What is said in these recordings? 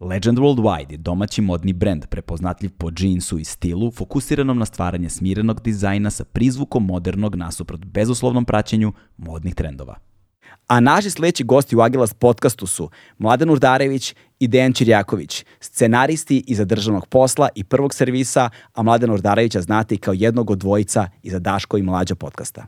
Legend Worldwide je domaći modni brend prepoznatljiv po džinsu i stilu, fokusiranom na stvaranje smirenog dizajna sa prizvukom modernog nasuprot bezuslovnom praćenju modnih trendova. A naši sledeći gosti u Agilas podcastu su Mladen Urdarević i Dejan Čirjaković, scenaristi iza državnog posla i prvog servisa, a Mladen Urdarevića znate i kao jednog od dvojica iza Daško i Mlađa podcasta.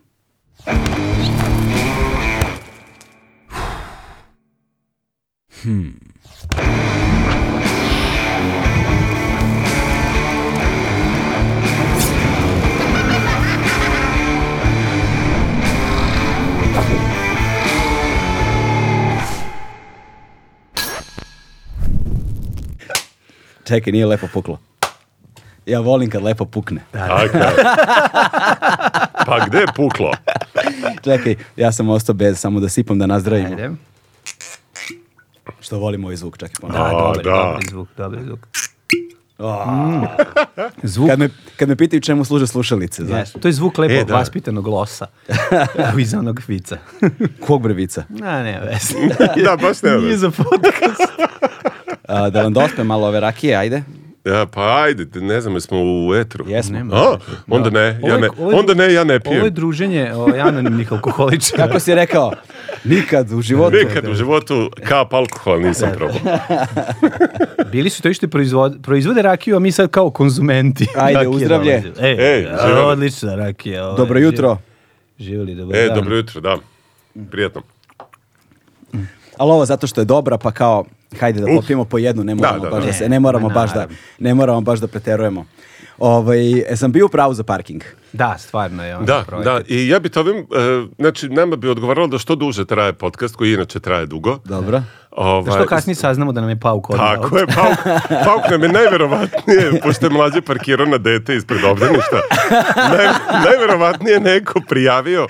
Čekaj, nije lepo puklo. Ja volim kad lepo pukne. Tako je. Dakle, Pa gde je puklo? Čekaj, ja sam ostao bez, samo da sipam da nazdravimo. Ajde. Što volim ovaj zvuk, čekaj Da, ponovno. A, dobar, da. dobar zvuk, dobar zvuk. Zvuk. Kad me, kad me pitaju čemu služe slušalice, znaš. To je zvuk lepog E, da. vaspitanog losa. Evo iz onog vica. Kog brevica? Na, ne, vez. Da, baš ne Nije veze. za podcast. A, da vam dospe malo ove rakije, ajde. E, Pa ajde, ne znam, jesmo u etru. Jesmo. Nema A, onda ne, ja Ovo je- ne, ovo je- onda ne, ja ne Ovo je pijem. druženje ovaj, anonimnih alkoholičara. Kako si rekao? Nikad u životu. Nikad u životu kap alkohol nisam probao. Bili su to ište proizvod, proizvode rakiju, a mi sad kao konzumenti. Ajde, rakije uzdravlje. dolazimo. Ej, Ej, a, živeli. odlična rakija. ovaj, Dobro jutro. živ- Živeli, dobar E, dan. dobro jutro, da. Prijatno. Ali ovo zato što je dobra, pa kao, hajde da popijemo po jednu, ne moramo da, baš da, da. se, ne moramo Ma, baš da, naravno. ne moramo baš da preterujemo. Ovaj, e, sam bio u pravu za parking. Da, stvarno je. ono Da, projekat. da, i ja bi to ovim, e, znači, nama bi odgovaralo da što duže traje podcast, koji inače traje dugo. Dobro. Ovaj, Da što kasnije saznamo da nam je pauk odmah. Tako je, Pauk, Pauk nam je najverovatnije, pošto je mlađe parkirao na dete ispred obdaništa, naj, najverovatnije neko prijavio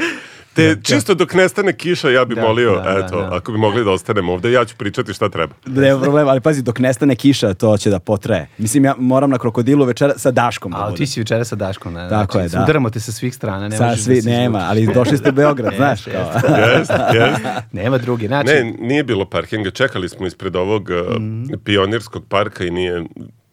Te čisto dok nestane kiša, ja bi Da, molio, da, da, eto, da. ako bi mogli da ostanemo ovde, ja ću pričati šta treba. Nema problema, ali pazi, dok nestane kiša, to će da potraje. Mislim, ja moram na krokodilu večera sa Daškom da Ali budem. ti si večera sa Daškom, ne? Znači, Tako je, da. Sudaramo te sa svih strana, ne Sa možeš svi, da se nema, izvučeš. ali došli ste u Beograd, znaš. Jeste, Kao. jeste. Jest, jest. Nema drugi, znači... Mhm. Ne, nije bilo parkinga, čekali smo ispred ovog uh, pionirskog parka i nije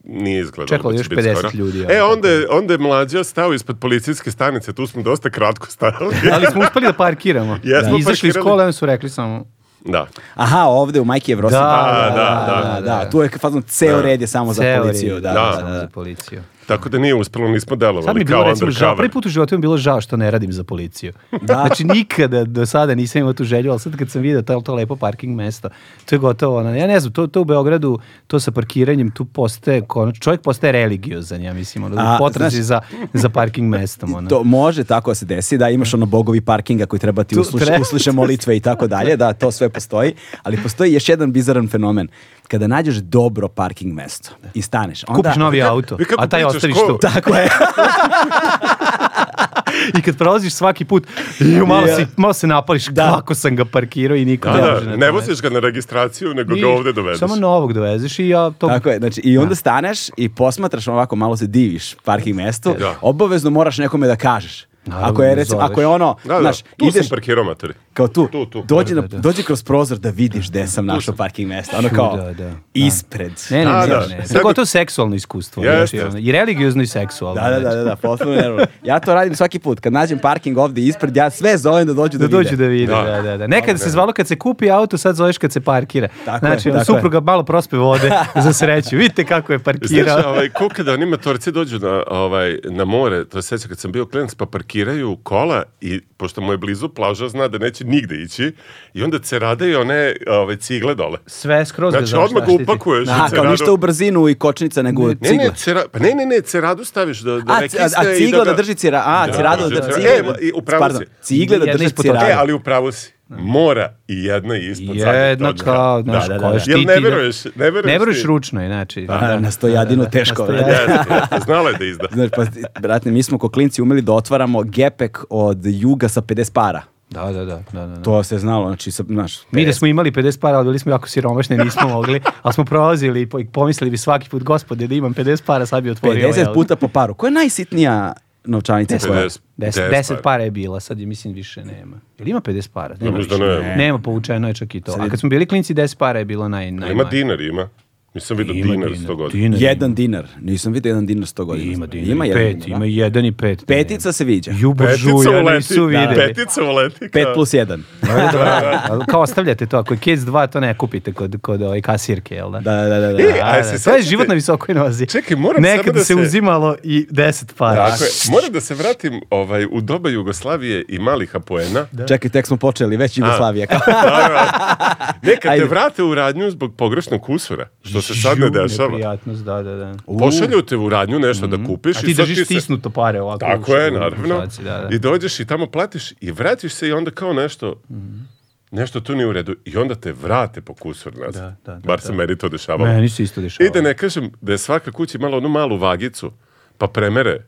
nije izgledalo Čekalo da će još biti 50 skoro. ljudi, E, ono, onda je, onda je mlađa stao ispod policijske stanice, tu smo dosta kratko stajali. ali smo uspeli da parkiramo. Jesmo I izašli iz parkirali. kola, onda su rekli samo... da. Aha, ovde u Majki Evrosima. Da, da, da, da. Tu je fazno ceo red je samo za "Ceo policiju. red, Da, Da. da, samo da. Za policiju. Tako da nije uspelo, nismo delovali Sad mi je kao bilo recimo žao, undercover. prvi put u životu mi je bilo žao što ne radim za policiju. Znači nikada do sada nisam imao tu želju, ali sad kad sam vidio to, to lepo parking mesto, to je gotovo. Ono, ja ne znam, to, to u Beogradu, to sa parkiranjem, tu postaje, konač, čovjek postaje religiozan, ja mislim, ono, A, u potrazi za, za parking mestom. Ono. To može tako da se desi, da imaš ono bogovi parkinga koji treba ti Tu usluša, treba- usliše molitve i tako dalje, da to sve postoji, ali postoji još jedan bizaran fenomen. Kada nađeš dobro parking mesto i staneš, onda... Kupiš novi auto, vi kako a taj pričaš, ostaviš ko- tu. Tako je. I kad prolaziš svaki put, ju, malo, Ja. si, malo se napališ Da. kako sam ga parkirao i niko Da, ne da, može na to ne mesto. voziš ga na registraciju, nego I ga ovde dovedeš. Samo novog dovezeš i ja to... Tako je, znači i onda staneš i posmatraš ovako, malo se diviš parking mestu, Da. obavezno moraš nekome da kažeš. Naravno, ako je recimo, zoveš. ako je ono, Da, da, znaš, tu ideš sam parkirao materi. kao tu, Tu, pa. tu, dođi, da, na- da. dođi kroz prozor da vidiš gde sam našao parking mesto, ono kao Da, da, da. ispred. Ne, ne, Da, ne, da. ne, ne. To Sad- je gotovo seksualno iskustvo. Jeste, znači, ono, I religiozno i seksualno. Da, da, da, znači. da, da, potpuno nervno. Ja to radim svaki put. Kad nađem parking ovde ispred, ja sve zovem da dođu da, Da dođu vide. da vide, Da. da, da, da. Nekada se zvalo kad se kupi auto, sad zoveš kad se parkira. Tako je, znači, ono, tako je. supruga malo prospe vode za sreću. Vidite kako je parkirao. Znaš, ovaj, ko kada animatorci dođu na, ovaj, na more, to se seća kad sam bio klinac, pa parkiraju kola i pošto mu je blizu plaža, zna da neće nigde ići i onda cerade i one ove, cigle dole. Sve skroz ga Znači, odmah ga zaštiti. upakuješ Aha, u kao ceradu. ništa u brzinu i kočnica, nego Ne, ne, cigla. cera, pa ne, ne, ne, ceradu staviš da, da A, ne c- a, kisne a i cigla da, ga- drži cira, a, ciradu da drži drži cira- cigle, E, i upravo pardon, si. cigle da Jedna drži ispod ciradu. toga. E, ali upravo si. Mora i jedna i ispod zadnja Jedna točka. kao, znaš, Da, da, da, koja da. štiti. Jel ne da- veruješ? Ne veruješ, Ne veruješ ti? ručno, znači, inače. Pa, na stojadinu teško, na stojadinu. da. Jeste, jeste, znala je da izda. Znaš, pa, brate, mi smo ko klinci umeli da otvaramo gepek od juga sa 50 para. Da, da, da. da, da, da. To se znalo, znači, sa, znaš, Mi da smo imali 50 para, ali bili smo jako siromašni, nismo mogli, ali smo prolazili i po- i pomislili bi svaki put, gospode, da imam 50 para, sad bi otvorio. ovaj 50 jel?" puta po paru. Koja je najsitnija novčanica? koja- 50. 10, 10 10 para. para je bila, sad je mislim više nema. Ili ima 50 para? Nema, mislim da više. nema. nema povučeno je čak i to. A kad smo bili klinci, 10 para je bilo naj, najmanje. Ima dinar, ima. Nisam vidio dinar 100 godina. dinar. Jedan dinar. Nisam vidio jedan dinar 100 godina. Ima dinar. Ima Ima jedan. pet, dinar, ima da? jedan i pet. Petica se viđa. Jubožuja, nisu videli. Petica uleti. 5 plus 1. Da, da, da. Kao ostavljate to, ako je Kids 2, to ne kupite kod, kod ove kasirke, jel da? Da, da, da. da. E, Da, a da, se to je sećate- život na visokoj nozi. Čekaj, moram samo Nekad da se se- uzimalo i 10 para. Tako je. Moram da se vratim ovaj, u doba Jugoslavije i malih apoena. Čekaj, tek smo počeli, već Jugoslavija. Nekad Ajde. te vrate u radnju zbog pogrešnog usura, što se sad ne Žu, dešava. Neprijatnost, da, da, da. Pošalju te u radnju nešto da kupiš. Mm-hmm. A i ti sad držiš se- stisnuto pare ovako. Tako u- je, u naravno. ruci, Da, da. I dođeš i tamo platiš i vratiš se i onda kao nešto... Mhm. Nešto tu nije u redu. I onda te vrate po kusur nazad. Da, da, da, Bar se da. meni to dešavalo. Meni se isto dešava. I da ne kažem da je svaka kuća imala onu malu vagicu, pa premere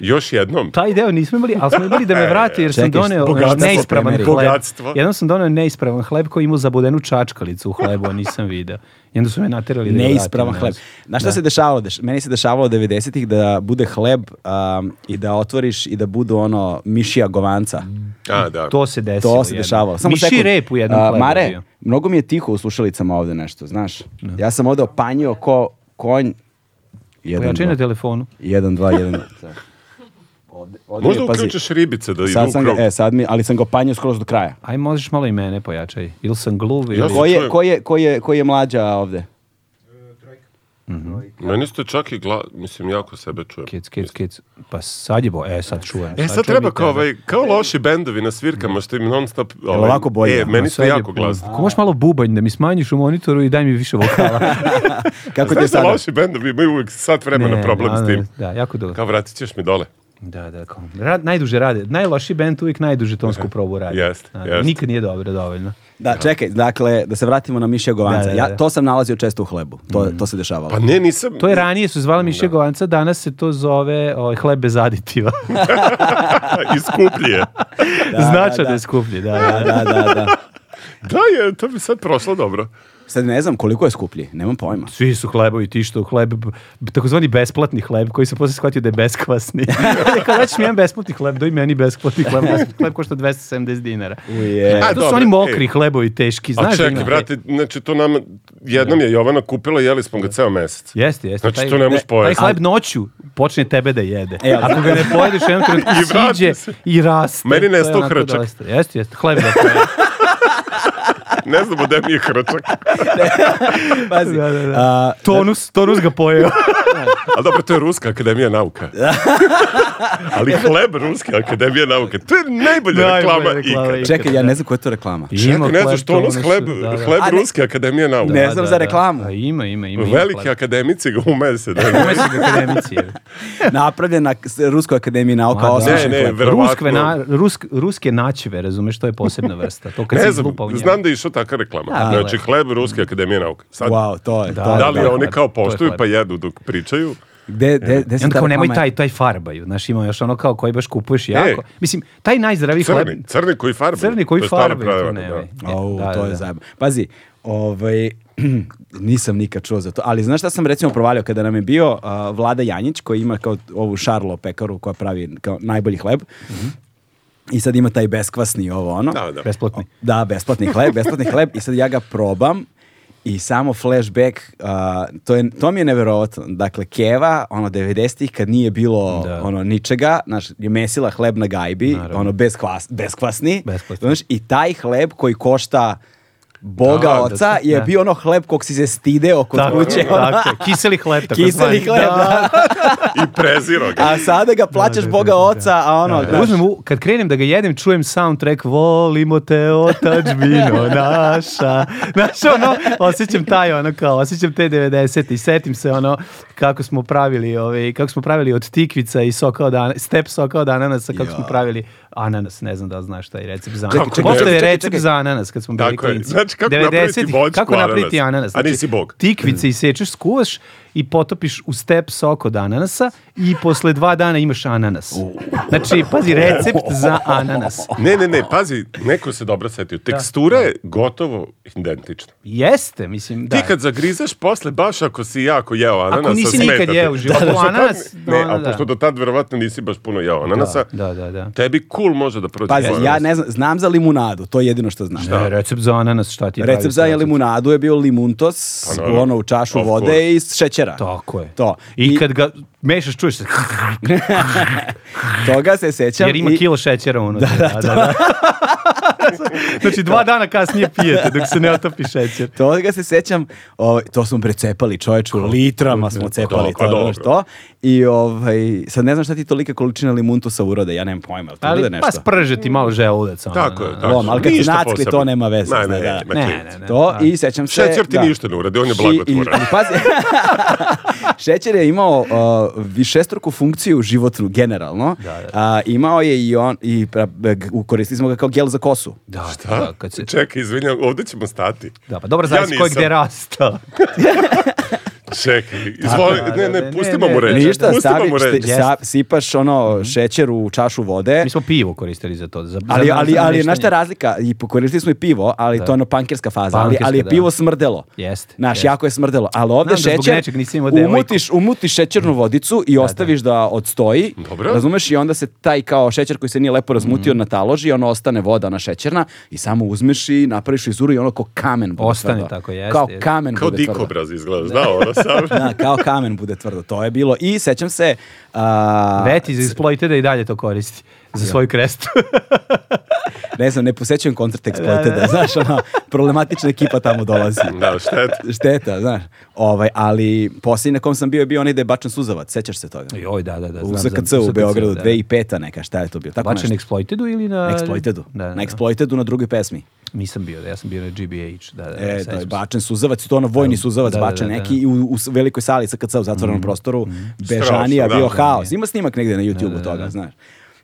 još jednom. Taj deo nismo imali, ali smo imali da me vrate jer sam Čekaj, doneo ono, bogatstvo neispravan premeri. hleb. E, Bogatstvo. Jednom sam doneo neispravan hleb koji je imao zabodenu čačkalicu u hlebu, a nisam video. I onda su me naterali da ga vratim Neispravan nazad. hleb. Znaš šta se dešavalo? Deš- meni se dešavalo 90-ih da bude hleb um, i da otvoriš i da budu ono mišija govanca. A, da. To se desilo. To se E, jednom. dešavalo. Samo Miši sekund. rep u jednom A, hlebu. Mare, bio. mnogo mi je tiho u slušalicama ovde nešto, znaš. Ja sam ovde opanjio ko konj. Jedan, Pojači na dva, telefonu. jedan, dva, jedan. dva. Ovde, ovde Možda mi je, pazi, uključiš ribice da idu Sad u sam krug. ga, e, sad mi, ali sam ga opanjio skroz do kraja. Aj, možeš malo i mene pojačaj. Ili sam gluv ili... Ja sam- Ko je, čujem. ko je, ko je, ko je mlađa ovde? Meni ste čak i gla... Mislim, jako sebe čujem. Kic, kic, kic. Pa sad je bo... E, sad čujem. E, sad čujem treba i kao, tebe. ovaj, kao loši bendovi na svirkama što im non stop... Ovaj, ovako bolje? E, meni A ste Pa sad Ono je jako po- glasni. Ako možeš malo bubanj da mi smanjiš u monitoru i daj mi više vokala. Kako ti je Znaš da sada? loši bendovi imaju uvijek sat vremena Ne, problem s da, tim. Da, jako dobro. Kao, vratit ćeš mi dole. Da, da, kao. Rad, najduže rade. Najloši band uvijek najduže tonsku probu radi. Jeste, Da, jeste. Nikad nije dobro dovoljno. Da, čekaj, dakle, da se vratimo na Mišija Govanca. Da, da, Mhm. da. Ja, to sam nalazio često u hlebu. To, to se dešavalo. Pa ne, nisam... To je ranije su zvala Mišija Govanca, danas se to zove ovaj, hleb bez aditiva. Iskuplje. Da, da, Znača da, da. je skuplji, da, Da, Pa da. da, da, da. Da je, to bi sad prošlo dobro. Sad ne znam koliko je skuplji, nemam pojma. Svi su hlebovi ti što hleb, b- takozvani besplatni hleb, koji sam posle shvatio da je beskvasni. Kada daćeš mi jedan besplatni hleb, doj meni besplatni hleb. Besplatni hleb košta 270 dinara. Uje. A, to su dobro, oni mokri ej. hlebovi teški, znaš ono- A da čekaj, ima- brate, znači to nama, jednom je Jovana kupila, jeli smo ga ceo mesec. Jeste, jeste. Znači, to ne možeš pojesti. Taj hleb noću počne tebe da jede. E, ali- Ako ga ne pojedeš, jednom trenutku I vrati siđe se. i raste. Meni To je nestao onako hrčak. dosta. Jeste, jeste. Hleb da pojede. Ne znamo gde mi je hrčak. Pazi, Da, da, da. a, Tonus, tonus ga pojeo. Ali dobro, to je Ruska akademija nauka. Ali hleb Ruske akademija nauke. To je najbolja Najbolja reklama reklama ikad. ikad. čekaj, ja ne znam koja je to reklama. Čekaj, ne znaš, to nos hleb, hleb A ne- Ruske akademije nauke. Ne znam za reklamu. A ima, ima, ima. ima Veliki hleb. akademici ga umese. Da, Ume se ga akademici. je. Napravljen na s- Ruskoj akademiji nauka Ma da. osmišljen Ne, ne, hleb. Verovatno. Ruskve na, rusk, ruske naćive, razumeš, to je posebna vrsta. To kad se ne znam, izlupa u njemu. znam da je išao takva reklama. Da, bilo znači, je. hleb Ruske akademije nauka. Sad, Wow, to je. Da, to je, da li da. oni kao To je poštuju hleb. pa jedu dok pričaju? Gde, gde, gde I se onda ta kao nemoj reklama- taj, taj farbaju. Znaš, ima još ono kao koji baš kupuješ jako. Mislim, taj najzdraviji hleb... E. Crni, crni koji farbaju. Crni koji To je stara farbaju, to prevara, nemoj. da. Au, Da, to da, je da. zajebano. Pazi, ovaj, nisam nikad čuo za to, ali znaš šta sam recimo provalio kada nam je bio a, Vlada Janjić koji ima kao ovu Šarlo pekaru koja pravi kao najbolji hleb i sad ima taj beskvasni ovo ono. Mhm. Da, da. Besplatni. Da, besplatni hleb, besplatni hleb i sad ja ga probam i samo flashback, a, to, je, to mi je neverovatno. Dakle, Keva, ono, 90-ih, kad nije bilo Da. ono, ničega, znaš, je mesila hleb na gajbi, Naravno. ono, bez kvas, beskvasni. Beskvasni. Znaš, i taj hleb koji košta Boga Da, da, oca da. je bio ono hleb kog si se stideo kod Tako, kuće. ono. tako, je. kiseli hleb. tako Kiseli zvani. hleb, da. I preziro ga. A sada ga plaćaš da, Boga da, da. oca, a ono... Da, znaš, Uzmem, u- kad krenem da ga jedem, čujem soundtrack Volimo te otačbino naša. Znaš, ono, osjećam taj, ono, kao, osjećam te 90 i setim se, ono, kako smo pravili, ovaj, kako smo pravili od tikvica i soka od ana, step soka od ananasa, kako Ja. smo pravili ananas, ne znam da li znaš taj recept za Čekaj, ananas. čekaj, Postoje čekaj, čekaj, recept čekaj. za ananas kad smo bili Tako je. klinci. Znači, kako napraviti 90-ih, voćku kako napraviti ananas? ananas? Znači, A nisi bog. Tikvice isečeš, skuvaš i potopiš u step sok od ananasa i posle dva dana imaš ananas. Znači, pazi, recept za ananas. Ne, ne, ne, pazi, neko se dobro setio. Tekstura je gotovo identična. Jeste, mislim, da. Ti kad zagrizeš posle, baš ako si jako jeo ananasa, nisi smeta nikad ti. jeo u životu A pošto tad- ananas, Ne, ono, a da. pošto do tad verovatno nisi baš puno jeo ananasa, Da, da, da. tebi cool može da prođe. Pazi, ananas. ja ne znam, znam za limunadu, to je jedino što znam. Ne, recept za ananas, šta ti Recept praviš, za recept? limunadu je bio limuntos, Pa naravno. ono u čašu Of vode course. i s šećera. Tako je. To. I, kad ga mešaš, čuješ se, Toga se sećam. jer ima i- kilo šećera unutra. Da, da, da. znači, dva dana kasnije pijete dok se ne otopi šećer. Toga se sećam, ovaj, to smo precepali čoveče, u litrama smo cepali Kako to, dobro. znaš to. I ovaj, sad ne znam šta ti tolika količina limuntosa urode, ja nemam pojma, ali to urode Ali, nešto. pa sprže ti malo želudac. ono, Tako je, da, da. tako Lom, ali kad si nacke, to nema veze, Ne, znaš, ne, da. ne, Ne, ne, ne, ne. To i sećam se... Šećer ti ništa ne uradi, on je I- i- blagotvoran. ali pa- pazi, šećer je imao uh, višestruku funkciju životnu generalno. Da, da. A, imao je i on, i pra- e, g- koristili smo ga kao gel za kosu. Da, A? da, pa, kad se, Čekaj, izvinjam, ovdje ćemo stati. da, pa dobro, Ja zavisi ko je nisam. gde rastao. Čekaj, izvoli, da, ne, da, ne, ne, pustimo ne, mu ne, reći. Ništa, Pustimo stavi, mu Mhm. reći. šte- sa- sipaš ono šećer u čašu vode. Mi smo pivo koristili za to. Za, Ali, za ali, ali, znaš šta je namještanje. razlika? I pokoristili smo i pivo, ali to je ono pankerska faza. Ali, Pankerska, ali je da. pivo smrdelo. Jeste, Znaš, jeste. jako je smrdelo. Ali ovdje Znam da zbog šećer, nečeg nisi imao devojku. umutiš, umutiš šećernu Mm. vodicu i ostaviš da, odstoji. Dobro. Razumeš? I onda se taj kao šećer koji se nije lepo Mm. razmutio nataloži, ono ostane voda, ona šećerna i samo uzmeš i napraviš frizuru i ono kao kamen bude Ostane tvrdo. tako, jeste, Kao jeste. kamen Kao bude tvrdo. dikobraz izgledaš, da, ono sam. Da, kao kamen bude tvrdo. To je bilo. I sećam se... a, Veti iz Exploiteda i dalje to koristi za svoju krestu. ne znam, ne posećujem koncerte Exploiteda, znaš, ono, problematična ekipa tamo dolazi. Da, šteta. Šteta, znaš. Ovaj, ali posljednji na kom sam bio je bio onaj da je bačen suzavac, sećaš se toga? Joj, da, da, da. u znam, ZKC znam, u Beogradu, da. 2005-a neka, šta je to bio? Tako Bačen nešto. na Exploitedu ili na... Exploitedu. Da, da, Na da. Exploitedu na drugoj pesmi. Nisam bio, da, ja sam bio na GBH. Da, da, E, da, to je sećam se. bačen suzavac, to ono vojni Da, suzavac da, da, bačen da, Mhm. da. neki i u, u s- velikoj sali SKC u zatvorenom prostoru. Bežanija, Strašno, da, bio da, haos. Ima snimak negde na YouTube Mhm. da, da, toga, da. znaš.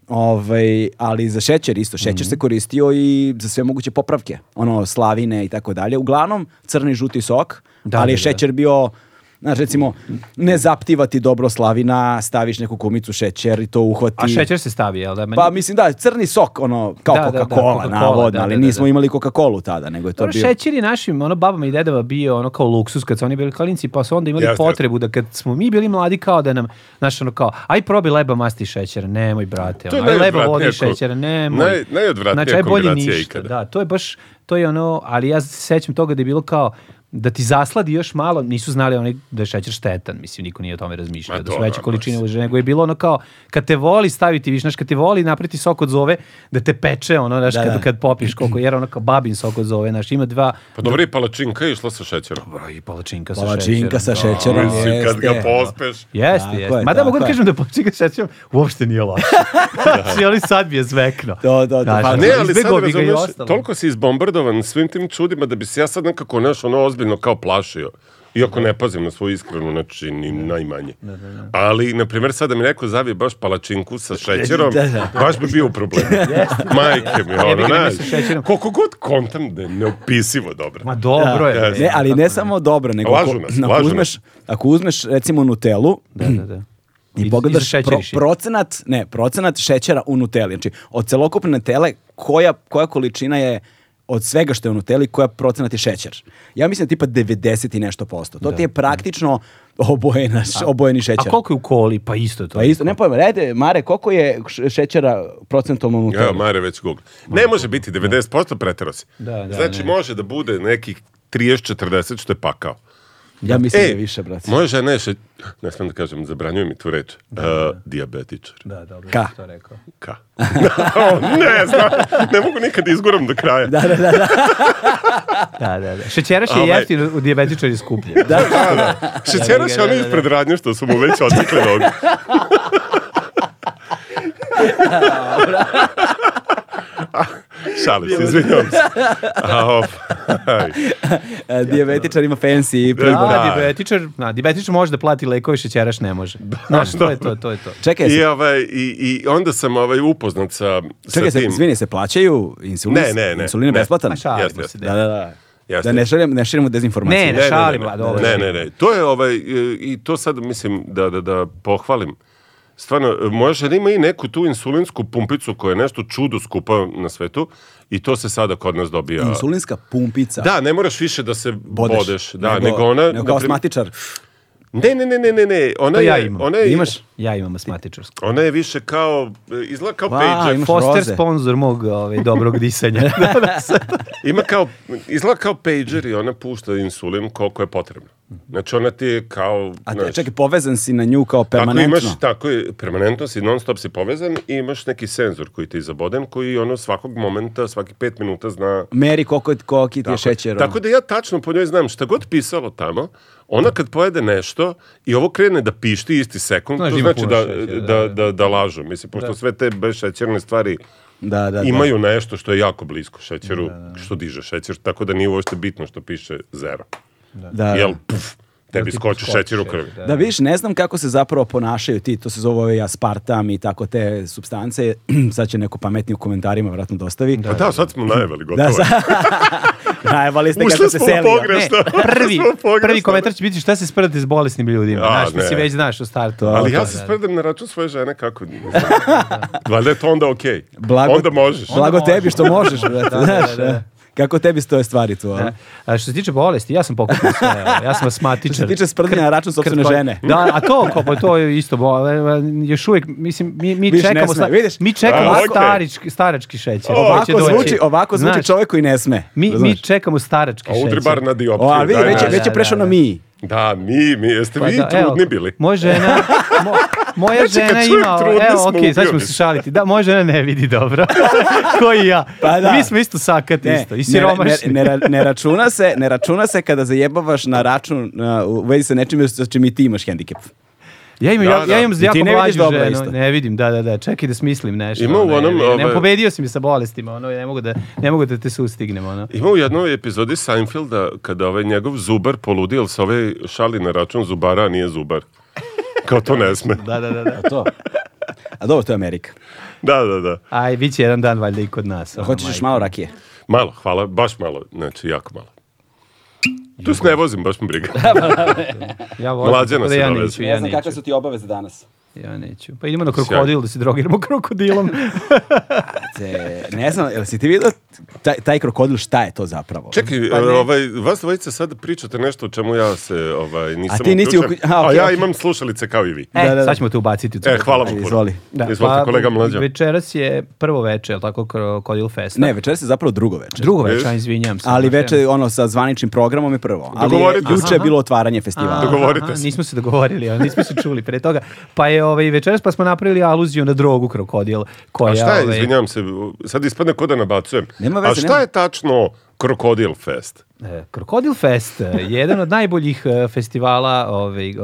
Ovaj, ali za šećer isto. Šećer Mhm. se koristio i za sve moguće popravke. Ono, slavine i tako dalje. Uglavnom, crni i žuti sok, Da, ali da, je da. šećer bio Znaš, recimo, ne zaptivati dobro slavina, staviš neku kumicu šećer i to uhvati. A šećer se stavi, jel da? Meni- Pa mislim da, crni sok, ono, kao Da, da, da, Coca-Cola, Coca-Cola, navodno, da, ali da, da, nismo da. imali Coca-Colu tada, nego je to Dobro, bio... šećer je našim ono, babama i dedama bio ono kao luksus kad su oni bili klinci, pa su onda imali Jeste. potrebu da kad smo mi bili mladi kao da nam, znaš ono kao, aj probi leba masti i šećera, nemoj brate, To je ono, aj leba najodvratnija vodi i ko- šećera, nemoj. naj- najodvratnija znači, aj bolje kombinacija ništa, ikada. Da, to je baš, to je ono, ali ja se sećam toga da je bilo kao, da ti zasladi još malo, nisu znali oni da je šećer štetan, mislim, niko nije o tome razmišljao, Ma da su dobro, veće količine mislim. uže, nego je bilo ono kao, kad te voli staviti, viš, znaš, kad te voli napriti sok od zove, da te peče, ono, znaš, Da, kad, da. kad popiš koliko, jer ono kao babin sok od zove, znaš, ima dva, Pa dobro, i palačinka je išla sa šećerom. Bro, i palačinka sa Palačinka sa šećerom. da. šećerom. Mislim, kad ga jeste. pospeš. Tako Jeste, je, jeste. Ma da tako mogu da je. kažem da palačinka sa šećerom uopšte nije loša. Znači, ali sad mi je zvekno. To, to, to. Znaš, Pa Ne, ono, ali sad izbegao bi ga i razumeš, ostalo. toliko si izbombardovan svim tim čudima da bi se ja sad nekako nešto ono ozbiljno kao plašio. Iako ne pazim na svoju iskrenu, znači ni najmanje. Ali, na primjer, sad da mi neko zavije baš palačinku sa šećerom, Da, da. baš bi bio u problemu. Majke mi, Jebi ono, ga, nema znaš. sa šećerom. Koliko god kontam da je neopisivo dobro. Ma dobro Da. je. Ne, ali ne samo dobro, nego Lažu ako, nas, ako lažu uzmeš, ako uzmeš recimo Nutellu, Da, da, da. I, I- i za pogledaš šećer pro- i šećer. procenat, ne, procenat šećera u Nutelli. Znači, od celokupne Nutelle, koja, koja količina je od svega što je u Nutelli, koja procenat je šećer. Ja mislim tipa 90 i nešto posto. To ti je praktično obojena, š- obojeni šećer. A koliko je u koli? Pa isto je to. Pa isto, ne pojma, rede, Mare, koliko je š- šećera procentom u Evo, Nutelli? Mare već Google. Ne može biti 90%, pretero si. Da, da, znači, ne. može da bude nekih 30-40 što je pakao. Ja mislim da E, je više, brate. Moja žena je, še- ne smijem da kažem, zabranjuje mi tu reč, E, dijabetičar. Da, dobro, Ka? Ka? to rekao. Ka? ne znam, ne mogu nikad da izguram do kraja. Da, da, da, da. Da, da, da. Šećeraš je Ovaj. jeftin, u dijabetičari skuplje. Da. Da, da. Šećeraš je ono ispred radnje što su mu već otekle noge. Šalim se, izvinjam se. A, ovaj. E, Dijabetičar ima fancy i Da, pribor. Da. dijabetičar, da, dijabetičar može da plati lekovi, šećeraš ne može. Znaš, to je to, to je to. Čekaj, I, se, ovaj, i, I onda sam ovaj, upoznat sa, sa čekaj se, tim. izvini, se plaćaju insulin? Ne, ne, ne, Insulin je ne. besplatan? Ma šalimo Jeste, se. jeste. Da, da, da. Jeste. Da ne širimo, ne širimo dezinformacije. Ne, ne. šalim, a E, dobro. Ne, ne, ne. To je ovaj, e, i to sad mislim da, da, da pohvalim. Stvarno, e, moja žena ima i neku tu insulinsku pumpicu koja je nešto čudo skupa na svetu i to se sada kod nas dobija. Insulinska pumpica. Da, ne moraš više da se bodeš. Da, nego, ona... Nego kao na prim- astmatičar. Ne, ne, ne, ne, ne, ne. Ona To je, ja imam. Ona je, Imaš? Ja imam asmatičarsku. Ona je više kao, e, izgleda kao Wow, pager. imaš- Foster roze. sponsor mog ovaj, dobrog disanja. da, da, sad. Ima kao, izgleda kao pager i ona pušta insulin koliko je potrebno. Znači ona ti je kao... A te, znaš, čekaj, povezan si na nju kao Tako permanentno. imaš, tako je, permanentno si, non stop si povezan i imaš neki senzor koji ti je zaboden, koji ono svakog momenta, svaki pet minuta zna... Meri koliko, koliko ti je šećer. ono. Tako da ja tačno po njoj znam šta god pisalo tamo, ona kad pojede nešto i ovo krene da pišti isti sekund, Znaš to da ima znači puno da, šećera, da, da, da, da, lažu. Mislim, pošto sve te bezšećerne stvari Da, da, da. imaju nešto što je jako blisko šećeru, što diže šećer, tako da nije uopšte bitno što piše zero. Da, da. Jel, puf, tebi ti skoči skoči šećer u šećer, krvi. da. Da vidiš, ne znam kako se zapravo ponašaju ti, to se zove ovaj aspartam i tako te substance, sad će neko pametni u komentarima vratno dostavi. Pa da, sad smo najevali, gotovo. Da, je. sa... Najevali ste Ušli kako se smo u selio. pogreb. Ne, Šta? prvi, Smo pogrešno. prvi komentar će biti šta se sprdate s bolesnim ljudima. A, znaš, ti ne. si već znaš u startu. ovaj, Ali To, ja se da, da. spredem na račun svoje žene kako ne znam. Valjda je to onda okej. Blago- Onda možeš. Blago Onda tebi što možeš, brate, da, znaš, da, da. e. Kako tebi stoje stvari tu, a? Da. A što se tiče bolesti, ja sam pokupio sve. evo, Ja sam asmatičar. Što se tiče sprdnja na račun sopstvene Krpa- žene. Da, a to, ko, pa to je isto, bo, ovaj, još uvijek, mislim, mi, mi Vidiš, ne čekamo, sme, sta- vidiš? mi čekamo A, okej. starački, starački šećer. O, Ovako Hoće doći. zvuči, ovako zvuči Znaš, čovjek koji ne sme. Mi, mi razumeš? čekamo starački A šećer. udri bar na dioptriju. O, ali vidi, daj, već, je- daj. već je da, prešao da. na mi. Da, mi, mi, jeste vi Pa evo, trudni bili? Moja žena, mo- moja Znači, kad žena čujem ima, trudna evo, smo, okej, sad ubio ćemo bi se. se šaliti. Da, moja žena ne vidi dobro. Ko i ja. Pa da. Mi smo isto sakati isto. I siromašni. Ne, ne, ne, ne računa se, ne računa se kada zajebavaš na račun uh, u vezi sa nečim sa čim i ti imaš hendikep. Ja imam, Da, ja, da. ja imam I ti jako ne vidiš mlađu dobro ženu. isto. Ne vidim, da, da, da. Čekaj da smislim nešto. Ima u ono, onom, ne, ne, ovaj- pobedio si mi sa bolestima, ono, ne mogu da, ne mogu da te sustignem, ono. Ima u jednoj epizodi Seinfelda kada ovaj njegov zubar poludi, ali se ovaj šali na račun zubara, a nije zubar. Kao to ne sme. Da, da, da, da. To. A dobro, to je Amerika. Da, da, da. Aj, bit će jedan dan valjda i kod nas. ono, Hoćeš još majko. malo rakije? Malo, hvala, baš malo, znači jako malo. Tu se ne vozim, baš mi briga. Ja volim, Mlađana tako da se ja doveze. neću, ja neću. su ti obaveze danas. Ja neću. Pa idemo na krokodil da se drogiramo krokodilom. E, Te, ne znam, jel si ti vidio taj, taj krokodil šta je to zapravo? Čekaj, Pa e, ne. ovaj, vas dvojica sad pričate nešto o čemu ja se ovaj, nisam A ti nisi uključen, uklju- A, okej, ja okej. imam slušalice kao i vi. Da, E, da, da. sad ćemo te ubaciti u E, crkvu. hvala vam. Ajde, puno. izvoli. Da, Izvolite, pa, kolega mlađa. Večeras je prvo veče, jel tako, krokodil festa. Znači, Ne, večeras je zapravo drugo večer. Drugo Vidiš? veče, a, izvinjam se. Ali Znaš, ja- veče ono sa zvaničnim programom je prvo. Ali je, Dogovorite se. juče je Aha. bilo otvaranje festivala. A, Dogovorite se. Nismo se dogovorili, ali nismo se čuli pre toga. Pa je ovaj, večeras pa smo napravili aluziju na drogu krokodil. Koja, A šta je, ovaj, izvinjavam se, sad ispadne ko da nabacujem. Pa Nema A veze, šta nema. je tačno Krokodil Fest? e, Krokodil Fest e, je jedan od najboljih e, festivala ovaj, e, e,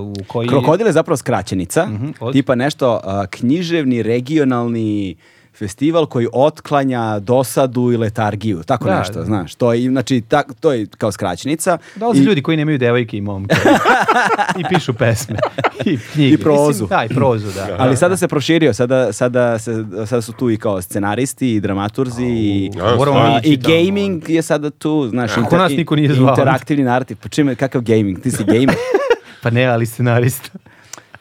u koji... Krokodil je zapravo skraćenica, Mhm, od- tipa nešto a, književni, regionalni festival koji otklanja dosadu i letargiju, tako Da, nešto, da. znaš. To je, znači, tak, to je kao skraćenica. Dolaze I- ljudi koji nemaju devojke i momke. I pišu pesme. I knjige. I prozu. Mislim, da, i prozu, da. Ali sada se proširio, sada, sada, se, sada su tu i kao scenaristi i dramaturzi i... Ja, Moramo stvarno. A, mi I ići tamo. gaming je sada tu, znaš, Kako nas niko nije zvao? interaktivni narativ. Pa čime, kakav gaming? Ti si gamer. Pa ne, ali scenarista.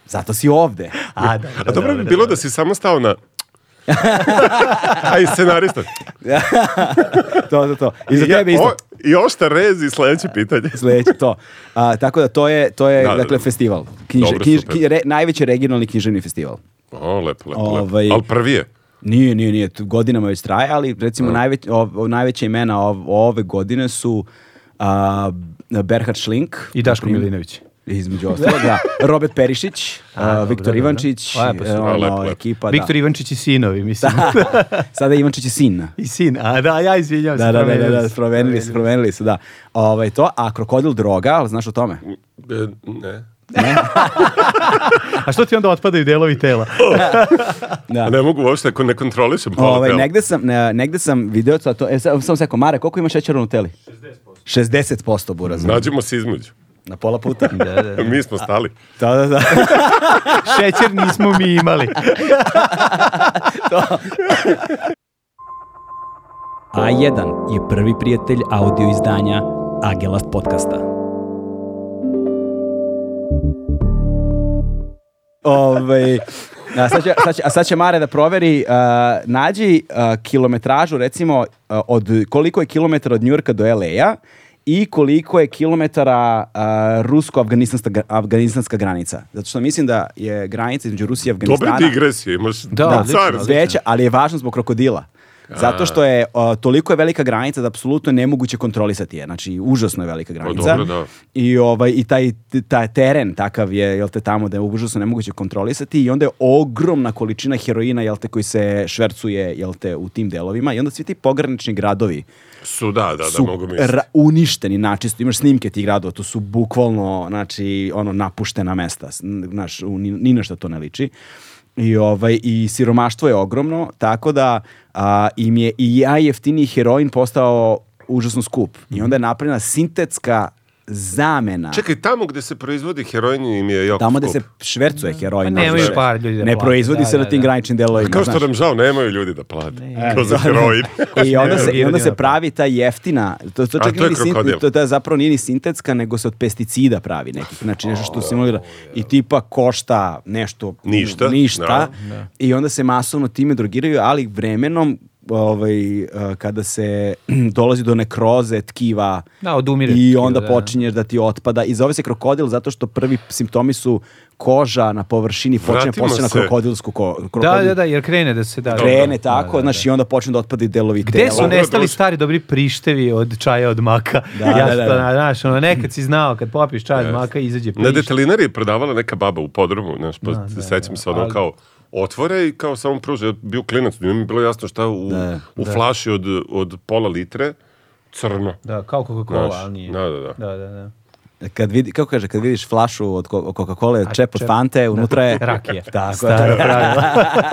Zato si ovde. A, da, A dobro bi bilo da si samo stao na... A i scenarista. to, to, to. I za tebe isto. o- I ošta rez i sledeće pitanje. Sledeće to. A, tako da to je, to je Da, da, dakle, da. festival. Knjiže, Dobro, knjiž- super. ki- re- najveći regionalni književni festival. O, lepo, lepo, Ovaj- lepo. Ali prvi je. Nije, nije, nije. tu Godinama već traje, ali recimo najveć, o- o- najveća imena ov- ove godine su a, Berhard Schlink. I na Daško primjer. Milinović. između ostalog, da. Robert Perišić, A, a, dobro, Viktor dobro. Ivančić, Lepo su. e, ono, A, lepo, lepo. ekipa, Viktor da. Ivančić i sinovi, mislim. Sada je Ivančić i sin. I sin. A da, ja izvinjam se. Da, da, da, da, promenio da, sam. promenili su, promenili su, da. Ovaj, to, a krokodil droga, ali znaš o tome? E, ne. A što ti onda otpadaju delovi tela? Da. Ne mogu uopšte, ako ne kontrolišem pola Ovaj, tela. negde sam, ne, negde sam video, to, to, e, sa- samo seko, Mare, koliko ima šećera u teli? 60%. 60% buraz. Nađemo se između. Na pola puta. Da, da. E, Mi smo stali. da, da, da. Šećer nismo mi imali. A1 je prvi prijatelj audio izdanja Agelast podcasta. Ove, Ovaj, a, sad će, sad će, a sad će Mare da proveri, a, nađi a, kilometražu recimo a, od koliko je kilometara od Njurka do LA-a i koliko je kilometara a, rusko-afganistanska gra- afganistanska granica. Zato što mislim da je granica između Rusije i Dobre Afganistana... digresije imaš. Da, Da, odlično, car. odlično. Veća, ali je važno zbog krokodila. Zato što je o, toliko je velika granica da apsolutno je nemoguće kontrolisati je. Znači, užasno je velika granica. dobro, da. I, ovaj, i taj, taj teren takav je, jel te, tamo da je užasno nemoguće kontrolisati i onda je ogromna količina heroina, jel te, koji se švercuje, jel te, u tim delovima i onda svi ti pogranični gradovi Su, da, da, da, su mogu misliti. ra- uništeni načisto. Imaš snimke tih gradova, to su bukvalno znači, ono, napuštena mesta. S- n- Znaš, u ni, ni na šta to ne liči. I, ovaj, I siromaštvo je ogromno, tako da a, im je i najjeftiniji heroin postao užasno skup. I onda je napravljena sintetska zamena. Mhm. Čekaj, tamo gde se proizvodi heroin im je jako Tamo da skup. se švercuje heroin. Pa nemaju najviše. par ljudi da ne plate. proizvodi Da, se da, na tim da. graničnim delovima. Kao znaš. što nam žao, nemaju ljudi da plate. Kao za E, Da, heroin. I onda se, i onda Nervirani se napad. pravi ta jeftina, to, to A čak to nije je ni sin- krokodil. to, to je zapravo nije ni sintetska, nego se od pesticida pravi nekih, znači nešto što simulira i tipa košta nešto Ništa, ništa da. i onda se masovno time drogiraju, ali vremenom ovaj, eh, kada se dolazi do nekroze tkiva Da, odumire i tkivo, onda da, da. počinješ da ti otpada i zove se krokodil zato što prvi simptomi su koža na površini počinje Vratimo posjeća na se. krokodilsku ko, Da, krokodil- da, da, jer krene da se da. krene da, tako, da, da. znaš, i onda počne da otpadi delovi Gde tela. su Ovo je nestali dosta. stari dobri prištevi od čaja od maka? Da, ja da, sam da, to, da. Znaš, ono, nekad si znao kad popiš čaj od Jeste. maka izađe Na prištev. detalinari je prodavala neka baba u podrumu, znaš, pa Da, da, se sećam se da, ono ali- kao otvore i kao samo pruže, Ja bio klinac, nije mi bilo jasno šta u, Da, u flaši od, od pola litre, crno. Da, kao Znaš, Coca-Cola, ali nije. da, da, da. Da, da, da. Kad vidi, kako kaže, kad vidiš flašu od Ko- Coca-Cola, čep od čep. Fante, unutra je... Rakija. Tako Staro je. pravilo.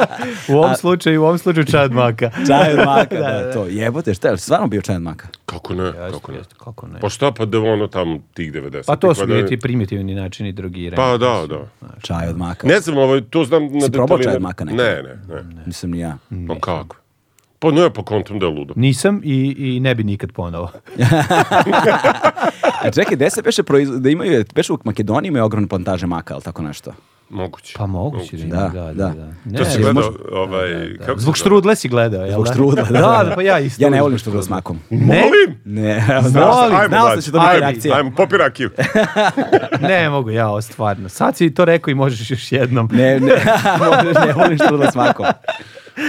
u ovom slučaju, u ovom slučaju čaj od maka. Čaj od maka, da, to. Jebote, šta je, jel stvarno bio čaj od maka? Kako ne, kako ne. Jeste, Kako ne? Pa šta pa da ono tamo tih 90. Pa to su bili ti primitivni načini drogiranja. Pa da, da. Čaj od maka. Ne znam, ovaj, to znam na detalinari. probao čaj od maka nekad? Ne, ne, Mm. ne. Nisam ni ja. Pa kako? Pa ne, pa kontam da je ludo. Nisam i, i ne bi nikad ponovo. A E, čekaj, gde se peše proizvod, da imaju, peše u Makedoniji imaju ogromne plantaže maka, ali tako nešto. Moguće. Pa moguće da ima, Da, da, da. da. da. To si ali gledao, možda- ovaj, kako se Zbog zove? štrudle si gledao, jel? Zbog da? štrudla, da, da, da. da, pa ja isto. Ja ne volim što s makom. Molim! Ne, Znaš, znao sam, znao ajmo, sam da mlađe, će to biti ajmo, reakcija. Ajmo, popi rakiju. Ne mogu ja, ovo stvarno. Sad si to rekao i možeš još jednom. Ne, Ne, ne, ne volim štrudla s makom.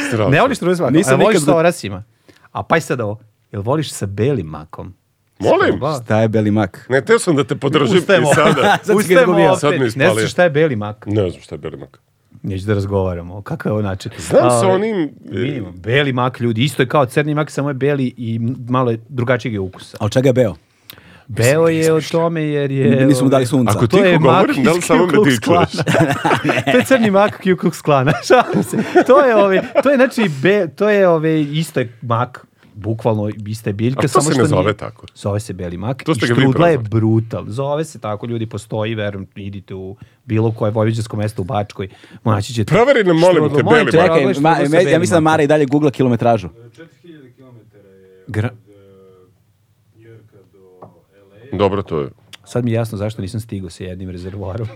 Strašno. voliš štrudle s makom, Nisam Nisam ali voliš nikad sa do- orasima. A pa sad ovo, jel voliš sa belim makom? Molim? Probao? Šta je beli mak? Ne, teo sam da te podržim Ustajemo. i sada. Sad si ga Ustajemo izgubio. opet. Sad me Ne ispalio. znaš šta je beli mak. Ne znam šta je Berlimak. Neću da razgovaramo. Kakav je ovo način? Znam sa Ali- onim... e, Minimum. Beli mak, ljudi. Isto je kao crni mak, samo je beli i malo je drugačijeg je ukusa. A od čega je beo? Beo je o tome jer je... Nisu mu dali ovaj, sunca. Ako ti To je mak govorim, da li iz samo Ku me Klux dičuješ? to je crni mak Ku Klux Klana. Šalim se. To je, ovaj, to je znači, be, to je ovaj, isto je mak, bukvalno ista je biljka. A to samo se što ne zove nije- tako. Zove se beli mak. To I ste ga vi štrudla je proizveli. brutal. Zove se tako, ljudi, postoji, verujem, idite u bilo koje vojvođansko mesto u Bačkoj, naći ćete. Proveri nam, molim Štrudlo. te, Molim beli Čekaj, pogledaj Dakle, ma- štrudlo sa me- ja belim mislim da makom. Mara i dalje googla kilometražu. 4000 km je Gra- od eh, Njujorka do LA. Dobro, to je. Sad mi je jasno zašto nisam stigao sa jednim rezervoarom.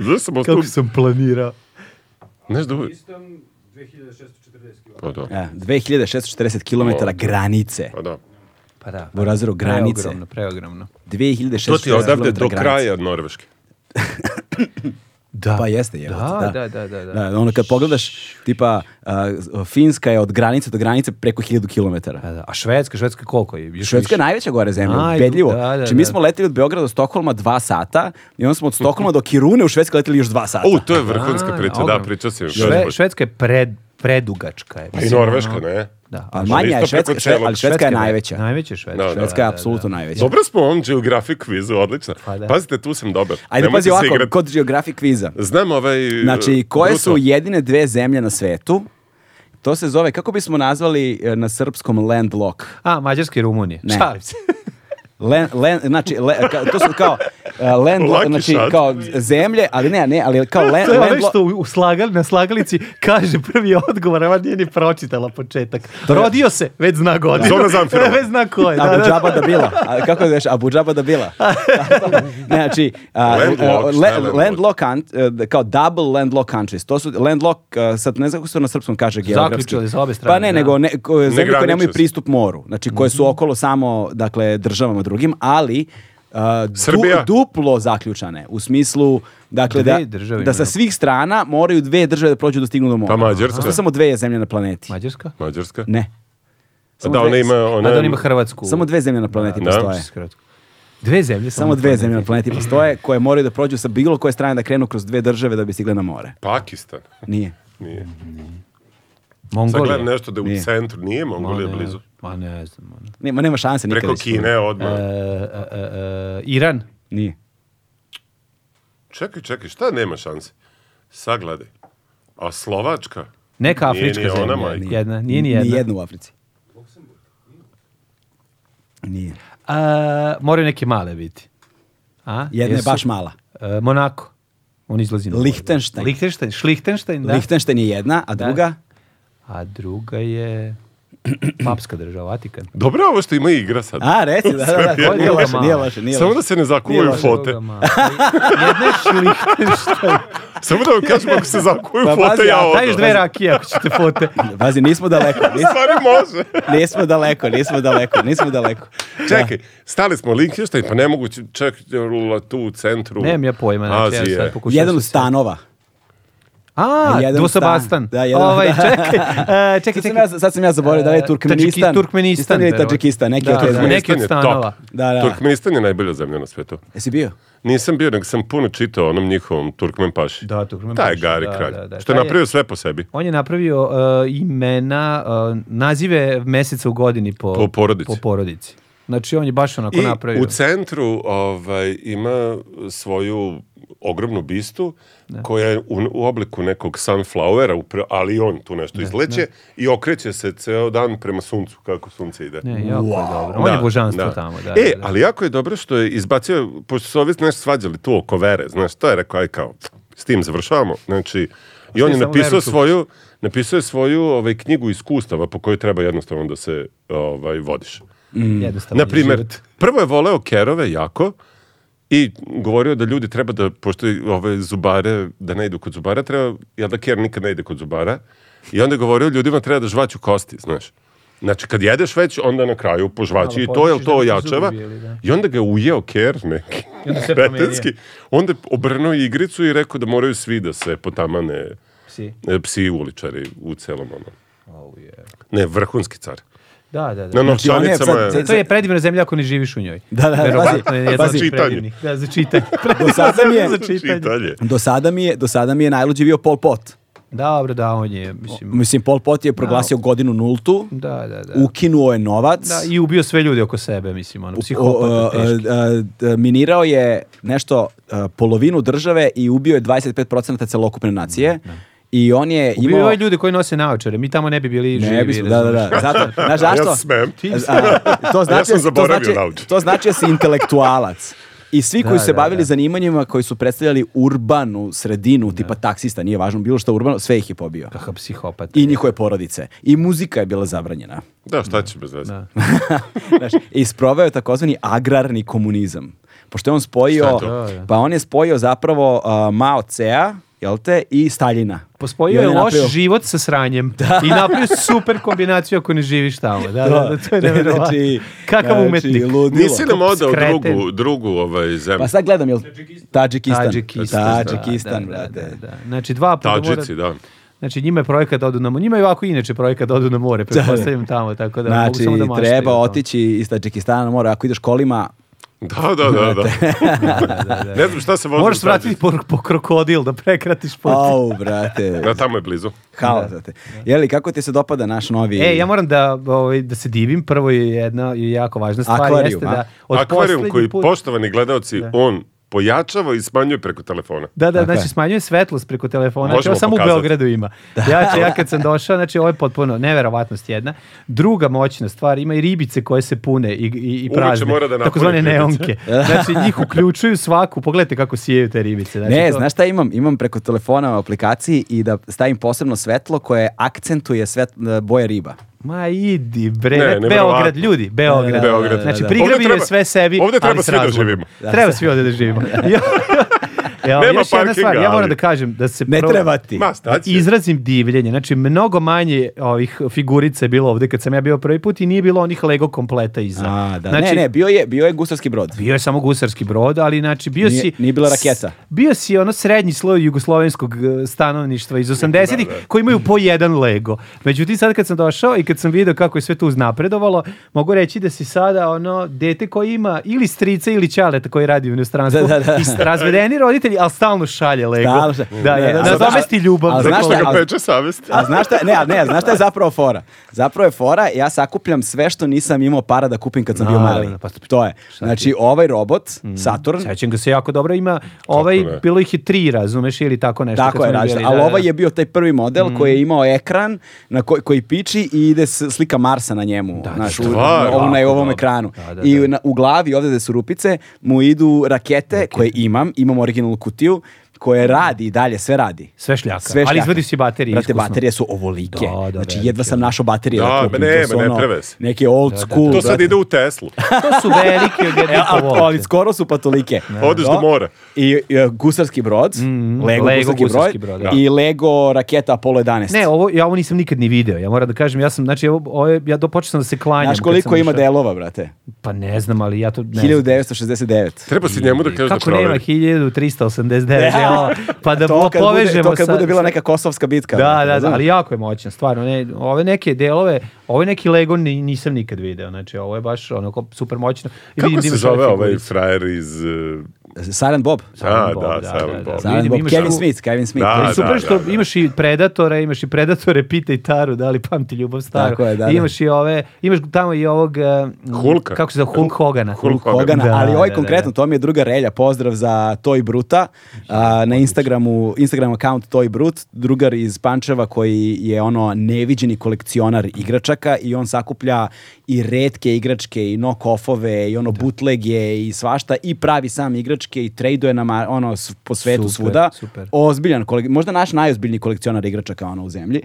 Znaš sam ostao... Kako sam planirao. Znaš da uvijek... Istan 2640 km. Pa da. E, 2640 km granice. Pa da. Pa da. U razvoru granice. Preogromno, preogromno. To 2600 ti je odavde do granice. kraja Norveške. Da. Pa jeste, jebote, Da, da, da, da, da. da. Ono kad pogledaš, tipa, a, Finska je od granice do granice preko 1000 kilometara. Da, da. A Švedska, Švedska koliko je? Još Švedska je više. najveća gore zemlja, Aj, ubedljivo. da, da, Či mi da. smo leteli od Beograda do Stokholma dva sata i onda smo od Stokholma do Kirune u Švedsku leteli još dva sata. U, to je vrhunska A, priča, da, ogromno. pričao sam. još Šve, baš. švedska je pred, predugačka. Je, Pa I mislim, Norveška, ono. ne? Da, A ali manja je isto preko Švedska, šve- celog ali Švedska Pa je najveća. Najveća je Švedska. Da, da. Švedska je apsolutno najveća. Dobro smo u ovom geografik kvizu, odlično. Pa da. Pazite, tu sam dobar. Ajde, Nemojte pazi se ovako, igrati. kod geografik kviza. Znam ovaj... e, Znači, koje su Bruto. jedine dve zemlje na svetu? To se zove, kako bismo nazvali e, na srpskom landlock? A, Mađarska i Rumunija. Ne. Šalim se. Len, len, znači, le, ka- to su kao e, land, Lucky znači, shot. kao zemlje, ali ne, ne, ali kao len, to je ono landlo- što u- u slagali, na slagalici kaže prvi odgovor, a ona nije ni pročitala početak. je- Rodio se, već zna godinu. Zora Zamfirova. već zna ko je. Da, Abu da, Džaba da bila. A, kako je Abu Džaba da bila. ne, znači, a, Landlocked, a, šta je landlocked? landlocked count- e, kao double landlocked countries. To su landlock, e, sad ne znam kako se to na srpskom kaže geografski. Zaključali sa obe strane, Pa ne, da. Mhm. nego ne, ko- zemlje koje graniče nemaju se. pristup moru. Znači, koje su okolo samo, dakle, državama drugim, ali a, du- Srbija? duplo zaključane. U smislu, dakle, da, Dve države da sa imaju. svih strana moraju dve države da prođu da stignu do mora. Pa Mađarska. Postoje samo dve zemlje na planeti. Mađarska? Mađarska? Ne. Samo Da, dve- ona ima... Ona, A da on ima Hrvatsku. Samo dve zemlje na planeti Da. postoje. Hrvatsku. Dve zemlje. Samo na dve planeti. zemlje pa- na planeti postoje koje moraju da prođu sa bilo koje strane da krenu kroz dve države da bi stigle na more. Pakistan. Nije. Nije. Sad Mongolija. gledam nešto da je u Nije. centru. Nije Mongolija Ma ne, blizu. Ma ne znam. ono. Nema, nema šanse nikad. Preko da će Kine odmah. E, e, e, e, Iran. to- Nije. Čekaj, čekaj, šta nema šanse? Sagledaj. A Slovačka? Neka Nije ni afrička ona, zemlja. majko. Jedna. Nije ni jedna. Ni jedna u Africi. Nije. A, moraju neke male biti. A? Jedna je Jesu? baš mala. E, Monako. On izlazi na... Lihtenštajn. Lichtenstein. Šlihtenstein, da. Lihtenštajn je jedna, a Da. druga... A druga je... Papska država, Vatikan. Dobro je ovo što ima igra sad. A, reci, da, da, da, Srbija. nije loše, nije loše, nije Samo loše. da se ne zakuvaju Nije fote. Druga, Jedna je Šlihtenstein. Samo da vam kažem ako se zakuvaju Pa pazi, fote, ja a odmah. Daješ dve rakije ako ćete fote. Pazi, nismo daleko, U nismo, Stvari može. nismo daleko, nismo daleko, nismo daleko. Čekaj, stali smo Lichtenstein, pa nemoguće, čekaj, rula tu u centru. Nemam ja pojma. Znači, ja Azije. sad pokušam Jedan se od stanova. A, Jedan Dosabastan. stan. Da, jedan- Pa, Ovaj, da. čekaj, e, Sad sam, čekaj, čekaj. ja, sad sam ja zaboravio da li je E, Turkmenistan. Tadžiki- Turkmenistan. ili verovatno. Tadžikistan, neki da, od toga. da, neki Turkmenistan od je stanova. top. Da, da. Turkmenistan je najbolja zemlja na svijetu. Jesi bio? Nisam bio, nego sam puno čitao o onom njihovom Turkmen paši. Da, Turkmen Taj je paši, Gari da, kralj. da, da. Što je Taj je- napravio sve po sebi. On je napravio e, imena, e, nazive meseca u godini po, Po porodici. po porodici. Znači, on je baš onako I napravio. u centru ovaj, ima svoju ogromnu bistu koja je u, u obliku nekog sunflowera, upra- ali i on tu nešto izleće i okreće se ceo dan prema suncu, kako sunce ide. Ne, jako je dobro. On Da, je božanstvo da. tamo. Da, e, da, da. ali jako je dobro što je izbacio, pošto su ovi nešto svađali tu oko vere, znaš, to je rekao, aj kao, s tim završavamo. Znači, i on je samo napisao veru tu. svoju, napisao je svoju ovaj, knjigu iskustava po kojoj treba jednostavno da se ovaj, vodiš. Mm. Jednostavno je Na primjer, život. prvo je voleo kerove jako i govorio da ljudi treba da, pošto i ove zubare, da ne idu kod zubara, treba, jel da ker nikad ne ide kod zubara, i onda je govorio ljudima treba da žvaću kosti, znaš. Znači, kad jedeš već, onda na kraju požvaći Malo i to, jel podišiš da to bi ti ojačava? zubi bili, da. I onda ga je ujeo ker neki. I onda sve Kretenski. Onda je obrnuo igricu i rekao da moraju svi da se potamane Psi. e, psi uličari u celom ono. Au, je. Ne, vrhunski car. Da, da, Na da. Znači, on je novčanicama sad- je... sad- To je predivna zemlja ako ne živiš u njoj. Da, da, da, Verovatno pazi, je jedna pazi. od Pa Čitanje. predivnih. Da, za čitanje. Do sada mi je, Za Znači, čitanje. Čitanje. do sada mi je, do sada mi je najluđi bio Pol Pot. Dobro, da, on je, mislim, Mislim, Pol Pot je proglasio godinu nultu, da, da, da. ukinuo je novac, Da, i ubio sve ljude oko sebe, mislim, ono, o, psihopata, e, teški. e, e, minirao je nešto, e, polovinu države i ubio je 25% celokupne nacije. I on je Ubio je imao... ove ljude koji nose naočare, mi tamo ne bi bili živi. Ne bismo, da, da, da. Zato, znaš zašto? Ja smem. A, a, to znači, Ja sam zaboravio to znači, nauč. To znači da si intelektualac. I svi koji Da, su se da, bavili da. zanimanjima koji su predstavljali urbanu sredinu, tipa taksista, nije važno bilo što urbano, sve ih je pobio. Kakav psihopat. I njihove porodice. I muzika je bila zabranjena. Da, šta će bez veze. Da. Znaš, I sproveo je takozvani agrarni komunizam. Pošto je on spojio, Šta je to? Da, da. pa on je spojio zapravo uh, Mao Tse-a jel te, i Staljina. I Pospojio on je loš napravio- život sa sranjem. I napravio super kombinaciju ako ne živiš tamo. Da, da, da, to je nevjerovatno. Znači, Kakav znači, umetnik. ludilo. Nisi nam odao Skreten. drugu, drugu ovaj zemlju. Pa sad gledam, jel? Tadžikistan. Tadžikistan. Tadžikistan, da, da, brate. da, da. Znači, dva puta Tadžici, mora... da. Znači, njima je projekat da odu na more. Njima je ovako inače projekat da odu na more, pretpostavljam tamo, tako da mogu Znači, samo da maštaju treba o tome. otići iz Tadžikistana, mora, ako ideš kolima, Da, da, da, da. ne znam šta se vozi. Moraš u Tadžici. vratiti po, po krokodil da prekratiš put. au, brate, Da, tamo je blizu. haos, brate. Jeli, kako ti se dopada naš novi... E, ja moram da, ovaj, da se divim. Prvo je jedna je jako važna stvar. Akvarijum, jeste a? da Akvarijum poslednji koji, put- poštovani gledalci, on pojačava i smanjuje preko telefona. Da, da, Tako je. znači smanjuje svetlost preko telefona. Znači, Možemo ovo samo u pokazati. Beogradu ima. Ja, ću- ja kad sam došao, znači ovo je potpuno neverovatnost jedna. Druga moćna stvar, ima i ribice koje se pune i, i, i Uveče prazne. mora da napuni takozvane ribice. neonke. Znači njih uključuju svaku. Pogledajte kako sijaju te ribice. Znači, ne, to- znaš šta imam? Imam preko telefona u aplikaciji i da stavim posebno svetlo koje akcentuje svet, boje riba. Ma idi bre, Ne, ne, neverovatno. Beograd ljudi, Beograd. Beograd. Znači Da, da. Ovde prigrabio je treba- sve sebi. ovde treba ali s svi da razlogom. živimo. Treba svi ovde da živimo. ja, ja, Nema još jedna stvar, parkinga, ja moram ali- da kažem da se Ne prvo- treba ti. Ma, da staće. izrazim divljenje. Znači, mnogo manje ovih figurica je bilo ovde kad sam ja bio prvi put i nije bilo onih Lego kompleta iza. A, da. Znači, ne, ne, bio je, bio je gusarski brod. bio je samo gusarski brod, ali znači bio Nije- si... nije bila raketa. s- Bio si ono srednji sloj jugoslovenskog eh, stanovništva iz 80-ih koji imaju po jedan Lego. Međutim, sad kad sam došao i kad sam vidio kako je sve tu uznapredovalo, mogu reći da si sada ono dete koje ima ili strica ili ćaleta koji radi u inostranstvu Da, da, da. i s- razvedeni roditelji, ali stalno šalje Lego. Stalno se- Da, Ne, da, da, ali- nadomesti ljubav. ali za znaš koju- šta- Koga ali- Pa peče savest. A znaš šta, ne, a ne, a znaš šta je zapravo fora? Zapravo je fora, ja sakupljam sve što nisam imao para da kupim kad sam bio Naravno, mali. pa- To je. Znači, ovaj robot, Saturn, Sećam ga Mhm. se jako dobro, ima ovaj, ne? bilo ih je tri, razumeš, ili tako nešto. kad Tako smo je, mi različito. bili, Ali da, ovaj da. Mhm. je bio taj prvi model koji je imao ekran na koji, koji piči i ide s- slika Marsa na njemu. Da, znaš, u, stvarno. ovo na Jako ovom dobro. ekranu. Da, da, I da. na- u glavi, ovdje gde su rupice, mu idu rakete koje imam, imam originalnu kutiju, koje radi i dalje, sve radi. Sve šljaka. Ali izvadi si baterije. Brate, iskusno. baterije su ovolike. Da, da, znači, velike, jedva sam našao baterije. Da, kupim. ma To ne, su ma ne, ono prevez. Neke old school. To sad brate. ide u Teslu. To su velike od jedne E, ali, povolte. ali skoro su pa tolike. Odeš do mora. I, e, gusarski brod, Lego, Mm, Lego gusarski, gusarski brod, brod, da. i Lego raketa Apollo 11. Ne, ovo, ja ovo nisam nikad ni video. Ja moram da kažem, ja sam, znači, ovo, ovo je- ja do, počeo sam da se klanjam. Znaš kad koliko sam ima išao. delova, brate? Pa ne znam, ali ja to ne znam. 1969. Treba si njemu da kažeš da Kako nema proveri. 1389 Da. delova? Pa da to kad bude, povežemo to kad sa- bude bila sa- neka kosovska bitka. Da, brate, da, da, razumeš? ali jako je moćan, stvarno. Ne, ove neke delove, ove neki Lego ni- nisam nikad video. Znači, ovo je baš onako super moćno. I Kako vidim da se imaš zove ove ovaj figurice. frajer iz... eh, Silent Bob. A, Silent Bob, da, da, Silent da, Bob. da. Silent vidim, Bob. imaš Kevin tu- Smith, Kevin Smith. Da, Kevin Ali Smith. super što da, da. imaš i Predatore, imaš i Predatore, Pita i Taru, da li pamti ljubav staru. Tako je, da, da. I Imaš i ove, imaš tamo i ovog... eh, Hulka. Kako se zove, Hulk Hogana. Hulk Hogan. Hogana, Da, ali ovaj da, da, konkretno, to mi je druga relja, pozdrav za Toy Bruta, a, na Instagramu, Instagram account Toy Brut, drugar iz Pančeva koji je ono neviđeni kolekcionar igračaka i on sakuplja i redke igračke i knock-offove i ono bootlege i svašta i pravi sam igračke i traduje nam a, ono s- po svetu Super, svuda. super. Ozbiljan, kolek- možda naš najozbiljniji kolekcionar igračaka ono u zemlji.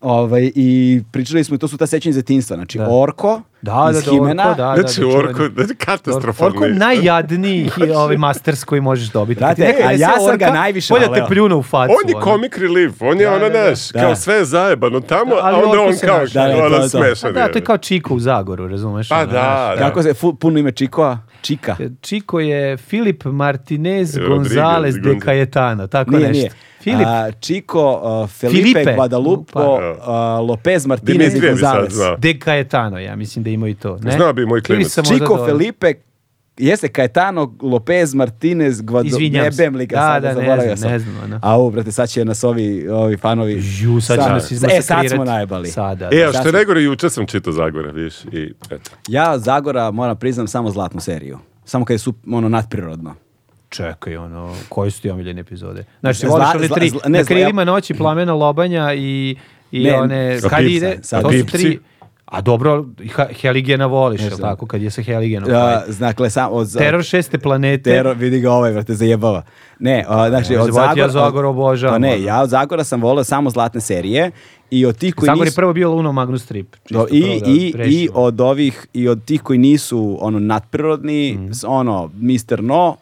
Ovaj, I pričali smo, i to su ta sećanja iz detinjstva, znači Da. Orko Da, iz da, da, Himena, Orko, da, Znači, čuveni. Orko, znači, katastrofalni. Orko je najjadniji hi- ovaj masters koji možeš dobiti. Kad ti Brate, neko a nese ja sam ga orka, najviše bolje da voleo. te pljune u facu. On je ono. comic relief, on je ono, da, da. znaš, kao Da. sve je zajebano tamo, Da, ali a onda Orko on se kao, naš- Da, da, to je ono, to. Pa smešan da, to je je. kao Čiko u Zagoru, razumeš? Pa ono, znaš. da, da. Kako se, fu- puno ime Čikoa? Čika. Čiko je Filip Martinez Rodriguez, Gonzales de Gonz- Cayetano, tako Nije, nešto. nije. Filip, A, Chico, uh, Felipe, Filipe. Guadalupo, Pa. uh, Lopez Martinez i Dimitrije bi sad Gonzalez. znao. De Cayetano, ja mislim da ima i to. Ne? Znao bi moj Ili klinac. sam možda Chico, dobro. Felipe, jeste Caetano, Lopez, Martinez, Guadalupo, Izvinjam ne se. bem li ga Da, sada, da, ne zaboravio znam, sam. ne znam, ono. A ovo, brate, sad će nas ovi, ovi fanovi... Ju, sad će nas E, sad izmasakrirati. smo najbali. Sada. E, Sad a što smo- je najgore, juče sam čitao Zagora, vidiš, i eto. Ja Zagora moram priznam samo zlatnu seriju. Samo kad je su, ono, nadprirodno. Čekaj, ono, koji su ti omiljene epizode? Znači, Zla- voliš one zla- tri, zla- ne, na zla- krilima noći, plamena lobanja i, i Ne, one, sa kad pipca, ide, sa to su pipci. tri, a dobro, Ha- Heligena voliš, je tako, kad je sa Heligenom. Uh, Uh, dakle, sam, od, Teror šeste planete, Tero, vidi ga ovaj, vrate, zajebava. Ne, a, znači, od zaboraviti, Zagora... ja Zagor obožavam, Pa ne, ono. ja od Zagora sam voleo samo zlatne serije i od tih koji Zagor je nisu... prvo bio Luno Magnus Trip. čisto Do, i, prvo da i, I rešimo. od ovih, i od Mhm. tih koji nisu ono nadprirodni, s- ono, Mr. No,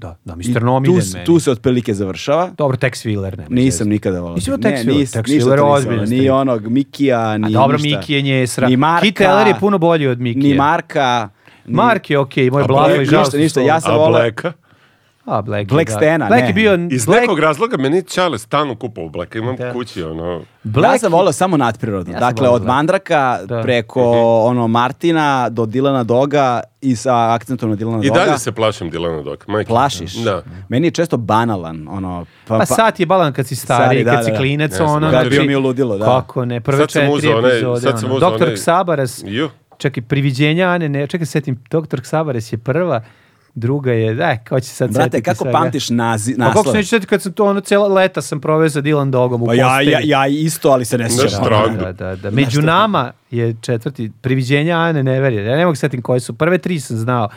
Da, da, I Mr. Nomiden tu, s- meni. tu se otprilike završava. Dobro, Tex Wheeler ne. Nisam nikada volao. Nisi Ne, imao Tex Wheeler? nis- Tex ništa Wheeler to nisam je ozbiljan volao. stil. Ni onog Mikija, ni A dobro, ništa. Miki je nje sra... Ni Marka. Keith Taylor je puno bolji od Mikija. Ni Marka. ni- pa Mark je okej, moj A blago i Black- žao. ništa, su ništa, solo. ja sam A volao- Blacka? A, Black, Black da. Stena, Black ne. je bio... Iz Black, nekog razloga meni Čale stanu kupao Blacka. Imam Da. kući, ono... Ja sam volao samo nadprirodno. Ja sam dakle, voleo od Black. Mandraka Da. preko ono Martina do Dilana Doga i sa akcentom na Dilana I Doga. dalje se plašim Dilana Doka. Majke. plašiš. Da. Meni je često banalan. Ono, pa, Pa sad je balan kad si stari, Stari, da, kad si da, da. klinec, Ne znam, ono... kad znači, bio mi je ludilo, da. Kako ne, prve Sad sam četiri uzeo onaj- epizode, sad sam ono. uzeo Doktor onaj- Ksabaras, Ju. čekaj, priviđenja, ne, ne, čekaj, setim, Doktor Ksabaras je prva, druga je, da, ko će se sad Brate, setiti kako svega? pamtiš nazi, Pa kako se naslove? neću setiti kad sam to, ono, cijela leta sam proveo za Dylan Dogom u Pa ja, postelji. ja, ja isto, ali se ne sjećam. strašno. Da, da, da, da. Među nama je četvrti priviđenja Ane Neverje. Ja ne mogu setim koji su. Prve tri sam znao.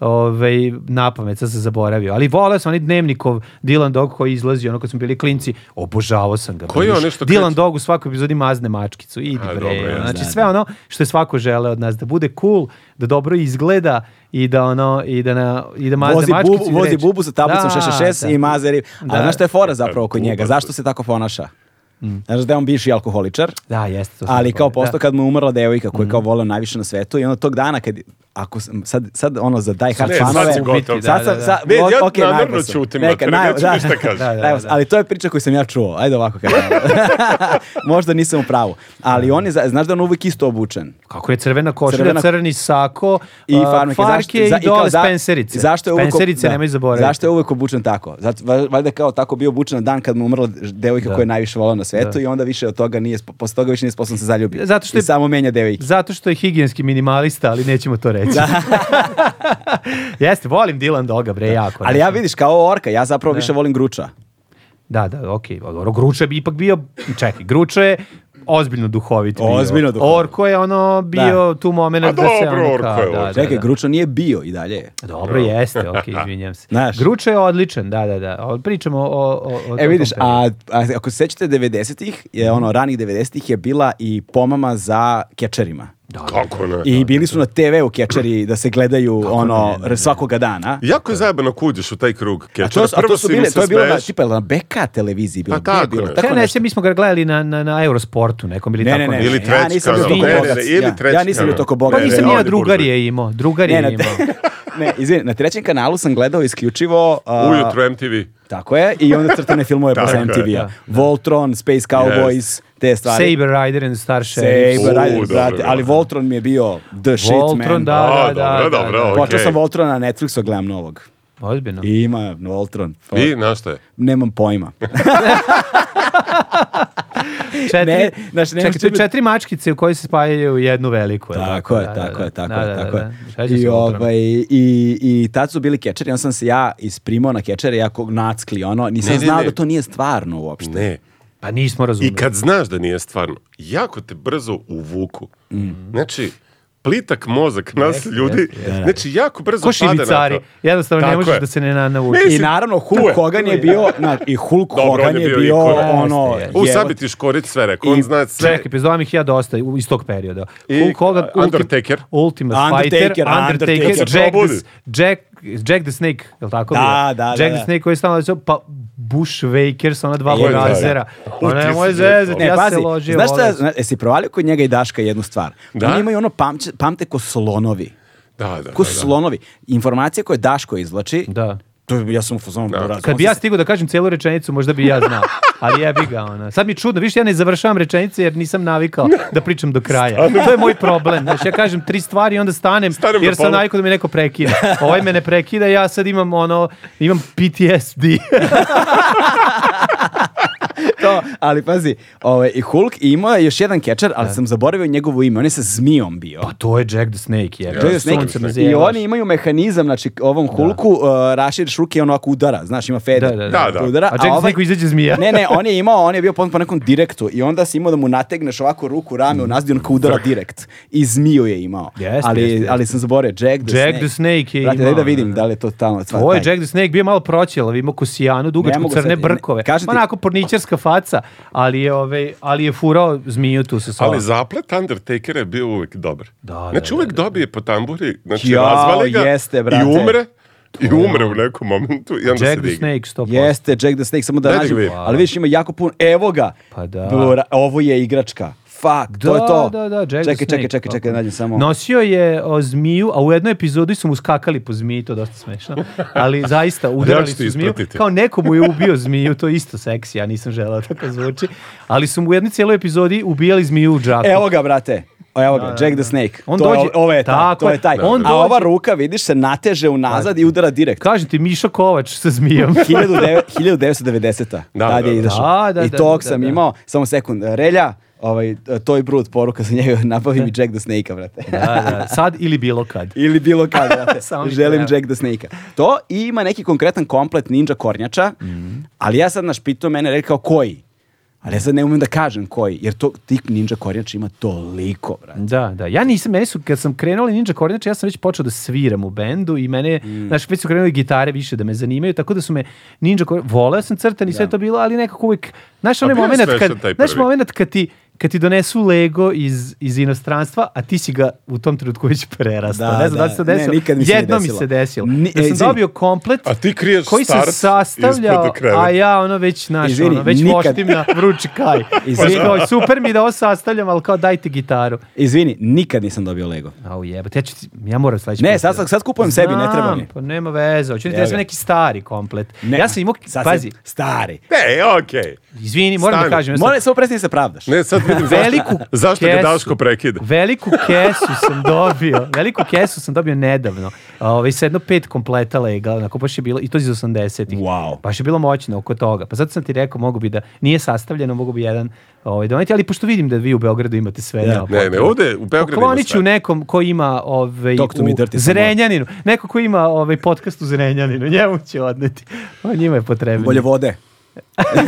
Ove, na pamet, sad sam zaboravio. Ali voleo sam onaj dnevnikov Dylan Dog koji izlazi, ono kad smo bili klinci, obožavao sam ga. Koji je Briš. ono što Dylan kreće? Dog u svakoj epizodi mazne mačkicu. Idi A, bre. dobro, ono. ja znači sve ono što je svako žele od nas. Da bude cool, da dobro izgleda i da ono, i da, na, i da mazne Vozi mačkicu. bubu, vozi bubu sa tablicom 666 i mazeri. Ali Da. Mm. znaš šta je fora zapravo kod Bubu. njega? Zašto se tako ponaša? Znaš da je on bivši alkoholičar, Da, jeste. to sam Mhm. ali kao zaboravio. posto kad mu je umrla devojka koju je kao voleo najviše na svetu i onda tog dana kad ako sam- sad sad ono za Die Hard Ne, sad si fanove gotov. sad sam Da, da, da. sad Ne, ja ok, najgo namerno sam. ćutim, Neka, mater, naj- neću da. ništa kažem. Da, da, Evo, da. ali to je priča koju sam ja čuo ajde ovako kažem možda nisam u pravu ali on je za- znaš da on uvijek isto obučen Kako je crvena košulja, Crvena- crni sako, i a, farmerke, zašto- farke za- Pa, i kao dole za- spencerice. Zašto je uvek, spencerice, da. nemoj zaboraviti. Zašto je uvek obučen tako? Zato, va- valjda je kao tako bio obučen na dan kad mu umrla devojka Da. koju je najviše volao na svetu i onda više od toga nije, spo- posle toga više nije sposoban da se zaljubi. Zato što I je- samo menja devojke. Zato što je higijenski minimalista, ali nećemo to reći. Jeste, volim Dylan Doga, bre, jako. Ali znaš. ja vidiš, kao orka, ja zapravo više volim gruča. Da, da, okej. Dobro, Gruča bi ipak bio... Čekaj, Gruča je ozbiljno duhovit bio. Ozbiljno duhovit. Orko je ono bio tu A moment da se... dobro, ono Orko kao- je da, Orko. da, Čekaj, da. gruča nije bio i dalje. E, je. Dobro, jeste, okej, izvinjam se. Znaš. Gruča je odličan, da, da, da. O, Pričamo o... o, o E vidiš, o tom a, a ako se sećate 90-ih, je ono ranih 90-ih je bila i pomama za kečerima. Kako ne? I bili su na TV u kečeri da se gledaju ono svakoga dana. Jako je zajebano kuđeš u taj krug A to, kečera. su- a to su si im bile, se to je bilo na, smeješ. tipa, na BK televiziji bilo, Pa gdje je tako bilo, je. tako Kako ne, nešto. se, mi smo ga gledali na, na, na Eurosportu nekom ili Ne, tako ne, ne, nešto. Ili ne, ja treći nisam bio toliko kanal. Ne, ne, bogat. ne, ili ja, treći ja nisam bio kanal. toliko Pa bogat. Ne, nisam ne, ni ja, ovdje drugar buržuj. je imao. Drugar Ne, je na, imao. ne, izvini, na trećem kanalu sam gledao isključivo... a, Ujutro MTV. Tako je, i onda crtane filmove Tako posle je, MTV-a. da, Voltron, Space Cowboys, te stvari. Saber Rider and Star Sheriff. Saber, U, ajde, dobro, brate, dobro. ali Voltron mi je bio the shit, Voltron, man. da, da, A, da. dobro, da, dobro, da. ok. Počeo sam Voltrona na Netflixu, gledam novog. Ozbiljno. I ima Voltron. To- I, znaš šta je? Nemam pojma. Četiri, ne, znači, nema čekaj, što to je bi- četiri mačkice u koje se spajaju u jednu veliku. jel Tako je, Da, da, tako je, da. tako Da, je, da, da, tako je. da. Šta će I, s Voltronom? ovaj, i, I tad su bili kečeri, onda sam se ja isprimao na kečere, jako nackli, ono, nisam Ne, ne, znao ne. da to nije stvarno uopšte. Ne. Pa nismo razumeli. I kad znaš da nije stvarno, jako te brzo uvuku. Mm. Znači, plitak mozak nas ljudi, znači jako brzo Ko pada na šivicari. to. Jednostavno ne Tako možeš je. da se ne na- naučiš. Mislim, I naravno Hulk tu je. Hogan je bio, na, i Hulk Dobro, Hogan je bio, ikona. ono, Jeste, jeste. U, jevo- sad bi ti Škorić sve rekao, I- on zna sve. Čekaj, pizdo vam ih ja dosta u- iz tog perioda. I- Hulk Hogan, a, Undertaker. Ultimate Undertaker, Fighter, Undertaker. Undertaker, Kad se Jack, the, probudi. S- Jack, Jack the Snake, je li tako? Da, bilo? da, da, Jack da. the Snake koji je stalno da pa Bush Wakers, ona dva Je, E, da, da. burazera. U, Ona ti je si moj bio zezet, to. Ne, ja E, pazi, se ložio. znaš šta, volim. zna, jesi provalio kod njega i Daška jednu stvar? Da? Oni imaju ono, pamće, pamte ko slonovi. Da, da, da, Ko da. slonovi. Informacije koje Daško izvlači, Da. to je- ja sam u fazonu buraz, Kad on bi se ja stigao da kažem celu rečenicu, možda bi i ja znao. Ali jebi ga ona. Sad mi je čudno, viš ja ne završavam rečenice jer nisam navikao da pričam do kraja. To je moj problem. Znači ja kažem tri stvari i onda stanem, Stanem na jer sam pola. navikao da me neko prekida. Ovaj me ne prekida, ja sad imam ono, imam PTSD. to, ali pazi, ovaj, i Hulk i imao je još jedan kečer, ali sam zaboravio njegovo ime, on je sa zmijom bio. Pa to je Jack the Snake, jebi. To je snake. Suncem I zjevaš. oni imaju mehanizam, znači ovom Hulku uh, raširiš ruke i ono ako udara, znaš, ima feder. Da, da, da. Da, da. Udara, ovaj- A Jack the Snake izađe zmija. ne, ne, on je imao, on je bio po, po nekom direktu i onda si imao da mu nategneš ovako ruku, rame u nazad i on kao udara direkt. I zmiju je imao. Jeste, ali, jeste, jeste. ali sam zaboravio, Jack the Jack Snake. the Snake je Brate, daj imao, da vidim da, da li je to tamo. stvar Ovo je taj. Jack the Snake bio malo proćelav, imao kosijanu, dugačku mogu crne sad, Pa ne, brkove. kažem ti- Onako porničarska faca, ali je, ovaj, ali je furao zmiju tu sa sobom. Ali zaplet Undertakera je bio uvek dobar. Da, da, znači da, uvek dobije po tamburi, znači Jao, razvali ga jeste, i brate. umre. I umre u nekom momentu i onda Jack se the digne. Snake 100%. Jeste, Jack the Snake, samo da Daj da ga nađem. vidim. Ali vidiš, ima jako puno. Evo ga! Pa da. Bra- ovo je igračka. Fuck, to je to. Da, da, da, Jack čekaj, the Snake, čekaj, čekaj, tako. čekaj, da nađem samo. Nosio je o, zmiju, a u jednoj epizodi su mu skakali po zmiji, to je dosta smešno. Ali zaista, Ja udarali ću ti su zmiju. ispratiti. Kao neko mu je ubio zmiju, to je isto seksi, ja nisam želao tako zvuči. Ali su mu u jednoj cijeloj epizodi ubijali zmiju u džaku. Evo ga, brate. Evo ga, Jack the Snake. On to je, dođe- o- ovo je ta, Tako to je. je taj. Da, on A dođe- ova ruka, vidiš, se nateže unazad i udara direkt. Kažem ti, Miša Kovač sa zmijom. 1900 1990-a. Da, tad je da, da. izašao. Da, da, I da, tog da, sam da. imao, samo sekund, Relja, ovaj, to je brut poruka za njega, nabavi mi Jack the Snake-a, brate. da, da, sad ili bilo kad. Ili bilo kada, brate. Samo mi to Želim treba. Jack the Snake-a. To i ima neki konkretan komplet Ninja Kornjača, Mhm. ali ja sad naš pitao mene, rekao koji? Ali ja sad ne umem da kažem koji, jer to, tip Ninja Kornjača ima toliko, brate. Da, da. Ja nisam, meni su, kad sam krenuli Ninja Kornjače, ja sam već počeo da sviram u bendu i mene, Mm. znaš, već su krenuli gitare više da me zanimaju, tako da su me Ninja Kornjače, voleo sam crtan i sve to bilo, ali nekako uvijek, znaš, onaj bio je moment smešan kad, taj znaš, prvi. moment kad ti, kad ti donesu Lego iz, iz inostranstva, a ti si ga u tom trenutku već prerastao. Da, ne znam da, li da. se to desilo. Ne, nikad mi se nije Jedno mi desilo. se desilo. Ni- da e, sam izvini. dobio komplet A ti kriješ koji sam starc sastavljao, ispod kreveta. a ja ono već, znaš, Izvini, ono, već nikad- moštim na vrući kaj. Izvini. Pa kao, super mi da ovo sastavljam, ali kao dajte gitaru. Izvini, nikad nisam dobio Lego. Au jebate, ja, ću ti, ja moram sledeći. Ne, put sad- da- sad kupujem sebi, ne treba mi. Znam, Pa nema veze, hoću ti Evo da sam ga. neki stari komplet. Ne, ja sam imao, sad si pazi, Stari. Ne, okej. izvini, moram Stani. da kažem. ja sam- Moram, samo prestani da se pravdaš. Ne, sad vidim zašto, Veliku zašto ga kesu. Daško prekida. Veliku kesu sam dobio, veliku kesu sam dobio nedavno. A, Ovaj, sa jedno pet kompleta lega, onako baš je bilo, i to iz 80-ih. Wow. Baš je bilo moćno oko toga. Pa zato sam ti rekao, mogu bi da, nije sastavljeno, mogu bi jedan ovaj, doneti, ali pošto vidim da vi u Beogradu imate sve. nema Ne, ne, potrebe. ovde u Beogradu ima Poklonit ću sve. nekom ko ima ovaj, Dr. mi u drti samo. Zrenjaninu. Neko ko ima ovaj, podcast u Zrenjaninu. Njemu ću odneti. O, njima je potrebno. Bolje vode.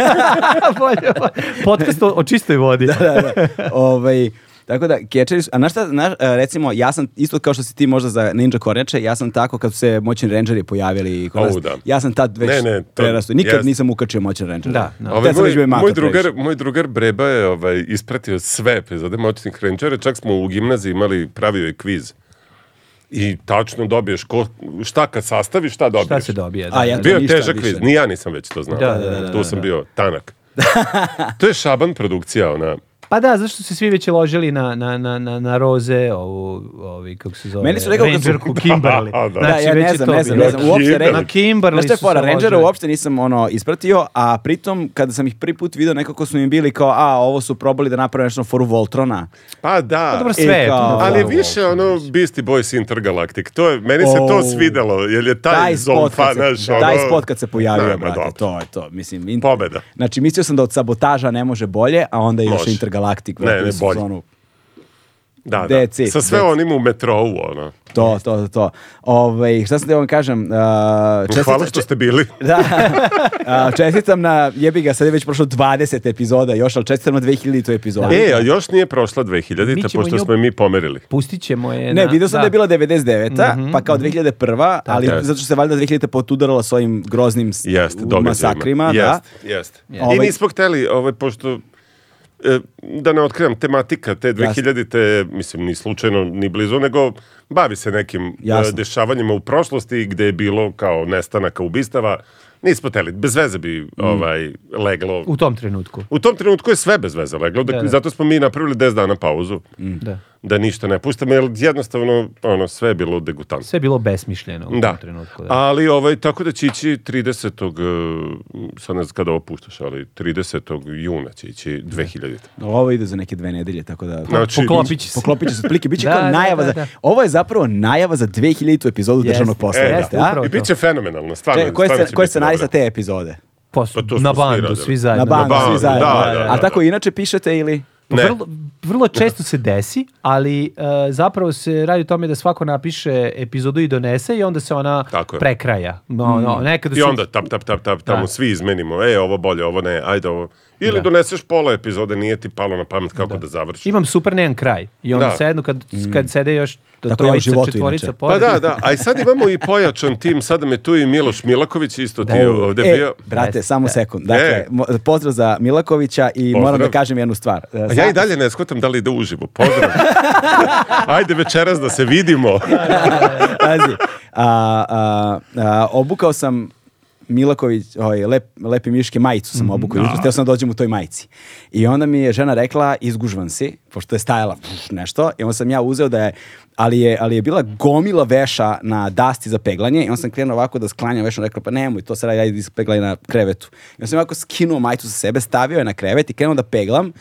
Bolje vode. podcast o, o čistoj vodi. Pa da, da. Ovaj, tako da, kečeri su, a znaš šta, znaš, e, recimo, ja sam, isto kao što si ti možda za Ninja Kornjače, ja sam tako kad su se Moćni Rangeri pojavili kod Au, nas, da. ja sam tad već Ne, ne, to- prerastao. Nikad jest. nisam ukačio Moćni Ranger. Da, da. Ovaj, moj, moj, drugar, moj drugar Breba je ovaj, ispratio sve epizode Moćnih Rangera, čak smo u gimnaziji imali, pravio je kviz. I tačno dobiješ ko, šta kad sastaviš, šta dobiješ. Šta se dobije? Da, A, ja- da, Bio je Ništa težak više. kviz, ni ja nisam već to znao. Da, da, da, tu sam bio tanak. to je Šaban produkcija, ona. Pa da, zašto su se svi već ložili na, na, na, na, na roze, ovu, ovi, kako se zove, Meni su rekao kad su- Rangerku Kimberly. Da, da. Da, Znači, ja već ne je znam, to ne znam, bilo. ne znam, uopšte Kimberly. Re- Na Kimberly Znaš šta je su fora, se Rangera ložili. uopšte nisam ono ispratio, a pritom kada sam ih prvi put video nekako su mi bili kao, a ovo su probali da naprave nešto foru Voltrona. Pa da. Pa dobro, E, sve je tu. kao- na Ali je Voltru. više ono Beastie Boys Intergalactic. To je, meni se O. to svidelo, jer je taj, Oh. taj spot, zomfa kad se, naš, ono... taj spot kad se pojavio, Ne, ma brate, dobro. to je to. Mislim, in- Pobeda. Znači, mislio sam da od sabotaža ne može bolje, a onda je još Može. Intergalaktik. Ne, ne, bolje. Da, da. That's it, Sa sve that's it. onim u metrou, ono. to, to, to. Ove, šta sam da vam kažem? Uh, čestitam- Hvala što ste bili. Da. A, čestitam na, jebi ga, sad je već prošlo 20 epizoda još, ali čestitam na 2000 epizodu. E, a još nije prošla Mi 2000-ta, ćemo pošto nju- smo je mi pomerili. Pustit ćemo je Ne, na- vidio sam da, je bila 99 pa kao 2001 ali Mhm. Tako je. zato što se valjda 2000 potudarala s ovim groznim s- Jeste, događajima. masakrima. da. Jeste, jeste. Ovaj- I nismo hteli, ovaj, pošto e, da ne otkrivam, tematika te 2000-te, je, mislim, ni slučajno, ni blizu, nego bavi se nekim Jasno. e, dešavanjima u prošlosti gde je bilo kao nestanaka ubistava. Nismo hteli, bez veze Mm. bi ovaj, leglo. U tom trenutku. U tom trenutku je sve bez veze leglo, Da, da, da. zato smo mi napravili 10 dana pauzu. Mm. Da. Da ništa ne puštamo, jer jednostavno ono, sve je bilo degutantno. Sve je bilo besmišljeno u Da. tom trenutku. Da. Ali ovaj, tako da će ići 30. e, sad ne znam kada opuštaš, ali 30. juna će ići 2000. Ovo ide za neke dve nedelje, tako da... Znači, Poklopit će se. Poklopit će se otprilike, bit će Da, kao da, najava da, za... da. Ovo je zapravo najava za 2000. epizodu državnog posla. E, jeste, jeste, a? upravo. I bit će fenomenalno, stvarno. Čekaj, koji stvarno se, će koji biti se najsa dobro. te epizode? Pos- Pa to smo na svi bandu, radili. svi zajedno. Na bandu, bandu, svi zajedno. da, da, A da. tako inače pišete ili... Ne. Vrlo, vrlo često se desi, ali e, zapravo se radi o tome da svako napiše epizodu i donese i onda se ona Tako je. Mm. prekraja. No, no, nekada I su- onda tap, tap, tap, tap, tamo Da. svi izmenimo. E, ovo bolje, ovo ne, ajde ovo. Ili doneseš pola epizode, nije ti palo na pamet kako da, završiš. Imam super, nemam kraj. I onda Da. Mm. sednu kad, kad sede još Tako do je u trojica, životu četvorica inače. Pa pored. da, da, a i sad imamo i pojačan tim, sada me tu i Miloš Milaković isto ti je ovde e, bio. brate, Jeste, samo da. sekund. Dakle, E. mo- pozdrav za Milakovića i moram da Pozdrav. kažem jednu stvar. E, A za- ja i dalje ne skutam da li ide uživo. Pozdrav. Ajde večeras da se vidimo. Pazi, A, a, a, obukao sam Milaković, ovaj, lep, lepi miške majicu sam obukao, jutros, htio sam da dođem u toj majici. I onda mi je žena rekla, izgužvan si, pošto je stajala pff, nešto, i onda sam ja uzeo da je, ali je, ali je bila gomila veša na dasti za peglanje, i onda sam krenuo ovako da sklanjam veša, rekla, pa nemoj, to se radi, ajde ispeglaj na krevetu. I onda sam ovako skinuo majicu sa sebe, stavio je na krevet i krenuo da peglam,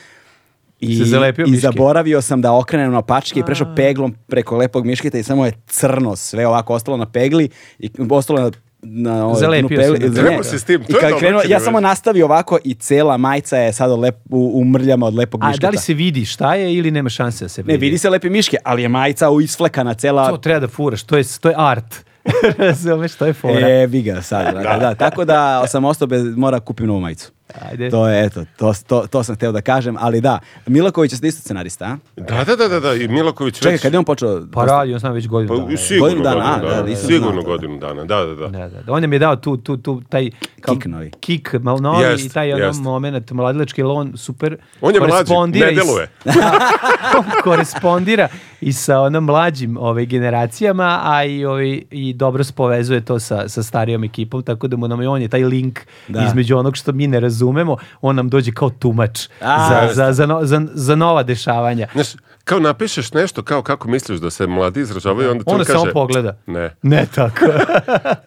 I, Se zalepio i miške. zaboravio sam da okrenem na pačke i prešao peglom preko lepog mišketa i samo je crno sve ovako ostalo na pegli i ostalo je na na ovaj, Zalepio dnu pegle- si na- ne. Treba se s tim, to I je kad dobro, krenuo, čini ja mi samo se. nastavio ovako i cela majica je sada lep, u, u mrljama od lepog A mišketa. da li se vidi šta je ili nema šanse da se vidi? Ne, vidi se lepe miške, ali je majica u isflekana To cela treba da furaš, to je, to je art. Razumeš, to je fora. E, vi ga sad, da. da. Tako da sam ostao bez, mora kupim novu majicu. Ajde. To je, eto, to, to, to sam hteo da kažem, ali da, Milaković je sad isto scenarista, a? Da, da, da, da, da, i Milaković Čekaj, već... kad je on počeo? Pa radi, on znam već godinu. dana. Pa, Godinu sigurno godinu dana, a, dana, da, nisam znao sigurno to. godinu dana, da, da, da. Da, da, da. On nam je dao tu, tu, tu, taj Kik novi. kik malo novi Jest, i taj ono jest. moment mladilački, jer on super On je mlađi, korespondira ne i s- deluje. on korespondira i sa onom mlađim ovaj, generacijama, a i, ovaj, i dobro spovezuje to sa, sa starijom ekipom, tako da mu nam je on je taj link Da. između onog što mi ne razumemo, on nam dođe kao tumač A, za, za, za, no- za, za nova dešavanja. Znaš, kao napišeš nešto, kao kako misliš da se mladi izražavaju, onda ti on Ono kaže... samo pogleda. Ne. Ne tako.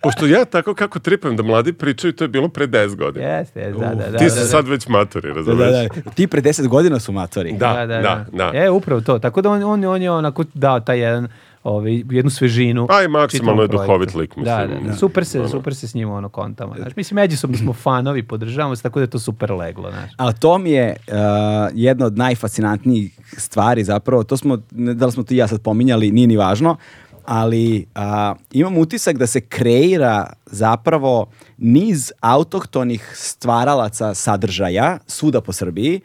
Pošto ja tako kako tripujem da mladi pričaju, to je bilo pre 10 godina. Jeste, jeste, da, da, da. ti da, su da. sad već matori, Da, razumeš? da, da. Ti pre 10 godina su matori. Da, da, da. E, upravo to. Tako da on, on, on je onako dao taj jedan, ovaj, jednu svežinu. A i maksimalno je čitavom projektu. duhovit lik, mislim. Da, da, da. Super se, super se s njima ono kontamo. Znaš, mislim, međusobno smo fanovi, podržavamo se, tako da je to super leglo, znaš. A to mi je uh, jedna od najfascinantnijih stvari zapravo, to smo, ne, da li smo ti i ja sad pominjali, nije ni važno, ali uh, imam utisak da se kreira zapravo niz autohtonih stvaralaca sadržaja svuda po Srbiji,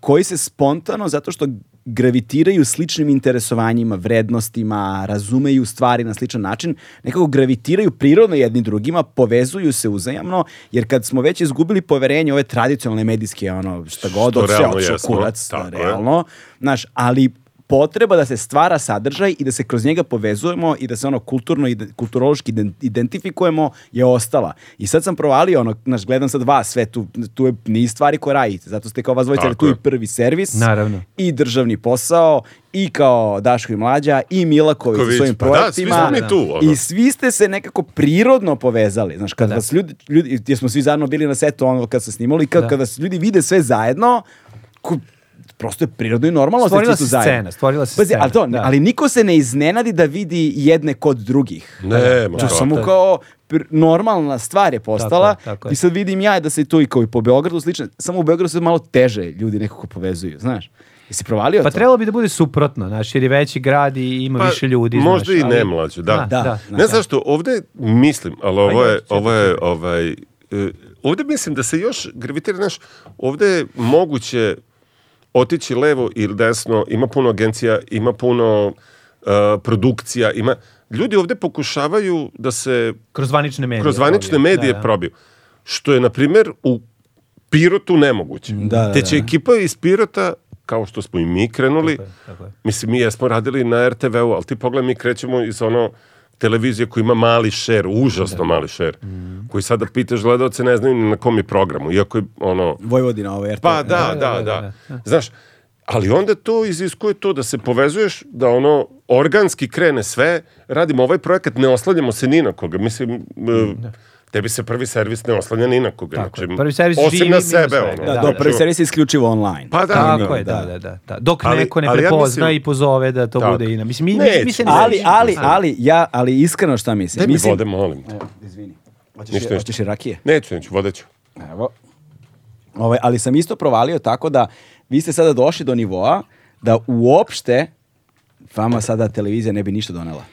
koji se spontano, zato što gravitiraju sličnim interesovanjima, vrednostima, razumeju stvari na sličan način, nekako gravitiraju prirodno jedni drugima, povezuju se uzajamno, jer kad smo već izgubili poverenje ove tradicionalne medijske, ono, šta god, Što od sve realno otišao jesmo, kurac, tako je. realno, znaš, ali potreba da se stvara sadržaj i da se kroz njega povezujemo i da se ono kulturno i kulturološki iden- identifikujemo je ostala. I sad sam provalio ono, znaš, gledam sad vas sve, tu, tu je niz stvari koje radite, zato ste kao vas dvojica, jer Tako tu i je. prvi servis, Naravno. i državni posao, i kao Daško i Mlađa, i Milaković sa Milaković, svojim pa da, svi projektima. smo mi tu, ono. I svi ste se nekako prirodno povezali. Znaš, kad vas ljudi, ljudi, jer smo svi zajedno bili na setu ono kad se snimali, kad, Da. kada se ljudi vide sve zajedno, ko, prosto je prirodno i normalno. Stvorila da ste svi tu se zajedno. scena, stvorila se Pazi, scena, Ali, to, da. ali niko se ne iznenadi da vidi jedne kod drugih. Ne, To možda. je samo to je- kao pr- normalna stvar je postala Tako je, tako je. i sad vidim ja da se tu i kao i po Beogradu slično, samo u Beogradu se malo teže ljudi nekako povezuju, znaš. Jesi provalio Pa to? trebalo bi da bude suprotno, znaš, jer je veći grad i ima Pa, više ljudi. možda znaš, i ne mlađe, da. Da, Da. da. Ne znaš što, ovde mislim, ali ovo je, ovo je, ovaj, e, ovde mislim da se još gravitira, znaš, ovde je moguće otići levo ili desno, ima puno agencija, ima puno e, produkcija, ima... Ljudi ovde pokušavaju da se Kroz zvanične medije. kroz zvanične probio. medije Da, da. probiju. Što je, na primjer, u Pirotu nemoguće. Da, da, Te će da. ekipa iz Pirota, kao što smo i mi krenuli, Tako je, tako je. mislim, mi jesmo radili na RTV-u, ali ti pogledaj, mi krećemo iz ono televizije koja ima mali šer, užasno mali šer, Mm. koji sada pitaš gledalce, ne znaju ni na kom je programu, iako je ono... Vojvodina ovo, jer Pa da, da, da. Znaš, ali onda to iziskuje to da se povezuješ, da ono organski krene sve, radimo ovaj projekat, ne oslanjamo se ni na koga. Mislim, e, tebi se prvi servis ne oslanja ni na koga. Tako je. znači, Prvi servis osim živi na mimo sebe. svega, Ono, Da, Da, do da. prvi servis je isključivo online. Pa da, Tako ono, je, da, da, da. da. Dok Ali- neko ne ali ja prepozna mislim- i pozove da to Tako. bude i na... Mislim, mi, mi, Neće. mi se ne ali, sećamo. ali, ali, ja, ali iskreno šta mislim. Daj mi mislim, vode, molim te. Izvini. Hoćeš, Ništa, ništa. hoćeš i rakije? Neću, neću, vode ću. Evo. Ovaj, ali sam isto provalio tako da vi ste sada došli do nivoa da uopšte vama sada televizija ne bi ništa donela.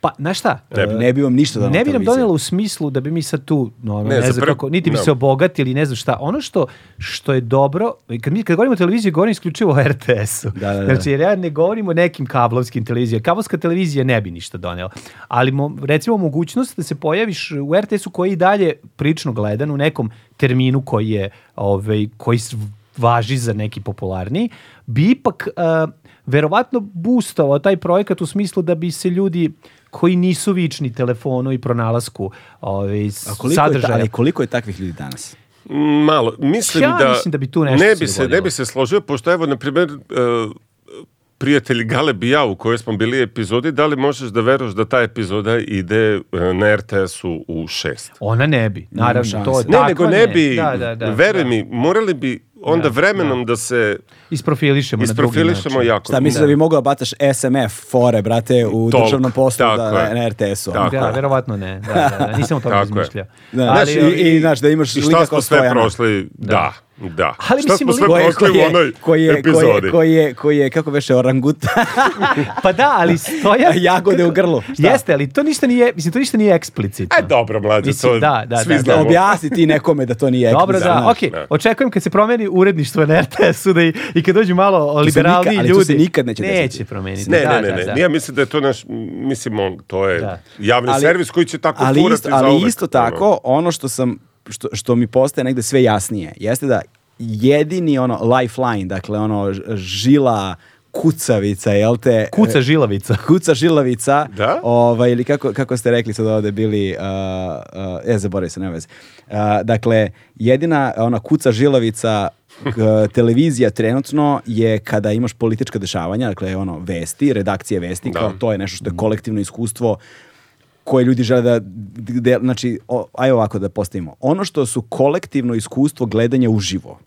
Pa, znaš šta? Ne bi, ne bi vam ništa donela Ne bi nam televizija. donela u smislu da bi mi sad tu, no, ono, Ne, ne, za znam prvo- kako, niti bi da. se obogatili, ne znam šta. Ono što, što je dobro, kad, mi, kad govorimo o televiziji, govorim isključivo o RTS-u. Da, da, da. Znači, jer ja ne govorim o nekim kablovskim televizijama. Kablovska televizija ne bi ništa donela. Ali, mo, recimo, mogućnost da se pojaviš u RTS-u koji je i dalje prilično gledan u nekom terminu koji je, ovaj, koji s- važi za neki popularniji, bi ipak... eh, verovatno boostovao taj projekat u smislu da bi se ljudi koji nisu vični telefonu i pronalasku ovaj, A koliko je, ta, sadržaja. ali koliko je takvih ljudi danas? Malo. Mislim Ja da, mislim da bi tu nešto ne se bi se, dogodilo. ne bi se složio, pošto evo, na primjer, e, prijatelji Galeb i ja u kojoj smo bili epizodi, da li možeš da veruješ da ta epizoda ide e, na RTS-u u šest? Ona ne bi, naravno. Nema To, šanse. Ne, takva nego ne bi, Da, da, da, veruj da. mi, morali bi onda Da, vremenom da se Isprofilišemo, na drugi isprofilišemo način. jako. Šta misliš da bi mogao da bacaš SMS fore, brate, u Tolk, državnom poslu tako da, na, je. na RTS-u? Tako. Da, verovatno ne. Da, da, da. Nisam o tome Tako je. razmišljao. Da, znaš, i, i, znaš, da imaš I lika šta smo kao sve Stojana. prošli? Da, da. Ali šta mislim, smo sve lik- Koje- prošli u koji onoj je, koji je, epizodi? koji je, koji je, kako veše, orangutan. Pa da, ali stoja... Jagode u grlu. Šta? Jeste, ali to ništa nije, mislim, to ništa nije eksplicitno. E, dobro, mlađe, Mislim, to da, da, svi da, da. znamo. Objasni ti nekome da to nije Dobro, eksplicitno, da, znaš. okej. Očekujem kad se promeni uredništvo na RTS-u da i, i kad dođu malo se liberalni nikad- ali ljudi. to se nikad neće desiti. Neće promeniti. Ne, ne, da, ne, da, ne. da. Ja mislim da je to naš, mislim, on, to je Da. javni Ali- servis koji će tako ali kurati isto, za ali uvek, isto ono. tako, ono što sam što, što mi postaje negde sve jasnije, jeste da jedini ono lifeline, dakle ono ž- žila kucavica, jel te? Kuca žilavica. Kuca žilavica, Da? ovaj, ili kako, kako ste rekli sad ovde bili, uh, uh, e, zaboravio se, nema veze. Uh, dakle, jedina ona kuca žilavica k- televizija trenutno je kada imaš politička dešavanja, dakle ono vesti, redakcije vesti, Da. Mhm. kao to je nešto što je kolektivno iskustvo koje ljudi žele da, gde, znači, o, aj ovako da postavimo. Ono što su kolektivno iskustvo gledanja uživo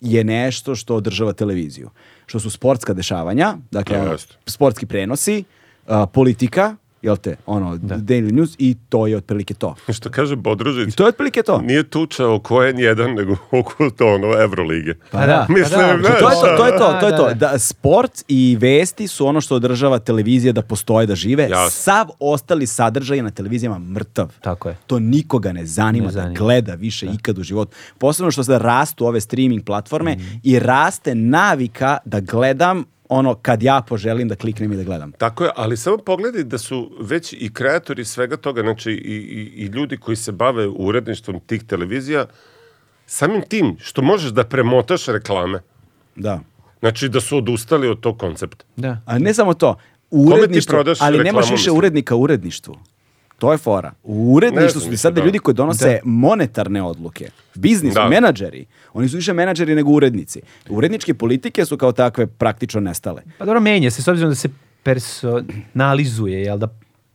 je nešto što održava televiziju. Što su sportska dešavanja, dakle, Da, ono, jeste. sportski prenosi, a, politika, jel te, ono, Daily News i to je otprilike to. Što kaže I Bodružić, to je otprilike to. nije tuča oko N1, nego oko to, ono, Evrolige. Pa da. Mislim, pa znaš, da. To je to, to je to, Da, to je da, to. da. Da, sport i vesti su ono što održava televizija da postoje, da žive. Jasno. Sav ostali sadržaj je na televizijama mrtav. Tako je. To nikoga ne zanima, Ne zanima. da gleda više ikad u životu. Posebno što sada rastu ove streaming Mhm. platforme i raste navika da gledam ono kad ja poželim da kliknem i da gledam. Tako je, ali samo pogledaj da su već i kreatori svega toga, znači i, i, i ljudi koji se bave uredništvom tih televizija, samim tim što možeš da premotaš reklame, Da. znači da su odustali od tog koncepta. Da. A ne samo to, u ti uredništvu, prodaš ali reklamu, nemaš više mislim? urednika u uredništvu. To je fora. U Ne uredništvu znam, su ti mislim, sada da. ljudi koji donose monetarne odluke. Biznis, Da. menadžeri. Oni su više menadžeri nego urednici. Uredničke politike su kao takve praktično nestale. Pa dobro, menja se, s obzirom da se personalizuje, jel da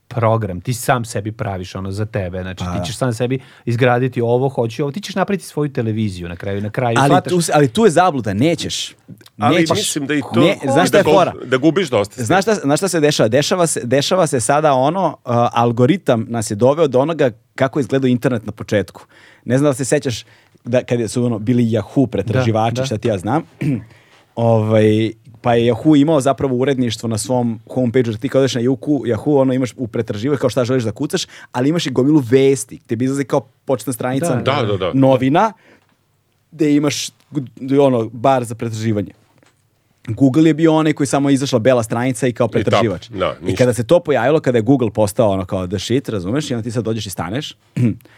program, ti sam sebi praviš ono za tebe, znači Pa ti ćeš sam sebi izgraditi ovo, hoću ovo, ti ćeš napraviti svoju televiziju na kraju, na kraju, Ali shvataš- tu, ali tu je zabluda, nećeš. Ali nećeš. mislim da i to... Ne, znaš šta da je gu- fora? Da gubiš dosta. Znaš šta, znaš šta se dešava? Dešava se, dešava se sada ono, uh, algoritam nas je doveo do onoga kako je izgledao internet na početku. Ne znam da li se sećaš da kad su ono, bili Yahoo pretraživači, Da, da. šta ti ja znam. ovaj, pa je Yahoo imao zapravo uredništvo na svom homepage-u, ti kad odeš na Yahoo, Yahoo ono imaš u pretraživač kao šta želiš da kucaš, ali imaš i gomilu vesti, gde bi izlazi kao početna stranica Da, da, da. novina, gde imaš ono, bar za pretraživanje. Google je bio onaj koji samo je izašla bela stranica i kao pretraživač. tap, da, I ništa. kada se to pojavilo, kada je Google postao ono kao the shit, razumeš, i onda ti sad dođeš i staneš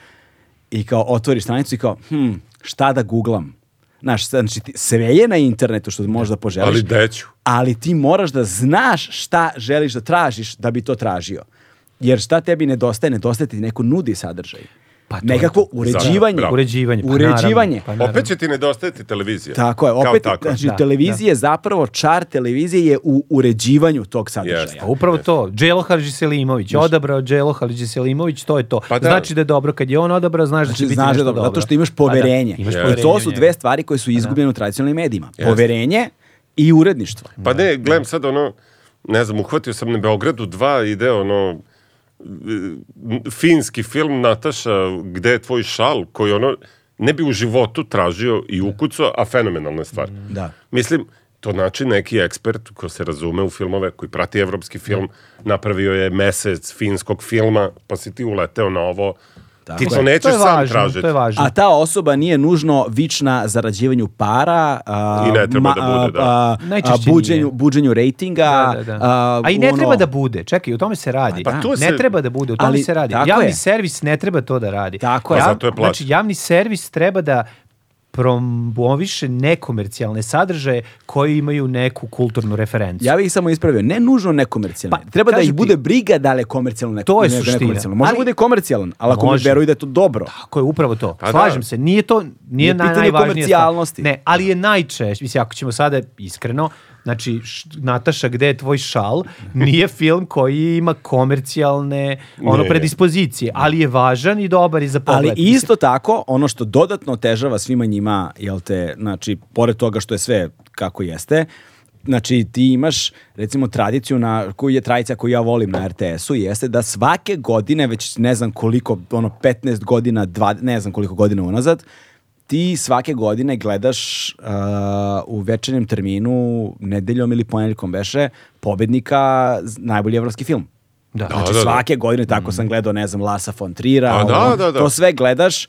i kao otvoriš stranicu i kao, hm, šta da googlam? Znaš, sad, znači, ti- sve je na internetu što možeš da poželiš. Ali deću. Ali ti moraš da znaš šta želiš da tražiš da bi to tražio. Jer šta tebi nedostaje? Nedostaje ti neko nudi sadržaj. Pa to je Nekakvo to. uređivanje. Bravo. Uređivanje, pa Uređivanje. naravno, pa Opet će ti nedostajati televizija. Tako je, Kao opet, tako. znači, Da, televizija zapravo, čar televizije je u uređivanju tog sadržaja. Jeste. Pa upravo to, Dželo Hadžiselimović, odabrao Dželo Hadžiselimović, to je to. Pa da. Znači da je dobro, kad je on odabrao, znaš da će Znači, biti znaš da nešto je dobro, dobro. zato što imaš Pa da, poverenje. imaš Jeste. poverenje I to su u njega. dve stvari koje su izgubljene u tradicionalnim medijima. Poverenje i uredništvo. Pa ne, gledam sad ono, ne znam, uhvatio sam na Beogradu 2, ide ono, e, finski film Nataša, gde je tvoj šal, koji ono, ne bi u životu tražio i ukucao, a fenomenalna je stvar. Da. Mislim, to znači neki ekspert ko se razume u filmove, koji prati evropski film, napravio je mesec finskog filma, pa si ti uleteo na ovo. ti je. to nećeš To je sam važno, tražiti. to je važno. A ta osoba nije nužno vična zarađivanju para, a, I ne treba da bude, da. a, a, Najčešće buđenju, nije. buđenju rejtinga. Da, da, da. A, i ne ono- treba da bude. Čekaj, u tome se radi. Pa tu Ne se- treba da bude, u tome Ali, se radi. tako Javni je. servis ne treba to da radi. Tako je. Pa zato je plaćen. Znači, javni servis treba da promoviše nekomercijalne sadržaje koji imaju neku kulturnu referencu. Ja bih ih samo ispravio, ne nužno nekomercijalne. Pa, Treba da kažem ih ti- bude briga da li je komercijalno neko, To je nego suština. nekomercijalno. Može Ali- bude i komercijalan, ali ako mu Može. veruju da je to dobro. Tako je, upravo to. da. Slažem se, nije to nije, Pa Nije naj- pitanje najvažnija komercijalnosti. stvar. Ne, ali je najčešće, mislim, ako ćemo sada iskreno, znači, š- Nataša, gde je tvoj šal, nije film koji ima komercijalne ono, Ne. predispozicije, ali je važan i dobar i za pogled. Ali isto tako, ono što dodatno otežava svima njima, jel te, znači, pored toga što je sve kako jeste, znači ti imaš recimo tradiciju na koju je tradicija koju ja volim na RTS-u jeste da svake godine već ne znam koliko ono 15 godina dva, ne znam koliko godina unazad ti svake godine gledaš uh, u večernjem terminu nedeljom ili ponedjeljkom veše pobednika z- najbolji evropski film Da. znači da, da. svake godine tako sam gledao ne znam Lasa von Trira Pa da, ono, da, da. to sve gledaš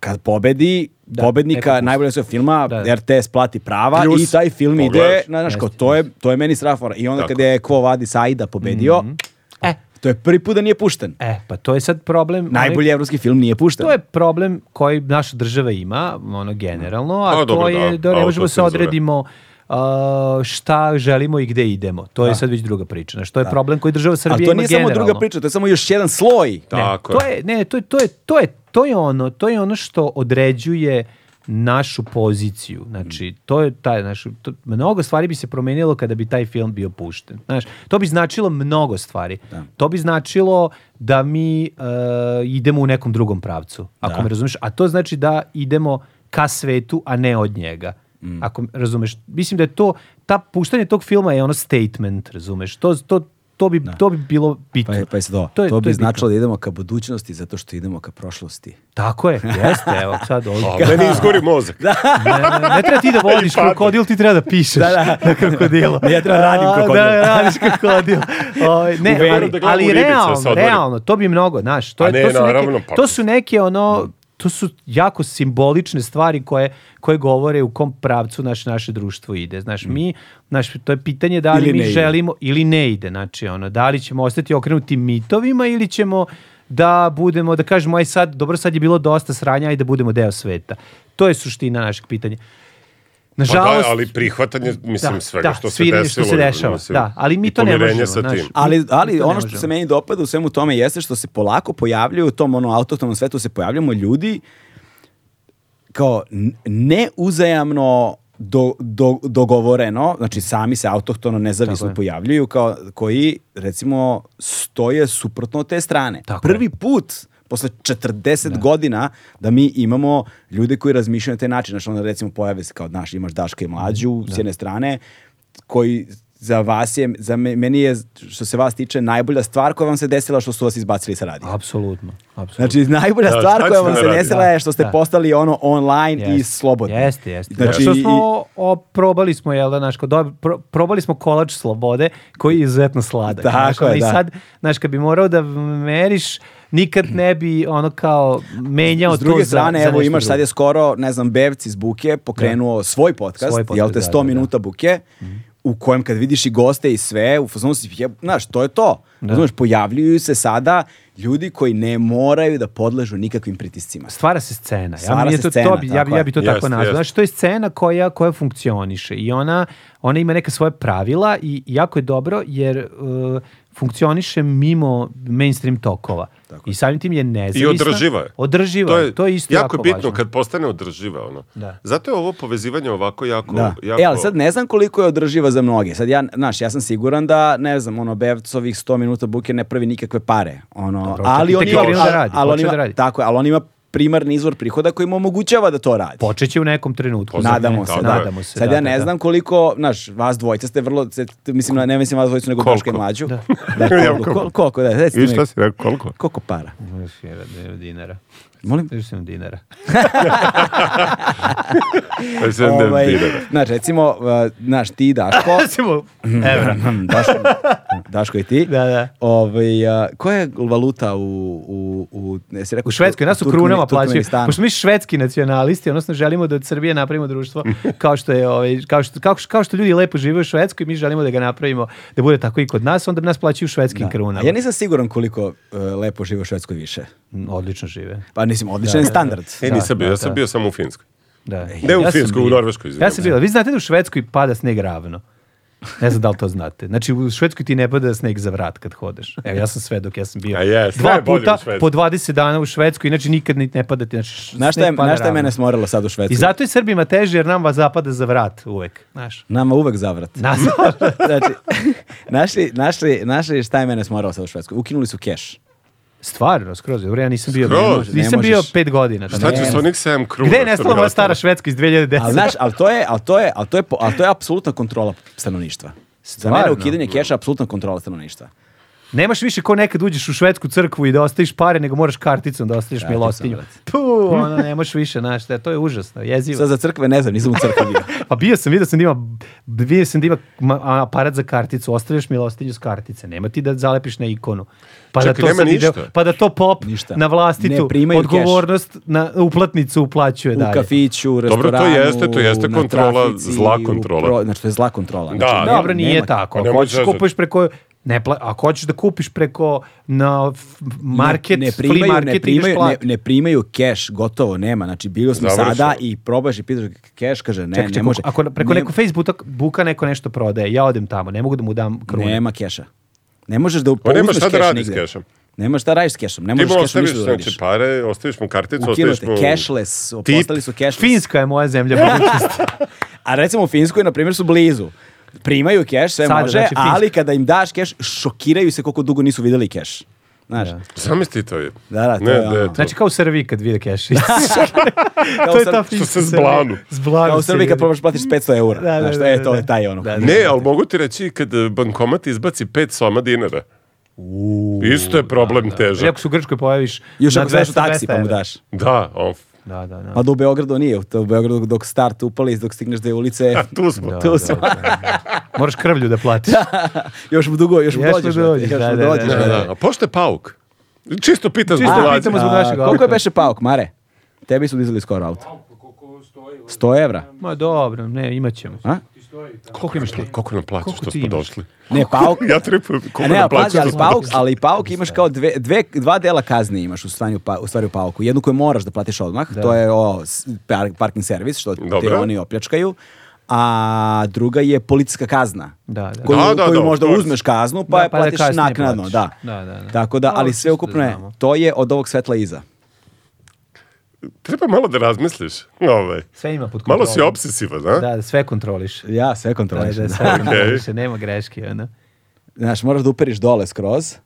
kad pobedi neko pobednika pusti. najboljeg svog filma, Da, da. RTS plati prava Plus, i taj film ide, pogledaš. na, znaš, kao, Jeste, to je, to je meni strafora. I onda Tako. kada je Quo Vadis Aida pobedio, E, to je prvi put da nije pušten. e, pa to je sad problem. onaj- Najbolji evropski film nije pušten. To je problem koji naša država ima, ono generalno, a, A, to dobro, je da, da ne možemo se autocenzura. odredimo a, šta želimo i gde idemo. To je sad već druga priča. Znači, to je problem koji država Srbije Ali ima to nije samo druga generalno. priča, to je samo još jedan sloj. Da. Tako ne, je. to je, ne, to je, to je, to je, to je ono, to je ono što određuje našu poziciju. Mm. Znači, to je taj, znaš, to, mnogo stvari bi se promenilo kada bi taj film bio pušten. Znaš, to bi značilo mnogo stvari. To bi značilo da mi e, idemo u nekom drugom pravcu, ako me razumeš. A to znači da idemo ka svetu, a ne od njega. Mm. Ako me razumeš. Mislim da je to, ta puštanje tog filma je ono statement, razumeš. To, to, to, bi, to bi bilo Pa bitno. je, pa je sad ovo. To To, je- to bi je bitno. značilo da idemo ka budućnosti zato što idemo ka prošlosti. Tako je, jeste, evo sad ovdje. A, meni izgori mozak. Da. Ne, ne, ne treba ti da vodiš krokodil, ti treba da pišeš da, da. na krokodilu. Ne, ja treba radim A, krokodil. Da, radiš krokodil. Ovaj, ne, veru ali, da glavu ali ribice sa realno, odmori. realno, to bi mnogo, znaš, to, je, A ne, to, su naravno, neke, pa- to su neke ono, to su jako simbolične stvari koje, koje govore u kom pravcu naš, naše društvo ide. Znaš, mi, znaš, to je pitanje da li Mm. Ili ne mi ide. želimo ili ne ide. Znači, ono, da li ćemo ostati okrenuti mitovima ili ćemo da budemo, da kažemo, aj sad, dobro, sad je bilo dosta sranja, aj da budemo deo sveta. To je suština našeg pitanja. Pa da, Nažalost, ali prihvatanje, mislim, da, svega da, što se sviranje desilo. što se dešava, mislim, da, ali mi i to ne pomirenje možemo, sa znaš. tim. Ali, ali Isto ne ono što možemo. se meni dopada u svemu tome jeste što se polako pojavljuju u tom ono autohtonom svetu se pojavljamo ljudi kao n- neuzajamno do, do, dogovoreno, znači sami se autohtono Tako nezavisno je. pojavljuju kao koji recimo stoje suprotno od te strane. Tako je. Prvi put posle 40 godina da mi imamo ljude koji razmišljaju na taj način. Znači, onda recimo pojave se kao, znaš, imaš Daška i Mlađu s jedne strane, koji za vas je, za me- meni je, što se vas tiče, najbolja stvar koja vam se desila što su vas izbacili sa radija. apsolutno, apsolutno. Znači, najbolja Da, stvar šta koja ćete vam da se radite? desila je što ste Da. postali ono online i Jeste. slobodni. Jeste, jeste. Znači, Znači, što i- smo, o, probali smo, jel da, znaš, kao dob- pro- probali smo kolač slobode koji je izuzetno sladak. Tako znaš, ono, je, I da. sad, znaš, kad bi morao da meriš, nikad ne bi ono kao menjao S druge to strane, za, za evo nešto imaš, sad je drugo. skoro, ne znam, Bevc iz Buke pokrenuo svoj podcast, Svoj podcast, jel te, da, 100 da, Mhm. da. minuta Buke, u kojem kad vidiš i goste i sve, u fazonu si, jeb- znaš, to je to. Znaš, pojavljuju se sada ljudi koji ne moraju da podležu nikakvim pritiscima. Stvara se scena. Stvara ja, mi je se to, scena, to bi, ja, bi, tako ja bi to je. tako Jeste, nazvao. jeste. Znači, to je scena koja, koja funkcioniše i ona, ona ima neka svoje pravila i jako je dobro jer uh, funkcioniše mimo mainstream tokova. I samim tim je nezavisna. održiva je. Održiva je. To je isto jako, jako, bitno važno. kad postane održiva ono. Da. Zato je ovo povezivanje ovako jako Da. jako. E, ali sad ne znam koliko je održiva za mnoge. Sad ja, znaš, ja sam siguran da, ne znam, ono, Bevcovih 100 minuta buke ne pravi nikakve pare. Ono, Dobro, ali očekaj, on tek ima, je krenuo da al- radi, ali on počeo ima- da radi. tako je, ali on ima primarni izvor prihoda koji mu omogućava da to radi. Počeće u nekom trenutku. Pozdrav, Nadamo ne, se, tako da. je. Nadamo se, Sad da, ja da, ne da. znam koliko, znaš, vas dvojica ste vrlo, se- mislim, ne mislim vas dvojicu, nego Koliko? Daška i Mlađu. Da. Ja, koliko, koliko? kol- koliko, da, recite I mi, šta si rekao, koliko? koliko para? dinara. Molim? dinara. 57 Ovaj, dinara. znaš, recimo, uh, znaš, ti Daško, evra. Daško, Daško i ti. Da, da. Ovaj, a, koja je valuta u... u, u, ne, si rekao, U Švedskoj nas u Turkmeni- krunama plaćaju. Turkmenistanu. Pošto mi švedski nacionalisti, odnosno želimo da od Srbije napravimo društvo kao što je ovaj, kao što kao, kao što ljudi lepo žive u Švedskoj, mi želimo da ga napravimo da bude tako i kod nas, onda bi nas plaćaju u švedskim krunama. A Ja nisam siguran koliko e, lepo žive u Švedskoj više. Mm, Odlično žive. Pa mislim, odličan je standard. E, nisam bio, da, ja sam da. bio samo u Finskoj. Da. E, Ne u sam Finskoj, u bio. Norveškoj, izvinjavam Ja sam bila. Vi znate da u Švedskoj pada sneg ravno. Ne znam da li to znate. Znači, u Švedskoj ti ne pada sneg za vrat kad hodeš. Evo, ja sam svedok, ja sam bio A jes, dva najbolje u puta Švedskoj. po 20 dana u Švedskoj, inače nikad niti ne pada ti. Znači, š- Znaš šta je, sneg pada znaš šta je ravno. mene smorilo sad u Švedskoj? I zato je Srbima teže, jer nam vas zapada za vrat uvek. Znaš. Nama uvek zavrat. Nas, znači, naši, naši, naši, šta je mene smoralo sad u Švedskoj? Ukinuli su keš. stvarno, skroz. Dobro, ja nisam bio, Skroz? Ne nisam možeš. bio pet godina. Šta Pa Ne. ću s onih 7 kruna? Gde je što mi nestala moja ostalo? stara Švedska iz 2010? Ali znaš, ali to je, ali to je, ali to je, po- ali to je apsolutna kontrola stanovništva. Za mene Stvarno? ukidanje keša je apsolutna kontrola stanovništva. Nemaš više ko nekad uđeš u švedsku crkvu i da ostaviš pare, nego moraš karticom da ostaviš milostinju. brate. Tu, ono, ne možeš više, znaš, to je- to je užasno, jezivo. Sad za crkve ne znam, nisam u crkvi bio. Pa bio sam, vidio sam da ima, vidio sam da ima ma- a, aparat za karticu, ostaviš milostinju s kartice, nema ti da zalepiš na ikonu. Pa Čekaj, da to nema sad ide, ništa. pa da to pop Ništa. na Ne vlastitu primaju keš. odgovornost na uplatnicu uplaćuje U dalje. kafiću, u to restoranu, jeste- to jeste na kontrola, trafici, zla u kontrola. pro- Znači, to je zla kontrola. Da, Znači, da. nema- Dobro, nije nema- Pa tako. Ako nemoj hoćeš zezati. kupuješ preko ne pla- ako hoćeš da kupiš preko na f- market, ne, ne free primaju, market ne primaju, ideš ne, plat. ne primaju keš, gotovo nema. Znači, bili smo Završeno. sada i probaš i pitaš keš, kaže ne, Čekaj, ne čekaj, može. ako preko Ne- neko Facebooka buka neko nešto prodaje, ja odem tamo, ne mogu da mu dam krune. Nema keša. Ne možeš da Pa nema uzmeš šta da keš radiš s nigde. kešom. Nema šta radiš s kešom. Ne Ti možeš mu s kešom ostaviš ništa da znači, radiš. pare, ostaviš mu karticu, Ukinuo ostaviš te mu... cashless, tip. postali su cashless. Finska je moja zemlja budućnosti. A recimo u Finskoj, na primjer, su blizu. Primaju keš, sve Sada, može, znači, Finska. ali kada im daš keš, šokiraju se koliko dugo nisu videli keš. Znaš, Zamisli to je. Da, da, to ne, je da, ono. je to. Znači kao u Srbiji kad vide keš. kao to u je ta Srbiji- finska se Srbija. zblanu. Zblanu kao u se Srbiji kad vidi. probaš platiš 500 eura. Da, da, znaš, to da, je da, to, da. taj ono. Da, da. Ne, ali mogu ti reći kad eh, bankomat izbaci 5 soma dinara. Isto je problem I težak. ako se u Grčkoj pojaviš Još na ako znaš u 200, taksi pa mu 200 evra. daš. Da, on, Da, da, da. Pa da u Beogradu nije, to u Beogradu dok start upali, dok stigneš do ulice, tu smo. Da, tu da, smo. da. Moraš krvlju da platiš. još mu dugo, još mu Još mu dođeš. brate, dođeš, još da, mu da, da, dođeš, da, brate. Da, da. A pošto je pauk? Čisto pitam zbog Čisto mlađih. pitamo zbog A, našeg Koliko je auta. beše pauk, Mare? Tebi su dizali skoro auto. Auto, koliko stoji? 100 evra. Ma dobro, ne, imat ćemo. A? Ti stoji tamo. Koliko imaš ti? Koliko nam plaćaš Koliko što ti smo imaš? došli? Ne, pauk. Ja tripujem. A Koliko ne, nam ali plaćaš pazi, ali što smo pauk, ali pauk imaš kao dve, dve, dva dela kazne imaš u, stanju, pa, u stvari u pauku. Jednu koju moraš da platiš odmah, to je o, s- par- parking servis, što te Dobro. oni opljačkaju. A druga je policijska kazna. Da, da. Koju, Da, da, koju da, možda of course. uzmeš kaznu, pa Da, je pa da platiš kasnije naknadno. platiš. Da. Da, da, da. Tako da, Dobro, ali čisto sve ukupno da je, znamo. to je od ovog svetla iza. Treba malo da razmisliš. Ovaj. Sve ima pod kontrolom. Malo si obsesivan, a? Da, da, sve kontroliš. Ja sve Da, da, kontrolišem. sve Znači, da. kontroliš, nema greške. Ono. Znaš, moraš da uperiš dole skroz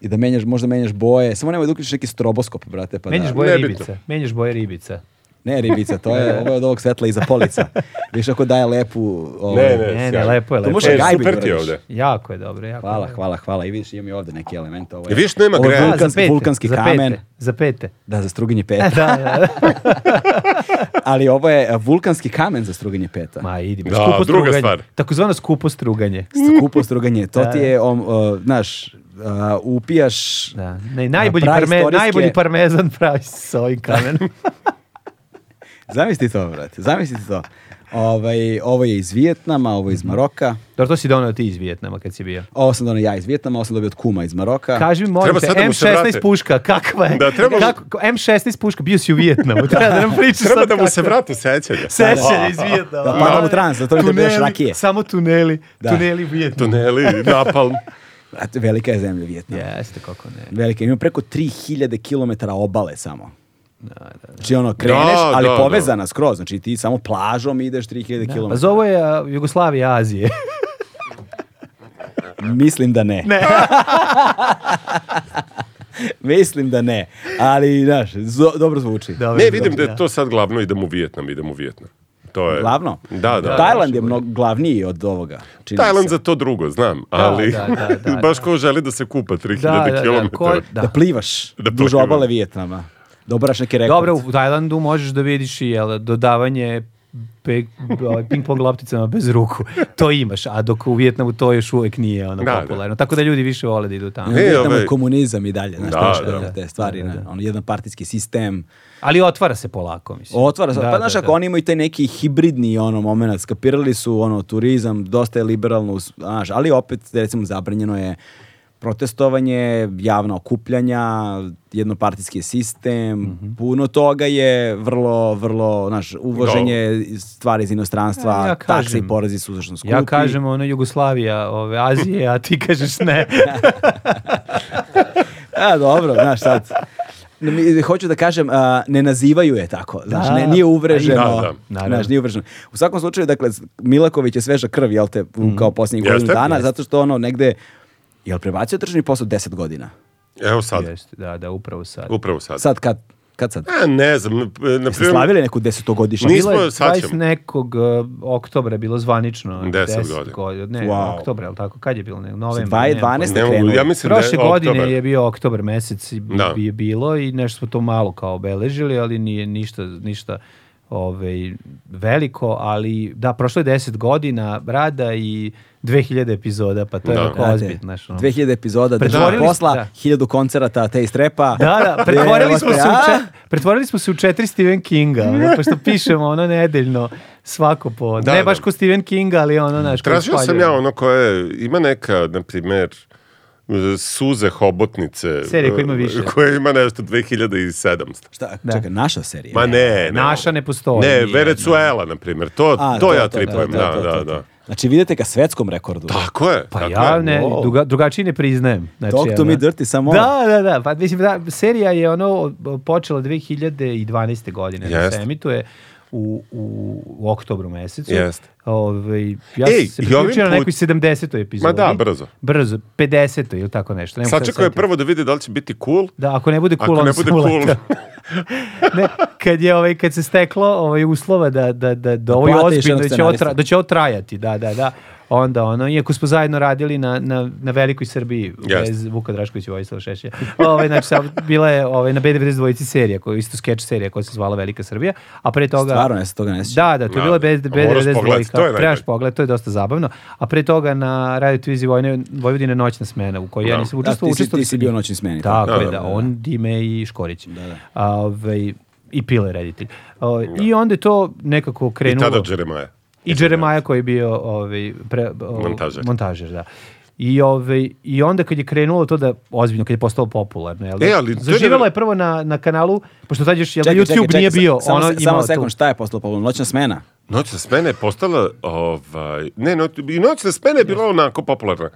i da menjaš, možda menjaš boje. Samo nemoj da uključiš neki stroboskop, brate. Pa Menjaš da. boje Ne bi ribica. Menjaš boje ribica. Ne, ribica, to je ovo je od ovog svetla iza polica. Viš ako daje lepu... ovaj, Ovo, Ne, Ne, ne, sjajno. lepo je, To lepo. može E, gajbi super ti je uradiš. ovde. Jako je dobro, jako. Hvala, je dobro. hvala, hvala. I vidiš, imam i ovde neki element. Ovo je, I vidiš, nema ovo je greja. A, vulkanski- za pete, vulkanski za kamen. Pete, za pete. Da, za struganje peta. Da, da. Ali ovo je e, vulkanski kamen za struganje peta. Ma, idi, Da, skupo druga struganje. stvar. Takozvano skupo struganje. Skupo struganje. To Da, ti je, om, e, znaš, a, upijaš... Da. Ne, najbolji, a, parme, praistorijske- najbolji parmezan pravi se sa ovim kamenom. Zamisli to, brate, zamisli to. Ovaj, ovo je iz Vijetnama, ovo je iz Maroka. Dobro, to si donao ti iz Vijetnama kad si bio. Ovo sam donio ja iz Vijetnama, ovo sam dobio od kuma iz Maroka. Kaži mi, molim Treba te, sad da mu se vrate. M16 puška, kakva je? Da, treba mu- Kako, M16 puška, bio si u Vijetnamu, treba da nam pričaš Treba sad da mu se kako- vrate sećanja. Sećanje iz Vijetnama. Da, padamo u trans, zato mi ne Tuneli, biraš rakije. Samo tuneli, Da. tuneli u Vijetnamu. Tuneli, napalm. Brate, velika je zemlja Vijetnam. Jeste, kako ne. Velika, ima preko 3000 km obale samo. Znači ono, kreneš, Da, ali da, da. povezana skroz. Znači ti samo plažom ideš 3000 km. Pa zovu je a, Jugoslavija Azije. Mislim da ne. Ne. Mislim da ne. Ali, znaš, zo- dobro zvuči. Dobro, Ne, vidim dobro, da je to sad glavno, idem u Vijetnam, idem u Vijetnam. To je... Glavno. Da, da. Tajland je mnogo glavniji od ovoga. čini mi se. Tajland za to drugo, znam, ali da, da, da, baš ko želi da se kupa 3000 km. ko- Da. da. plivaš Da duž plivam. obale Vijetnama. Dobraš neki rekord. Dobro, u Tajlandu možeš da vidiš i jel, dodavanje pe, ovaj, ping pong lopticama bez ruku. To imaš, a dok u Vjetnamu to još uvek nije ono Da, da. popularno. Tako da ljudi više vole da idu tamo. Ne, E, tamo je ovaj- komunizam i dalje, znaš, Da, teško je da. na te stvari, da, ono, jedan partijski sistem, Ali otvara se polako, mislim. otvara se, Da, pa znaš, da, ako da. oni imaju taj neki hibridni ono moment, skapirali su ono, turizam, dosta je liberalno, us- znaš, ali opet, recimo, zabranjeno je protestovanje, javna okupljanja, jednopartijski sistem, Mhm. puno toga je vrlo, vrlo, znaš, uvoženje stvari iz inostranstva, Ja, ja takse i kažem- porezi su užasno skupi. Ja kažem ono Jugoslavija, ove, Azije, a ti kažeš ne. A, dobro, znaš sad. Mi- Hoću da kažem, a, ne nazivaju je tako. Znaš, Da. ne, nije uvreženo. Da, da. Znaš, Naravno. nije uvreženo. U svakom slučaju, dakle, Milaković je sveža krv, jel te, u- Mhm. kao posljednjih godinu Jeste. dana, Jeste. zato što ono negde, jel prebacio državni posao 10 godina? Evo sad, Jeste, da, da, upravo sad. upravo sad. Sad kad, kad sad? A, ne znam, na Ste primjer, slavili neku desetogodišnju? Nismo, Bilo je sad ćemo. 20 nekog uh, oktobra je bilo zvanično. 10 godina. Ne, Wow. oktobra, ali tako? Kad je bilo? Ne, novembra. nemam pojma. 2012. ne mogu, krenuo. ja mislim da je Prošle godine oktobar. je bio oktobar mesec i bi- Da. je bilo i nešto smo to malo kao obeležili, ali nije ništa, ništa ovaj, veliko, ali da, prošlo je 10 godina rada i 2000 epizoda, pa to je Da. onako Znate, ozbiljno. znaš, ono. 2000 epizoda, državnog Pretvorili smo- posla, da. 1000 koncerata, te strepa. Da, da, pretvorili smo, se Jebote, u a? čet, pretvorili smo se u četiri Stephen Kinga, ono, pošto pišemo ono nedeljno svako po, Da, ne da. baš ko Stephen Kinga, ali ono naš koji Tražio sam spaljuje. ja ono koje, ima neka, na primjer, suze hobotnice. Serija koja ima više. Koja ima nešto 2700. Šta, Da. čekaj, naša serija? Ma ne, ne. Naša ne postoji. Ne, nije, Venezuela, na primjer. To, A, to, ja tripujem, da, da, da. to, to. Znači, vidite ka svetskom rekordu. Tako je. Pa tako ja je. ne, Wow. druga, drugačije ne priznajem. Znači, Talk to ono- me dirty, samo ovo. Da, da, da. Pa, mislim, da, serija je ono počela 2012. godine. Da Jeste. se emituje u, u, u oktobru mesecu. Jeste. Ovaj, ja Ej, sam se i ovim priključio na put- nekoj 70. epizodi. Ma da, brzo. Brzo, 50. ili tako nešto. Ne mogu sad Sačekao je setiti. prvo da vidi da li će biti cool. Da, ako ne bude cool, Ako ne onda bude sam cool. uletao. ne, kad je ovaj kad se steklo ovaj uslova da da da da ovo je platiš ozbiljno jednog da će ovo scenarista. tra- da će ovo trajati, da da da. Onda ono, iako smo zajedno radili na, na, na velikoj Srbiji Jeste. bez Vuka Draškovića i Vojislava Šešelja. Ovaj znači sad bila je ovaj na B92 dvojici serija, koja je isto skeč serija koja se zvala Velika Srbija, a pre toga Stvarno, ja se toga ne sjećam. da, da, to je Da, da. bilo bez A moraš B92. pogledati, to je najbolje. Trebaš pogled, to je dosta zabavno. A pre toga na Radio Televiziji Vojne Vojvodine noćna smena u kojoj ja Da. Da, nisam učestvovao, ti si- učestvovali ti si su bio ljudi. noćni smeni, Tako tako. je, Da, da, da, on Dime i Škorić. Da, da. i Pile reditelj. O, I onda je to nekako I krenulo. tada Jeremaja. I Jeremaja koji je bio ovaj, pre, o, Montažer. montažer, da. I, ovaj, I onda kad je krenulo to da, ozbiljno, kad je postalo popularno, jel? da? E, ali to je Zaživelo nevjer- je prvo na, na kanalu, pošto tad još jel, da, Čekaj, YouTube čekaj, čekaj, nije sa- bio. Samo, ono, se- samo imao tu- sekund, šta je postalo Pavlo? Noćna smena? Noćna smena je postala, ovaj, ne, noć, i noćna smena je bila onako popularna.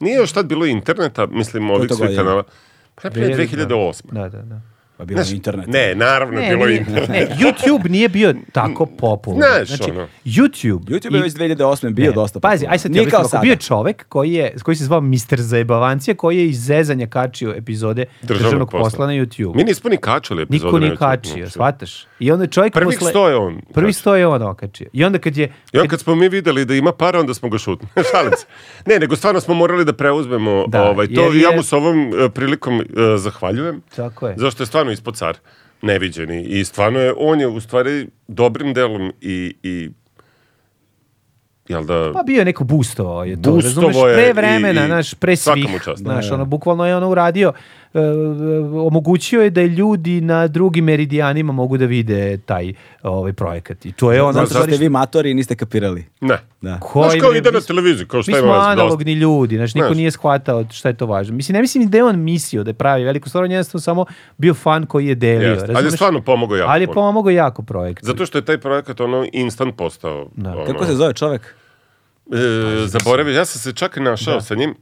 Nije još tad bilo interneta, mislim, ovih to svih godine? kanala. Pa je prije 2008. Da, da, da. Pa bilo je internet. Ne, naravno, je Ne, bilo nije- internet. ne, YouTube nije bio tako popularan. Znaš, ono. YouTube... YouTube je i- već 2008. bio Ne, dosta Pazi, popularan. aj sad ti Nije kao objasnim ovako. sada. Bio je čovek koji, je, koji se zvao Mr. Zajebavancija, koji je iz zezanja kačio epizode državnog, posla. na YouTube. Mi nismo ni kačali epizode. Niko nije na znači. YouTube, kačio, uopšte. shvataš? I onda je čovjek Prvih posle... sto je on Prvi kačio. sto je on okačio. I onda kad je... I onda kad smo mi videli da ima para, onda smo ga šutili. Šalim se. Ne, nego stvarno smo morali da preuzmemo Da, ovaj, to. jer i Ja je- mu s ovom e, prilikom e, zahvaljujem. Tako je. Zašto je stvarno ispod car neviđeni. I stvarno je, on je u stvari dobrim delom i... i jel da... Pa bio je neko boostovo je to, Boostovo razumeš, pre je vremena, i- i znaš, pre svaka svih, mu čast. znaš, ono, bukvalno je ono uradio, e, e, omogućio je da ljudi na drugim meridijanima mogu da vide taj ovaj projekat. I E, to je ono, Zato što stvari, ste vi matori i niste kapirali. Ne. Da. koji Znaš kao bre, ide mi na smo- televiziju, kao Mi šta je smo vas dosta. analogni ljudi, znači niko Znaš. nije shvatao šta je to važno. Mislim, ne mislim ni da je on mislio da je pravi veliku stvar, on je jednostavno samo bio fan koji je delio. Jeste, ali je razumeš? stvarno pomogao jako Ali je puno. pomogao jako projekt. Zato što je taj projekat ono instant postao. ono, Kako se zove čovek? E, zaboravio, ja sam se čak i našao sa njim.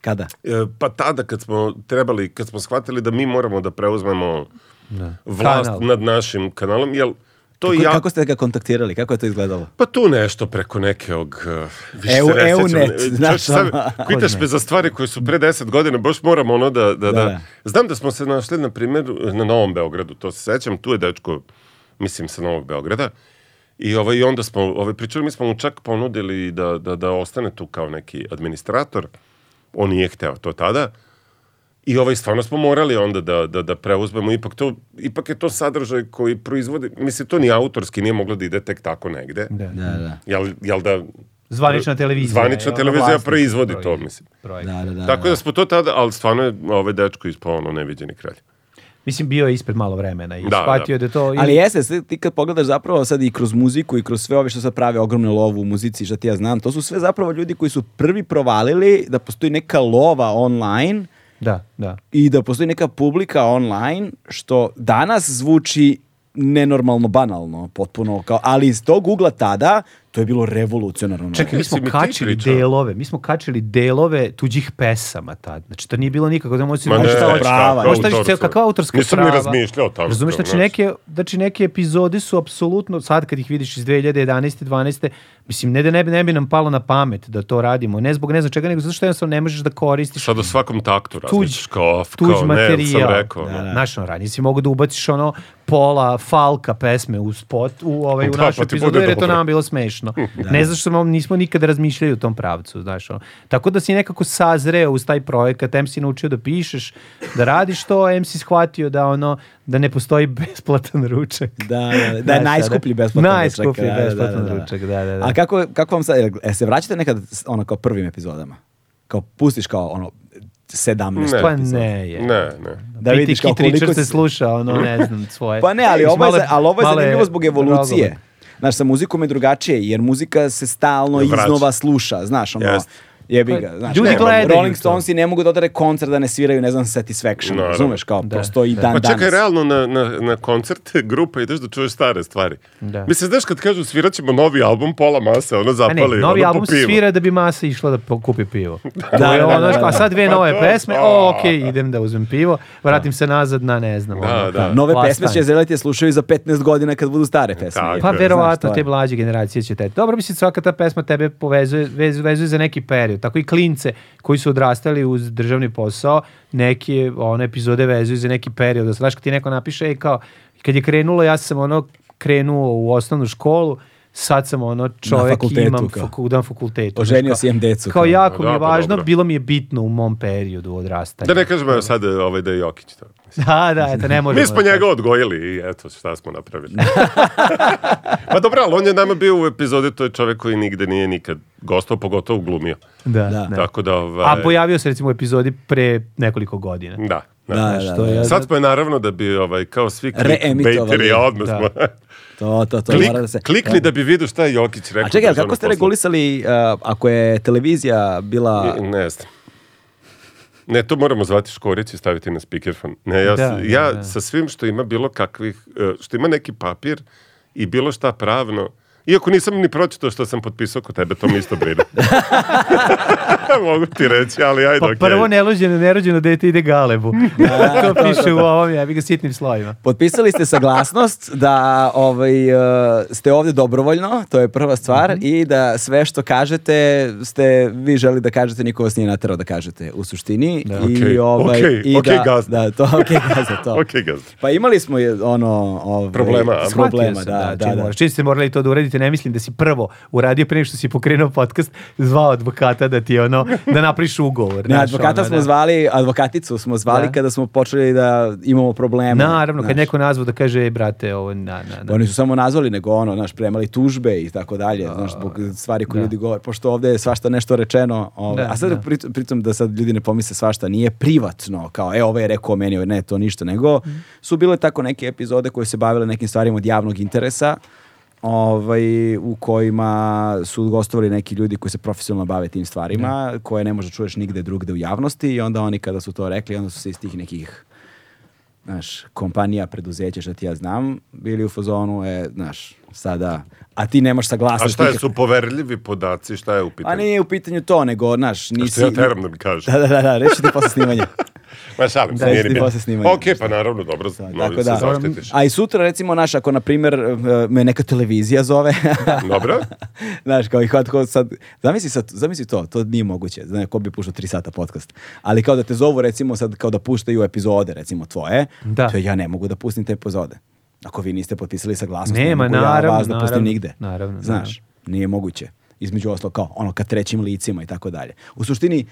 Kada? E, pa tada kad smo trebali, kad smo shvatili da mi moramo da preuzmemo vlast Kanal. nad našim kanalom, jel to Kako, ja... kako ste ga kontaktirali? Kako je to izgledalo? Pa tu nešto preko nekog... e, Više Eu- se ne sjećam. Eunet, E, znaš, čak sad ono, Pitaš me za stvari koje su pre deset godina, baš moram ono da, da, da, da. Znam da smo se našli, na primjer, na Novom Beogradu, to se sećam, tu je dečko, mislim, sa Novog Beograda, I ovaj, i onda smo ovaj, pričali, mi smo mu čak ponudili da, da, da ostane tu kao neki administrator. On nije hteo to tada. I ovaj, stvarno smo morali onda da, da, da preuzmemo, ipak, to, ipak je to sadržaj koji proizvodi, mislim, to ni autorski nije moglo da ide tek tako negde. Da. Da, da. Jel, jel da... Zvanična televizija. Zvanična je ono televizija vlasnik proizvodi to, projekt- mislim. projekt. Da, da, da. Tako da smo to tada, ali stvarno je ovaj dečko ispao ono neviđeni kralj. Mislim, bio je ispred malo vremena i Da, shvatio je da to... Ali jeste, sad ti kad pogledaš zapravo sad i kroz muziku i kroz sve ove što sad prave ogromne lovu u muzici, što ti ja znam, to su sve zapravo ljudi koji su prvi provalili da postoji neka lova online Da, da. i da postoji neka publika online što danas zvuči nenormalno banalno potpuno kao ali iz tog ugla tada to je bilo revolucionarno Čekaj, mi Jesi smo mi ti kačili pričao? delove, mi smo kačili delove tuđih pesama tad. Znači, to nije bilo nikako da možeš... Ma možeš ne, da- šta, prava, možeš da autorska. vidiš ceo- kakva autorska Nisam ni prava. razmišljao tako, Razumeš, znači znaš. neke, znači neke epizode su apsolutno, sad kad ih vidiš iz 2011. 12. Mislim, ne da ne bi, ne bi nam palo na pamet da to radimo. Ne zbog ne znam čega, nego zato što jednostavno ne možeš da koristiš Sad o svakom taktu različiš tuđ, kao off, tuđ kao ne, jel materijal. sam rekao. da, ono. da. Znaš, ono, ranije si mogu da ubaciš ono pola falka pesme u spot, u, ovaj, u Da, našu pa ti epizodu, bude jer je to dobro. nama bilo smešno. Ne znaš što nam nismo nikada razmišljali u tom pravcu, znaš, ono. Tako da si nekako sazreo uz taj projekat, em si naučio da pišeš, da radiš to, em si shvatio da ono, da ne postoji besplatan ručak. Da, da, da, da je Znaš, najskuplji da. besplatan ručak. Najskuplji da, da, besplatan ručak, da, da, da. A kako, kako vam sad, jel- jel se vraćate nekad s- ono kao prvim epizodama? Kao pustiš kao ono 17 Ne. Pa epizoda. ne je. Ne, ne. Da vidiš kao Piti koliko Kitričar se si- sluša, ono, ne znam, svoje. Pa ne, ali Mislim, ovo je, malo za- ali ovo je malo zanimljivo zbog evolucije. rogobat. Znaš, sa muzikom je drugačije, jer muzika se stalno Vraća. iznova sluša, znaš, ono, Jeste. jebi Pa, ga, znaš, ljudi ne, gledaju Rolling to. Stonesi ne mogu da odare koncert da ne sviraju, ne znam, Satisfaction, Naravno. razumeš, kao, Da, postoji i da. dan Pa danas. čekaj, realno na, na, na koncerte grupa ideš da čuješ stare stvari. Da. Mislim, znaš kad kažu svirat ćemo novi album, pola mase, ono A zapali, Pa ne, novi ono, album po pivu. svira da bi masa išla da po- kupi pivo. Da, da, da, da, da, da, da. A sad dve Pa nove to, pesme, a. o, okej, idem da uzmem pivo, vratim se nazad na, ne znam. Da, ono, da. Nove Last pesme će Time. zeleti slušaju za 15 godina kad budu stare pesme. Tako jebi Pa ga, verovatno, znaš, to te je. mlađe generacije će te... Dobro, mislim, svaka ta pesma tebe povezuje, vez, vezuje za neki period. Tako i klince koji su odrastali uz državni posao, neke one epizode vezuju za neki period. Znaš, kad ti neko napiše, ej, kao, kad je krenulo, ja sam ono krenuo u osnovnu školu, sad sam ono čovek i fakultetu, imam kao. faku, na fakultetu. znaš, Oženio kao- si, imam decu, Kao kao. jako mi je Da, pa važno, dobro. bilo mi je bitno u mom periodu odrastanja. Da ne kažem, evo sad ovaj da je Jokić. To. Da, da, eto, ne možemo. Mi smo da njega odgojili i eto šta smo napravili. pa dobro, ali on je nama bio u epizodi, to je čovjek koji nigde nije nikad gostao, pogotovo glumio. Da, Da. da. Tako da, ovaj, A pojavio se recimo u epizodi pre nekoliko godina. da. Da, da. da, Što da. je- Sad smo je naravno da bi ovaj, kao svi Reemitovali. clickbaiteri, a odmah Da. smo... To, to, to, Klik- mora da se... klikni da bi vidio šta je Jokić rekao. A čekaj, ali kako državnom ste poslu. regulisali, uh, ako je televizija bila... I- Ne znam. Ne, to moramo zvati Škorić i staviti na speakerfon. Ne, ja, s- Da, da, ja da. sa svim što ima bilo kakvih, e, što ima neki papir i bilo šta pravno, iako nisam ni pročitao što sam potpisao kod tebe, to mi isto brine. Mogu ti reći, ali ajde, Pa okej. prvo nerođeno, nerođeno dete ide galebu. to piše u ovom, ja ga sitnim slojima. Potpisali ste saglasnost da ovaj, uh, ste ovdje dobrovoljno, to je prva stvar, i da sve što kažete, ste, vi želi da kažete, niko vas nije naterao da kažete u suštini. Da. I, Okej, ovaj, okej, i okej, da, gazda. Da, to, okej, gazda, to. Okej, gazda. Pa imali smo je, ono... Ovaj, Problema, a? s problema, Shvatio sam, da, da, čim da. moraš. Čim ste morali to da uradite, ne mislim da si prvo uradio pre nego što si pokrenuo podcast, zvao advokata da ti ono, da napriš ugovor. Ne, znaš, advokata ono, smo da. zvali, advokaticu smo zvali Da. kada smo počeli da imamo Znači, problema. Naravno, znaš. Pa kad neko nazvao da kaže, ej brate, ovo, na, na, na. Oni su samo nazvali, nego ono, znaš, premali tužbe i tako dalje, znaš, zbog stvari koje da. ljudi govore, pošto ovdje je svašta nešto rečeno, ovaj, Da, a sad da. pritom, pritom da sad ljudi ne pomisle svašta, nije privatno, kao, e, ovaj je rekao meni, ovaj ne, to ništa, nego Mhm. su bile tako neke epizode koje se bavile nekim stvarima od javnog interesa, ovaj, u kojima su gostovali neki ljudi koji se profesionalno bave tim stvarima, koje ne možeš da čuješ nigde drugde u javnosti i onda oni kada su to rekli, onda su se iz tih nekih znaš, kompanija, preduzeće, što ti ja znam, bili u fazonu, e, znaš, sada, a ti nemaš saglasnost. A šta je, nikakvu. su poverljivi podaci, šta je u A pitanju? nije u pitanju to, nego, znaš, nisi... Što ja teram da mi kažem. Da, da, da, da, reći ti posle snimanja. Ma šalim se, Da, nije jesi ni bitno. posle snimanja. Ok, pa naravno, dobro, Tako molim se da. zaštitiš. A i sutra, recimo, naš, ako, na primjer, e, me neka televizija zove, Dobro? znaš, kao i kao, kao sad, zamisli, sad, zamisli to, to nije moguće, znaš, ko bi pušao tri sata podcast, ali kao da te zovu, recimo, sad, kao da puštaju epizode, recimo, tvoje, Da. to ja ne mogu da pustim te epizode. Ako vi niste potpisali saglasnost, Nema, ne mogu ja naravno, vas da pustim naravno, nigde. naravno, Znaš, nije moguće. Između oslo, kao ono, ka trećim licima i tako dalje. U suštini,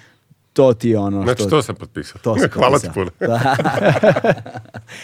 To ti je ono Znači, što... to sam potpisao. To si Hvala ti potpisao. puno. Da.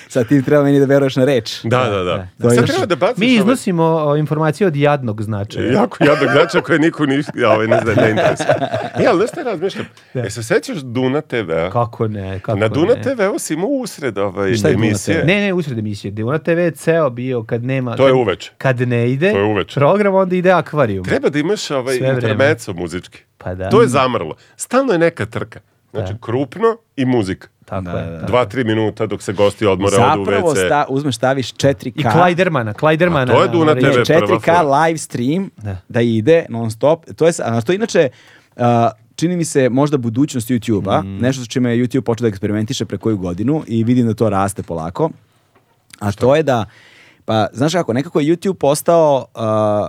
Sad ti treba meni da veruješ na reč. Da, da, da. To je Sad još- treba da baciš Mi ove- iznosimo o, informacije od jadnog značaja. Jako jadnog grača koje niko ništa, ja, ovaj, ne zna, ne interesuje. E, ali nešto razmišljam. E, se sećaš Duna TV-a? Kako ne, kako Na Duna ne. TV-u si imao usred ovaj, Šta je Duna emisije. TV? Ne, ne, usred emisije. Duna TV je ceo bio kad nema... To je kad- uveče. Kad ne ide To je uveče. program, onda ide akvarijum. Treba da imaš ovaj Sve vreme. intermeco muzički. Pa da. To je zamrlo. Stalno je neka trka. Znači, krupno i muzika. Tako Da, je. da, da. Dva, tri minuta dok se gosti odmore odu u Zapravo WC. sta, uzmeš, staviš 4K. I Klajdermana, Klajdermana. A to je Duna na- Ne, TV. prva 4K fora. live stream da. Da. ide non stop. To je, s- a to je inače, a, čini mi se možda budućnost YouTube-a, Mm. nešto s čime je YouTube počeo da eksperimentiše pre koju godinu i vidim da to raste polako. A to je da, pa znaš kako, nekako je YouTube postao a,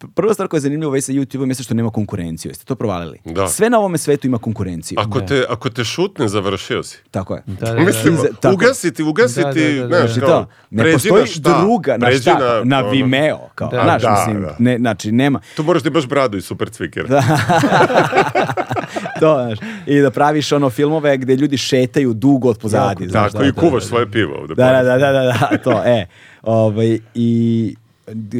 p- Prva stvar koja je zanimljiva već sa YouTube-om jeste što nema konkurenciju. Jeste to provalili? Da. Sve na ovome svetu ima konkurenciju. Ako te, ako te šutne, završio si. Tako je. Da, da, da. Mislim, Iza- tako. ugasiti, ugasiti, Da, da, da, da. znaš, Znači kao, to, ne pređi postoji na šta, druga, na pređi šta, na, ono. Vimeo, kao, Da. znaš, Da, mislim, da. Ne, znači, nema. Tu moraš da imaš bradu i super cvikera. Da. to, znaš, i da praviš ono filmove gde ljudi šetaju dugo od pozadi, Jako, znaš, Tako, i kuvaš svoje pivo ovde. da, da, da, da, da, da, to, e, ovaj, i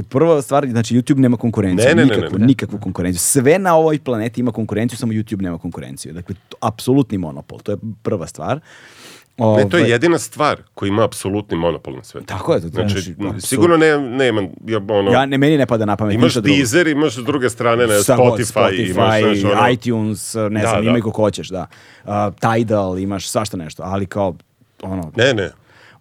prva stvar, znači YouTube nema konkurenciju, Ne, ne, ne, ne, nikakvu, ne. nikakvu konkurenciju. Sve na ovoj planeti ima konkurenciju, samo YouTube nema konkurenciju. Dakle, to, apsolutni monopol, to je prva stvar. Ne, to je Ovaj, jedina stvar koja ima apsolutni monopol na svetu. Tako je, to Znači, znači, apsolutno. sigurno ne, nema, ja, ono, Ja, ne, meni ne pada na pamet. imaš ništa drugo. Deezer, imaš s druge strane, ne, Samo Spotify, imaš, znaš, ono, iTunes, ne Da, znam, da. ima i kako hoćeš, da. Uh, Tidal, imaš svašta nešto, ali kao, ono, ne, ne,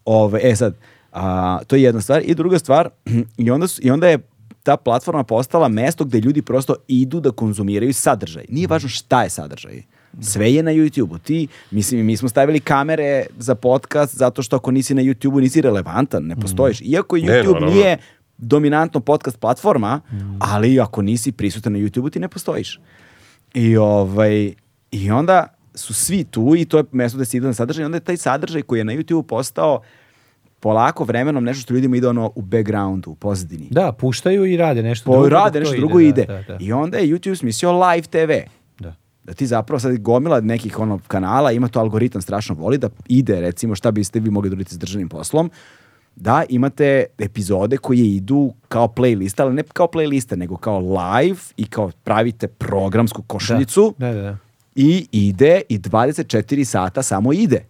Ove, e sad, a, to je jedna stvar. I druga stvar, i onda, su, i onda je ta platforma postala mesto gde ljudi prosto idu da konzumiraju sadržaj. Nije važno šta je sadržaj. Sve je na YouTube-u. Ti, mislim, mi smo stavili kamere za podcast zato što ako nisi na YouTube-u nisi relevantan, ne postojiš. Iako YouTube Mm. naravno. nije dominantno podcast platforma, ali ako nisi prisutan na YouTube-u ti ne postojiš. I, ovaj, I onda su svi tu i to je mesto da se ide na sadržaj. I onda je taj sadržaj koji je na YouTube-u postao polako vremenom nešto što ljudima ide ono u backgroundu, u pozadini. Da, puštaju i rade nešto Po, drugo. dok rade to nešto drugo ide. Da, da, da. I onda je YouTube smislio live TV. Da. Da ti zapravo sad gomila nekih ono kanala, ima to algoritam strašno voli da ide recimo šta biste vi mogli dobiti s državnim poslom, da imate epizode koje idu kao playlista, ali ne kao playlista, nego kao live i kao pravite programsku košuljicu Da, da, da. i ide i 24 sata samo ide.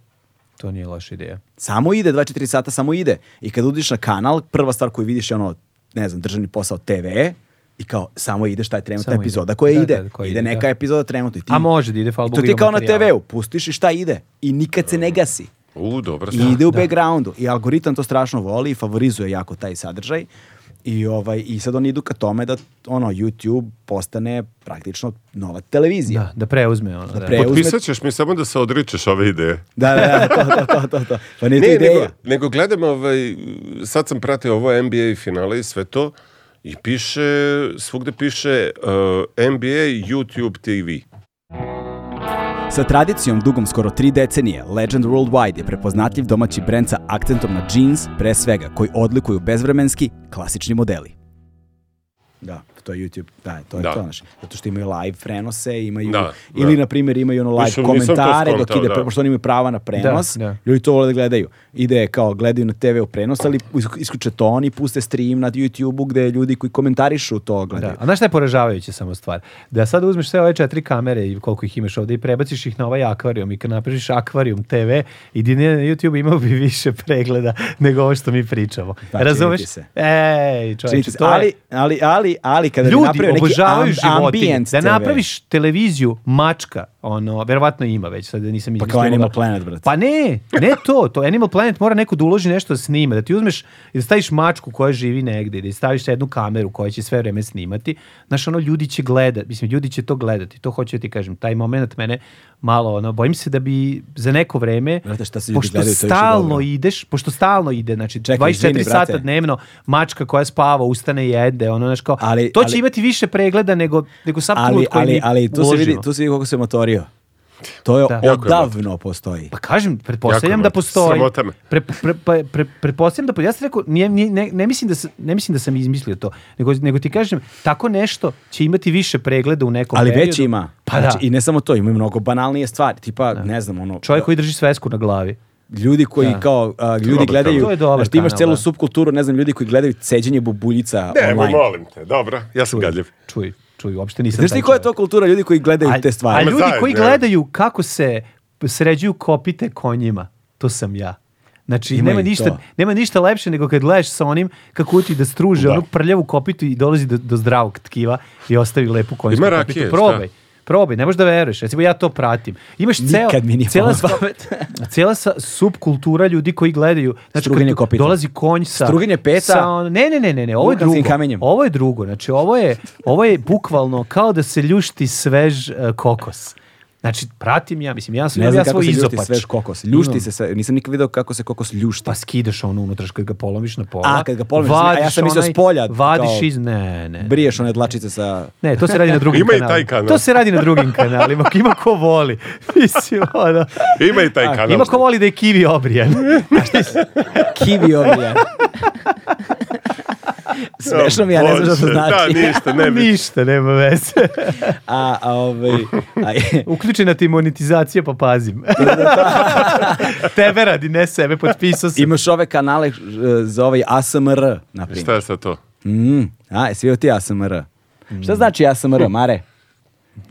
To nije loša ideja. Samo ide, 24 sata samo ide. I kad udiš na kanal, prva stvar koju vidiš je ono, ne znam, državni posao TV i kao samo ide šta je trenutna Samo ide. epizoda koja Da, ide. da, koja ide ide, neka da. epizoda trenutno. I ti, A može da ide, hvala I to Bogu, ti je ima kao na materijala. TV-u, pustiš i šta ide. I nikad se ne gasi. u, dobro, I ide u E, da. backgroundu. I algoritam to strašno voli i favorizuje jako taj sadržaj. I, ovaj, I sad oni idu ka tome da ono, YouTube postane praktično nova televizija. Da, da preuzme ono. Da, pre- preuzme- Potpisat ćeš mi samo da se odričeš ove ideje. Da, da, da, to, to, to, to, to. Pa nije to Ne, ideja. nego, nego gledam ovaj, sad sam pratio ovo NBA finale i sve to i piše, svugde piše uh, NBA YouTube TV. Sa tradicijom dugom skoro tri decenije, Legend Worldwide je prepoznatljiv domaći brend sa akcentom na jeans, pre svega, koji odlikuju bezvremenski, klasični modeli. Da, to je YouTube, da, to je Da. to, znaš, zato što imaju live prenose, imaju, Da, ili da. na primjer imaju ono live Nisam- nisam to komentare dok skontao, ide, da. pre- pošto oni imaju prava na prenos, Da, da. ljudi to vole da gledaju. Ide kao, gledaju na TV u prenos, ali is- isključe to, oni puste stream na YouTube-u gde ljudi koji komentarišu to gledaju. Da. A znaš šta je poražavajuća samo stvar? Da sad uzmeš sve ove četiri kamere i koliko ih imaš ovde i prebaciš ih na ovaj akvarijum i kad napraviš akvarijum TV i di ne na YouTube imao bi više pregleda nego ovo što mi pričamo. Da, čini Razumeš? ti se. Ej, Čini čovječe, se, to je- ali, ali, ali, ali, kada bi Ljudi napravio neki obožavaju amb- životinje. ambijent Da TV. napraviš televiziju mačka, ono, verovatno ima već, sad nisam Pa izmislio. kao Animal da- Planet, brate. Pa ne, ne to, to Animal Planet mora neko da uloži nešto da snima, da ti uzmeš i da staviš mačku koja živi negde, da staviš jednu kameru koja će sve vreme snimati, znaš, ono, ljudi će gledati, mislim, ljudi će to gledati, to hoću da ti kažem, taj moment mene malo, ono, bojim se da bi za neko vreme, Brate, šta se ljudi pošto gledaju, to je više stalno dobro. ideš, pošto stalno ide, znači, Čekaj, 24 izvini, brate. sata dnevno, mačka koja spava, ustane i jede, ono, znaš, kao, Ali- to će ali- imati više pregleda nego, nego sam ali, trud koji ali, mi ali tu se uložimo. vidi, tu se vidi koliko se motorio. To je Da. Jako je odavno postoji. Pa kažem, Jako pretpostavljam je da mrtvo. postoji. Sramota me. Pre, pre, pre, pre, pretpostavljam da po- ja sam rekao, nije, nije, ne, ne, mislim da sam, ne mislim da sam izmislio to, nego, nego ti kažem, tako nešto će imati više pregleda u nekom Ali periodu. već ima. Pa znači, da. I ne samo to, ima i mnogo banalnije stvari. Tipa, ne znam, ono... Čovjek koji drži svesku na glavi. ljudi koji kao a, ljudi dobar gledaju kanal. To je dobar znači, ti imaš kanal, celu da. subkulturu ne znam ljudi koji gledaju ceđenje bubuljica Ne, online molim te, dobro, ja sam gadljiv. Čuj, čuj, uopšte nisam znaš ti taj koja je to čovjek. kultura ljudi koji gledaju te A stvari Ma ljudi zajedno, koji ja. gledaju kako se sređuju kopite konjima, to sam ja. Znači, Ima nema i ništa, to. nema ništa lepše nego kad gledaš sa onim kako uti da struže onu prljavu kopitu i dolazi do, do zdravog tkiva i ostavi lepu konjsku Ima kopitu. rakije, Probaj. šta? Probaj, ne možeš da veruješ. Recimo, ja to pratim. Imaš ceo, Nikad mi nije cijela, palo na sva- cijela sa, subkultura ljudi koji gledaju. Znači, Struganje kad kopita. dolazi konj sa... Struganje peta. sa on- Ono, ne, ne, ne, ne, ne, ovo je Vulkanskim drugo. kamenjem. Ovo je drugo, znači ovo je, ovo je bukvalno kao da se ljušti svež e, kokos. Znači, pratim ja, mislim, ja sam ne ja znam kako svoj se ljušti izopač. svež kokos ljušti Imam. se sve nisam nikad video kako se kokos ljušti Pa skidaš ono unutraš kad ga polomiš na pola. A, kad ga polomiš, a ja vadiš sam mislio s polja, Vadiš kao- iz, ne, ne. briješ one dlačice sa Ne, to se radi na drugim Ima i kanalima. taj kanal. To se radi na drugim kanalima, ima ko voli. Mislim, ono, Ima i taj kanal. ima ko voli da je kivi obrijan. kivi ovdje smešno mi ja ne znam što to Bože, znači Da, ništa, ne bi. Ništa, nema veze. a, a, ovaj, a, Uključena ti je monetizacija, pa pazim. Tebe radi, ne sebe, potpisao sam. imaš ove kanale ž- za ovaj ASMR na primjer Šta je sad to? mm, a jesi vidio ti ASMR šta znači ASMR Mare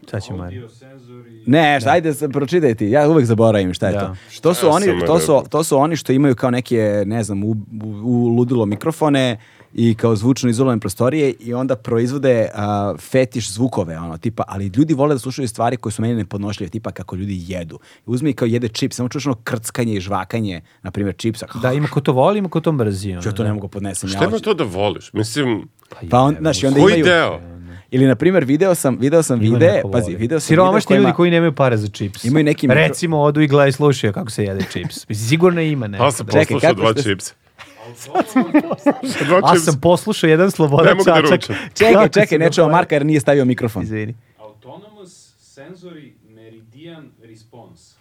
Šta će Mari? Bio senzori, Ne, šta, ajde se pročitaj ti. Ja uvek zaboravim šta je Da. to. To su Ja oni sam to su rekao. to su oni što imaju kao neke, ne znam, u, u- u ludilo mikrofone i kao zvučno izolovane prostorije i onda proizvode a, fetiš zvukove, ono, tipa, ali ljudi vole da slušaju stvari koje su meni nepodnošljive, tipa kako ljudi jedu. Uzmi i kao jede čips, samo čuješ ono krckanje i žvakanje, na primjer čipsa. Da, ima ko to voli, ima ko to mrzi. ono. Ja to ne mogu podnesem. Šta ja ima hoću- to da voliš? Mislim, Pa on, znaš, i onda koji imaju... deo? Ili, na primjer, video sam, video sam ono Ima vide, neko pazi, voli. video sam Siromašni vide ljudi koji nemaju pare za čips. Imaju neki mikro- Recimo, odu i gledaju i slušaju kako se jede čips. Mislim, sigurno ima ne. Ali sam Čekaj, poslušao kako dva ste- čipsa. dva A čipsa. sam poslušao jedan Ne Slobodan mogu da Čačak. ručam. Čekaj, Kako čekaj, se nećemo dogovara- Marka jer nije stavio mikrofon. Izvini. autonomous sensory meridian response.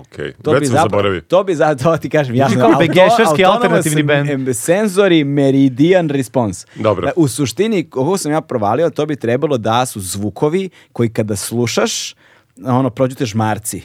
Okej, To već bi, sam zapra- zaboravio. to bi za to ti kažem jasno. kao Auto- begešarski autonomous alternativni bend. em, Sensory Meridian Response. Dobro. Da, U suštini, ovo sam ja provalio, to bi trebalo da su zvukovi koji kada slušaš, ono, prođu te žmarci.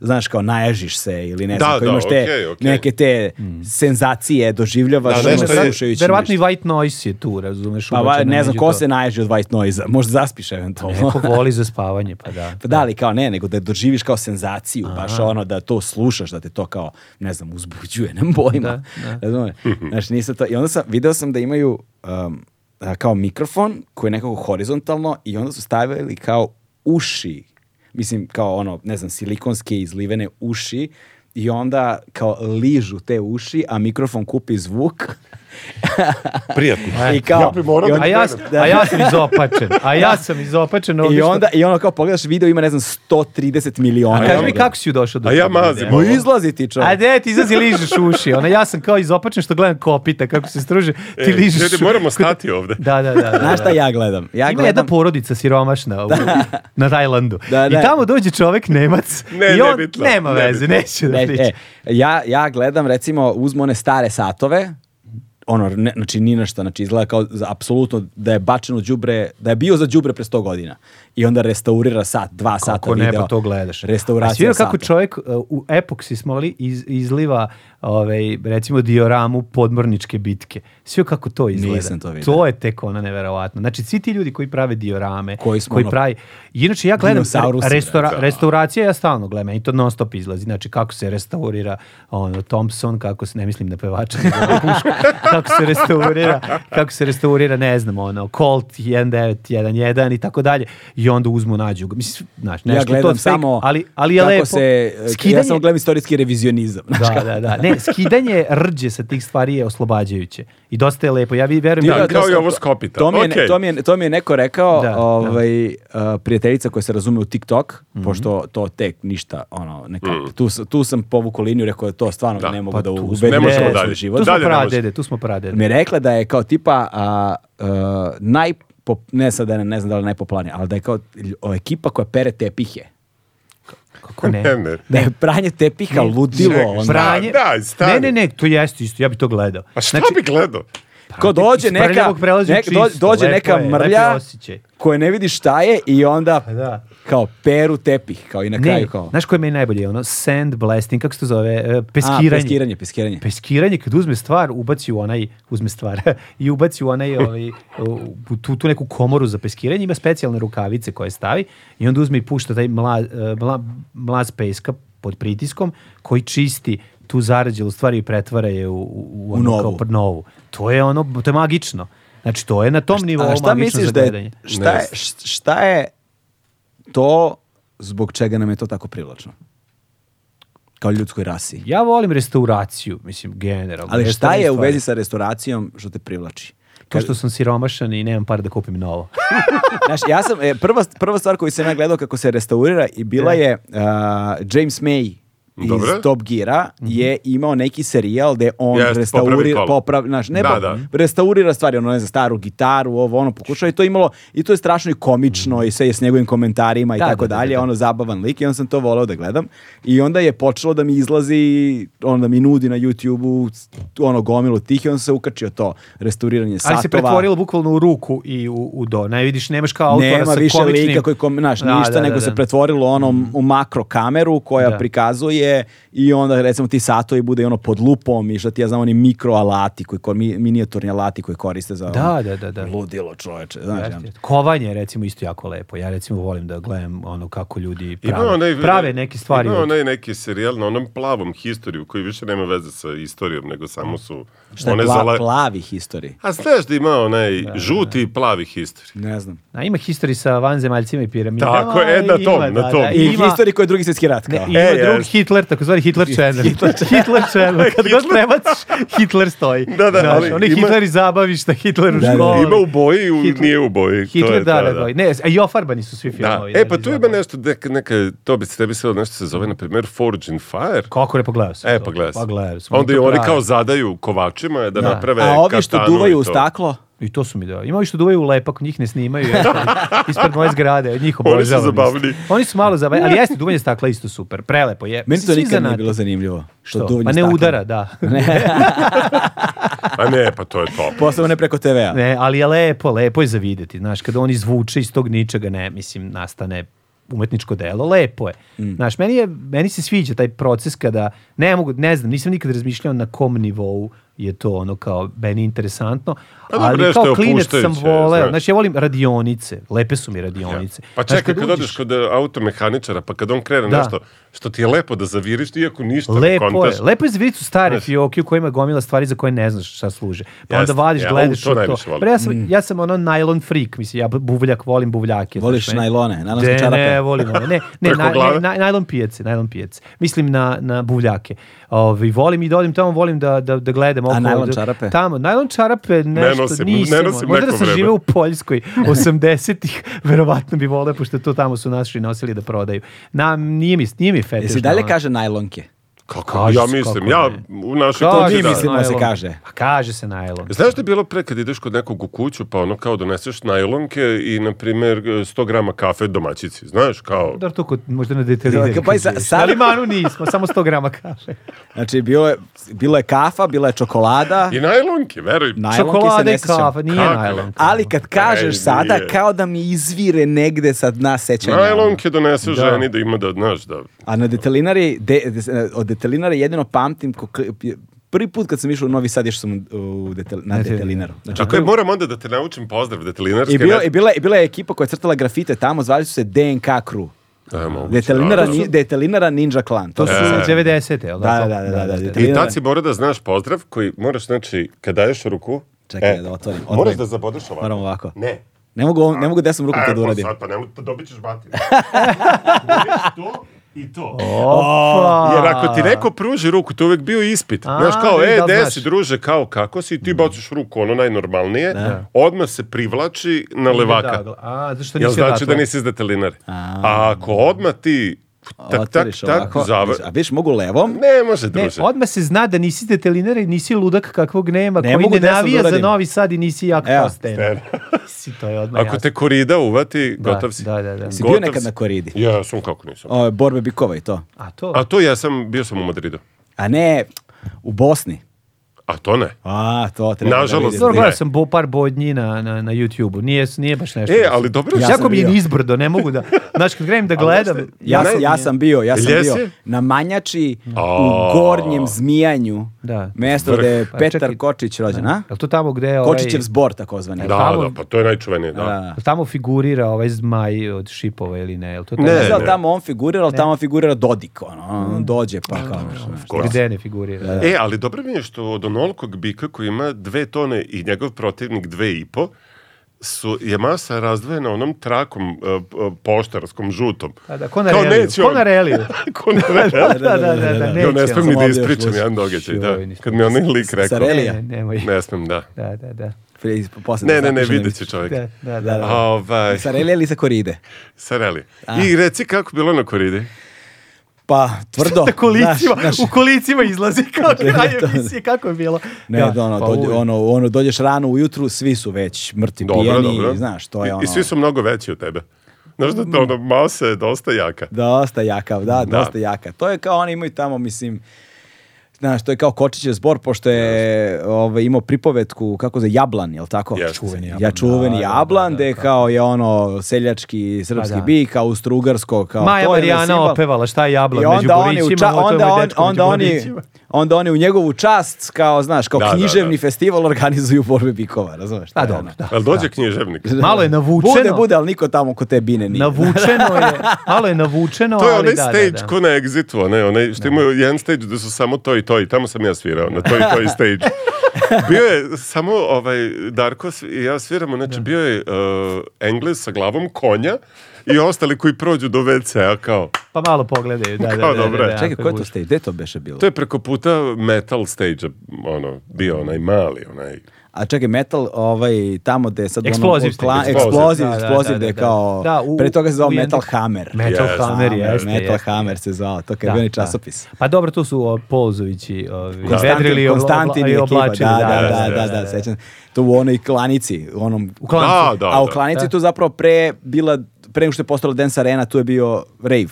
Znaš, kao naježiš se ili ne znam, Da, kao da, imaš te okej, okej. neke te senzacije, doživljavaš Da, ono, nešto je- slušajući. Mm. Verovatno i nešto. white noise je tu, razumeš? Pa, va- ubačeno ne znam među ko to. Pa se naježi od white noise možda zaspiš eventualno. Neko voli za spavanje, pa da. Pa da, ali kao ne, nego da doživiš kao senzaciju, baš ono da to slušaš, da te to kao, ne znam, uzbuđuje, nem bojima. Razumeš? Mhm. Znaš, nisam to... I onda sam, video sam da imaju um, a, kao mikrofon koji je nekako horizontalno i onda su stavili kao uši, mislim kao ono, ne znam, silikonske izlivene uši i onda kao ližu te uši, a mikrofon kupi zvuk. Prijatno. I kao, E, Ja bi morao i da onda- A ja, Da. a ja sam izopačen. A ja sam izopačen. I ovdje što- onda, i ono kao pogledaš video ima, ne znam, 130 miliona. A kaži mi toga. kako si ju došao do A ja toga, mazim. Dea? Ma izlazi ti čovjek. A de, ti izlazi ližeš uši. Ona, ja sam kao izopačen što gledam kopita kako se struže. Ti E, ližeš ljudi, uši. moramo stati ovde. Da, da, da. da, Znaš šta da. ja gledam? Ja Ima jedna gledam porodica siromašna u, na Tajlandu. Da, I ne. tamo dođe čovjek Nemac Ne, i on nebitno, nema veze, nebitno. neću da Ne, pričam. e, ja, ja gledam recimo uzmu one stare satove ono, ne, znači ni na šta, znači izgleda kao za, apsolutno da je bačeno đubre, da je bio za đubre pre 100 godina i onda restaurira sat, dva sata Ako ne, video. pa to gledaš. A si Restauracija vidio kako sata. čovjek uh, u epoksi smoli iz, izliva ovaj, recimo dioramu podmorničke bitke. Svi kako to izgleda. Nisam to vidio. je tek ono neverovatno. Znači, svi ti ljudi koji prave diorame, Koji smo ono- pravi... Inače, ja gledam Dinosaurusi, restora, da. restauracija, ja stalno gledam, i to non stop izlazi. Znači, kako se restaurira ono, Thompson, kako se, ne mislim na pevača, nego na pušku, kako se restaurira, kako se restaurira, ne znam, ono, Colt 1911 i tako dalje. I onda uzmu, nađu ga. Mislim, znaš, ja nešto to gledam fake, samo ali, ali je kako lepo. se, e, ja samo gledam istorijski revizionizam. znaš Da, kako. da, da. Ne, skidanje rđe sa tih stvari je oslobađajuće. I dosta je lepo. Ja vi verujem Da, da, kao to- i ovo s kopita. To mi, je, Okej. to, mi je, to mi je neko rekao, Da, da. ovaj, a, prijateljica koja se razume u TikTok, Mhm. pošto to tek ništa, ono, neka, tu, sam- tu sam povuku liniju, rekao je to stvarno Mhm. Da. ne mogu Pa da tu smo. ubedim Ne možemo u svoj dalje. život. tu smo dalje ne može. pradede, tu smo pradede. Mi je rekla da je kao tipa a, a, najpop- ne sad da ne, ne znam da li je najpopularnija, ali da je kao lj- o, ekipa koja pere tepihe. Kako ne? Ne, ne. Ne, pranje tepiha, ludilo. Čekaj, ono. šta? Pranje... Da, daj, stani. ne, ne, ne, to jeste isto, ja bi to gledao. A Pa šta bi gledao? Ko dođe iz neka, prljavog prelazi u nek, do- čisto, dođe lepo neka je, lepi mrlja osjećaj. Pa koje ne vidi šta je i onda da. kao peru tepih, kao i na Ne, kraju kao... znaš koje je meni najbolje? Ono, sand blasting, kako se to zove? E, Peskiranje. A, peskiranje, peskiranje. Peskiranje, kad uzme stvar, ubaci u onaj, uzme stvar, i ubaci u onaj, ovaj, u tu, tu neku komoru za peskiranje, ima specijalne rukavice koje stavi i onda uzme i pušta taj mla, e, mla, mlaz peska pod pritiskom koji čisti tu zarađelu stvar i pretvara je u, u, u, ono novu. Kao, pr- novu. To je ono, to je magično. Znači, to je na tom nivou A šta magično misliš za da gledanje. je, šta, je, št- šta je to zbog čega nam je to tako privlačno? Kao ljudskoj rasi. Ja volim restauraciju, mislim, generalno. Ali šta Restaurne je u stvari. vezi sa restauracijom što te privlači? To što sam siromašan i nemam para da kupim novo. Znaš, ja sam, e, prva, prva stvar koju sam ja gledao kako se restaurira i bila je a, James May iz Dobro. Mhm. Top Gira je imao neki serijal gde on Jeste, popravi restaurira, kolo. popravi, znaš, ne, Da, pa- da. restaurira stvari, ono ne znam, staru gitaru, ovo, ono, pokušao i to imalo, i to je strašno i komično i sve je s njegovim komentarima i Da, tako da, da, dalje, da. ono zabavan lik i onda sam to voleo da gledam i onda je počelo da mi izlazi, ono da mi nudi na YouTube-u ono gomilu tih i onda sam se ukačio to, restauriranje satova. Ali se pretvorilo bukvalno u ruku i u, u do. Ne vidiš, nemaš kao autora Nema sa više komičnim... lika koji kom, znaš, Da, ništa, da, nego da, se da. pretvorilo ono u makro kameru koja Da. prikazuje i onda recimo ti satovi bude ono pod lupom i šta ti ja znam, oni mikro alati, koji, ko- mi- minijaturni alati koji koriste za Da, ono, da, da, da. ludilo čoveče. Znaš, Jeste, ono. jeste. Kovanje je recimo isto jako lepo. Ja recimo volim da gledam ono kako ljudi Ima prave, onaj- prave neke stvari. Ima od- onaj neki serijal na onom plavom historiju koji više nema veze sa istorijom, nego samo su... Šta je one pla, zala- plavi historiji? A znaš da ima onaj žuti i plavi historij. Ne znam. A ima history sa vanzemaljcima i piramidama. Tako je, e, i na ima, tom, na tom. I ima- historiji koji je drugi svjetski rat. Ne, kao. i ima E, drug jest. Hitler, takozvani Hitler Channel. Hitler, Channel. Kad god Hitler- prebaciš, Hitler stoji. Da, da, Znaš, ali onaj ima- Hitler iz zabavišta, Hitler u Da, da. školi. Ima u boji i u- Ovaj Hitler- nije u boji. To Hitler, ovaj je to, da, da, da. Ne, a i ofarbani su svi Da. filmovi. E, znaš, pa iz tu ima zabavišta. nešto, neka, neka, to bi se tebi sve nešto se zove, na primjer, Forge in Fire. Kako ne pogledao sam E, to. pa gledaj. Pa gledao sam. Onda i To oni prave. kao zadaju kovačima da, Da. naprave A ovi što katanu i duvaju u to. staklo? I to su mi dao. Ima ovi što duvaju u lepak, njih ne snimaju. ja sam ispred moje zgrade, od njih su obožavam. isto. zabavni. Oni su malo zabavni, ali jeste duvanje stakla isto super. Prelepo je. Meni to Svi nikad nije zanati. bilo zanimljivo. Što? Što? duvanje Pa ne stakla. udara, da. A ne, pa to je to. Posebno ne preko TV-a. Ne, ali je lepo, lepo je za vidjeti. Znaš, kada on izvuče iz tog ničega, ne, mislim, nastane umetničko delo, lepo je. Mm. Znaš, meni, je, meni se sviđa taj proces kada, ne mogu, ne znam, nisam nikad razmišljao na kom nivou je to ono kao meni interesantno, Pa dobro, ali nešto kao je klinec sam opuštajuće, voleo. znaš. Znaš, ja volim radionice, lepe su mi radionice. Pa Znaš, čekaj, kad uđeš- odeš kod e, automehaničara, pa kad on krene Da. nešto što ti je lepo da zaviriš, iako ništa ne Lepo kontaš. je, lepo je zviricu stare fioke u kojima je gomila stvari za koje ne znaš šta služe. Pa Jeste, onda vadiš, ja, gledaš u, to u to. najviše volim. Pre, ja, sam, Mm. ja sam ono nylon freak, mislim, ja buvljak volim buvljake. Voliš znaš, meni- najlone, najlonske De, čarape? Ne, volim one. Ne, ne, Preko na- ne, glave? na- najlon pijace, najlon pijace. Mislim na, na buvljake. Ovi, volim i da odim tamo, volim da, da, da gledam. Oko, najlon čarape? Tamo, najlon čarape nešto nosim, nisam. ne nosim Možda da neko sam vreme. živeo u Poljskoj 80-ih, verovatno bi voleo, pošto to tamo su naši nosili da prodaju. Na, nije mi, nije mi fetiš. Jesi dalje na- kaže najlonke? Kako? Kaže ja se, mislim, kako ja ne. u našoj Kaže kući mi da. mislimo da se najlon. kaže. A kaže se najlon. Znaš da je bilo pre kad ideš kod nekog u kuću, pa ono kao doneseš najlonke i, na primjer, 100 grama kafe domaćici, znaš, kao... Dobro, to kod, možda na detaljideri. Pa i sa- sad- Ali manu nismo, samo 100 grama kafe. Znači, bilo je, bilo je kafa, bila je čokolada, I najlonke, veruj. najlonki se Čokolada ne i sećam. kafa, nije Kako? najlon. Ali kad kažeš E, sada, nije. kao da mi izvire negde sa dna sećanja. Najlonke donese Znači, Da. Znači, ženi da ima da, znaš, da... A na detelinari, de, de- od detelinari jedino pamtim, ko, kli- prvi put kad sam išao u Novi Sad, išao sam u, u detel- na Detelin- detelinaru. Znači, Čakaj, moram onda da te naučim pozdrav detelinarske. I, bila, reči. i, bila, I bila je ekipa koja je crtala grafite tamo, zvali su se DNK Crew. E, moguće, Detelinara, da, da. ni- detelinara Ninja Clan. To To su su 90-te, jel Da, da, da, da, da, da. I tad si mora da znaš pozdrav koji moraš, znači, kad daješ ruku... e, Čekaj, da otvorim, Moraš odvojim. da zabodeš ovako. Moram ovako. Ne. Ne mogu, ovom- ne mogu desnom rukom E, to da pa uradim. sad, pa nemoj, pa dobit ćeš batinu. Dobiješ to i to. Opa! Jer ako ti neko pruži ruku, to je uvek bio ispit. A, Znaš kao, da, e, da, gde znaš. si, druže, kao, kako si, i ti baciš ruku, ono najnormalnije, Mm. Da. odmah se privlači na Da, levaka. da, A, zašto Jel nisi znači da odatle? nisi iz detelinare? A ako odmah ti tak, tak, otvoriš tak, ovako. zavar. A vidiš, mogu levom. Ne može, Ne, druže. odmah se zna da nisi detelinera i nisi ludak kakvog nema, Ne mogu koji ne desno da navija za uradim. Novi Sad i nisi jak Evo, Evo, postena. Nisi, to je odmah Ako jasno. te korida uvati, gotov si. da, da, da. Si bio Gotov nekad si. na koridi. Ja sam kako nisam. O, borbe bikova i to. A to? A to ja sam, bio sam u Madridu. A ne, u Bosni. A to ne. A, to treba da Nažalost, vidim. Dobro, ne. gledao sam bo, par bodnji na, na, na YouTube-u. Nije, nije baš nešto. E, ali dobro Ja Ja sam jako mi je bio. nizbrdo, ne mogu da... Znaš, kad grem da znaš gledam... šta- Ja, Ne. sam, ja sam bio, ja sam Jesi? bio na Manjači A. u Gornjem Zmijanju, Da. mesto Vrh. gde je Pa Petar čekaj. Kočić rođen, a? Je li to tamo gde je ovaj... Kočićev zbor takozvani. Da, Da. tamo- da, pa to je najčuvenije, da. da. jel tamo figurira ovaj zmaj od šipova ili ne? Je li to tamo Ne, Ne znam ne. tamo on figurira, ali tamo figurira Dodik, ono, Mm. on dođe pa kao, znaš. Ko- Gde ne figurira? E, ali dobro mi je što od onolikog bika koji ima dve tone i njegov protivnik dve i po, su, je masa razdvojena onom trakom e, e, poštarskom žutom. Da, Pa da, ko na reliju, neće ko on- na reliju. ko na reliju. Da, da, da, da, neće Ja ne on. smem Samo ni da ovdje još ispričam luzi. jedan događaj, da. Joj, nisam- Kad mi onaj lik rekao. Sareli. Ne, nemoj. Ne smem, da. Da, da, da. Prije- posle Ne, da ne, ne, zapišem da vidjet mi- će čovjek. Da, Da, da, da. da. Ovaj, Sa relija ili sa koride? Sareli. I reci kako bilo na koridi. Pa, tvrdo. Sa kolicima, znaš, znaš. u kolicima izlazi kao kraj emisije, kako je bilo. Ne, Da, ono, pa dođe- uvek. ono, ono, dođeš rano ujutru, svi su već mrtvi Dobro, pijeni, dobro. znaš, to I- je ono... I svi su mnogo veći od tebe. Znaš da to, ono, masa je dosta jaka. Dosta jakav, da, Da. dosta jaka. To je kao oni imaju tamo, mislim, znaš, to je kao Kočićev zbor, pošto je ovaj, imao pripovetku, kako za Jablan, jel tako? Jeste. Čuveni Jablan. Ja čuveni Da, da, Jablan, da, da, gde da. kao je ono seljački srpski Pa da. bik, austrougarsko, kao Maja to je Marijana simbol. opevala šta je jablan I među onda oni, u borićima, ča- ovo to je onda, moj on, dečko među onda, oni, borićima. onda oni u njegovu čast, kao, znaš, kao Da, da, književni da. festival organizuju borbe bikova, razumeš? Pa To je dobro, ono. da. Jel dođe književnik? Malo je navučeno. Bude, bude, ali niko tamo kod te bine nije. Navučeno je, malo je navučeno, To je ali onaj da, da, stage da. ko na Exitu, onaj, onaj što imaju jedan stage da su samo to i to i tamo sam ja svirao, na to i to i stage. Bio je samo ovaj, Darko svi- i ja sviramo, znači bio je uh, Engles sa glavom konja i ostali koji prođu do WC-a kao, Pa malo pogledaju, da, da, Kao da, da, dobro je. da, Čekaj, ako ko je to gušt. stage? Gde je to beše bilo? to je preko puta metal stage ono, bio onaj mali, onaj, A čekaj, metal, ovaj, tamo gde je sad... ono- Eksploziv kla- stage. Eksploziv, Da, da, eksploziv, da, gde je da. kao... Da, u- pre toga se zvao u Metal jednom- Hammer. Metal Yes. Hammer, jeste, Metal jeste. Hammer se zvao, to kad je Da, bio onaj da. časopis. Pa dobro, tu su o, Polzovići ovi, Konstantin, vedrili i obla- Konstantin i i ekipa, oblačili. da, da, da, da, da, da, sećam. se. To u onoj klanici, u onom... U klancu. Da, da. a u klanici Da. tu zapravo pre bila, pre nego što je postala Dance Arena, tu je bio rave.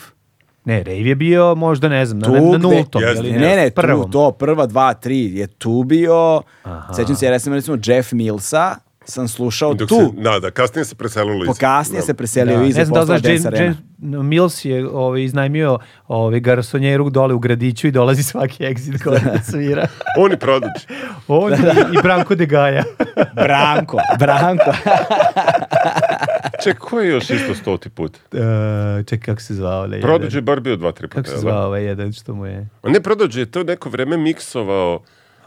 Ne, Rave je bio možda, ne znam, na, Tu na gde- nultom. Jeste. ili Ne, ne, ne, tu, prvom. to prva, dva, tri je tu bio. Aha. Sećam se, ja sam recimo Jeff Millsa, sam slušao dok tu. se, da, da, kasnije se preselilo iz... Po kasnije se preselio Da, iza ne znam da li postala znaš, Dance James, Arena. James Mills je ovaj, iznajmio ovaj, garsonjeru dole u gradiću i dolazi svaki exit gore da svira. Oni prodači. On i, i Branko de Gaja. Branko, Branko. Ček, ko je još isto stoti put? E, čekaj, kako se zvao? ovaj jedan? Prodađe je bar bio dva, tri puta. Kako se jel da? zvao ovaj jedan što mu je... A ne prodađe je to neko vreme miksovao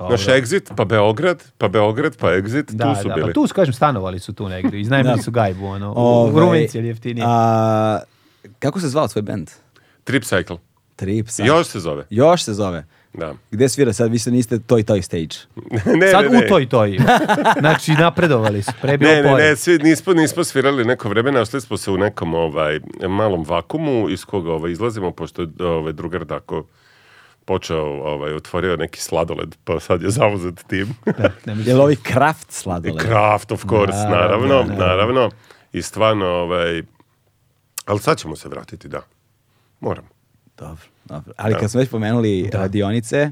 naš exit, pa Beograd, pa Beograd, pa exit, Da, tu su da, bili. pa tu su, kažem, stanovali su tu negdje. Iznajmili Da. su gajbu, ono, u, u Ovaj, Rumenci ili jeftinije. a, kako se zvao tvoj bend? Trip Cycle. Trip Sound. Još se zove. Još se zove. Da. Gde svira sad? Vi se niste toj toj stage. ne, Sad ne, ne. u toj toj. Znači, napredovali su. Pre je bilo Ne, ne, ne, pored. svi nismo, nismo svirali neko vreme, našli smo se u nekom ovaj, malom vakumu iz koga ovaj, izlazimo, pošto je ovaj, drugar Dako počeo, ovaj, otvorio neki sladoled, pa sad je zauzet tim. Ne mislim. Jel ovi kraft sladole? Kraft, of course, Da, naravno, da, da. naravno. I stvarno, ovaj, ali sad ćemo se vratiti, da. Moramo. Dobro, dobro. Ali kad smo već pomenuli radionice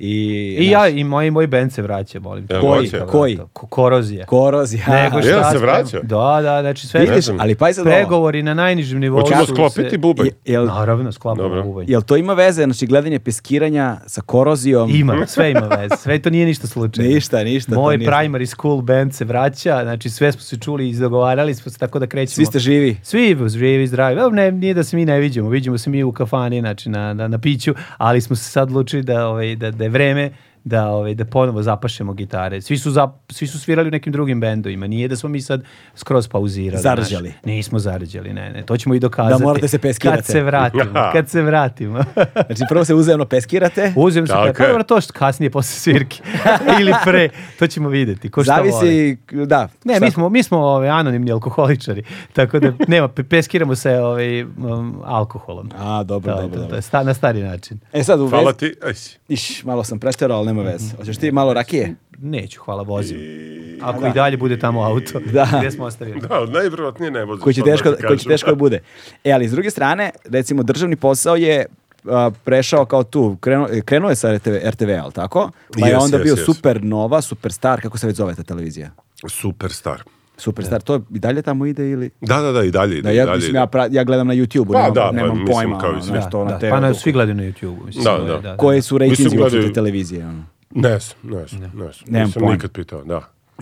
i... I znaš, ja i moj, moj band se vraća, molim. te. Evo, Koji? hoće. Koji? Ko- Korozija. Korozija. Nego šta? Jel se sprem- vraća? Da, da, znači sve Vidiš, znam. ali pazi sad ovo. pregovori na najnižem nivou. Hoćemo su sklopiti se- bubanj. Je- Jel, Naravno, Dobro. sklapamo bubanj. jel to ima veze, znači gledanje peskiranja sa korozijom? Ima, sve ima veze. Sve to nije ništa slučajno. Ništa, ništa, to Moj nije- primary school band se vraća, znači sve smo se čuli i izdogovarali smo se tako da krećemo. Svi ste živi. Svi živi, zdravi. Evo, ne, nije da se mi ne viđemo, viđemo se mi u kafani, znači na, na, na piću, ali smo se sad odlučili da, ovaj, da, da je vreme da, ovaj, da ponovo zapašemo gitare. Svi su, zap, svi su svirali u nekim drugim bendovima. Nije da smo mi sad skroz pauzirali. znaš. Zarđali. Nismo zarđali, ne, ne. To ćemo i dokazati. Da morate se peskirate. Kad se vratimo. kad se vratimo. Znači, prvo se uzajemno peskirate, Uzem se Tako pa, pa je. dobro to što kasnije posle svirke ili pre, to ćemo videti. Ko šta voli. zavisi, da. Ne, šta- mi smo, mi smo ove, anonimni alkoholičari, tako da nema, pe- peskiramo se ove, um, alkoholom. A, dobro, to, je dobro, to, to dobro. je sta, na stari način. E sad u vezi... Hvala ti. Aj, si. Iš, malo sam preterao, ali Mhm. nema veze. Hoćeš ti malo rakije? Neću, hvala, vozim. Ako i dalje bude tamo auto, Da. gde smo ostavili. Da, najvjerovatnije ne voziš. koji će odmah teško, ti koji će kažem. teško da bude. E, ali s druge strane, recimo, državni posao je a, prešao kao tu, krenuo, krenuo je sa RTV, RTV, ali tako? Pa je Jes, onda jes, bio jes. Supernova, Superstar, kako se već zove ta televizija? Superstar. Superstar, to i dalje tamo ide ili... Da, da, da, i dalje ide. Da, i ja, dalje mislim, ide. ja, pra- ja gledam na YouTube-u, Pa nemam, da, pa nemam mislim, pojma, kao i ono, svi. nešto ono, da, TV pa na, dugo. svi gledaju na YouTube-u. mislim, Da, to je, da. Koji su rejtinzi Mislim, gledaju- uopšte te televizije, ono. Ne znam, ne znam, ne znam. Nemam Nisam pojma. nikad pitao, da.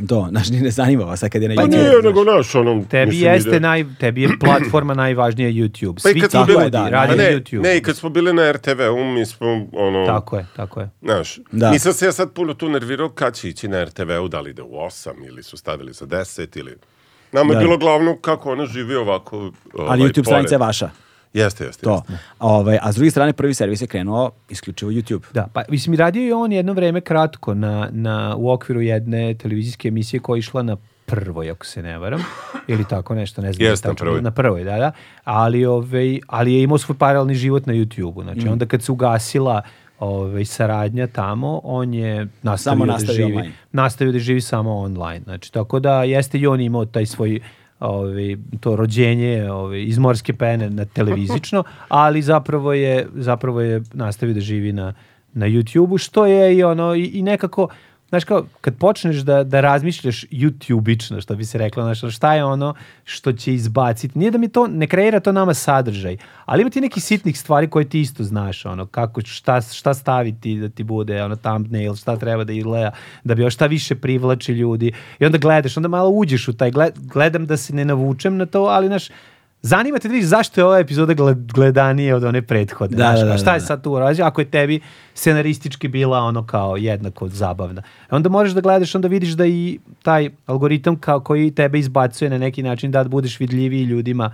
To, znaš, ni ne zanima vas, sad kad je na Pa YouTube. nije, nego naš, ono... Tebi mislim, jeste ide- naj, tebi je platforma najvažnija YouTube. Pa i Svi kad ti smo tako bili, je, da, ljudi rade A na ne, YouTube. Ne, i kad smo bili na RTV-u, mi smo, ono... Tako je, tako je. Znaš, Da. nisam se ja sad puno tu nervirao kad će ići na RTV-u, da li ide u 8 ili su stavili za 10 ili... Nama Da. je bilo glavno kako ona živi ovako... ovaj, Ali YouTube stranica je vaša. Jeste, jeste. To. jeste. Ovaj, a s druge strane, prvi servis je krenuo isključivo YouTube. Da, pa mislim i radio je on jedno vreme kratko na, na, u okviru jedne televizijske emisije koja je išla na prvoj, ako se ne varam, ili tako nešto, ne znam. Jest, na tačno, prvoj. Na prvoj, da, da. Ali, ovaj, ali je imao svoj paralelni život na YouTube-u. Mm. Znači, onda kad se ugasila ovaj, saradnja tamo, on je nastavio, Samo da nastavio živi. online. Nastavio da živi samo online. Znači, tako da jeste i on imao taj svoj ovaj, to rođenje ovaj, iz morske pene na televizično, ali zapravo je, zapravo je nastavio da živi na, na YouTube-u, što je i ono, i, i nekako, znaš kao, kad počneš da, da razmišljaš YouTube-ično, što bi se reklo, znaš, ono, šta je ono što će izbaciti, nije da mi to, ne kreira to nama sadržaj, ali ima ti nekih sitnih stvari koje ti isto znaš, ono, kako, šta, šta staviti da ti bude, ono, thumbnail, šta treba da izgleda, da bi još šta više privlači ljudi, i onda gledaš, onda malo uđeš u taj, gled- gledam da se ne navučem na to, ali, znaš, Zanima te da vidiš zašto je ova epizoda gled- gledanije od one prethodne. Da, znaš, da, kao da, šta je da. sad tu urađeno, ako je tebi scenaristički bila ono kao jednako zabavna. E Onda moraš da gledaš, onda vidiš da i taj algoritam kao koji tebe izbacuje na neki način da budeš vidljiviji ljudima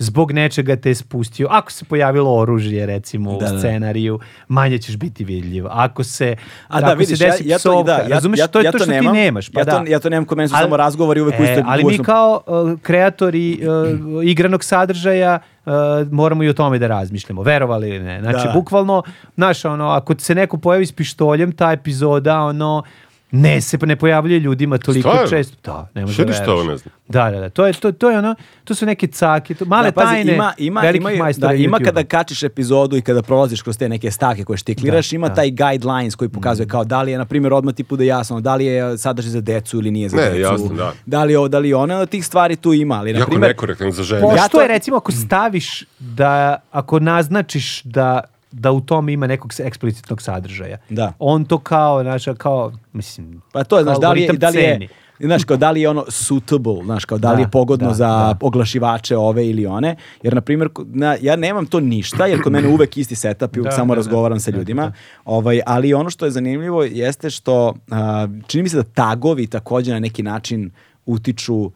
zbog nečega te je spustio. Ako se pojavilo oružje recimo Da, da. u scenariju, manje ćeš biti vidljiv. Ako se A da, ako vidiš, se ja, desi ja to, i psovka, da, ja, razumeš, ja, to je ja to, što nemam, ti nemaš. Pa ja, to, da. ja to nemam kod mene su Ali- samo razgovori uvek u istoj ali mi gusnom- kao uh, kreatori uh, igranog sadržaja uh, moramo i o tome da razmišljamo, verovali ili ne. Znači, Da. bukvalno, znaš, ono, ako se neko pojavi s pištoljem, ta epizoda, ono, ne se ne pojavljuje ljudima toliko Stvarno? često. Da, ne može Šta da ni što veruješ. ne znam? Da, da, da. To je, to, to je ono, to su neke cake, to, male Da, pazi, tajne ima, ima, velikih imaju- majstora da, ima YouTube-a. kada kačiš epizodu i kada prolaziš kroz te neke stake koje štikliraš, ima taj guidelines koji pokazuje Mm. kao da li je, na primjer, odmah ti bude jasno, da li je sadržaj za decu ili nije za Ne, decu. jasno, da. Da li je ovo, da li je ono, tih stvari tu ima, ali, na Jako primjer, nekorektan za žene. Po- Pošto Ja to- je recimo ako staviš da, ako naznačiš da da u tom ima nekog s- eksplicitnog sadržaja. Da. On to kao, znaš, kao, mislim... Pa to je, kao znaš, da li je, algoritam da li je, ceni. znaš, kao da li je ono suitable, znaš, kao da li Da, je pogodno da, za da. oglašivače ove ili one, jer, na primjer, kod- na, ja nemam to ništa, jer kod mene uvek isti setup i uvek Da, samo da, da. razgovaram sa ljudima, ovaj, ali ono što je zanimljivo jeste što, a, čini mi se da tagovi takođe na neki način utiču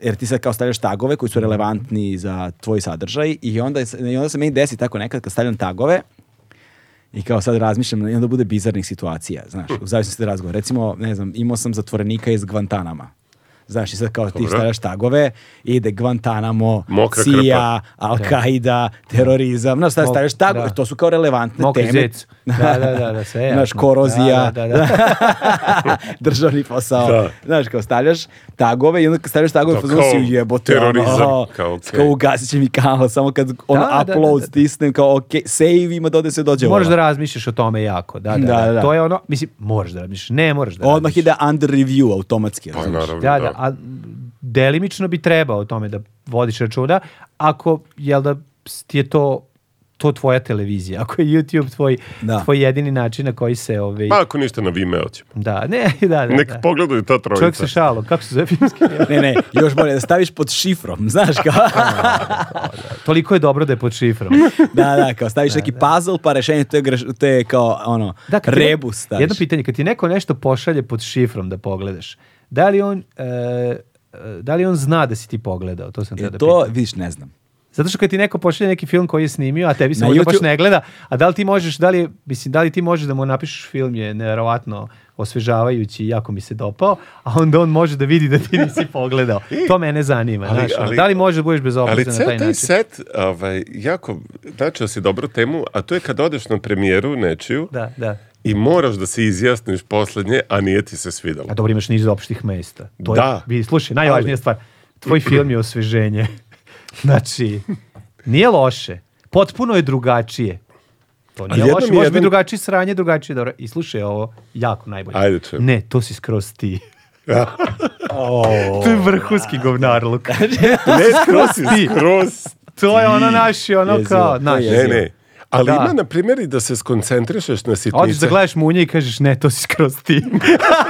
jer ti sad kao stavljaš tagove koji su relevantni za tvoj sadržaj i onda, je s- i onda se meni desi tako nekad kad stavljam tagove i kao sad razmišljam, i onda bude bizarnih situacija, znaš, Hm. u zavisnosti od razgovora. Recimo, ne znam, imao sam zatvorenika iz Guantanama. Znaš, i sad kao ti Dobro. stavljaš tagove, ide Guantanamo, Mokra CIA, krpa. Al-Qaida, terorizam, znaš, sad Mok- stavljaš tagove, da. to su kao relevantne Mokri teme. zec. Da, da, da, da, sve je Znaš, jasno. korozija, Da, da, da. državni posao. Da. Znaš, kao stavljaš tagove i onda kad stavljaš tagove, Da, fazonu si kao jebote, ono, terorizam, kao, okej. kao ugasit će mi kanal, samo kad ono da, da, da, upload da. stisnem, kao ok, save ima, dode se dođe ono. Moraš ovo. da razmišljaš o tome jako. Da, Da, da, da. da, da. To je ono, mislim, moraš da razmišljaš. Ne moraš da Odmah razmišljaš. ide under review automatski. Pa razumeš? naravno, Da, da, a delimično bi trebao o tome da vodiš računa, ako, jel da, s- ti je to to tvoja televizija, ako je YouTube tvoj, Da. tvoj jedini način na koji se... Ovaj, Pa ako ništa na Vimeo ćemo. da, ne, da, da. Nek da. pogledaju ta trojica. Čovjek se šalo, kako se zove filmski? Ne, ne, još bolje, da staviš pod šifrom, znaš kao. Toliko je dobro da je pod šifrom. da, da, kao staviš neki puzzle, pa rešenje te, greš- te kao, ono, Da, kad ti ne- rebus staviš. Jedno pitanje, kad ti neko nešto pošalje pod šifrom da pogledaš, da li on... e, e, da li on zna da si ti pogledao? To sam teo da E, to, pitam. vidiš, ne znam. Zato što kad ti neko pošalje neki film koji je snimio, a tebi se Na možda baš YouTube- ne gleda, a da li ti možeš, da li, je- mislim, da li ti možeš da mu napišeš film je nevjerovatno osvežavajući i jako mi se dopao, a onda on može da vidi da ti nisi pogledao. To mene zanima. znaš, ono, da li možeš da budeš Ali bezobrazan na ceo taj taj način? set, ovaj, jako, načeo si dobru temu, a to je kad odeš na premijeru nečiju Da, da. i moraš da se izjasniš poslednje, a nije ti se svidalo. A dobro, imaš niz opštih mesta. To Da. Je, vidi, slušaj, najvažnija Ali- stvar. Tvoj film je osveženje. znači, nije loše. Potpuno je drugačije. To nije jednom loše, je može jedan- biti drugačije sranje, drugačije dobro. I slušaj ovo, jako najbolje. Ajde, čujem. Ne, to si skroz ti. to je vrhunski govnar, Luka. Ne, skroz si, Ti. skroz. to je ono naši, ono Jezivo, to kao, je naš. Ne, ne. Ali Da. ima, na primjer, i da se skoncentrišeš na sitnice. Hoćeš da gledaš munje i kažeš ne, to si skroz ti.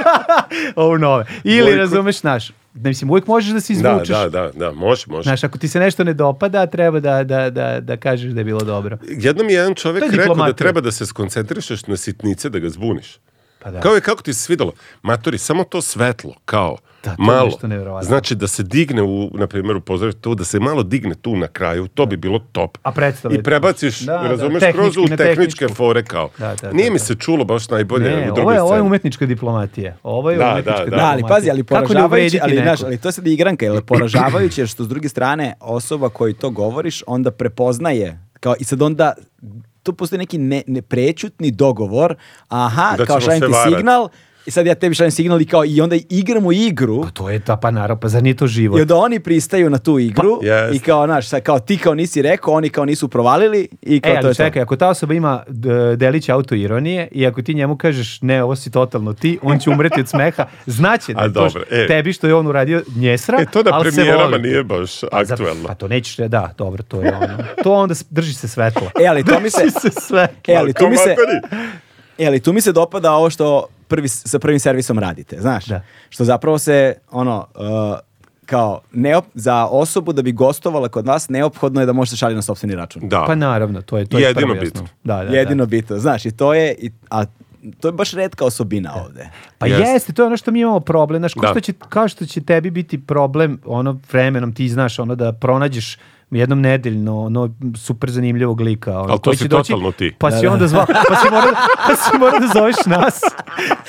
Ovo nove. Ili Bojkot. razumeš naš. Ne, mislim, uvijek možeš da se Da, izvučeš. da, da, da, može, može. Znaš, ako ti se nešto ne dopada, treba da, da, da, da kažeš da je bilo dobro. Jednom je jedan To čovjek je rekao da diplomatija. treba da se skoncentrišeš na sitnice da ga zbuniš. Pa da. Kao je, kako ti se svidalo? Matori, samo to svetlo, kao, Da, to je malo. nešto nevjerovatno. Znači da se digne, u, na primjer, u pozorištu, to da se malo digne tu na kraju, to bi bilo top. A predstava je- I prebaciš, Da, da, razumeš, tehnički kroz u na tehničke tehničku. fore, kao. Da, da, da, Nije mi da. se čulo baš najbolje u Ne, drugoj ovo je, ovo je sceni. umetnička diplomatija. Ovo je Da, umetnička da, da. Da, ali pazi, ali Kako ne poražavajuće, uvrediti ali, nekog? znaš, ali to je sad igranka, jer poražavajuće je što s druge strane osoba koji to govoriš onda prepoznaje, kao i sad onda tu postoji neki ne, neprećutni dogovor, aha, Da kao ćemo šaljem se ti varat. signal, i sad ja tebi šaljem signal i kao i onda igramo igru, Pa to je ta pa naravno, pa zar nije to život? I onda oni pristaju na tu igru jest. i kao, znaš, sad kao ti kao nisi rekao, oni kao nisu provalili i kao E, to je ali čekaj, ako ta osoba ima d- delić autoironije i ako ti njemu kažeš ne, ovo si totalno ti, on će umreti od smeha, znaće da A je to dobro, e. tebi što je on uradio njesra, E, to na ali se premijerama voli. nije baš Zato- aktuelno. Pa to nećeš, da, dobro, to je ono. To onda s- drži se svetlo. to. E, ali to mi se... Drži se svetlo. E, ali tu mi se... Matori, E, ali tu mi se dopada ovo što prvi, sa prvim servisom radite, znaš? Da. Što zapravo se, ono, uh, kao, neop, za osobu da bi gostovala kod vas, neophodno je da možete šaliti na sobstveni račun. Da. Pa naravno, to je to je Jedino prvo jasno. bitno. Da, da, da. Jedino bitno, znaš, i to je, i, a to je baš redka osobina ovde. Pa Jeste. jeste. to je ono što mi imamo problem, znaš, Da. kao, što će, kao što će tebi biti problem ono vremenom, ti znaš ono da pronađeš jednom nedeljno ono super zanimljivog lika. Ono, Ali to koji si će doći, totalno ti. Pa si onda zvao, pa si morao, pa si morao da zoveš nas.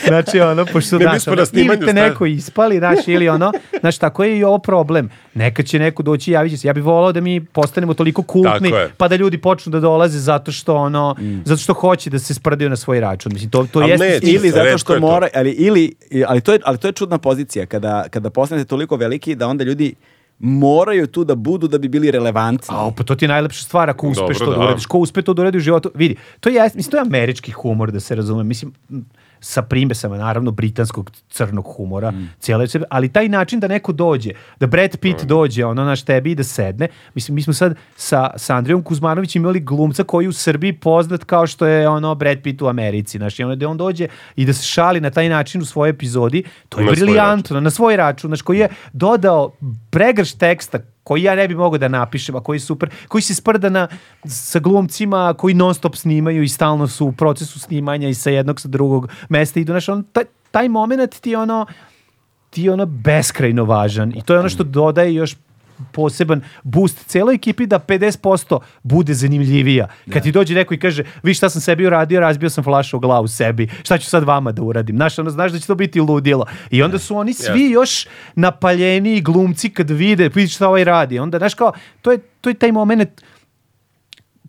Znači ono, pošto Ne, mi znaš, smo ono, na snimanju ili te stavili. neko ispali, znaš, ili ono, znaš, tako je i ovo problem. Neka će neko doći i javit će se. Ja bih volao da mi postanemo toliko kultni, Tako je. pa da ljudi počnu da dolaze zato što ono, zato što hoće da se sprdaju na svoj račun. Mislim, to, to Ali jeste neće. cilj. Ili zato Retko što je to. mora, ali, ili, i- ali, to je, ali to je čudna pozicija, kada, kada postanete toliko veliki da onda ljudi moraju tu da budu da bi bili relevantni. A pa to ti je najlepša stvar ako uspeš Dobro, to da, da. uradiš. Ko uspe to da uradi u životu, vidi. To je, mislim, to je američki humor, da se razume. Mislim, m, sa primesama, naravno, britanskog crnog humora, Mm. cijele sebe, ali taj način da neko dođe, da Brad Pitt dođe, ono, naš tebi i da sedne. Mislim, mi smo sad sa, sa Andrijom Kuzmanovićem imali glumca koji je u Srbiji poznat kao što je, ono, Brad Pitt u Americi. Znaš, i ono, da on dođe i da se šali na taj način u svojoj epizodi, to je Na svoj briljantno apsolutno, na svoj račun, znaš, koji je dodao pregrš teksta koji ja ne bi mogao da napišem, a koji je super, koji se sprda na, sa glumcima koji non stop snimaju i stalno su u procesu snimanja i sa jednog sa drugog mesta idu, znaš, on, taj, taj moment ti je ono, ti je ono beskrajno važan i to je ono što dodaje još poseban boost celoj ekipi da 50% bude zanimljivija. Kad ti dođe neko i kaže, vi šta sam sebi uradio, razbio sam flašu o glavu sebi, šta ću sad vama da uradim? Znaš, ono, znaš da će to biti ludilo. I onda su oni svi još napaljeniji glumci kad vide, vidi šta ovaj radi. Onda, znaš, kao, to je, to je taj moment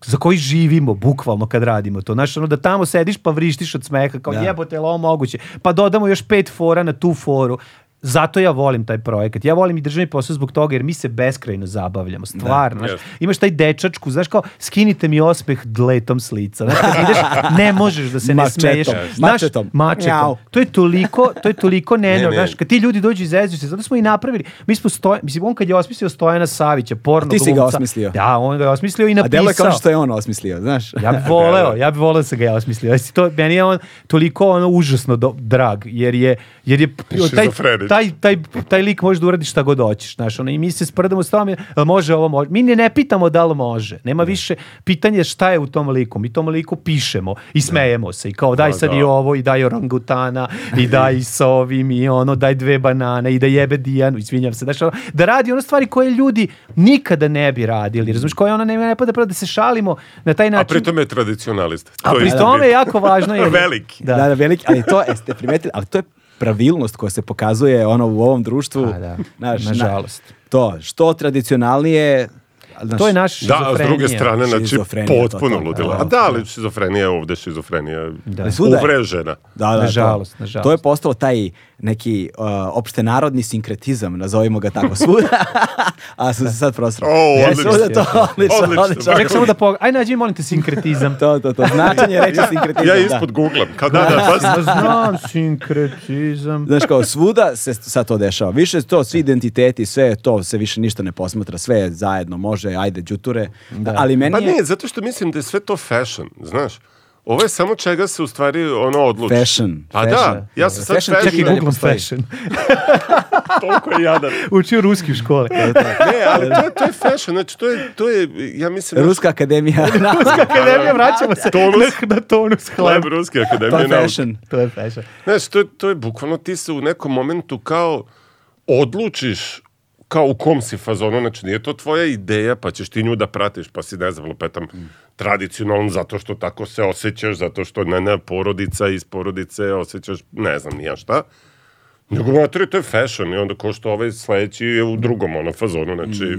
za koji živimo bukvalno kad radimo to. Znaš, ono da tamo sediš pa vrištiš od smeha kao Da. jebote, je li ovo moguće? Pa dodamo još pet fora na tu foru. Zato ja volim taj projekat. Ja volim i državni posao zbog toga jer mi se beskrajno zabavljamo. Stvarno. znaš. Jeste. imaš taj dečačku, znaš kao, skinite mi osmeh dletom s lica. Znaš, kad ideš, ne možeš da se ne Mačetom. smeješ. Znaš, Mačetom. mačetom. Mjau. To je toliko, to je toliko nenormalno. ne. Znaš, kad ti ljudi dođu i zezuju se, zato smo i napravili. Mi smo Stojan, mislim, on kad je osmislio Stojana Savića, porno ti si ga glumca- osmislio. Da, on ga je osmislio i A delo napisao. je kao što je on osmislio, znaš. Ja bih voleo, ja bih voleo da sam ga ja osmislio. Jesi to, meni je on toliko ono užasno do, drag, jer je, jer je taj, Šizofrenič. taj, taj, taj lik može da uradi šta god hoćeš. Znaš, ono, I mi se sprdamo s tom, jel može ovo, može. Mi ne, ne pitamo da li može. Nema više pitanje šta je u tom liku. Mi tom liku pišemo i smejemo se. I kao daj sad Pa da. i ovo, i daj orangutana, i daj s ovim, i ono, daj dve banane, i da jebe Dijanu, izvinjam se. Znaš, ono, da radi ono stvari koje ljudi nikada ne bi radili. Razumiješ, koje ona ne, ne pada pravo da se šalimo na taj A način. pritom je tradicionalista. A To je pri isto tome je bit. jako važno. Jer, Veliki. Da, da, veliki, ali to, jeste primetili, ali to je pravilnost koja se pokazuje ono u ovom društvu. A, da. Znaš, na- Nažalost. to, što tradicionalnije, znaš, To je naš Da, a s druge šizofrenija. strane, znači, Šizofrenija, to, potpuno to, ludila. da. A da, ali šizofrenija je ovde šizofrenija Da. Svuda je. uvrežena. Da, da, Nažalost, to. nažalost. To je postalo taj neki uh, opštenarodni sinkretizam, nazovimo ga tako svuda, a sam se sad prosrao. O, E, odlično. svuda to, odlično, Odlično, odlično. baš. Ček samo da pogledam. Aj nađi, molim te, sinkretizam. To, to, to. Značenje reči sinkretizam. Ja da. ispod googlam. Kao da, pa- da, Ja baš. znam, sinkretizam. Znaš kao svuda se sad to dešava. Više to svi identiteti, sve je to se više ništa ne posmatra, sve je zajedno može, ajde đuture. Ali meni Pa je ne, zato što mislim da je sve to fashion, znaš. Ovo je samo čega se u stvari ono odluči. Fashion, Pa fashion. da, ja sam sad Fashion, fashion, čekaj, Dalje Čekaj, googlam postoji. fashion. toliko je jadan. Učio ruski u školi. Ne, ali to je, to je fashion, znači to je, to je ja mislim... Ruska akademija. Akademija, vraćamo se Tonus. na, na tonus Hleb hleb. Ruske to akademije je nauka. fashion. To je fashion. Znaš, to je, to je bukvalno ti se u nekom momentu kao odlučiš kao u kom si fazonu, znači nije to tvoja ideja, pa ćeš ti nju da pratiš, pa si ne znam, lupetam, tradicionalno, zato što tako se osjećaš, zato što ne, ne, porodica iz porodice osjećaš, ne znam, nija šta. Nego, materi, to je fashion i onda ko što ovaj sledeći je u drugom ono fazonu, znači,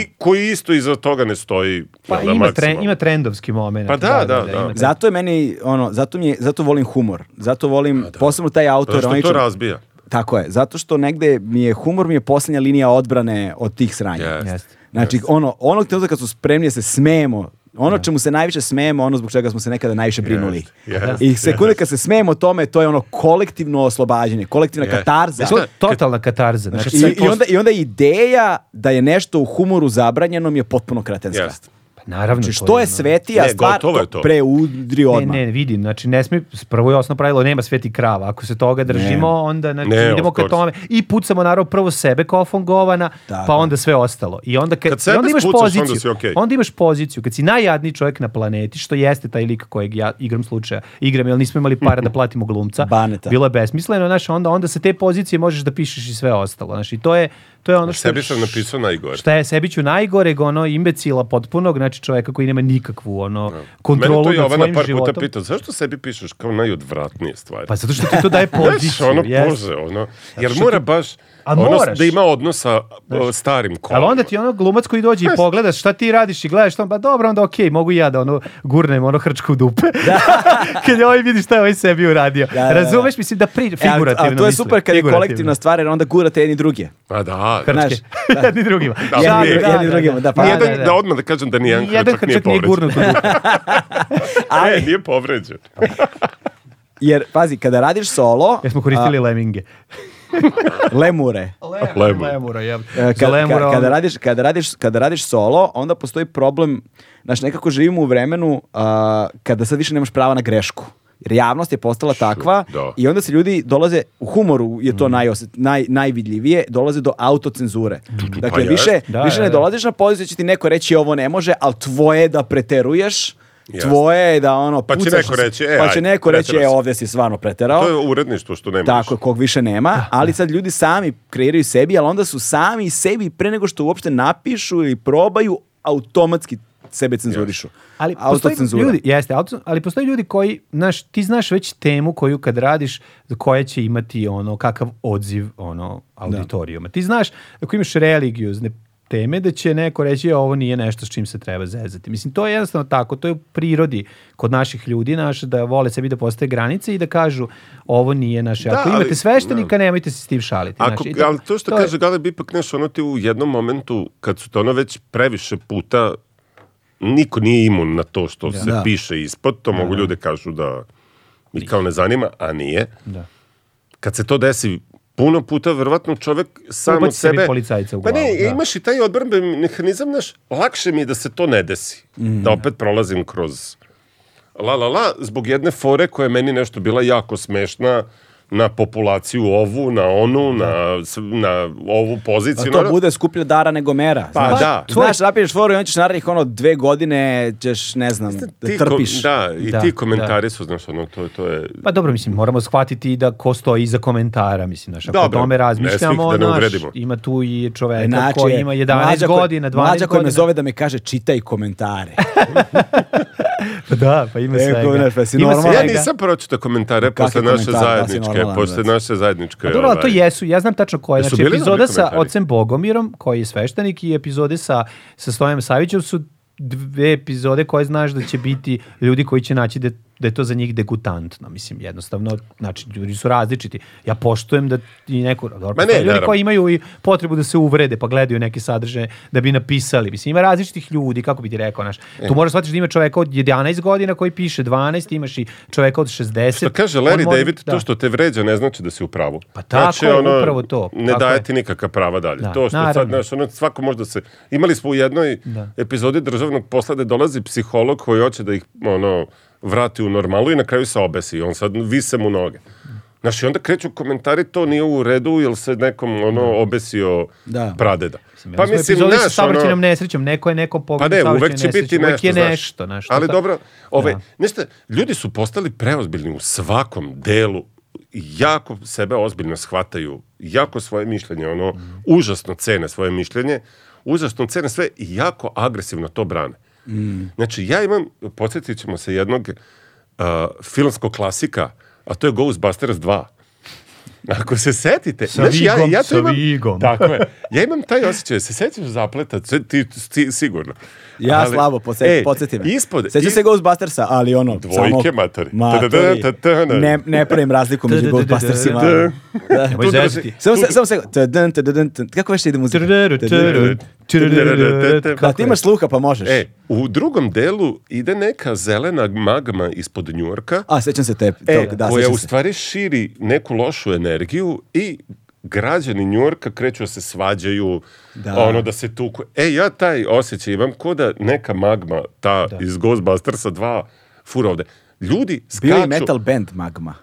i koji isto iza toga ne stoji. Pa jel da, ima, tre, maksimalno. ima trendovski moment. Pa da, da, da. ima. Zato je meni ono, zato mi je, zato volim humor. Zato volim posebno taj autor, Zato što to razbija. Tako je, zato što negde mi je humor mi je posljednja linija odbrane od tih sranja. Jeste. Jeste. Znači, ono, onog trenutka kad su spremni da se smejemo, ono čemu se najviše smejemo, ono zbog čega smo se nekada najviše brinuli. Yes, I sekunde kad se smejemo tome, to je ono kolektivno oslobađanje, kolektivna Yes. katarza. Znaš To šta? je totalna katarza. Znači, I, sve i, onda, I onda ideja da je nešto u humoru zabranjeno mi je potpuno kretenska. Jeste. pa naravno. Znači, to što je ono- svetija Ne, stvar, gotovo to, je to. preudri odmah. Ne, ne, vidim, znači ne smije, prvo je osnovno pravilo, nema sveti krava. Ako se toga držimo, onda znači, Ne, idemo of ka course. tome. I pucamo naravno prvo sebe kao fongovana, Tako. pa onda sve ostalo. I onda, kad, Kad i sebe onda imaš spucaš, onda poziciju. si okej. onda imaš poziciju. Kad si najjadniji čovjek na planeti, što jeste taj lik kojeg ja igram slučaja, igram, jer nismo imali para da platimo glumca. Baneta. Bilo je besmisleno, znaš, onda, onda sa te pozicije možeš da pišeš i sve ostalo. Znači, to je, to je ono što... Sebi sam napisao najgore. Šta je Sebiću najgoreg, ono, imbecila potpunog, znači čovjeka koji nema nikakvu, ono, kontrolu Mene to nad Jovana svojim par puta životom. pitao, zašto sebi pišeš kao najodvratnije stvari? Pa zato što ti to daje poziciju. Znaš, ono, jes. bože, ono, jer mora baš A ono, moraš. da ima odnosa starim kolom. Ali onda ti ono glumac koji dođe i pogleda šta ti radiš i gledaš tamo, pa dobro, onda okej, mogu i ja da ono gurnem ono hrčku u dupe. kad ovaj vidi šta je ovaj sebi uradio. Da, da, da. Razumeš, mislim da pri, E, ali- figurativno ali to je mislim, super kad je figurativno. kolektivna stvar, jer onda gurate jedni druge. A da, Hrčke. znaš, da. jedni drugima. Da, Šalim, jedni- jedni drugima, da, pa- Nijedan- da, odmah da kažem da nijedan Nijedan hrčak nije hrčak nije povređen. gurnut u dupe. E, nije povređen. Pa- Jer, pazi, kada radiš solo, Jer smo koristili leminge. lemure. Lemur. Lemura, jeb. E, Za Kad, lemura, kad, ono- kada, radiš, kada, radiš, kada radiš solo, onda postoji problem, znaš, nekako živimo u vremenu a, kada sad više nemaš prava na grešku. Jer javnost je postala takva da. Mm. i onda se ljudi dolaze, u humoru je to najos- naj, najvidljivije, dolaze do autocenzure. Dakle, pa jest. više, Da, više da, ne da. dolaziš na poziciju, će ti neko reći ovo ne može, ali tvoje je da preteruješ, Jeste. tvoje je da ono Pa će pucaš neko se- reći, e, pa će ajde, neko reći, e, preterao si. ovdje si stvarno preterao. To je uredništvo što nemaš. Tako, je, kog više nema, ali sad ljudi sami kreiraju sebi, ali onda su sami sebi pre nego što uopšte napišu ili probaju, automatski sebe cenzurišu. Ali postoji Autocenzura. ljudi, jeste, auto- ali postoje ljudi koji, znaš, ti znaš već temu koju kad radiš, koja će imati ono kakav odziv ono auditorijuma. Ti znaš ako imaš religiozne teme da će neko reći "A ovo nije nešto s čim se treba zezati. Mislim, to je jednostavno tako, to je u prirodi kod naših ljudi, naš, da vole sebi da postoje granice i da kažu ovo nije naše. Da, Ako ali- imate sveštenika, nemojte se s tim šaliti. Ako, znaš, i ali to što to je- kaže Galeb, ipak nešto, ono ti u jednom momentu, kad su to ono već previše puta, niko nije imun na to što se Da. piše ispod, to mogu ljude kažu da i kao ne zanima, a nije. Da. Kad se to desi puno puta, verovatno čovek sam Ubaci od sebi sebe... policajca u Pa ne, glavu, da. imaš i taj odbrben mehanizam, znaš, lakše mi je da se to ne desi. Mm. Da opet prolazim kroz la la la, zbog jedne fore koja je meni nešto bila jako smešna na populaciju ovu, na onu, na, s- na ovu Pa poziciju. to na- ono, bude skuplje dara nego mera. Pa znaš. da. Znaš, napišeš foru i on ćeš narednih ono dve godine ćeš, ne znam, da ti ko- trpiš. Da, i Da, ti komentari su, znaš, ono, to, to je... Pa dobro, mislim, moramo shvatiti da ko stoji iza komentara, mislim, znaš, ako o Dobro, tome ne svih razmišljamo, da ne znaš, uvredimo. ima tu i čoveka Znači, koji ima 11 mlađa koja- godina, 12 Mlađa koja me godina. zove da me kaže čitaj komentare. Pa Da, pa ima E, svega. ko, znaš, pa si Ima normalan? Ja svega. nisam pročitao komentare Kakvi posle naše komentari, da, si zajedničke, normalan, posle brate. naše zajedničke... Pa dobro, ali to ovaj, jesu, ja znam tačno koje. Jesu Znači, bili dobri epizoda sa komentari? ocem Bogomirom, koji je sveštenik, i epizode sa, sa Stojem Savićem su dve epizode koje znaš da će biti ljudi koji će naći da, da je to za njih degutantno, mislim, jednostavno, znači, ljudi su različiti. Ja poštujem da i neko, dobro, Ma ne, postoje ljudi naravno. koji imaju i potrebu da se uvrede, pa gledaju neke sadržaje da bi napisali. Mislim, ima različitih ljudi, kako bi ti rekao, naš. E. Tu moraš shvatiti da ima čoveka od 11 godina koji piše 12, imaš i čoveka od 60. Što kaže On Larry mora- David, da. to što te vređa ne znači da si u pravu. Znači, ono, Pa tako je, upravo to. Ne Tako daje je. ti nikakva prava dalje. Da, to što sad, naravno. znaš, ono, svako možda se... Imali smo u jednoj Da. epizodi državnog posla da dolazi psiholog koji hoće da ih, ono, vrati u normalu i na kraju se obesi. I on sad vise mu noge. Znaš, i onda kreću komentari, to nije u redu, jer se nekom, ono, obesio Da. pradeda. Pa mislim, znaš, ono, sa saobraćajnom nesrećom, neko je neko pa pogledao ne, uvek će biti nešto, je znaš. nešto, nešto. Ali dobro, ovaj, Da. nešto, ljudi su postali preozbiljni u svakom delu, jako sebe ozbiljno shvataju, jako svoje mišljenje, ono, Mhm. užasno cene svoje mišljenje, užasno cene sve i jako agresivno to brane. Mhm. Znači, ja imam, podsjetit ćemo se jednog uh, filmskog klasika, a to je Ghostbusters 2. Ako se setite, Sa Vigom, sa Vigom. Tako je. Ja imam taj osjećaj, se sećaš zapleta, ti, ti, ti sigurno. Ja Ali- slabo, Ej, podsjeti, podsjeti me. Ispod, Sećam se is- Ghostbustersa, ali ono... Dvojke, samog- matori. Matori. Ta-da-da-ta-ta-na. Ne, ne pravim razliku među Ta-da-da-da-da. Ghostbustersima. Da. Da. Nemoj Tu drži- zezati. Samo se, samo se, ta-dun, ta-dun, ta-dun. kako već ide muzika? Tududu, tududu, tududu, Da, Da, kako ti je? imaš sluha pa možeš. E, u drugom delu ide neka zelena magma ispod Njurka, A, sećam se te, e, tog, da, koja sećam u se. stvari širi neku lošu energiju i građani Njurka kreću da se svađaju, Da. ono da se tuku. E, ja taj osjećaj imam ko da neka magma, ta iz Ghostbustersa 2, fura ovde. Ljudi skaču... Bio je metal band Magma.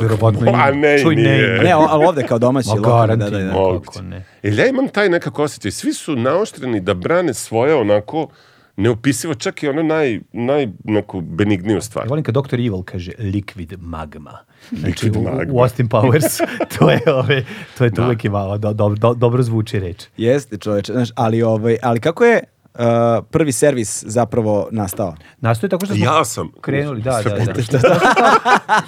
Verovatno ima. A ne, Čuj, nije. ima. Ne, o- ali ovde kao domaći. Ma, lokalni, da, da, garantim. da. Mo- Moguće. Kako ne? Jer ja imam taj nekako osjećaj. Svi su naoštreni da brane svoje onako neopisivo, čak i ono naj, naj neku benigniju stvar. Ja volim kad Dr. Evil kaže liquid magma. Znači, Liquid u- magma. U Austin Powers, to je, ove, to je to uvek i malo, do, do, do, dobro zvuči reč. Jeste čoveče, znaš, ali, ovaj, ali kako je uh, prvi servis zapravo nastao? Nastoji tako što smo Ja sam. krenuli, da, Sve da, da.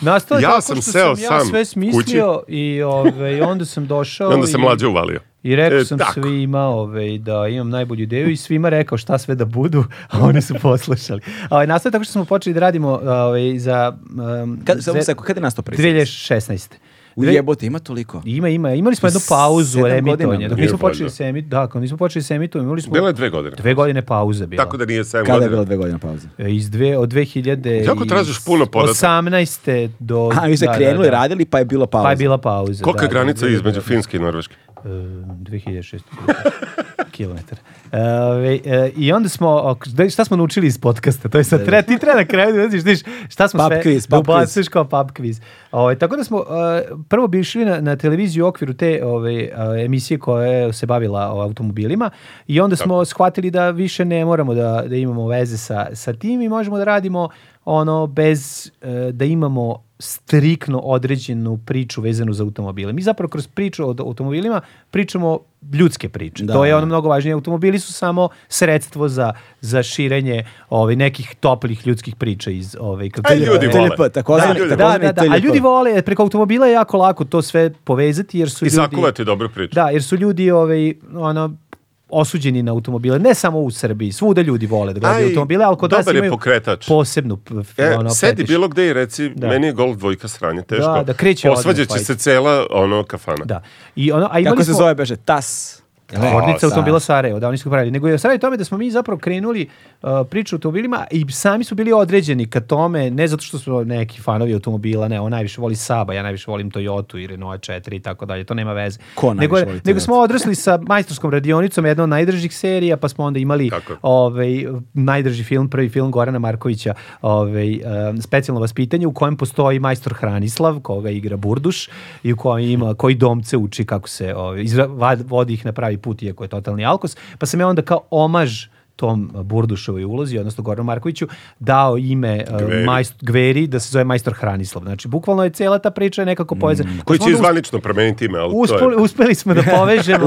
Nastao je Ja tako sam što seo sam ja sam sve kući. smislio i ove, onda sam došao I onda se i- mlađe uvalio. I rekao E, sam tako. svima ovaj, da imam najbolju ideju i svima rekao šta sve da budu, a oni su poslušali. A Ovaj, nastavio tako što smo počeli da radimo ovaj, za... Um, Kad, samo dve- seko, kada je nastao prvi servis? 2016. U jebote, ima toliko. Ima, ima. Imali smo jednu pauzu Sedam godina. emitovanja. Dok Nije nismo počeli valjda. se emitovati, da, kad nismo počeli se emitovati, imali smo Bila je dve godine. dve godine pauze. Bila. Tako da nije 7 Kada je godina. bilo dve godine pauze? E, Iz dve, od 2000... Kako tražiš puno podataka? 18. do... A, vi ste krenuli, radili, pa je bilo pauza. Pa je bila pauza. Kolika je da, granica da, da, da. između Finske i Norveške? E, 2600 km. e, I onda smo, o, da, šta smo naučili iz podcasta, to je sad, treba, ti treba na kraju da vidiš, vidiš, šta smo Pub sve, quiz, da pub quiz. ubacuješ kao pub quiz. Ovaj, tako da smo e, prvo bi išli na, na televiziju u okviru te ove, e, emisije koja se bavila o automobilima i onda smo shvatili da više ne moramo da, da imamo veze sa, sa tim i možemo da radimo ono bez e, da imamo strikno određenu priču vezanu za automobile. Mi zapravo kroz priču o automobilima pričamo ljudske priče. Da, to je da. ono mnogo važnije. Automobili su samo sredstvo za, za širenje ovaj, nekih toplih ljudskih priča iz ovaj, kako A se ljudi zove- vole. TLP, takozvani, Da, ljudi takozvani da, da, da. A TLP. ljudi vole, jer preko automobila je jako lako to sve povezati jer su I ljudi... sakuvati dobru priču. Da, jer su ljudi ovaj, ono, osuđeni na automobile, ne samo u Srbiji, svuda ljudi vole da gledaju Aj, automobile, ali kod nas dobar je imaju pokretač. posebnu p- E, ono, sedi fetiš. bilo gde i reci, meni je golf dvojka sranje, teško. da kreće odmah Osvađat će fight. se cela ono kafana. Da. I ono, a imali Kako se smo- zove, beže, TAS. Jel ne? Tvornica Da. automobila Sarajevo, da oni su ga pravili. Nego je stvar je u tome da smo mi zapravo krenuli uh, priču o automobilima i sami su bili određeni ka tome, ne zato što smo neki fanovi automobila, ne, on najviše voli Saba, ja najviše volim Toyotu i Renault 4 i tako dalje, to nema veze. Ko najviše nego, je- voli Toyotu? nego smo odrasli sa majstorskom radionicom, jedna od najdržih serija, pa smo onda imali Tako je. ovaj, najdrži film, prvi film Gorana Markovića, ovaj, um, specijalno vaspitanje u kojem postoji majstor Hranislav, koga igra Burduš i u kojem ima, koji domce uči kako se ovaj, izra, vad- vodi ih na pravi put, iako je totalni alkos. Pa sam ja onda kao omaž tom Burdušovoj ulozi, odnosno Goranu Markoviću, dao ime Gveri. Gveri. Majst, Gveri da se zove majstor Hranislav. Znači, bukvalno je cela ta priča je nekako povezana. Pa Mm, Koji smo će onda usp- izvanično promeniti ime, ali to uspeli, je... uspeli smo da povežemo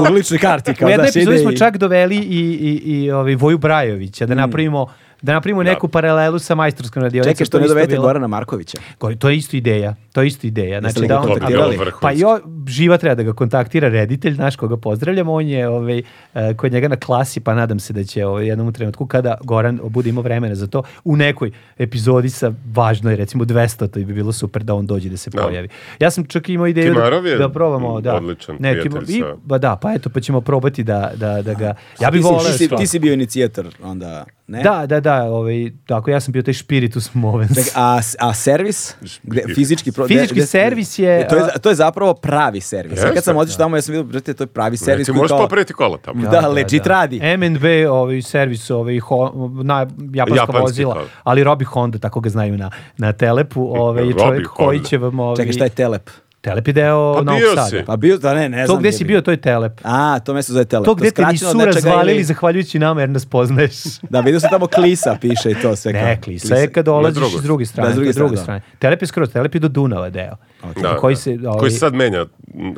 U ličnoj karti, kao u jednoj znaš, epizodi ide smo i- Mm. čak doveli i, i, i ovaj Voju Brajovića, da napravimo, da napravimo neku paralelu sa majstorskom radionicom. Čekaj, To što ne je isto dovete bilo- Gorana Markovića. Gori- To je isto ideja. To je isto ideja. li Znači, ga da on, kontaktirali? Vrhunski. pa jo, živa treba da ga kontaktira reditelj naš koga pozdravljamo. On je ovaj, eh, kod njega na klasi, pa nadam se da će ovaj, jednom u trenutku kada Goran bude imao vremena za to, u nekoj epizodi sa važnoj, recimo 200, to bi bilo super da on dođe da se Da. pojavi. Ja sam čak imao ideju Timarov da, je da probamo. Da, odličan ne, prijatelj Timar- i- sa- Ba da, pa eto, pa ćemo probati da, da, da ga... Ja Ti bih si- voleo... ti si- Ti si bio inicijator, onda, ne? Da, da, da, ovaj, tako ja sam bio taj spiritus movens. Čekaj, a, a servis? Gde, fizički pro, Fizički servis je, To je, a- za- to je zapravo pravi servis. Ja kad Jeste, sam otišao tamo, ja sam vidio, brate, to je pravi servis. Reci, koji možeš kao- popraviti kola tamo. Da, legit radi. M&B, ovaj servis, ovaj ho, na japanska Japanski, vozila, kao. ali Robi Honda, tako ga znaju na, na Telepu, ovaj Robi čovjek koji Honda. će vam ovaj Čekaj, šta je telep? Telep je deo Pa Novog bio Sada. si. Pa bio, da ne, ne To znam. gde je si bio, to je Telep. A, to mesto zove telep. To gde te skraćeno nisu od nečega razvalili ili- zahvaljujući nama jer nas poznaješ. Da, vidio sam tamo klisa piše i to sve. kao. Ne, klisa je kad ono dolaziš drugoj. s druge strane. Da, s druge to je strane, druge da. strane. Telep je skroz, Telep je do Dunava deo. Da, koji da. se, ovaj, koji se sad menja m,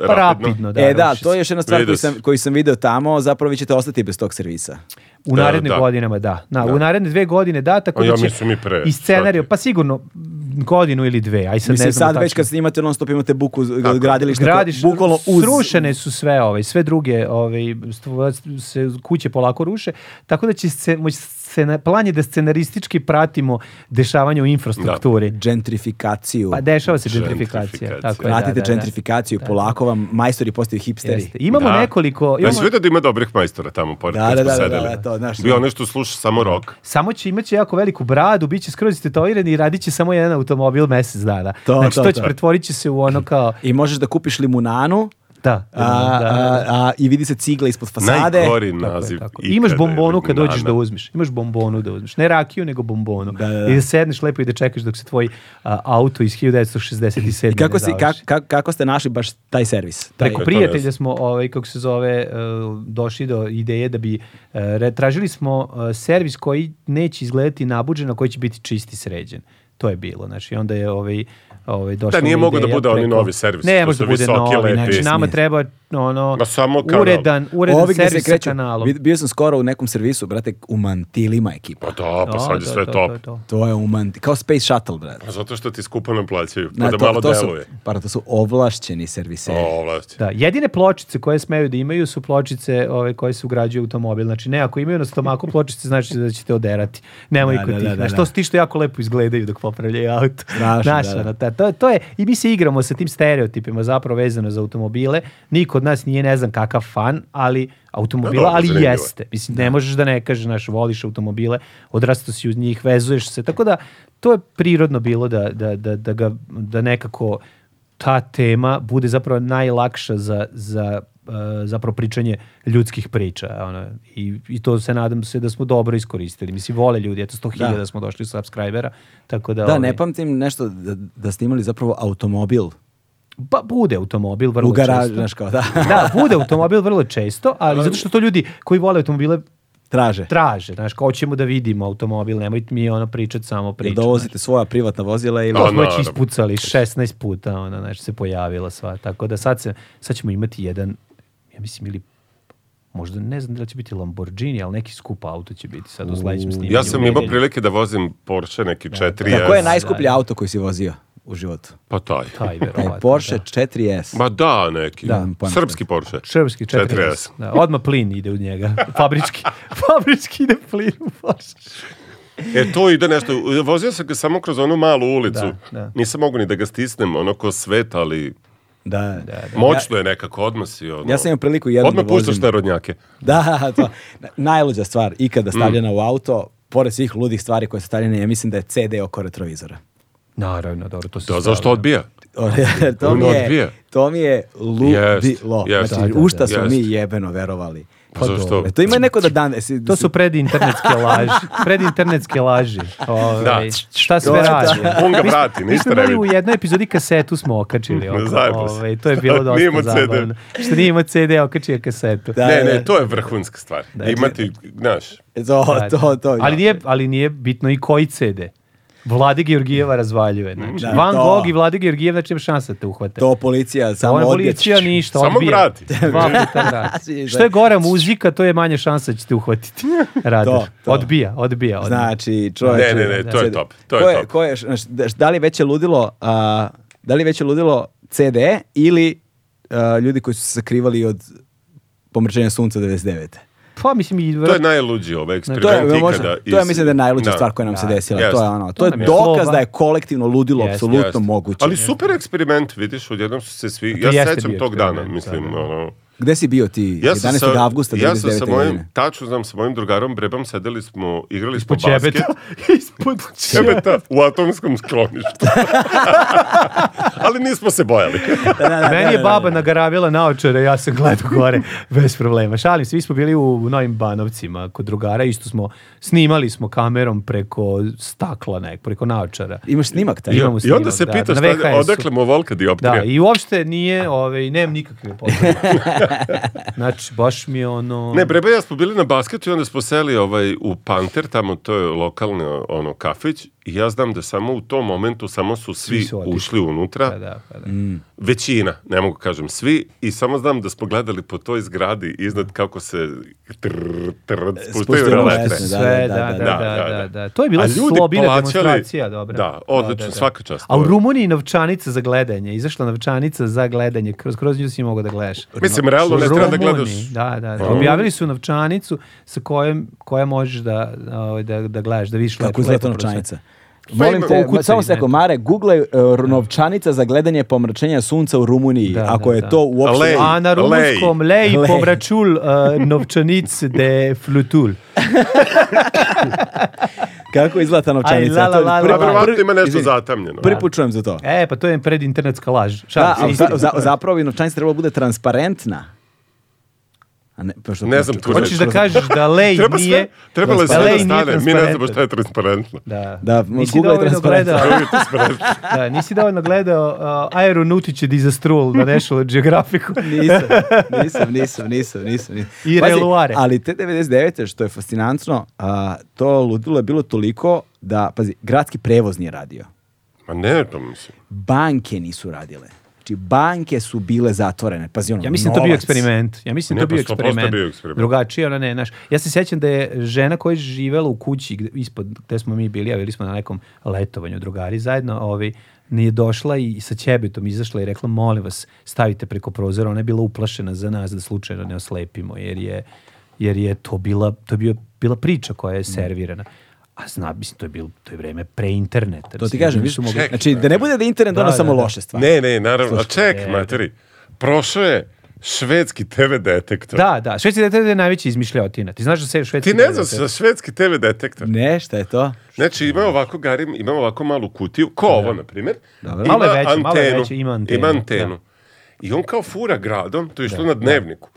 pa rapidno. rapidno, da. e, da, ruši to je se. još jedna stvar Vidio koju si. sam, koju sam video tamo, zapravo vi ćete ostati bez tog servisa. U Da, narednim da. godinama, da. Na, U naredne dve godine, da, tako A ja da će... mislim i pre, I scenariju, svaki. pa sigurno godinu ili dve, aj sad Mislim, ne znamo sad već tačno. kad snimate non stop imate buku z- gradilišta, Gradiš, ko- bukvalno uz... srušene su sve ove, sve druge ove, stvo- se kuće polako ruše, tako da će se, moći scena, plan je da scenaristički pratimo dešavanje u infrastrukturi. Gentrifikaciju. Pa dešava se Gentrifikacija. gentrifikacija. Tako je, da, Vratite da, da. gentrifikaciju, polako vam majstori postaju hipsteri. Jeste. Imamo nekoliko... Ja Imamo, si vidio Pa da ima dobrih majstora tamo, pored Da, da, da, da, da, da, sedeli. da, to, znaš, Bio da. onaj što sluša samo rock. samo će imaće jako veliku bradu, bit će skroz istetoviran i radit će samo jedan automobil mesec dana. To, znači, to, to. to, će pretvorit će se u ono kao... I možeš da kupiš limunanu, Da. a, da, da, a, da. a, i vidi se cigla ispod fasade. Najgori Tako je, naziv. tako je. ikada Imaš je bombonu kad limunana. dođeš da uzmiš. Imaš bombonu da uzmiš. Ne rakiju, nego bombonu. Da, da, da. I da sedneš lepo i da čekaš dok se tvoj a, auto iz 1967. I kako, ne si, završi. ka, ka- kako ste našli baš taj servis? Taj, Preko to ne prijatelja znam. smo, ovaj, kako se zove, e, došli do ideje da bi, e, re- tražili smo e, servis koji neće izgledati nabuđeno, koji će biti čisti sređen. To je bilo, znači onda je ovaj, ovaj došla Da, nije mi mogao da ideja bude oni preko- novi servis, Ne, to može su da bude visoki, novi, lepi. znači nama Smije. treba ono, Ma samo kanal. uredan, uredan Ovi gde servis sa kreću, kanalom. bi- bio sam skoro u nekom servisu, brate, u mantilima ekipa. Pa da, pa sad je sve top. To je u manti, kao Space Shuttle, brate. Pa Zato što ti skupo ne plaćaju, pa Na, da malo su, deluje. para, to su ovlašćeni serviseri. O, vlasti. Da, jedine pločice koje smeju da imaju su pločice ove koje se ugrađuju u automobil. Znači, ne, ako imaju na stomaku pločice, znači da ćete oderati. Nema Da, ih kod da, tih. da, da, Znači, da. to su ti što jako lepo izgledaju dok popravljaju auto. Strašno, Znaš, da, da. ono, ta- to, to je, I mi se igramo sa tim stereotipima zapravo vezano za automobile. Niko od nas nije ne znam kakav fan, ali automobila, dobro, ali zanimljivo je. jeste. Mislim, ne možeš da ne kažeš, znaš, voliš automobile, odrastao si uz njih, vezuješ se. Tako da, to je prirodno bilo da, da, da, da, ga, da nekako ta tema bude zapravo najlakša za, za e, zapravo pričanje ljudskih priča. Ono, i, I to se nadam se da smo dobro iskoristili. Mislim, vole ljudi, eto 100.000 Da. da. smo došli subscribera, tako da... Da, ovaj, ne pa- pamtim nešto da, da ste imali zapravo automobil Pa bude automobil vrlo u garaži, često. znaš kao, da, da, bude automobil vrlo često, ali zato što to ljudi koji vole automobile traže. traže, znaš, kao ćemo da vidimo automobil, nemojte mi ono pričat samo Jel priču. dovozite svoja privatna vozila ili... A, To smo već naravno. ispucali 16 puta, ona, znači, se pojavila sva. Tako da sad, se, sad ćemo imati jedan, ja mislim, ili možda ne znam da li će biti Lamborghini, ali neki skup auto će biti sad u sledećem snimanju. Ja sam u imao nedelju. prilike da vozim Porsche, neki 4S. Da, koje je najskuplji auto koji si vozio? u životu? Pa taj. Taj, Taj verovatno. Porsche 4S. Ma da, neki. Da, pojma Srpski Porsche. Da. Srpski 4S. 4S. Da, odmah plin ide u njega. Fabrički. Fabrički ide plin u Porsche. E, to ide nešto. Vozio sam ga samo kroz onu malu ulicu. Da, da. Nisam mogu ni da ga stisnem, ono ko svet, ali Da, da, da. moćno je nekako, odmah si ono. Ja sam imao priliku jednom Odmah da vozim. puštaš te rodnjake. Da, to. Na- Najluđa stvar Mm. ikada stavljena u auto, pored svih ludih stvari koje su stavljene, ja mislim da je CD oko retrovizora. Naravno, dobro, to se Da, zašto odbija? O, Ono, to, mi odbije. je, to mi je Jest, ludilo. jest. znači, Da, da, u šta da. smo Jest. mi jebeno verovali. Pa znači, zašto? E, to ima neko da dan... Jesi, To su predinternetske laži. Predinternetske laži. Ove, Da. Šta sve Da. radi? On ga vrati, Mi ništa smo ne imali vidi. u jednoj epizodi kasetu smo okačili. Oko, Zajebo se. ovaj, to je bilo dosta Nije imao CD. zabavno. Što nije imao CD, okačio kasetu. Da, Ne, da, ne, da. to je vrhunska stvar. Imati, znaš, To, Da, to, to. ali, nije, ali nije bitno i koji CD. Vlade Georgijeva razvaljuje. Znači, Da, Van to. Gogh i Vlade Georgijev, znači nema šansa da te uhvate. To policija samo Ona odbije. policija ništa, Samo odbija. vrati. Dva puta vrati. Znači, Što je gora muzika, to je manje šansa da će te uhvatiti. Radar. To, to. Odbija, odbija. odbija. Znači, čovječe... Ne, ne, ne, to je CD. top, to je ko top. Ko je, znaš, da- da li veće ludilo, a, da li veće ludilo CD ili a, ljudi koji su se sakrivali od pomrčenja sunca 99. Pa mislim i... to je najluđi ovaj To eksperiment je, ikada. možda, to je, iz- mislim da je najluđa Da. stvar koja nam se desila. Jeste. To je, ono, to To je nam je dokaz sloba. da je kolektivno ludilo Jeste. apsolutno Jeste. moguće. Ali super eksperiment, vidiš, odjednom su se svi... to Ja jeste sećam bio tog dana, eksperiment, mislim, da, da. ono... Gde si bio ti Ja sam 11. sa, avgusta 99. ja sam sa mojim, godine? tačno znam, sa mojim drugarom Brebom sedeli smo, igrali smo Ispod basket. čebeta. Ispod čebeta. Čebeta u atomskom skloništu. Ali nismo se bojali. Da, da, da, da, Meni da, je da. baba nagaravila naočare, ja sam gledao gore, bez problema. Šalim se, mi smo bili u, u Novim Banovcima kod drugara, isto smo, snimali smo kamerom preko stakla nek, preko naočara. Imaš snimak taj? Ja. Imamo I onda snimak, se da, pitaš na šta- VHS-u. odakle mu volka dioptrija. Da, i uopšte nije, ove, nemam nikakve potrebe. znači, baš mi je ono... Ne, Breba i ja smo bili na basketu i onda smo seli ovaj, u Panter, tamo to je lokalni ono, kafić i ja znam da samo u tom momentu samo su svi, su otišli. ušli unutra, Pa da, pa da. većina, ne mogu kažem svi, i samo znam da smo gledali po toj zgradi iznad kako se trrr, trrr, Spuštaju spuštaju rolete. rolete, Sve, da, da, da, da, da, To je bila A ljudi slobina plaćali- demonstracija, dobro. Da, odlično, svaka čast. A u Rumuniji novčanica za gledanje, izašla novčanica za gledanje, kroz, kroz nju si mogao da gledaš. Mislim, realno ne treba da Rumuniji, gledaš. Da, da, da. Aha. Objavili su novčanicu sa kojom, koja možeš da, ovaj, da, da gledaš, da vidiš Kako lepo. izgleda ta lepo novčanica? Pa Molim ima- te, Ukucaj, samo se ne. ako Mare, googlaj uh, novčanica za gledanje pomračenja sunca u Rumuniji, Da, ako da, je da. to uopšte... Lej. A na rumunskom lej, Lej. pomračul uh, novčanic de flutul. Kako izgleda ta novčanica? Aj, la, la, To je prvi- prvi- la, la, la. Pa Verovatno ima nešto izvini, zatamljeno. Prvi put čujem za to. E, pa to je predinternetska laž. Da, Šalim se, ali za, istina. za, zapravo bi novčanica trebala da bude transparentna. A ne, pa što Ne znam tu Hoćeš da kažeš da lej Treba sve, nije... trebalo je sve Lej da nije stane. Mi ne znamo transparentan. šta je transparentno. Da, Da, nisi ovaj Google je dovoljno transparentan. gledao, Drugi je transparentno. da, nisi dovoljno gledao uh, Aeronautice Disastrul na National Geographicu. nisam, nisam, nisam, nisam, nisam. nisam. I Pazi, reluare. Ali te 99. što je fascinantno, a, to ludilo je bilo toliko da, pazi, gradski prevoz nije radio. Ma ne, to mislim. Banke nisu radile. Znači, banke su bile zatvorene. Pazi, ono, Ja mislim da to bio novac. eksperiment. Ja mislim da Ne, to bio pa 100% eksperiment. bio eksperiment. Drugačije, ona ne, znaš. Ja se sjećam da je žena koja je živela u kući gde, ispod gde smo mi bili, a bili smo na nekom letovanju drugari zajedno, ovaj, nije došla i sa ćebetom izašla i rekla molim vas stavite preko prozora, ona je bila uplašena za nas da slučajno ne oslepimo jer je, jer je to bila, to je bio, bila priča koja Mm. je servirana. A zna, mislim, to je bilo, to je vreme pre interneta. To ti kažem, viš, mogli- znači, da ne bude da internet Da, ono samo da, da. loše stvari. Ne, ne, naravno. A Slušaj, ček, materi. Prošao je švedski TV detektor. Da, da, švedski detektiv je najveći izmišljotina. Ti znaš da se švedski Ti ne detektiv- znaš za švedski TV detektor. Ne, šta je to? Znači, ima ovako, Garim, ima ovako malu kutiju, kao ovo, na primjer. Ima Malo je veće, malo je veće, ima antenu, antenu. I on kao fura gradom, to je što na dnevniku.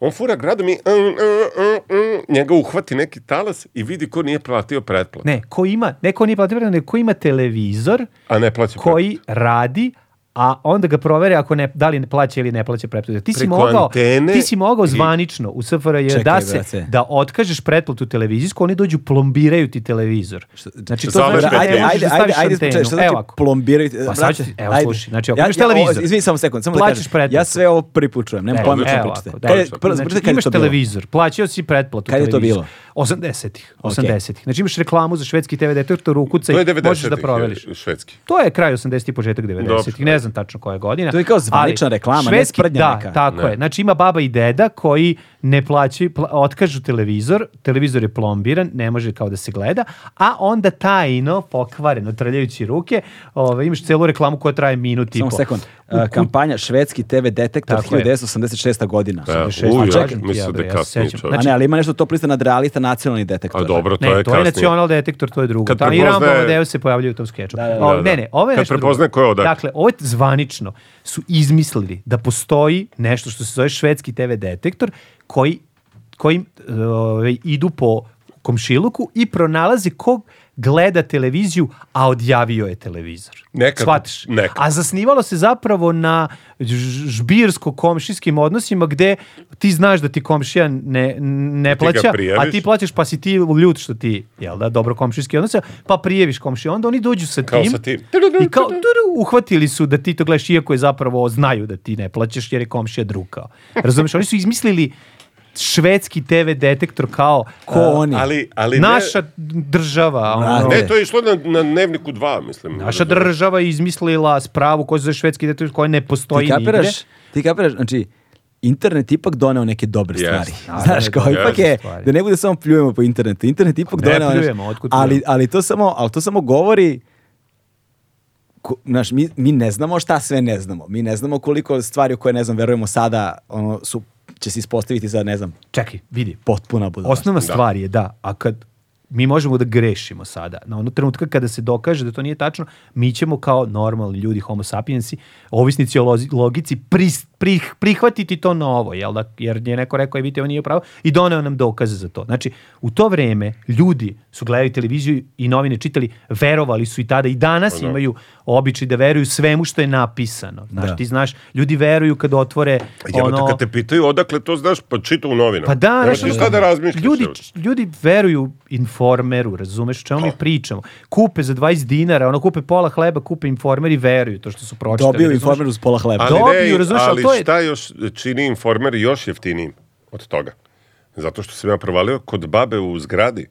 On fura gradom i mm, mm, mm, mm, njega uhvati neki talas i vidi ko nije platio pretplatu. Ne, ko ima, ne ko nije platio pretplatu, nego ko ima televizor A ne plaća koji radi, a onda ga provere ako ne, da li ne plaća ili ne plaća pretplatu. Ti si Preko mogao, antene ti si mogao i- zvanično u SFRJ Čekaj, da se brate. da otkažeš pretplatu televizijsku, oni dođu plombiraju ti televizor. Znači to šta znači da zalažeš ne petlje? možeš da staviš antenu. čekaj, šta znači Evo ako. plombiraju? Pa sad ću- Brate, evo, ajde. slušaj, znači, ako Ja- imaš ja ovo- televizor, Izvini samo sekund, samo da plaćaš kažem. pretplatu. Ja sve ovo pripučujem, nemam pojma odlično, što Evo, pričate. ako, Kad je- da. prvo, znači, pričate kad je imaš to bilo? televizor, plaćao si pretplatu. Kad je to televizora. bilo? 80-ih, 80-ih. Znači imaš reklamu za švedski TV detektor, ukucaj, To je 90 možeš da proveriš. Švedski. To je kraj 80-ih, početak 90-ih, Dobro. ne znam tačno koja je godina. To je kao zvanična ali reklama, ne sprdnja da, neka. tako Ne. je. Znači ima baba i deda koji ne plaćaju, pla- otkažu televizor, televizor je plombiran, ne može kao da se gleda, a onda tajno, pokvareno, trljajući ruke, ove, imaš celu reklamu koja traje minut i Samo po. sekund. Uh, kampanja Švedski TV detektor Tako je. 1986. godina. E, Znači, šest- uj, a ja čekaj, mislim ja da bre, je ja se Znači, kasnije, sjećam. čovječe. A ne, ali ima nešto to prista nad realista nacionalni detektor. A dobro, to Ne, ono je to je kasnije. nacional detektor, to je drugo. Kad Tamo i prepoznaje- Rambo Deo se pojavljaju u tom skeču. O, da. Ne, ne, ovo je Kad nešto drugo. prepoznaje ko je odakle. Dakle, ovo je zvanično. Su izmislili da postoji nešto što se zove švedski TV detektor koji, kojim e, ovaj, idu po komšiluku i pronalazi kog gleda televiziju, a odjavio je televizor. Nekako, Shvatiš? nekako. A zasnivalo se zapravo na ž- žbirsko-komšijskim odnosima gde ti znaš da ti komšija ne, ne ga plaća, a prijaviš. ti plaćaš pa si ti ljut što ti, jel da, dobro komšijski odnos, pa prijeviš komšiju, onda oni dođu sa Kao tim, sa tim. i kao turu, uhvatili su da ti to gledaš, iako je zapravo znaju da ti ne plaćaš jer je komšija drukao. Razumeš, oni su izmislili švedski TV detektor kao Ko a, oni? Ali, ali naša država, ono, ne, ne, to je išlo na, na dnevniku 2, mislim. naša država je izmislila spravu koja se zove švedski detektor koja ne postoji ti nigde. kapiraš, ti kapiraš, znači, internet ipak doneo neke dobre Jeste. stvari. Naravno, Znaš, kao jeste. ipak je, stvari. da ne bude samo pljujemo po internetu, internet ipak Ne doneo... znaš, pljujemo, otkud ali, pljujemo? ali, to samo, ali to samo govori ko- znaš, mi, mi ne znamo šta sve ne znamo. Mi ne znamo koliko stvari u koje, ne znam, verujemo sada, ono, su, će se ispostaviti za, ne znam, Čekaj, vidi, potpuna budućnost. Osnovna stvar je da, a kad mi možemo da grešimo sada, na ono trenutka kada se dokaže da to nije tačno, mi ćemo kao normalni ljudi, homo sapiensi, ovisnici o lozi- logici, pris- prih- prihvatiti to novo, jel da? jer je neko rekao, je vidite, ovo nije pravo, i doneo nam dokaze za to. Znači, u to vreme ljudi su gledali televiziju i novine čitali, verovali su i tada i Pa danas imaju običaj da veruju svemu što je napisano. Znači, Da. ti znaš, ljudi veruju kad otvore Ono... ono... Kad te pitaju odakle to znaš, pa čita u novinama. Pa da, Nemaš znaš, ti šta da razmišljaš. ljudi, uopšte. ljudi veruju informeru, razumeš o čemu mi pričamo. Kupe za 20 dinara, ono kupe pola hleba, kupe informer i veruju to što su pročitali. Dobio razumeš? informer uz pola hleba. Ali ne, dobiju, razumeš, ali ali to je- šta još čini informer još jeftinijim od toga? Zato što sam ja provalio kod babe u zgradi.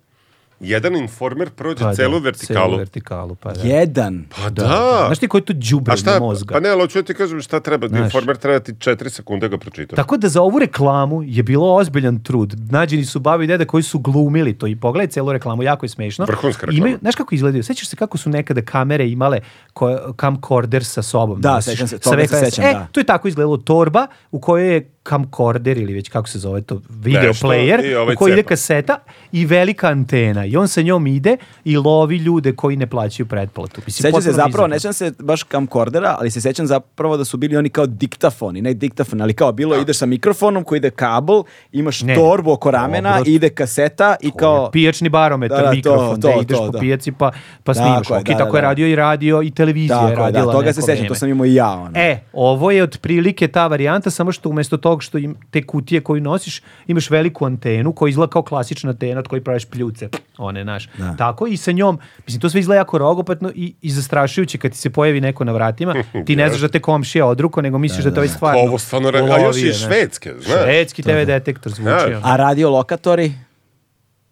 Jedan informer prođe Pa da, celu Celu vertikalu. vertikalu, pa da. Jedan. Pa da. Znaš ti koji je to džubre A šta, mozga? pa ne, ali hoću ja ti kažem šta treba, Znaš. informer treba ti četiri sekunde ga pročitati. Tako da za ovu reklamu je bilo ozbiljan trud. Nađeni su babi i deda koji su glumili to i pogledaj celu reklamu, jako je smešno. Vrhunska reklama. Imaju, znaš kako izgledaju? Sećaš se kako su nekada kamere imale ko, camcorder sa sobom? Da, nosiš? sećam se, Sa toga se VHS. sećam, e, da. to je tako izgledalo torba u kojoj je camcorder ili već kako se zove to, video Nešto, i player ovaj u kojoj ide cepa. kaseta i velika antena i on sa njom ide i lovi ljude koji ne plaćaju pretplatu. Mislim, Sećam se potpuno zapravo, bizarno. ne sećam se baš kamkordera, ali se sećam zapravo da su bili oni kao diktafoni, ne diktafon, ali kao bilo ideš sa mikrofonom koji ide kabel, imaš Ne. torbu oko ramena, Dobro. ide kaseta i kao... pijačni barometar, Da, da, to, mikrofon, to, da ideš to, po da. pijaci pa, Tako pa snimaš. je, Ok, da, da, tako je da. radio i radio i televizija je Tako je, da, radila toga se neko sećam, to vreme. sam imao i ja. Ono. E, ovo je otprilike ta varijanta, samo što umesto tog što im, te kutije koju nosiš, imaš veliku antenu koja izgleda kao klasična antena od koje praviš pljuce, one naš. Tako i sa njom, mislim, to sve izgleda jako rogopatno i, i zastrašujuće kad ti se pojavi neko na vratima, ti ne znaš da te komšija odruko, nego misliš da, to je stvarno. Pa Ovo stvarno ra- a još i je, ne. švedske, znaš. Švedski TV detektor zvuči. Znaš. ono. A radiolokatori?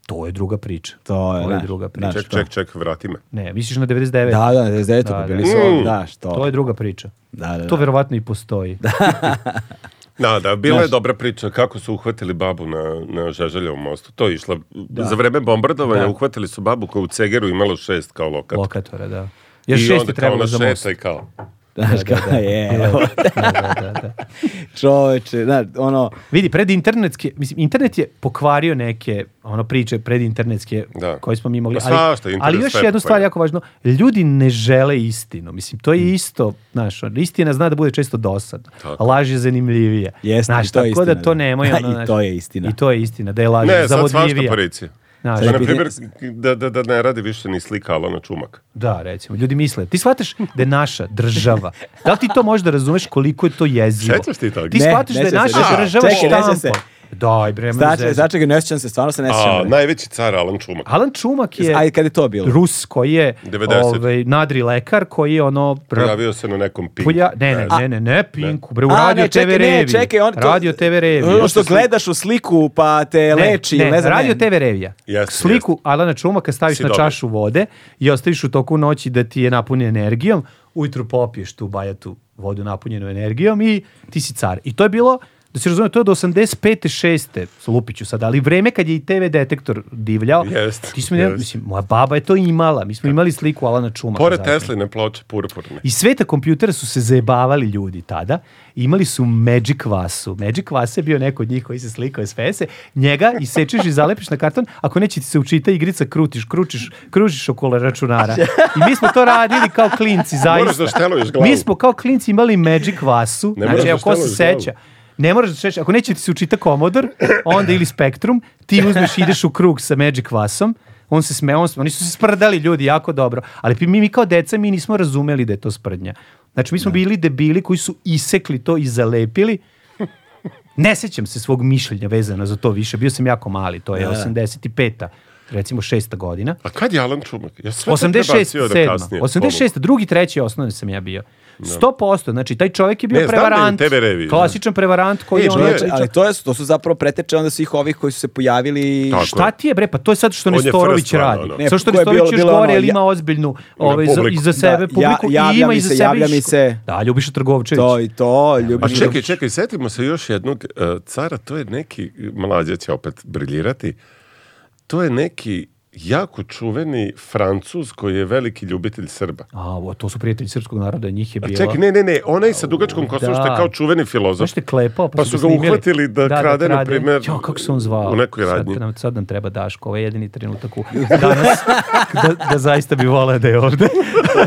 To je druga priča. To je, Ovo je ne, druga priča. znaš, Ček, to. ček, ček, vrati me. Ne, misliš na 99. Da, da, 99. Da, Da, da. bili su, Mm. da, što? To je druga priča. Da, da, da. To verovatno i postoji. Da, da, bila je dobra priča kako su uhvatili babu na, na Žeželjevom mostu. To je išla, za vreme bombardovanja Da. uhvatili su babu koja u Cegeru imala šest kao lokat. Lokatora, da. Jer šest je trebalo za most. I kao, Znaš, kao, je, Da, da, da, da. čoveče, znaš, ono, Vidi, pred internetske, mislim, internet je pokvario neke ono priče pred internetske Da. koje smo mi mogli. Pa Ali, svašta, internet ali još sve jednu stvar pokvario. jako važno, ljudi ne žele istinu. Mislim, to Mm. je isto, znaš, ono, istina zna da bude često dosadna. Laž je zanimljivija. Jeste, i znaš, to je tako istina, da to da. nemoj. I Ono, znaš, to je istina. I to je istina, da je laž ne, sad svašta zavodljivija. porici. Znaš, Da, na pitanje- primjer, da, da, da ne radi više ni slika Alana Čumaka. Da, recimo, ljudi misle, ti shvataš da je naša država. Da li ti to možeš da razumeš koliko je to jezivo? Sećaš ti toga? Ti Ne, shvataš da ne je sjećam naša se. država Čekaj, ne sjećam štampa. se. Daj, bre, mene Znači, zezaj. znači, ne sjećam se, stvarno se ne A, sjećam. najveći car Alan Čumak. Alan Čumak je... Ajde, kad je to bilo? Rus koji je 90. ovaj, nadri lekar koji je ono... pr- Pojavio se na nekom pinku. Polja, ne, ne, ne, ne, ne, Pinku, bre, u A, radio ne, čekaj, TV ne, reviji. čekaj, on to- Radio TV reviji. Ono što gledaš u sliku pa te leči, ne, ili ne znam. radio ne. TV revija. Jeste, Sliku Alana Čumaka staviš Si na dobar. čašu vode i ostaviš u toku noći da ti je napunjen energijom, ujutru popiješ tu bajatu vodu napunjenu energijom i ti si car. I to je bilo, da se razume, to je do 85. 6. Lupiću sad, ali vreme kad je i TV detektor divljao, Jeste, ti smo, ne- jeste. mislim, moja baba je to imala, mi smo imali sliku Alana E. Čumaka. Pored zapravo. Tesline ploče purpurne. I sveta kompjutera su se zajebavali ljudi tada. Imali su Magic Vasu. Magic Vas je bio neko od njih koji se slikao SFS-e. Njega isečeš i zalepiš na karton. Ako neće ti se učita igrica, krutiš, kručiš, kružiš okolo računara. I mi smo to radili kao klinci, zaista. Moraš da šteluješ glavu. Mi smo kao klinci imali Magic Vasu. Ne moraš znači, da evo, ko se šteluješ glavu. seća? Ne moraš da šeš, ako neće ti se učita Commodore, onda ili Spectrum, ti uzmeš i ideš u krug sa Magic Vasom, on se sme, on, oni su se sprdali ljudi jako dobro, ali mi, mi kao deca mi nismo razumeli da je to sprdnja. Znači mi smo bili debili koji su isekli to i zalepili, ne sećam se svog mišljenja vezano za to više, bio sam jako mali, to je 85-a, recimo šesta godina. A kad je Alan Čumak? Ja sve to 86, prebacio da sedma, kasnije. 86, drugi, treći osnovni sam ja bio. 100%, znači taj čovjek je bio Ne, znam da je u prevarant. TV reviji, klasičan prevarant koji Ne, je ono... čovječe, znači, Ali to, je, to su zapravo preteče onda svih ovih koji su se pojavili... Tako. Šta ti je bre, pa to je sad što On je Nestorović first one, radi. ono. Ne, Sad što ko je Nestorović bilo- još bilo gore, ono, jer ja- ima ozbiljnu ovaj, za- publiku. iza Da, sebe publiku ja- i javlja ima mi iza se, sebe javlja mi Iško. se. Da, Ljubiša Trgovčević. To i to, ljubiš... A Pa čekaj, čekaj, setimo se još jednog e, cara, to je neki, mlađa će opet briljirati, to je neki jako čuveni francuz koji je veliki ljubitelj Srba. A, o, to su prijatelji srpskog naroda, njih je A bilo. čekaj, ne, ne, ne, onaj sa dugačkom kosom što je kao čuveni filozof. Znaš što je klepao, pa, Pa su ga snimili. uhvatili da krade, na primer, Jo, kako se on zvao? u nekoj radnji. Sad nam, sad nam treba Daško, ovo je jedini trenutak u danas, da, da zaista bi volao da je ovde.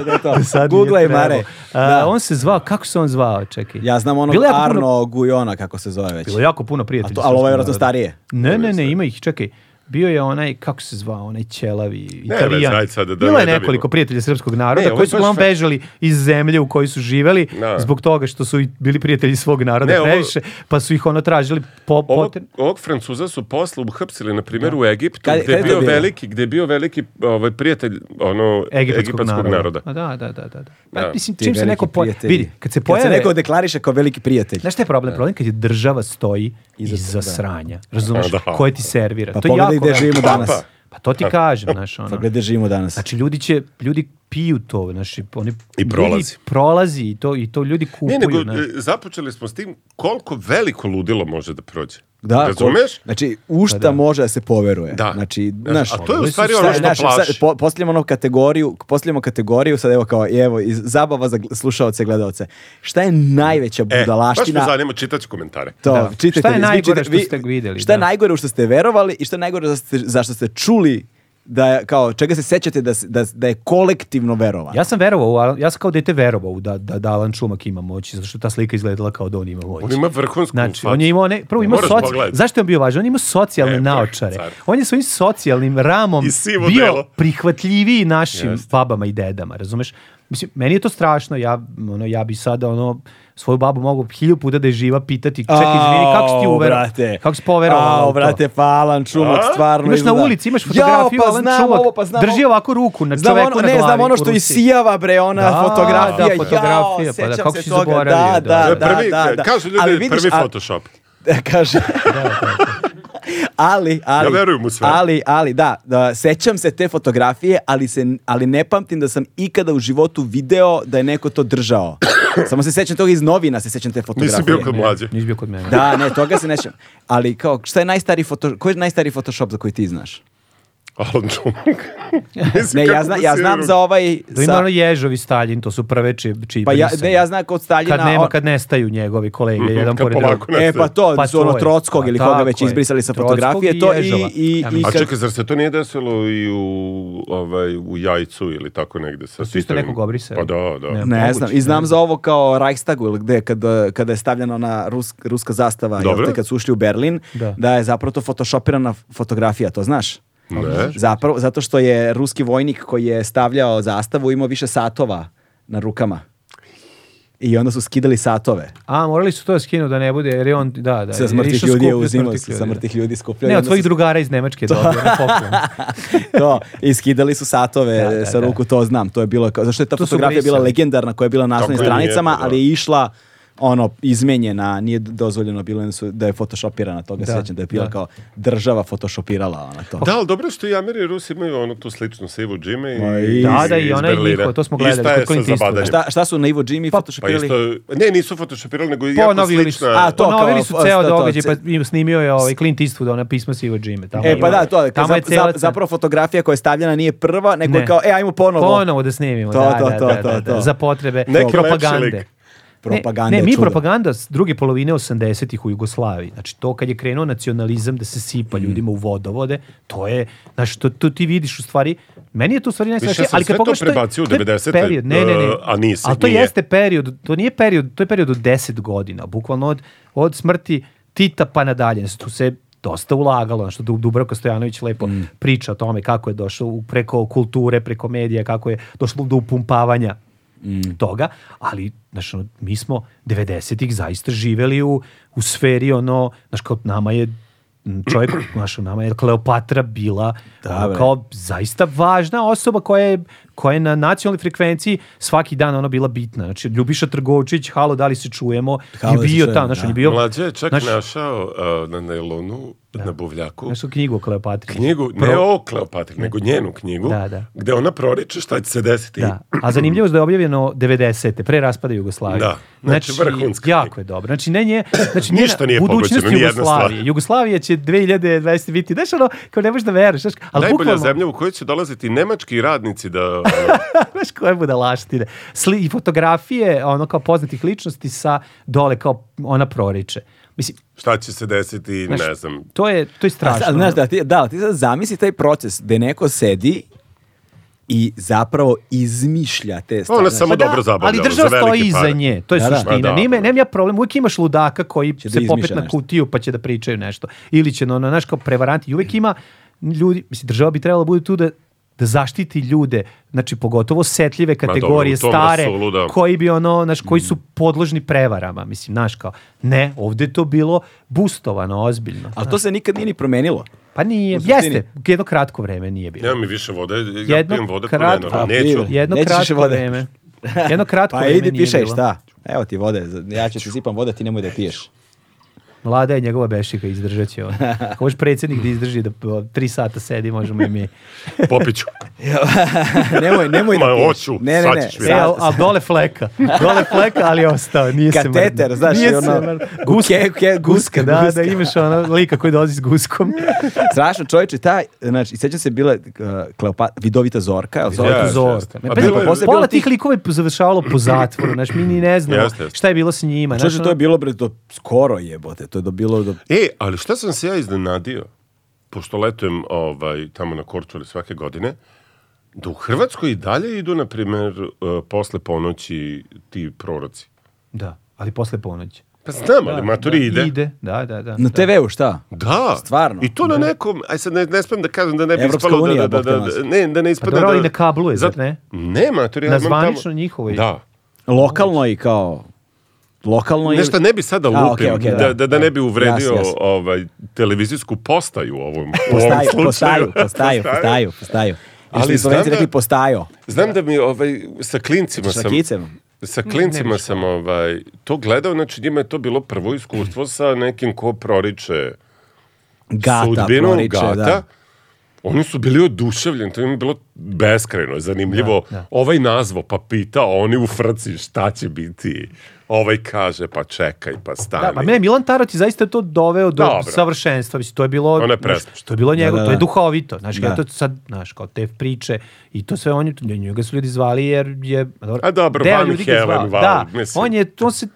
da je to. Da sad nije Googlaj, trebao. Mare. A, Da. On se zvao, kako se on zvao, čekaj. Ja znam ono onog Bilo je jako puno- Arno Gujona, kako se zove već. Bilo je jako puno prijatelja. A to- ali ovo je srpskog vjerojatno naroda. starije. Ne, ne, ne, ima ih, čekaj. Bio je onaj, kako se zvao, onaj ćelavi italijan. ajde sad da Bilo je ne nekoliko davimo. prijatelja srpskog naroda Ne, ovo je koji su baš uglavnom fe- bežali iz zemlje u kojoj su živeli Da. zbog toga što su i bili prijatelji svog naroda Ne, ovo- previše, pa su ih ono tražili po, Ovog, potem- ovog Francuza su posle uhapsili, na primjer, u Egiptu, Kad- gde kad je je to bio bilo? veliki, gde je bio veliki ovaj, prijatelj ono, egipatskog, naroda. A Da, da, da, da. da. Pa, Da. mislim, Ti čim se veliki neko po... prijatelji. Vidi, kad se pojave... neko deklariše kao veliki prijatelj. Znaš šta je problem? Problem je kad je država stoji iza, da. sranja. Razumeš? Da. Koje ti servira. Pa to je pogledaj jako gde veliko. živimo danas. Pa Pa. Pa to ti kažem, znaš, ono. Gledaj živimo danas. Znači, ljudi će, ljudi piju to, znači, oni... I prolazi. Ljudi prolazi i to, i to ljudi kupuju, Ne, nego znaš. e, započeli smo s tim koliko veliko ludilo može da prođe. Da, Razumeš? E, ko- znači, u Pa šta može da se poveruje. Da. Znači, Znaš, znaš, a to je u mislim, stvari šta- ono što znaš, plaši. sad po- postavljamo ono kategoriju, postavljamo kategoriju, sad evo kao, evo, iz zabava za gl- slušaoce i gledalce. Šta je najveća E, baš me budalaština? zanima, čitat ću komentare. to, Da. čitajte, Šta je vi najgore čitajte, što ste videli, Šta je da. najgore u što ste verovali i šta je najgore za ste- zašto ste čuli da je, kao, čega se sećate da, s- da, s- da je kolektivno verovano? Ja sam verovao, u Alan- ja sam kao dete verovao u da, da, da Alan Čumak ima moći, zato što ta slika izgledala kao da on ima moći. On ima vrhunsku Znači, facu. on je imao, ne, prvo imao Moraš soci... pogledati. Zašto je on bio važan? On je imao socijalne E, pa, naočare. car. On je svojim socijalnim ramom I sivo bio delo. prihvatljiviji našim babama i dedama, razumeš? Mislim, meni je to strašno, ja, ono, ja bi sada ono, svoju babu mogu hilju puta da je živa pitati, čekaj, izvini, kako si ti Au, uverao? brate. Kako si poverovao? Au, u to?" brate, pa Alan Čumak, A? stvarno Imaš na izgleda- ulici, imaš Jao, fotografiju, pa Alan znam Čumak, ovo, pa znam drži ovo. ovako ruku na Znam čoveku ono, na ne, znam glavi ono u što Rusiji. isijava, bre, ona Da, fotografija. da, fotografija, Jao, pa da, sećam kako se si toga. zaboravio, Da, da. da, To je prvi, da, da. Kažu ljudi, Ali vidiš, prvi a- Photoshop. Kaže. ali, ali, Ja verujem u sve. ali, ali, da, da, sećam se te fotografije, ali, se, ali ne pamtim da sam ikada u životu video da je neko to držao. Samo se sećam toga iz novina, se sećam te fotografije. Nisi bio kod mlađe. Nisi bio kod mene. Da, ne, toga se ne sećam. Ali kao, šta je najstariji foto, koji je najstariji Photoshop za koji ti znaš? Alan Čumak. Mislim, Ne, ja, kako zna, da ja si- znam za ovaj... Da ima sa- ono Ježovi Staljin, to su prve čiji čiji pa ja, ne, brisanje. ja znam kod Staljina... Kad nema, on- kad nestaju njegovi kolege, jedan Mhm, kad pored polako drugog. nestaju. E pa to, Pa su ono troje. Trockog ili Pa koga tako već je. izbrisali sa Trockog fotografije, i to i, Ježova. i, Ja i mislim. A kad- čekaj, zar se to nije desilo i u, ovaj, u jajcu ili tako negde? Sa su isto sistemom? nekog obrisali. Pa da, da. Ne. Ne Moguće, znam, i znam za ovo kao Reichstagu ili gde, kada, kada je stavljena ona rus, ruska zastava, jel Dobro. te, kad su ušli u Berlin, da. Da. je zapravo to photoshopirana fotografija, to znaš? Ne. Zapravo, zato što je ruski vojnik koji je stavljao zastavu imao više satova na rukama. I onda su skidali satove. A, morali su to da skinu da ne bude, jer je on, da, da. Sa jer je smrtih išao ljudi je skupio uzimao, smrtnih ljudi, sa da. mrtvih ljudi skupljao. i Ne, od onda svojih su- drugara iz Nemačke dobio, na poklon. to, i skidali su satove Da, da, sa da. ruku, to znam. To je bilo, kao, zašto je ta To su fotografija bila brisali. legendarna koja je bila na naslovnim Tako je, stranicama, lijepo, da. ali je išla ono, izmenjena, nije dozvoljeno bilo da su- da je photoshopirana, toga se Da, sjećam, da je bila da. kao država photoshopirala ona to. Da, ali dobro je što i Ameri i Rusi imaju ono tu sličnu sa Ivo Jime i Ma i- iz- Da, da, i iz onaj Berlina. njihov, to smo I gledali, šta kod je Clint sa Eastwooda. zabadanjem? Šta, šta su na Ivo Jimmy Pa photoshopirali? isto, ne, nisu fotoshopirali, nego jako Ponovili ono su, slična. A, to ponovili kao- su ceo to- to- događaj, pa im snimio je ovaj Clint Eastwood, ona pisma Sivo Jimmy. Tamo E pa da, to je, tamo je zap- zap- celac- zapravo fotografija koja je stavljena nije prva, nego je Ne. kao, e, ajmo ponovo. Ponovo da snimimo, To, da, to, da, to, da, to, da, da, to. za potrebe Neki lepši propagande. lik. Propaganda ne, je ne, mi čudo. propaganda s druge polovine 80-ih u Jugoslaviji. Znači to kad je krenuo nacionalizam da se Mm. sipa ljudima u vodovode, to je, znači to, to ti vidiš u stvari, meni je to u stvari Više najstrašnije, sam ali sve kad to pogledaš to je- prebacio u to je 90-te, period, ne, ne, ne. e, a nisam, Ali to nije. jeste period, to nije period, to je period od 10 godina, bukvalno od, od smrti Tita pa nadalje. Znači, tu se dosta ulagalo, ono što Dub- Dubravko Stojanović lepo Mm. priča o tome kako je došao u- preko kulture, preko medija, kako je došlo do upumpavanja Mm. toga, ali znaš, ono, mi smo 90-ih zaista živeli u, u sferi ono, znaš, kao nama je m, čovjek, znaš, nama je Kleopatra bila Da, ono, bre. kao zaista važna osoba koja je, koja je na nacionalnoj frekvenciji svaki dan ono bila bitna. Znači, Ljubiša Trgovčić, halo, da li se čujemo, Halo, da je se bio čujemo, tamo, znači, da. on je bio... Mlađe je čak znaš, našao uh, na nailonu, na buvljaku, znaš, knjigu o Kleopatri. knjigu, ne Pro- o Kleopatri, nego njenu knjigu, Da, da. gde ona proriče šta će se desiti. Da. A zanimljivo je da je objavljeno 90. pre raspada Jugoslavije. Da. Znači, vrhunska jako je dobro. Znači, ne nje, znači, Ništa njena nije budućnost pogođeno, nijedna stvar. Jugoslavije. Jugoslavija će 2020 biti, znaš, ono, kao ne možeš da veruješ. Znaš, ali Najbolja bukvalno, zemlja u kojoj će dolaziti nemački radnici da... ono, znaš, koje budalaštine. Sli, I fotografije, ono, kao poznatih ličnosti sa dole, kao ona proriče. Mislim, šta će se desiti, znaš, ne znam. to je, to je strašno. A, ono. znaš, da, ti, da, ali ti sad zamisli taj proces gde neko sedi i zapravo izmišlja te stvari. Ona znaš. Ono, samo Pa da, dobro zabavlja. Ali ono, država za velike stoji pare. iza nje, to je Da, da. suština. Pa da. Nema, nemam ja problem, uvijek imaš ludaka koji Će da se popet izmišlja na nešto. kutiju pa će da pričaju nešto. Ili će, ono, znaš, kao prevaranti. I Uvijek ima ljudi, mislim, država bi trebala da bude tu da da zaštiti ljude, znači pogotovo setljive dobro, kategorije, u tom stare, rasulu, da. koji bi ono, znaš, koji Mm. su podložni prevarama, mislim, znaš kao, ne, ovdje je to bilo bustovano, ozbiljno. Ali to se nikad nije ni promenilo. Pa nije, u suštini- jeste, jedno kratko vreme nije bilo. Nema mi više vode, ja Jedno pijem vode kratko- kratko, A, neću. pivo. Jedno Nećeš više kratko vode. vreme. Jedno kratko Pa vreme idi nije pišaj bilo. šta. Evo ti vode, ja ću ti sipam vode, ti nemoj da piješ. Mlada je njegova bešika, izdržat će on. Ako može predsjednik da izdrži da o, tri sata sedi, možemo i mi. Popiću. nemoj, nemoj da Ma, piješ. hoću, ne, ne, sad ne. ćeš E, ali al dole fleka. Dole fleka, ali je ostao. Nije se Kateter, mrdnuo. znaš, Nije ono, se mrdnuo. gu- ke- ke- guska, da, guska. da imaš ona lika koji dolazi s guskom. Strašno čovječe, taj, znači, sjećam se bila uh, Kleopat, vidovita Zorka, jel Zorka? Jeste, Zorka, jeste. Zorka. Ne, A pa, bilo je- pola, bilo tih likova je završavalo po zatvoru, znaš, mi ni ne znamo Jeste, jeste. šta je bilo sa njima. znaš, Čovječe, to je ono- bilo bre, do, skoro jebote, to je do, bilo do... E, ali šta sam se ja iznenadio, pošto letujem ovaj, tamo na Korčuli svake godine, da u Hrvatskoj i dalje idu, na primjer, eh, posle ponoći ti proroci. Da, ali posle ponoći. Pa znam, ali maturi ide. Ide, da, da, da. Na TV-u šta? Da. Stvarno? I to na nekom, aj sad ne, ne smem da kažem da ne bi Evropska ispalo da- unija, da, da, Bog te da, nas. Pa da, ne, da ne ispada dobro, da... ali na kablu je, zar ne? Ne, maturi, ja Na imam tamo- zvanično njihovoj. Da. Lokalno i kao... Lokalno ili- Nešto ne bi sada A, lupio, okej, okej, da, da, da ne bi uvredio Jasno, jasno. ovaj, televizijsku postaju u ovom, u ovom Postaju, slučaju. postaju, postaju, postaju, postaju. Ali Slovenci Ali znam da- rekli postajo. Znam da mi ovaj, sa klincima Sa sam... kicem. Sa Ne, klincima ne bi sam ovaj, to gledao, znači njima je to bilo prvo iskustvo sa nekim ko proriče Gata, sudbinu, proriče, gata. da. Oni su bili oduševljeni, to im je bilo beskrajno zanimljivo. Da, da. Ovaj nazvo, pa pita, oni u frci šta će biti. Ovaj kaže, pa čekaj, pa stani. Da, pa mene Milan Tarot je zaista to doveo do Dobro. savršenstva, mislim to je bilo Ono je znaš, preskup. to je bilo njegov, Da, da, to je da. duhovito, znaš, Da. da. to sad, znaš, kao te priče i to sve on je njega su ljudi zvali jer je dobro. A dobro, deo Van ljudi ga Halen, zvao. Van, da, mislim. on je to se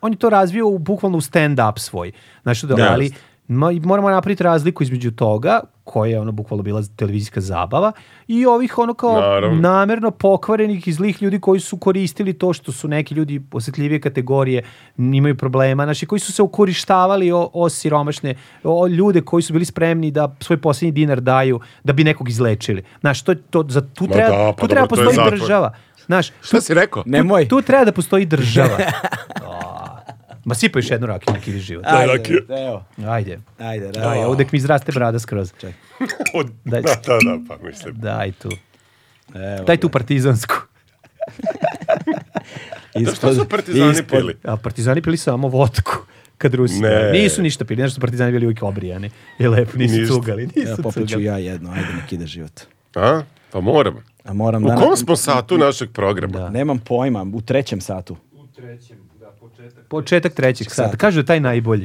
on je to razvio u bukvalno u stand up svoj. Znaš, da, Da, ali jeste. ma- moramo napraviti razliku između toga koja je ono bukvalno bila televizijska zabava i ovih ono kao Naravno. namerno pokvarenih i zlih ljudi koji su koristili to što su neki ljudi osjetljivije kategorije m, imaju problema, znači koji su se ukorištavali o, o siromašne, o ljude koji su bili spremni da svoj posljednji dinar daju da bi nekog izlečili. Znaš, to, to, za, tu Ma treba, da, pa tu treba dobro, to je postoji zatvor. država. Znaš, Šta si rekao? Nemoj. tu treba da postoji država. A, Ma sipaj još jednu rakiju, neki život. Ajde, rakiju. evo. Ajde. Ajde, da. Aj, ovdje mi izraste brada skroz. Od... Da, Daj. da, da, pa mislim. Daj tu. Evo Daj tu partizansku. Pa Šta su partizani pili? A partizani pili samo votku kad Rusi. Ne. Nisu ništa pili, nešto su partizani bili uvijek obrijani. I lepo, nisu Ništa. cugali, nisu Evo, popiću cugali. ja jedno, ajde nek ide život. A? Pa moram. A moram U da... kom smo satu našeg programa? Nemam pojma, u trećem satu. U trećem, da, početak. Početak trećeg sata. Kažu da je taj najbolji.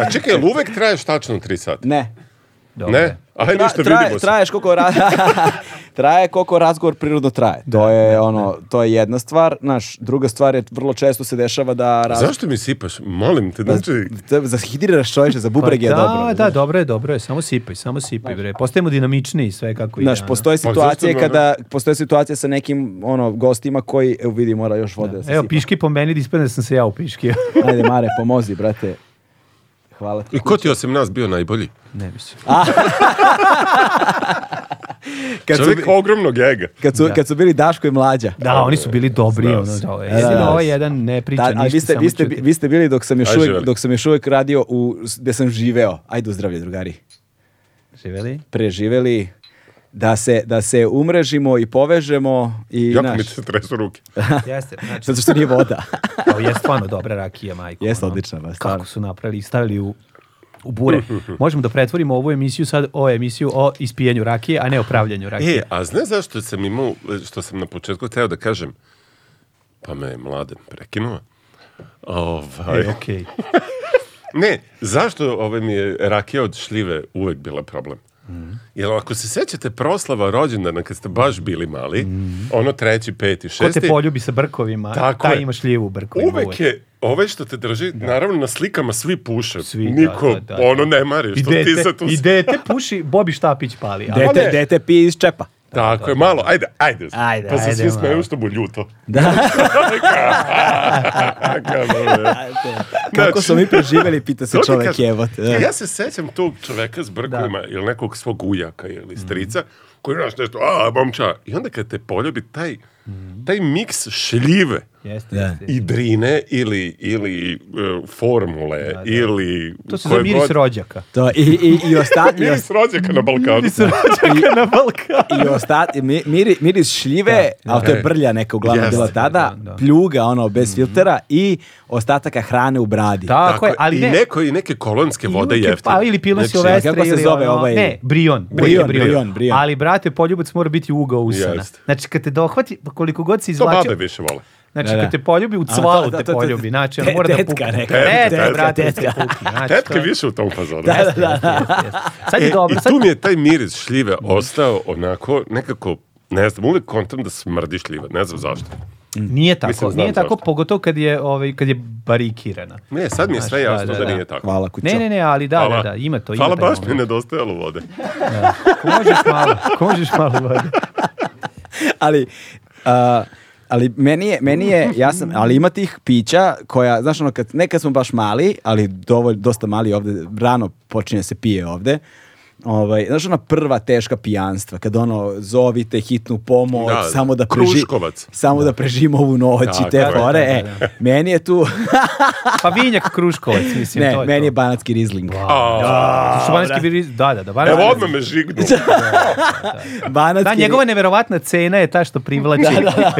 A čekaj, jel uvek traješ tačno 3 sata? Ne. Dobro. Pa Ne? Ajde, Pa ništa, traje, vidimo se. Traješ koliko, ra... traje koliko razgovor prirodno traje. To je, ono, to je jedna stvar. Naš, druga stvar je, vrlo često se dešava da... Raz... Zašto mi sipaš? Molim te, znači... Da- Zahidriraš čovječe, za Pa bubreg je da, dobro. da, dobro je, dobro je. Samo sipaj, samo sipaj, bre. Postajemo dinamičniji sve kako ide. Znaš, ono. postoje Pa situacije zašto ne? kada, postoje situacije sa nekim, ono, gostima koji, evo vidi, mora još vode da, se Evo, sipa. piški po meni, da ispadne da sam se ja upiškio. Ajde, Mare, pomozi, brate. Hvala ti. I ko ti osim nas bio najbolji? ne mislim. Kad su, Čovjek ogromnog ega. kad, su, kad su bili Daško i Mlađa. Da, oni su bili dobri. Znao Ono, Da, da, sam. da, jedino da. ovaj jedan ne priča Da, ništa, ali vi ste, samo vi, ste, ćuti. vi ste bili dok sam još Ajde, uvijek, živeli. dok sam još uvijek radio u, gde sam živeo. Ajde u zdravlje, drugari. Živeli? Preživeli da se, da se umrežimo i povežemo i Jako mi naš, se tresu ruke. Jeste, znači, zato što nije voda. kao je stvarno dobra rakija, majko. Jeste ono. odlična, ba, stvarno. Kako su napravili i stavili u u bure. Možemo da pretvorimo ovu emisiju sad o emisiju o ispijenju rakije, a ne o pravljanju rakije. E, a znaš zašto sam imao, što sam na početku teo da kažem? Pa me je mladen prekinuo. Ovaj. E, okej. Ne, zašto ove mi je rakija od šljive uvek bila problem? Jer ako se sećate proslava rođendana kad ste baš bili mali, ono treći, peti, Ko šesti, te poljubi sa brkovima, Tako taj je. ima šljivu u brkovima. uvek je ovaj što te drži, naravno na slikama svi puše, Svi, da, niko da, da, da. ono ne mari, I što ti dete, sad tu... I dete puši, Bobi Štapić pali. ali- Dete, ne. dete pi iz čepa. Tako je, malo, ajde, ajde. Ajde, pa se ajde, svi smeju malo. što mu ljuto. Da, Kako je. kako Znači- smo mi preživeli, pita se To ti čovek kažem. jevot. Da. e, Ja se sećam tog čoveka s brkovima ili nekog svog ujaka Mhm. ili strica koji naš nešto, a, momča. I onda kad te poljubi taj, Mhm. taj miks šljive Jeste, Da. jeste. i drine ili, ili e, formule ili... To se koje zove miris god- rođaka. To, i, i, i, ostatnji, i, Miris rođaka na Balkanu. rođaka na Balkanu. i ostati, mi, miri, miris šljive, ali to je brlja neka uglavnom Jeste, bila tada, da, Mhm. da. pljuga ono bez filtera i ostataka hrane u bradi. Tako je, ali I ne. neko i neke kolonske vode Uvijek je jeftine. Pa ili pilo Znači, silvestre kako se ili zove ono- ovaj- Ne, brion. Uvijek je Brion, brion, brion. Ali, brate, poljubac mora biti ugo usana. Jeste. Znači, kad te dohvati, pa koliko god si To babe izvlačio... više vole. Znači, Da, da. kad te poljubi, u to- cvalu da, te to- to- poljubi. Znači, on te- mora da tetka pukne. neka. Tetka, Tetka, brate, tetka. tetka pukne. Znači, Tetke to je- više u tom fazonu. Jeste, jeste, jeste. Sad E, je dobro. I Sad tu mi je taj miris šljive ostao onako nekako, ne znam, uvijek kontam da smrdi šljiva, ne znam zašto. nije tako. Mislim, znam nije tako, zašto. pogotovo kad je, ovaj, kad je barikirana. Ne, sad mi je Znaš, sve da, jasno da, da, da. nije tako. Hvala kućo. Ne, ne, ne, ali da, Hvala. da, da, ima to. Ima Hvala, taj baš mi je moment. nedostajalo vode. Ako možeš malo, ako možeš malo vode. ali, a, ali meni je, meni je, ja sam, ali ima tih pića koja, znaš ono, kad, nekad smo baš mali, ali dovolj, dosta mali ovde, rano počinje se pije ovde, Ovaj, znaš ona prva teška pijanstva kad ono zovite hitnu pomoć Da, samo da preži- Kruškovac. samo da, prežimo ovu noć Tako i te je, fore da, e, meni je tu Pa vinjak kruškovac, mislim, ne to je meni to. je banatski rizling Da, su banatski biri, da, da, da. Banan, Evo odmah me žignu. banatski Da, njegova neverovatna cena je ta što privlači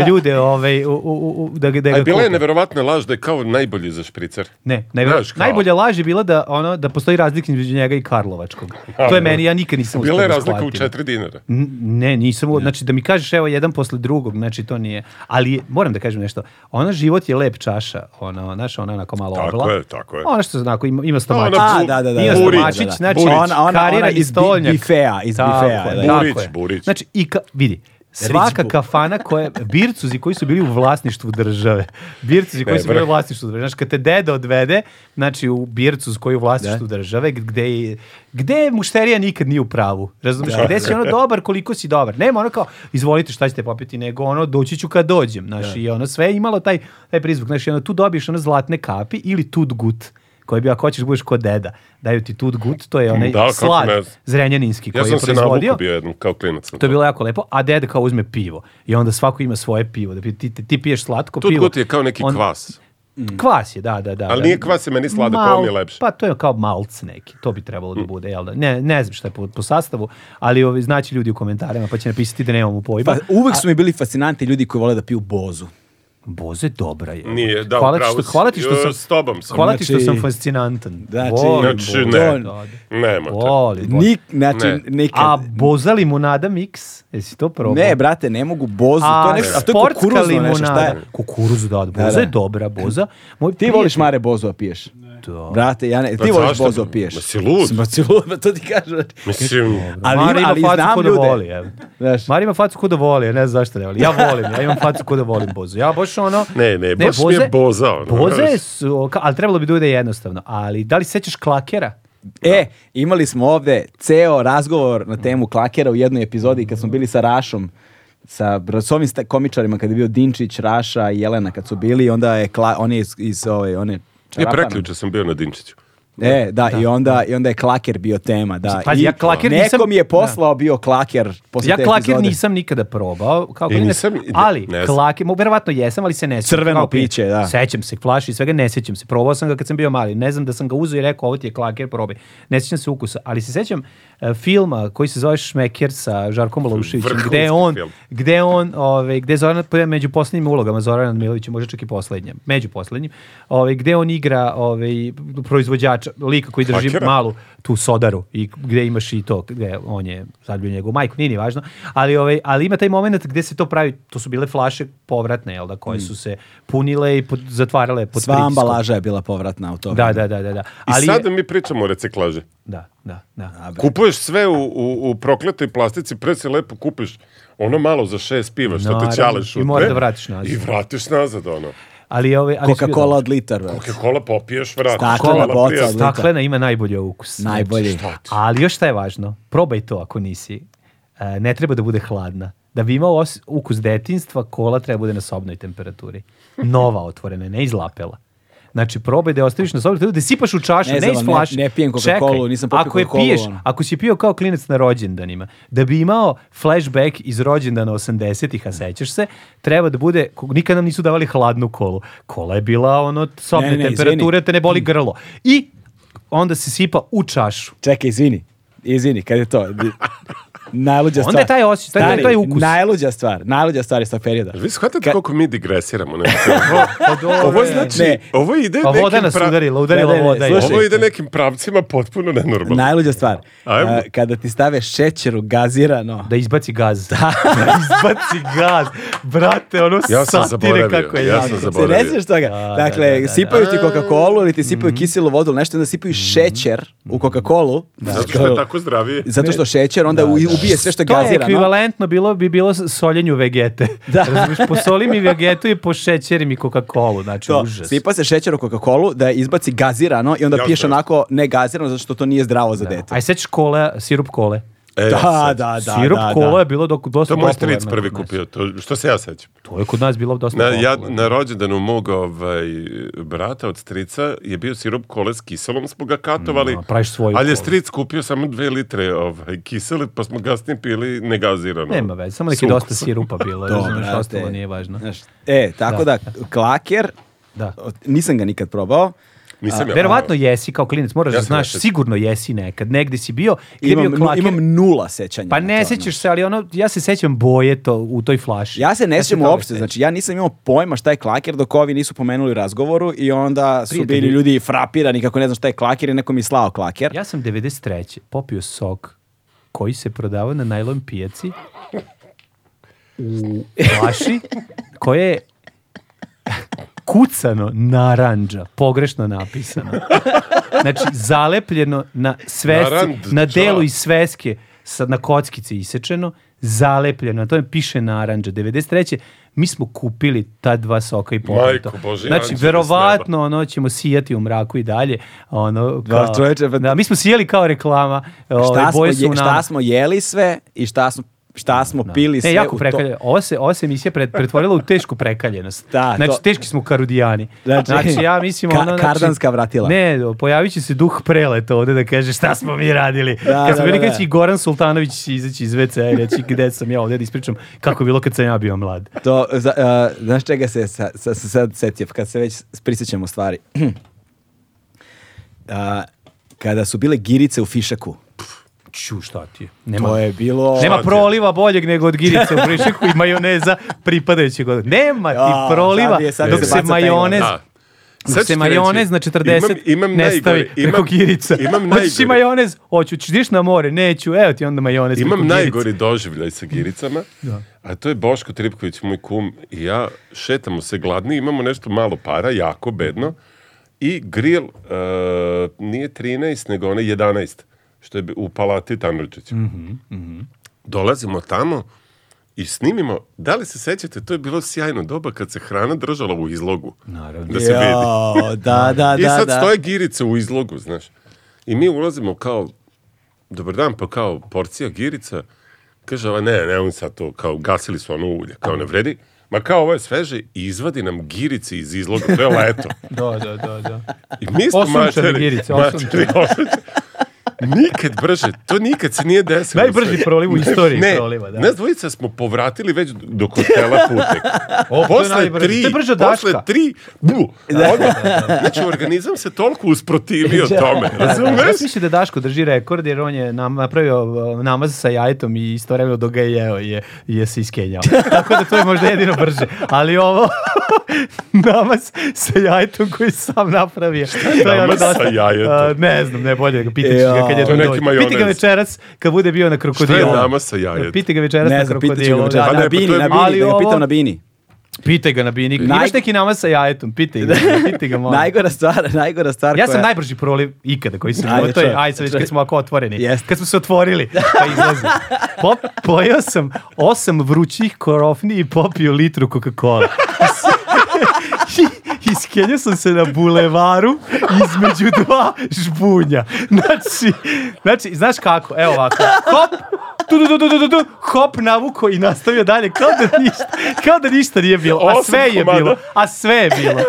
ljude ovaj, u, u, u, da, ga- da ga A bila je kupe. neverovatna laž da je kao najbolji za špricer. Ne, najver- Znaš kao- najbolja laž je bila da, ono, da postoji razlika između njega i Karlovačkog. To je meni, ja nikad nisam Bila uspeo je da razlika u shvatim. 4 dinara. N- Ne, nisam, u- znači da mi kažeš evo jedan posle drugog, znači to nije. Ali moram da kažem nešto, ona život je lep čaša, ona, znaš, ona onako malo Tako obla. je, tako je. Ona što znači, ima, ima stomačić. Ona A, Bu- da, da, da. Nije da, Burić. Stomačić, da, da. znači Burić. ona, ona, Karira karira iz iz bi- Stolnjaka. bifea, iz Tako bifea, je, da. tako Burić, je. Burić. Znači, i ka, vidi, Svaka Ritzbu. kafana koja, bircuzi koji su bili u vlasništvu države. Bircuzi koji su bili u vlasništvu države. Znači, kad te deda odvede, znači, u bircuz koji je u vlasništvu države, gde, je- gde mušterija nikad nije u pravu. Razumiješ? Gde si ono dobar, koliko si dobar. Nema ono kao, izvolite šta ćete popiti, nego ono, doći ću kad dođem. Znači, i ono, sve je imalo taj, taj prizvuk. Znači, ono, tu dobiješ ono zlatne kapi ili tut gut koji bi ako hoćeš budeš ko deda. Daju ti tut gut, to je onaj Da, kako slad ne znam. zrenjaninski koji Ja sam je se proizvodio. navukao bio jednom, kao klinac. na To je bilo jako lepo, a deda kao uzme pivo. I onda svako ima svoje pivo. Da pi- ti, ti, ti piješ slatko Tut pivo. gut je kao neki On- kvas. Kvas je, da, da, da. Ali da. nije kvas, je meni sladak, Mal- ovo mi je lepše. Mm. Pa to je kao malc neki, to bi trebalo da bude, jel da? Ne, ne znam šta je po, po sastavu, ali ovi, znaći ljudi u komentarima, pa će napisati da nemamo pojma. Pa, uvek su mi bili fascinantni ljudi koji vole da piju bozu. Boze, dobra je. Nije, da, hvala ti upravo što, si. hvala ti što E, sam... s tobom sam. Hvala ti što Znači- sam fascinantan. Znači- Volim Znači, Bozu. ne. Da, da. Nema to. Volim Bozu. Nik, znači, Ne. nekad. A boza limunada mix, jesi to probao? ne, brate, ne mogu bozu. to je A nešto, a to je sportska kukuruzno nešto, šta limunada. je? Kukuruz, da, da. Boza da. je dobra, boza. Moj Ti prijatelj- voliš Mare Bozu, a piješ? Da. Brate, ja ne, ti Pa voliš zašto? Bozu, a piješ. Ma si lud? Ma si lud, ma to ti kažem. Mislim, Ali, Mara ima- ima ali facu znam ko da ljude. voli, evo. Znaš, Mari ima facu ko da voli, ja ne znam zašto ne voli. Ja volim, ja imam facu ko da volim bozu. Ja baš ono... Ne, ne, baš mi je boza, ono, Boze znaš. su, ka- ali trebalo bi da bude jednostavno. Ali da li se sećaš klakera? E, imali smo ovde ceo razgovor na temu klakera u jednoj epizodi kad smo bili sa Rašom sa br- s ovim sta- komičarima kad je bio Dinčić, Raša i Jelena kad su bili onda je kla, on je iz, iz ove one je čarapana. preključe sam bio na Dinčiću. E, da, i onda i onda je klaker bio tema, da. Pazi, I ja klaker neko nisam- mi je poslao bio klaker posle Ja te klaker epizode. nisam nikada probao, kao klinac, nisam- ali ne znam. klaker, mo, verovatno jesam, ali se ne sjećam. Crveno Kao klinac. piće, da. Sećam se flaši i svega, ne sjećam se. Probao sam ga kad sam bio mali. Ne znam da sam ga uzeo i rekao, ovo ti je klaker, probaj. Ne sjećam se ukusa, ali se sjećam e, filma koji se zove Šmeker sa Žarkom Malušićem, Vrhunski gde je on, film. gde je on, ovaj, gde je Zoran pa je među poslednjim ulogama Zoran Milović, možda čak i poslednjem, među poslednjim, ovaj, gde on igra ovaj, proizvođača, lika koji drži Hakera? malu tu sodaru i gde imaš i to, gde on je zadljio njegovu majku, nije ni važno, ali, ovaj, ali ima taj moment gde se to pravi, to su bile flaše povratne, jel da, Mm. koje su se punile i pod, zatvarale pod Sva pritiskom. ambalaža je bila povratna u to. Da, vreme. da, da, da. da. I Ali, je- sada mi pričamo o reciklaži. da, da, da. Kupuješ sve u, u, u prokletoj plastici, pre se lepo kupiš ono malo za šest piva, što Naravno, te ćaleš i u dve. mora da vratiš nazad. I vratiš nazad, ono. Ali, ovaj, ali su bile Coca-Cola od litar. brate. Coca-Cola popiješ, vratiš. Staklena hvala, boca, prijatno. odlično. Staklena ima najbolji ukus. Najbolji. Znači, ali još šta je važno, probaj to ako nisi. E, ne treba da bude hladna. Da bi imao os- ukus detinstva, kola treba da bude na sobnoj temperaturi. Nova otvorena, ne iz lapela. Znači, probaj da je ostaviš na sobnoj temperaturi, da je sipaš u čašu, Ne ne, znam, iz ne- flaše. ne pijem Čekaj, Coca-Colu, nisam popio ako je Coca-Colu, piješ, ono. ako si pio kao klinac na rođendanima, da bi imao flashback iz rođendana 80-ih, a sećaš se, treba da bude, nikad nam nisu davali hladnu kolu. Kola je bila ono sobne Ne, ne, ne, izvini. temperature, te ne boli grlo. I onda se sipa u čašu. Čekaj, izvini. Izvini, kad je to? Di- Najluđa stvar. Onda je taj osjećaj, taj- Stari, taj ukus. Najluđa stvar, najluđa stvar iz tog perioda. Jel Vi shvatate Ka- koliko mi digresiramo. Ne? Ovo, Pa dobro ovo je. znači, Ne. ovo ide Pa voda nekim nas pra- udarila, udarila Ne, ne, ne, voda. slušaj. Ovo ide nekim pravcima potpuno nenormalno. Najluđa stvar. Ajmo. A, kada ti stave šećer u gazirano. Da izbaci gaz. Da. izbaci gaz. Brate, ono Ja sam satire zaboravio, kako je ja jako. sam Da, se ne zaboravio. sjećaš toga. dakle, da, Mhm. da, da. sipaju ti Coca-Cola ili ti sipaju kiselu vodu ili nešto, i onda sipaju šećer u Mhm. Coca-Colu. Zato što je tako zdravije. Zato što šećer onda u- ubije sve što je To je gazirano. ekvivalentno bilo bi bilo soljenju vegete. Da. Razumiješ, posoli mi vegetu i pošećeri mi Coca-Cola, znači To, užas. sipa se šećer u Coca-Colu da je izbaci gazirano i onda Jasno, piješ jasno. onako ne gazirano zato što to nije zdravo za dete. Aj sećaš kola, sirup kole. E, Da, da, sad, da. sirup da, kola da. je bilo dok, dosta To je moj popularno stric prvi kod nas. kupio, to, što se ja sećam. To je kod nas bilo dosta Na, ja, popularno. na rođendanu mog ovaj, brata od strica je bio sirup kole s kiselom, smo ga katovali. Mm, a praviš svoju Ali je kolu. stric kupio samo dve litre ovaj, kisele, pa smo gasnije pili negazirano. Nema veze, samo neki Sukus. dosta sirupa bilo, To, razumiješ, brate. ostalo nije važno. Znaš, e, tako da, klaker, Da. nisam ga nikad probao. Nisam ja. Verovatno jesi kao klinac, moraš da Ja sam znaš, jesi. sigurno jesi nekad, negde si bio. gde je Imam, bio nu- klaker. imam nula sećanja. Pa na ne to, znaš. sećaš se, ali ono, ja se sećam boje to u toj flaši. Ja se ne sjećam toga uopšte, sećam. znači ja nisam imao pojma šta je klaker dok ovi nisu pomenuli u razgovoru i onda su Prijatelji. bili ljudi frapirani kako ne znam šta je klaker i neko mi je slao klaker. Ja sam 93. popio sok koji se prodavao na najlon pijaci u flaši koja je kucano naranđa, pogrešno napisano. Znači, zalepljeno na svesci, Narandža. na delu iz sveske, sa, na kockice isečeno, zalepljeno, na tome piše naranđa. 93. mi smo kupili ta dva soka i pokreta. Majko Božja, Znači, naranđa s verovatno, ono, ćemo sijati u mraku i dalje. Ono, Da, čoveče, pa- da, mi smo sijeli kao reklama. Šta, ovaj, smo, boje su je, u nama. šta smo jeli sve i šta smo, šta smo pili sve Ne, jako u to. prekalje. Ova se, ova se emisija pret, pretvorila u tešku prekaljenost. Da, znači, to- teški smo karudijani. Znači- Znači, ja mislim... Ka- ono, znači, kardanska vratila. Ne, pojavit će se duh preleta ovde da kaže šta smo mi radili. Da, kad smo da, bili da, kad da. će i Goran Sultanović će izaći iz WC-a i reći gde sam ja ovde da ispričam kako je bilo kad sam ja bio mlad. To, za, a, znaš čega se sa, sa, sa, sad setio, kad se već prisjećamo stvari. A, kada su bile girice u Fišaku, Ču, šta ti je? to Nema, je bilo... nema ti je? proliva boljeg nego od girice u prišiku i majoneza pripadajuće godine. Nema Ja, ti proliva sad je- sad dok se se baca taj majonez ono. Da. Dok Sad ću se ti majonez reći, na 40 imam, imam ne stavi najgore, preko imam, kirica. Imam Hoćeš ti najgore, majonez? Hoću, ćeš ideš na more? Neću, evo ti onda majonez preko imam kirica. najgori doživljaj sa giricama, a to je Boško Tripković, moj kum, i ja šetamo se gladni, imamo nešto malo para, jako bedno, i grill e, nije 13, nego onaj 11, što je bi- u Palati Tanurčiću. Dolazimo tamo i snimimo, da li se sećate, to je bilo sjajno doba kad se hrana držala u izlogu. Naravno. Da se vidi. Jao, da, da, I da, sad da. stoje girice u izlogu, znaš. I mi ulazimo kao, dobar dan, pa kao porcija girica. Kaže, ova, ne, ne, on sad to, kao gasili su ono ulje, kao ne vredi. Ma kao ovo je sveže i izvadi nam girice iz izloga, to je leto. Da, da, da, da. I mi smo Osunčane materi- girice, materi- osunčane. osunčane. Nikad brže, to nikad se nije desilo. Najbrži proliv u istoriji Ne, proliva, da. nas dvojica smo povratili već do hotela putek. O, to je posle najbrže. tri, To je brže od posle Daška. tri, bu, onda, znači organizam se toliko usprotivio tome, Ja razumeš? sam mislio da Daško drži rekord jer on je nam, napravio uh, namaz sa jajetom i istovremeno dok ga je jeo je, je se iskenjao. Tako da to je možda jedino brže. Ali ovo namaz sa jajetom koji sam napravio. to ono namaz sa dosta- jajetom? A, ne znam, ne bolje da ga pitaš Ja. ga kad je To je neki dođe. Piti ga majonez. večeras kad bude bio na krokodilu. Šta je namaz sa jajetom? Piti ga večeras Ne na znam, pitaću ga krokodilu. večeras. Pa na ne, pa to je- bini, na bini, Ali da ga ovo- pitam na bini. Pitaj ga na bini. Naj- Imaš neki namaz sa jajetom? Pitaj ga. Pitaj ga, molim. Najgora stvar, najgora stvar Ja koja- sam najbrži proliv ikada koji sam Ajde, imao, to je, čovječe, aj sad već kad smo ovako otvoreni, Jeste. kad smo se otvorili, pa izlazi. Pop, pojeo sam osam vrućih korofni i popio litru Coca-Cola. I- Iskenio sam se na bulevaru između dva žbunja. Znači, znači znaš kako? Evo ovako. Hop, tu, tu, tu, tu, tu, tu, tu, hop navuko i nastavio dalje. Kao da ništa, kao da ništa nije bilo. A Osam sve je komada. bilo. A sve je bilo.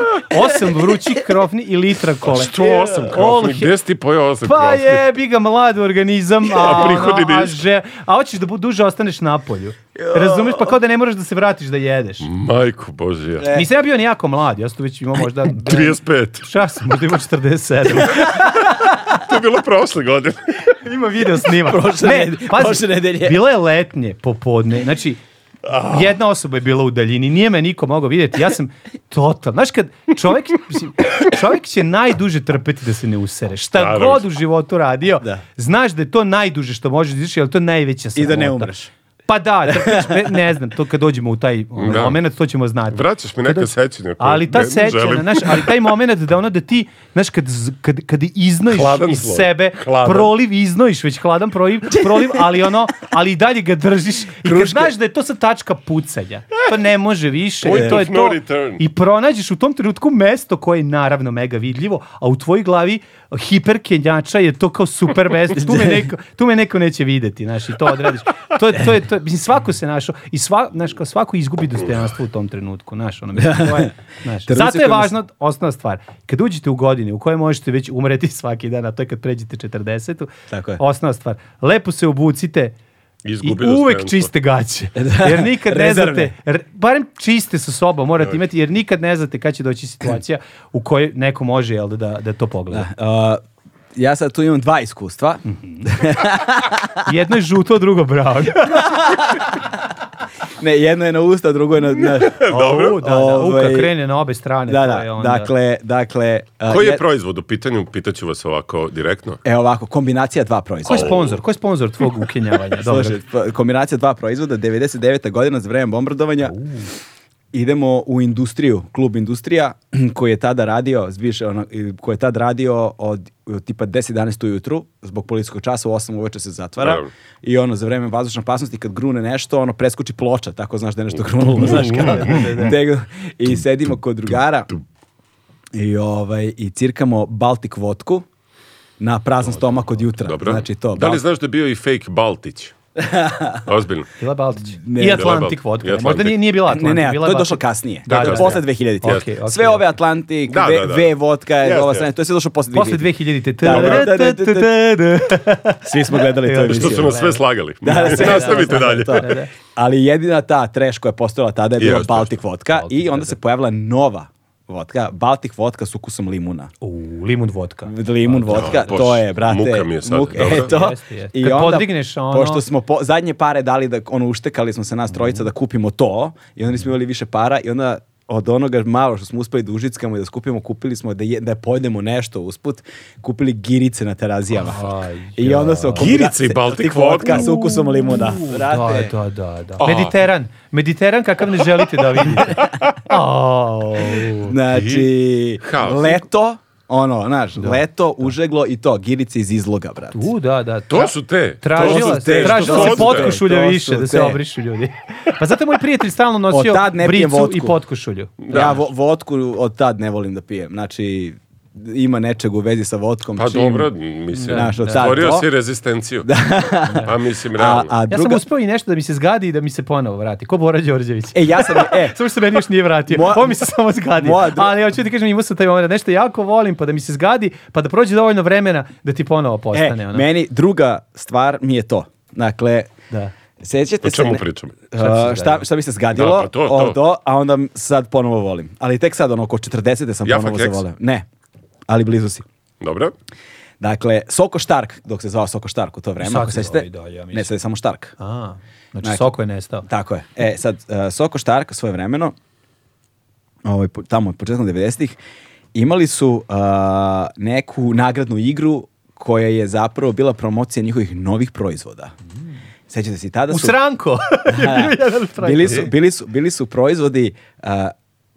Osam vrućih krofni i litra kole. Što osam krofni, All gde si ti pojao osam Pa krofni? je, bi ga mlad organizam, a, A prihodi prihodi a, ništa. že, a hoćeš da bu, duže ostaneš na polju. Razumeš? Pa kao da ne moraš da se vratiš da jedeš. Majko Božija, Nisam ja bio ni jako mlad, ja sam tu već imao možda... 35, Šta sam, možda imao 47. to je bilo prošle godine. Ima video snimak. Prošle ned- prošle nedelje. Ah. Bilo je letnje popodne, znači jedna osoba je bila u daljini, nije me niko mogao vidjeti, ja sam total. Znaš kad čovjek, mislim, čovjek će najduže trpeti da se ne usere. Šta Naravno. god u životu radio, Da. znaš da je to najduže što možeš da izdržiš, ali to je najveća I sramota. da ne umreš. Pa da, trpeć, ne, ne znam, to kad dođemo u taj ono, Da. moment, to ćemo znati. Vraćaš mi neka sećanja. koja Ali ta ne- ne sećana, želim. znaš, ali taj moment da ono da ti, znaš, kad, z- kad, kad iznojiš Hladan iz sloj. sebe, Hladan. proliv iznojiš, već hladan proliv, proliv, ali ono, ali i dalje ga držiš. I kad znaš da je to sad tačka pucanja, to ne može više. Point to je of no to. return. I pronađeš u tom trenutku mesto koje je naravno mega vidljivo, a u tvojoj glavi hiperkenjača je to kao super mesto. Tu me neko, tu me neko neće videti, znaš, i to odradiš. To je, to je, to je, mislim, svako se našao i sva, znaš, kao svako izgubi dostojanstvo u tom trenutku, znaš, ono, mislim, to je, znaš. Trenuci Zato je u kojima važna osnovna stvar. Kad uđete u godine u kojoj možete već umreti svaki dan, a to je kad pređete 40 Tako je. osnovna stvar, lepo se obucite, Izgubi I uvek dostojanstvo. čiste gaće. Jer nikad ne Rezervne. znate, r- barem čiste sa sobom morate imati, jer nikad ne znate kad će doći situacija u kojoj neko može jel, da, da, da to pogleda. A, E, ja sad tu imam dva iskustva. Mhm. Jedno je žuto, drugo brown. Ne, jedno je na usta, drugo je na... na Dobro. U, da, da, Ovaj, uka krene na obe strane. da, to je da, onda- dakle, dakle... a, Koji je je- proizvod u pitanju? Pitaću vas ovako direktno. Evo ovako, kombinacija dva Ko je proizvoda. sponsor? Ko je sponsor tvog ukenjavanja? Dobro. Slušaj, pa, kombinacija dva proizvoda, 99. godina za vreme bombardovanja. idemo u industriju, klub industrija, koji je tada radio, zbiše, ono, i koji je tad radio od, od tipa 10-11 ujutru, zbog policijskog časa, u 8 uveče se zatvara. Dobro. I ono, za vreme vazdušne opasnosti, kad grune nešto, ono, preskoči ploča, tako znaš da je nešto grunulo, znaš kao. Tego- I sedimo kod drugara i, ovaj, i cirkamo Baltic vodku na prazan stomak od jutra. Dobro. Znači to. da li Bal- znaš da je bio i fake Baltić? Ozbiljno. Bila Baltić. Ne, I bila Atlantik Baltic. vodka. I Atlantic. Možda nije, nije bila Ne, Atlantik. ne, bila to je Baltic. došlo kasnije. Da, to je da, posle da. 2000 Okej, okej, Sve da. ove Atlantik, Da, v, da, da. v vodka, Jeste, ova jeste. strana, to je sve došlo posle 2000. Posle 2000. Da, da, da, Tadadadadadada. Svi smo gledali to Što Što emisiju. su nas sve slagali. Da, da, sve, Nastavite da, da, dalje. to. Ali jedina ta treš koja je postojala tada je bila Jeste, Baltic vodka Baltic, i onda da, se pojavila nova vodka, Baltic vodka s ukusom limuna. U, limun vodka. Limun vodka, bože, to je, brate. ono, e, muka mi je sad, muk- dobro. eto. Jeste, jeste. Kad podigneš ono- Pošto smo po- zadnje pare dali, da, ono, uštekali smo se nas trojica da kupimo to i onda nismo imali više para i onda od onoga malo što smo uspeli da užickamo i da skupimo, kupili smo da, je, da pojedemo nešto usput, kupili girice na terazijama. Aj, I onda su... Girice i Baltic vodka. sa ukusom limuna. Brate, Da, da, da, da. A. Mediteran. Mediteran kakav ne želite da vidite. Au. Znači, I haos. leto, ono, znaš, leto, užeglo i to, girice iz izloga, brat. U, da, da. Tra- To su te. Tražila, To su te, tražila što se su te. potkošulja To su više da te. se obrišu ljudi. Pa zato je moj prijatelj stalno Od nosio tad ne pijem bricu vodku. i potkošulju. Ja vo- vodku od tad ne volim da pijem. Znači, ima nečeg u vezi sa vodkom. Pa čim- dobro, mislim, Znaš, od sad stvorio do- si rezistenciju. Pa mislim, A, realno. a Ja druga... sam uspeo i nešto da mi se zgadi i da mi se ponovo vrati. Ko Bora Đorđević. E, ja sam... E, Samo što se meni još nije vratio. Moja- Ovo mi se samo zgadi. Moja dru- Ali ja ću ti kažem, imao sam taj moment. da Nešto jako volim, pa da mi se zgadi, pa da prođe dovoljno vremena da ti ponovo e, postane. ono. meni druga stvar mi je to. Dakle, Da. sećate O se... čemu ne- pričamo? Uh, Šta šta, ti se zgadilo? šta mi se zgadilo, Da, pa to, to. o, to, a onda m- sad ponovo volim. Ali tek sad, ono, oko 40. sam Jaffa ponovo keks? zavoleo. Ne, ali blizu si. Dobro. Dakle, Soko Štark, dok se zvao Soko Štark u to vreme, Sad ako se sećate, zove i dalje, ja mislim. ne, sad je samo Štark. A, znači, Znači- soko je nestao. Tako je. E, sad, e, Soko Štark svoje vremeno, ovaj, po- tamo početkom 90-ih, imali su a, neku nagradnu igru koja je zapravo bila promocija njihovih novih proizvoda. Sećate se i tada U su... sranko! je bio jedan štrajk. bili, su, bili, su, bili su proizvodi a,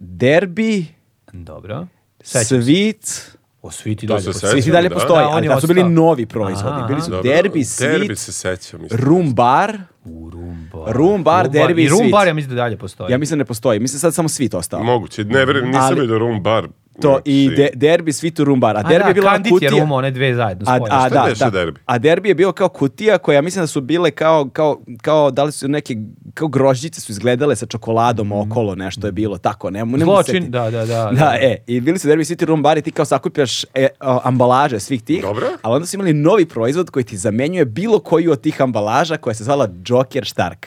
derbi, Dobro. Sećam. svit, O, svi ti To dalje. se postoji. Sećam, svi ti dalje da. postoji, Da, on ali je tad su bili ostao. novi proizvodi. Aha. bili su Dobro. derbi, Derbi svit, se sećam. mislim. rum bar, U, rum bar. Rum bar, derbi I rum svit. bar, ja mislim da dalje postoji. ja mislim da ne postoji, mislim sad samo svit ostao. Moguće, ne verujem, nisam Ali- vidio rum bar. To i Znači, de, derbi svit u rum bar. A A derbi da, je bila ona Kandit kutija. je rum, one dve zajedno A, spojene. a, Šta da, beše da. derbi? a derbi je bio kao kutija koja mislim da su bile kao, kao, kao da li su neke kao grožđice su izgledale sa čokoladom okolo nešto je bilo tako ne, ne mogu se Mhm. Zločin, setiti. da, da, da, da, da. e i bili su derbi city room bar i ti kao sakupljaš e, o, ambalaže svih tih Dobro. ali onda su imali novi proizvod koji ti zamenjuje bilo koju od tih ambalaža koja se zvala Joker Stark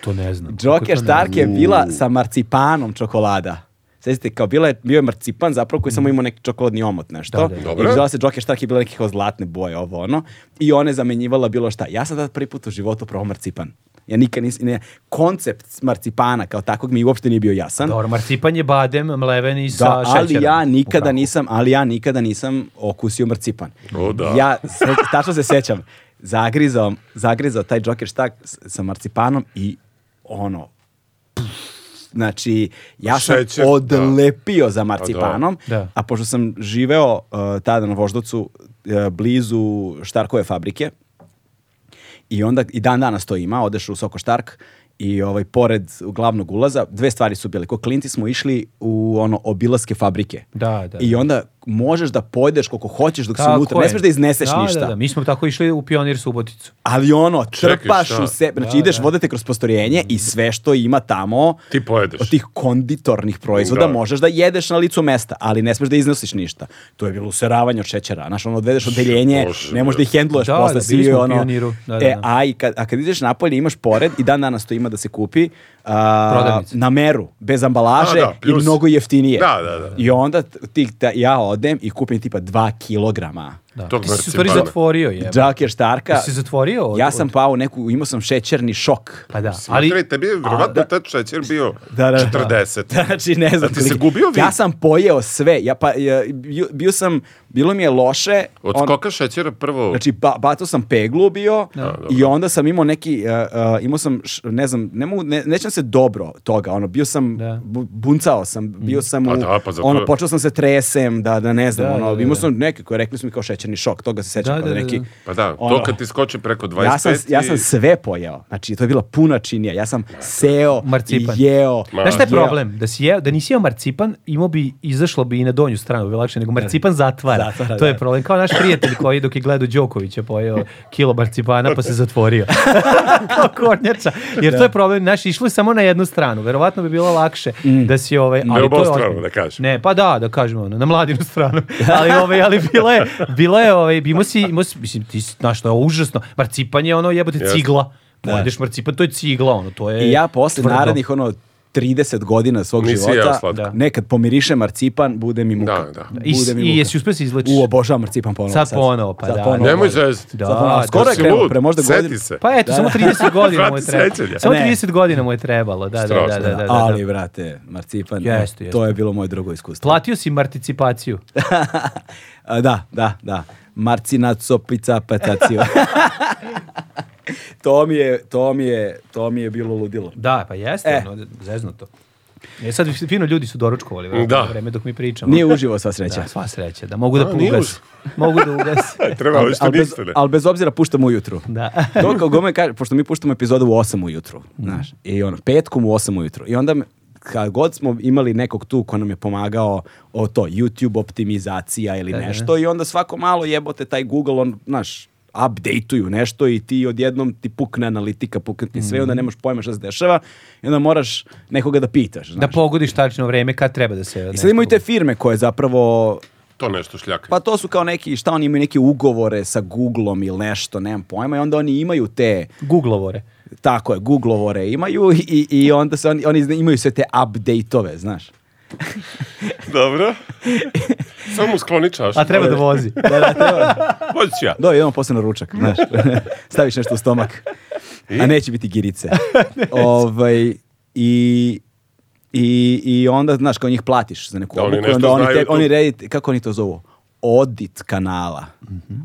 To ne znam. Kako to Joker ne Stark je bila sa marcipanom čokolada. Sjećate, kao bila je, bio je marcipan zapravo koji je samo imao neki čokoladni omot, nešto. Mm. Da, da, da. I zvala se Joker Stark je bila neke kao zlatne boje, ovo ono. I ona je zamenjivala bilo šta. Ja sam tad prvi put u životu probao marcipan. Ja nikad nisam, ne, koncept marcipana kao takvog mi uopšte nije bio jasan. Dobro, marcipan je badem, mleven i sa Da, ali šećerom ja u nikada prahu. nisam, ali ja nikada nisam okusio marcipan. O, da. Ja se, tačno se sećam. Zagrizao, zagrizao taj Joker štak s- sa marcipanom i ono pff, Znači, ja sam Šećer, odlepio za marcipanom, a, da. Da. pošto sam živeo uh, tada na Voždovcu uh, blizu Štarkove fabrike, i onda i dan danas to ima, odeš u Soko Štark i ovaj pored glavnog ulaza dve stvari su bile. Ko klinci smo išli u ono obilaske fabrike. Da, da. I onda možeš da pojedeš koliko hoćeš dok si Tako unutra, je. ne smeš da izneseš da, ništa. Da, da, mi smo tako išli u Pionir Suboticu. Ali ono, Čekaj, trpaš šta? u sebe, znači Da, ideš, da. vodete kroz postorjenje i sve što ima tamo Ti pojedeš. od tih konditornih proizvoda Da. možeš da jedeš na licu mesta, ali ne smeš da iznosiš ništa. To je bilo useravanje od šećera. Znaš, ono, odvedeš odeljenje, Bože, ne možeš da ih hendluješ Da, posle, da, si bili smo u ono... Pioniru. Da, da, E, da. a, i kad, a kad ideš napolje imaš pored i dan danas to ima da se kupi a, Prodavnice. na meru, bez ambalaže A, da, i plus- mnogo jeftinije. Da, da, da. I onda t- ti, ta- ja odem i kupim tipa 2 kilograma Da. Tog Ti si se u stvari marcipana. zatvorio je. Džaker Štarka. Ti si zatvorio od- Ja sam od- pao u neku, imao sam šećerni šok. Pa da, Ali, ali tebi je vjerovatno tad šećer bio Da, da, da. 40. Znači, ne znam. A ti koliko- se gubio vid? Ja sam pojeo sve. Ja, pa, ja, bio, bio sam, bilo mi je loše. Od on- skoka šećera prvo... Znači, ba, bacao sam peglu bio dobro. i onda sam imao neki, uh, uh, imao sam, š- ne znam, ne mogu, ne, nećem se dobro toga, ono, bio sam, Da. Mhm. bu- buncao sam, bio sam Pa u, da, pa zato- ono, počeo sam se tresem, da, da ne znam, Da, ono, da, da, imao da. sam neke koje rekli su mi kao šećerni šok, toga se sećam, Da, kao da, da, neki, da. Pa da, Ono. to kad ti skoči preko 25 Ja sam, ja sam i- sve pojeo. Znači, to je bila puna činija. Ja sam seo Marcipan. i jeo. Ma, Znaš šta je jeo. problem? Da, si jeo, da nisi jeo marcipan, imao bi, izašlo bi i na donju stranu, bi lakše, nego marcipan zatvara. Zatvara, to je da. problem. Kao naš prijatelj koji dok je gledao Đokovića pojeo kilo marcipana pa se zatvorio. Kao kornjača. Jer to je problem. Znaš, išlo je samo na jednu stranu. Verovatno bi bilo lakše Mm. da si ovaj... Ali oboju to je stranu, ozbiljno. da kažem. Ne, pa da, da kažemo, ono, na mladinu stranu. Ali, ovaj, ali bilo je, bilo je, ovaj, imao si, imao si, mislim, ti si- znaš, to je užasno. Marcipan je ono jebote Jeste. cigla. Pojedeš marcipan, to je cigla, ono, to je... I ja posle tvrdo. narednih ono 30 godina svog Nisi jeo života, slatko. da. nekad pomirišem marcipan, bude mi muka. Da, da. I, Bude mi i muka. jesi uspeo se izlečiš? U, obožavam marcipan ponovo. Sad ponovo, pa Sad da. ponovo. Nemoj zezati. Da, Sad ponovo. da, Skoro je si krenuo, lud, pre možda seti godinu. se. Pa eto, samo 30 godina mu je Vrati trebalo. sećanja. Samo Ne. 30 godina mu je trebalo, da, da, da, da, Strašno. da, da, da. Ali, vrate, marcipan, Jeste, jeste. to je bilo moje drugo iskustvo. Platio si marticipaciju. A, da, da, da. Marcina copica patacio. to mi je, to mi je, to mi je bilo ludilo. Da, pa jeste, E. ono, zeznuto. E sad fino ljudi su doručkovali Da. vrlo, da. vreme dok mi pričamo. Nije uživo sva sreća. Da, sva sreća, da mogu da A, nije ugas. Mogu da ugas. Treba Ali, ovo što bez, niste, ne? al bez obzira puštamo ujutru. da. to kao gome kaže, pošto mi puštamo epizodu u 8 ujutru, Mhm. znaš, i ono, petkom u 8 ujutru. I onda me- kad god smo imali nekog tu ko nam je pomagao o to, YouTube optimizacija ili da. nešto, i onda svako malo jebote taj Google, on, znaš, updateuju nešto i ti odjednom ti pukne analitika, pukne ti Mhm. sve, i onda nemaš pojma šta se dešava i onda moraš nekoga da pitaš. Znaš. Da pogodiš tačno vreme kad treba da se... I nešto sad imaju te firme koje zapravo To nešto šljaka. pa to su kao neki, šta oni imaju neke ugovore sa Googleom ili nešto, nemam pojma, i onda oni imaju te, Googlovore. tako je, Googleovore imaju i, i onda se oni, oni zna- imaju sve te update-ove, znaš. Dobro. Samo mu skloni čašu. A treba da vozi. Da, da, ono. treba. Moći ću ja. Da, idemo posle na ručak, znaš. Staviš nešto u stomak. A neće biti girice. ovaj, i, i, I onda, znaš, kao njih platiš za neku Da, oni obuku, nešto onda oni, znaju tebi, tu. oni redit, kako oni to zovu? Odit kanala.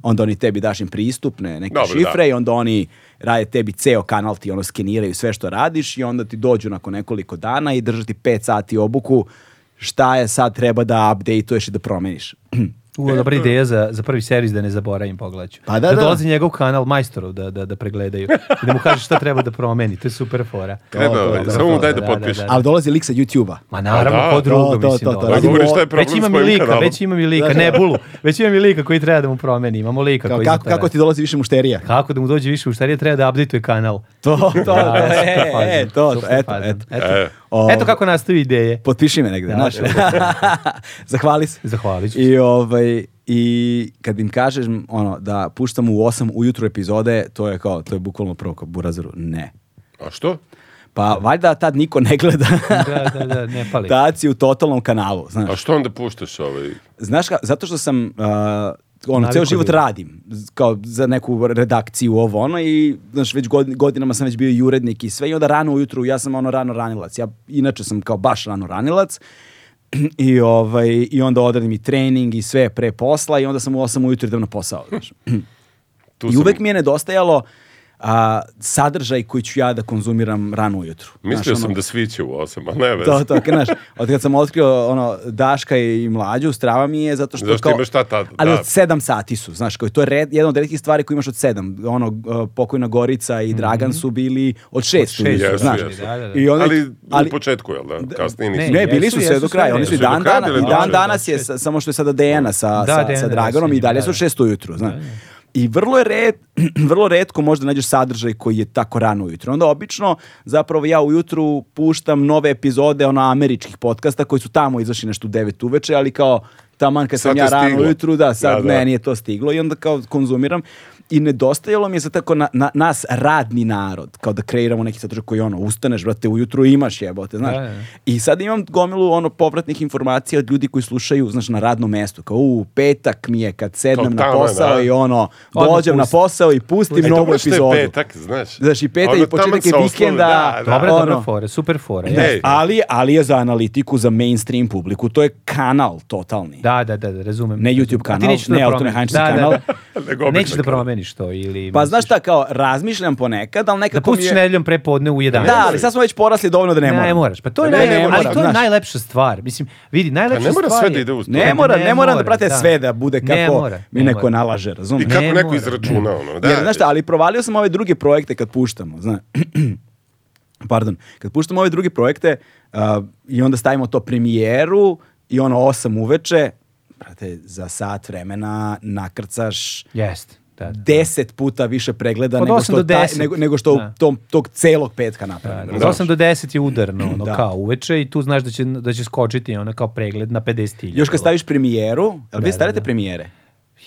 Onda oni tebi daš im pristupne neke Dobro, šifre da. i onda oni rade tebi ceo kanal, ti ono skeniraju sve što radiš i onda ti dođu nakon nekoliko dana i držati 5 sati obuku šta je sad treba da updateuješ i da promeniš. U, dobra ideja za, za prvi servis da ne zaboravim pogledaću. E, Pa da, da da. dolazi njegov kanal majstorov da, da, da pregledaju i da mu kaže šta treba da promeni. To je super fora. Treba, To, ovaj, to, samo mu to, daj da potpiše. Ali dolazi lik sa YouTube-a. Ma naravno, Pa da, ko drugo, to, to, to, mislim. to. dolazi. Pa govori šta je problem već s imam i mojim lika, kanalom. već imam i lika, ne bulu. Već imam i lika koji treba da mu promeni. Imamo lika Kao, koji kako, za to kako ti radi. dolazi više mušterija? Kako da mu dođe više u štarije, treba da update kanal. To, to, to, Da, da, super e, fazon, e, to, to, super eto, fazon. eto. E, O, Eto kako nastaju ideje. Potpiši me negde, Da, znaš. Zahvali se. Zahvalit ću se. I, ovaj, I kad im kažeš ono, da puštam u 8 ujutru epizode, to je kao, to je bukvalno prvo kao burazeru. Ne. a što? Pa valjda tad niko ne gleda. Da, da, da, ne pali. tad si u totalnom kanalu, znaš. A što onda puštaš ovaj? Znaš ka, zato što sam uh, ono, Navikao ceo život bio. radim z- kao za neku redakciju ovo ono i znaš već godi- godinama sam već bio i urednik i sve i onda rano ujutru ja sam ono rano ranilac. Ja inače sam kao baš rano ranilac i ovaj i onda odradim i trening i sve pre posla i onda sam u 8 ujutru idem na posao, znaš. Tu I sam- uvek mi je nedostajalo a, sadržaj koji ću ja da konzumiram rano ujutru. Mislio Znaš, ono- sam da sviće u osam, ali ne veze. to, to, znaš, od kad sam otkrio ono, Daška i mlađu, strava mi je zato što... Zato što imaš šta tad, Ali da. od sedam sati su, znaš, kao, to je red, jedna od redkih stvari koju imaš od sedam. Ono, uh, pokojna Gorica i Dragan su bili od šest. šest, ujutru, jesu, znaš. jesu. Da, da, da. I onda, ali, ali- u početku, jel da? Kasnije ne, nisam. ne, bili su jesu, sve jesu, do kraja, sve, oni su i jesu do dan, kraja dana, bili i do dan kraja, danas da, je, šest. sa- samo što je sada DNA sa, Da, sa, DNA, sa da, Draganom i snimljen, dalje da, su da. šest ujutru, znaš. I vrlo je red, vrlo retko možda nađeš sadržaj koji je tako rano ujutro. Onda obično, zapravo ja ujutru puštam nove epizode ono američkih podcasta koji su tamo izašli nešto u devet uveče, ali kao taman kad Sad sam je ja rano stiglo. ujutru, da, sad Da, da. ne, nije to stiglo i onda kao konzumiram I nedostajalo mi je za tako na, na, nas radni narod, kao da kreiramo neki sadržaj koji ono, ustaneš, brate, ujutru imaš jebote, znaš. Da, da. I sad imam gomilu ono povratnih informacija od ljudi koji slušaju, znaš, na radnom mestu, kao u petak mi je kad sednem na tamo, posao da. i ono, Odmah dođem na pusti. posao i pustim E, novu dobro što epizodu. je petak, znaš. Znaš, i petak Ono i početak taman je sa vikenda. osnove, da, da. Dobra, dobra ono. fora, super fora. Ne. ja. Ej. Ali, ali je za analitiku, za mainstream publiku, to je kanal totalni. Da, da, da, da, razumem. Ne YouTube Razumem. A ti kanal, nećeš to ne da automehanički kanal. promeniš. Nego Da, da. običan Nećeš da kanal. promeniš to ili... Pa znaš šta, kao, razmišljam ponekad, ali Da nekako mi pustiš je... nedeljom prepodne u 11. Da, ali sad smo već porasli dovoljno da ne moram. Ne, moraš. Pa to je, Ne, naj... ne ali moram, to je znaš. najlepša stvar. Mislim, vidi, najlepša Pa stvar ne mora sve je- da ide uz to. Ne, Ne, mora, ne ne, moram da mora, prate da. sve da bude Ne kako mora, mi ne neko mora. nalaže, razumiješ? I kako Ne neko mora, izračuna, ono, da. Jer, znaš šta, ali provalio sam ove druge projekte kad puštamo, znaš. Pardon, kad puštamo ove druge projekte a, i onda stavimo to premijeru i ono 8 uveče, brate, za sat vremena nakrcaš Jest, da. da. 10 puta više pregleda Od nego osam što, do taj- deset. nego, nego što Da. u tom, tog celog petka Da, napravimo. da, Od 8 do 10 je udarno, ono, Da. kao uveče i tu znaš da će, da će skočiti ono kao pregled na 50 ilja. Još kad staviš premijeru, jel vi da, stavljate da. premijere?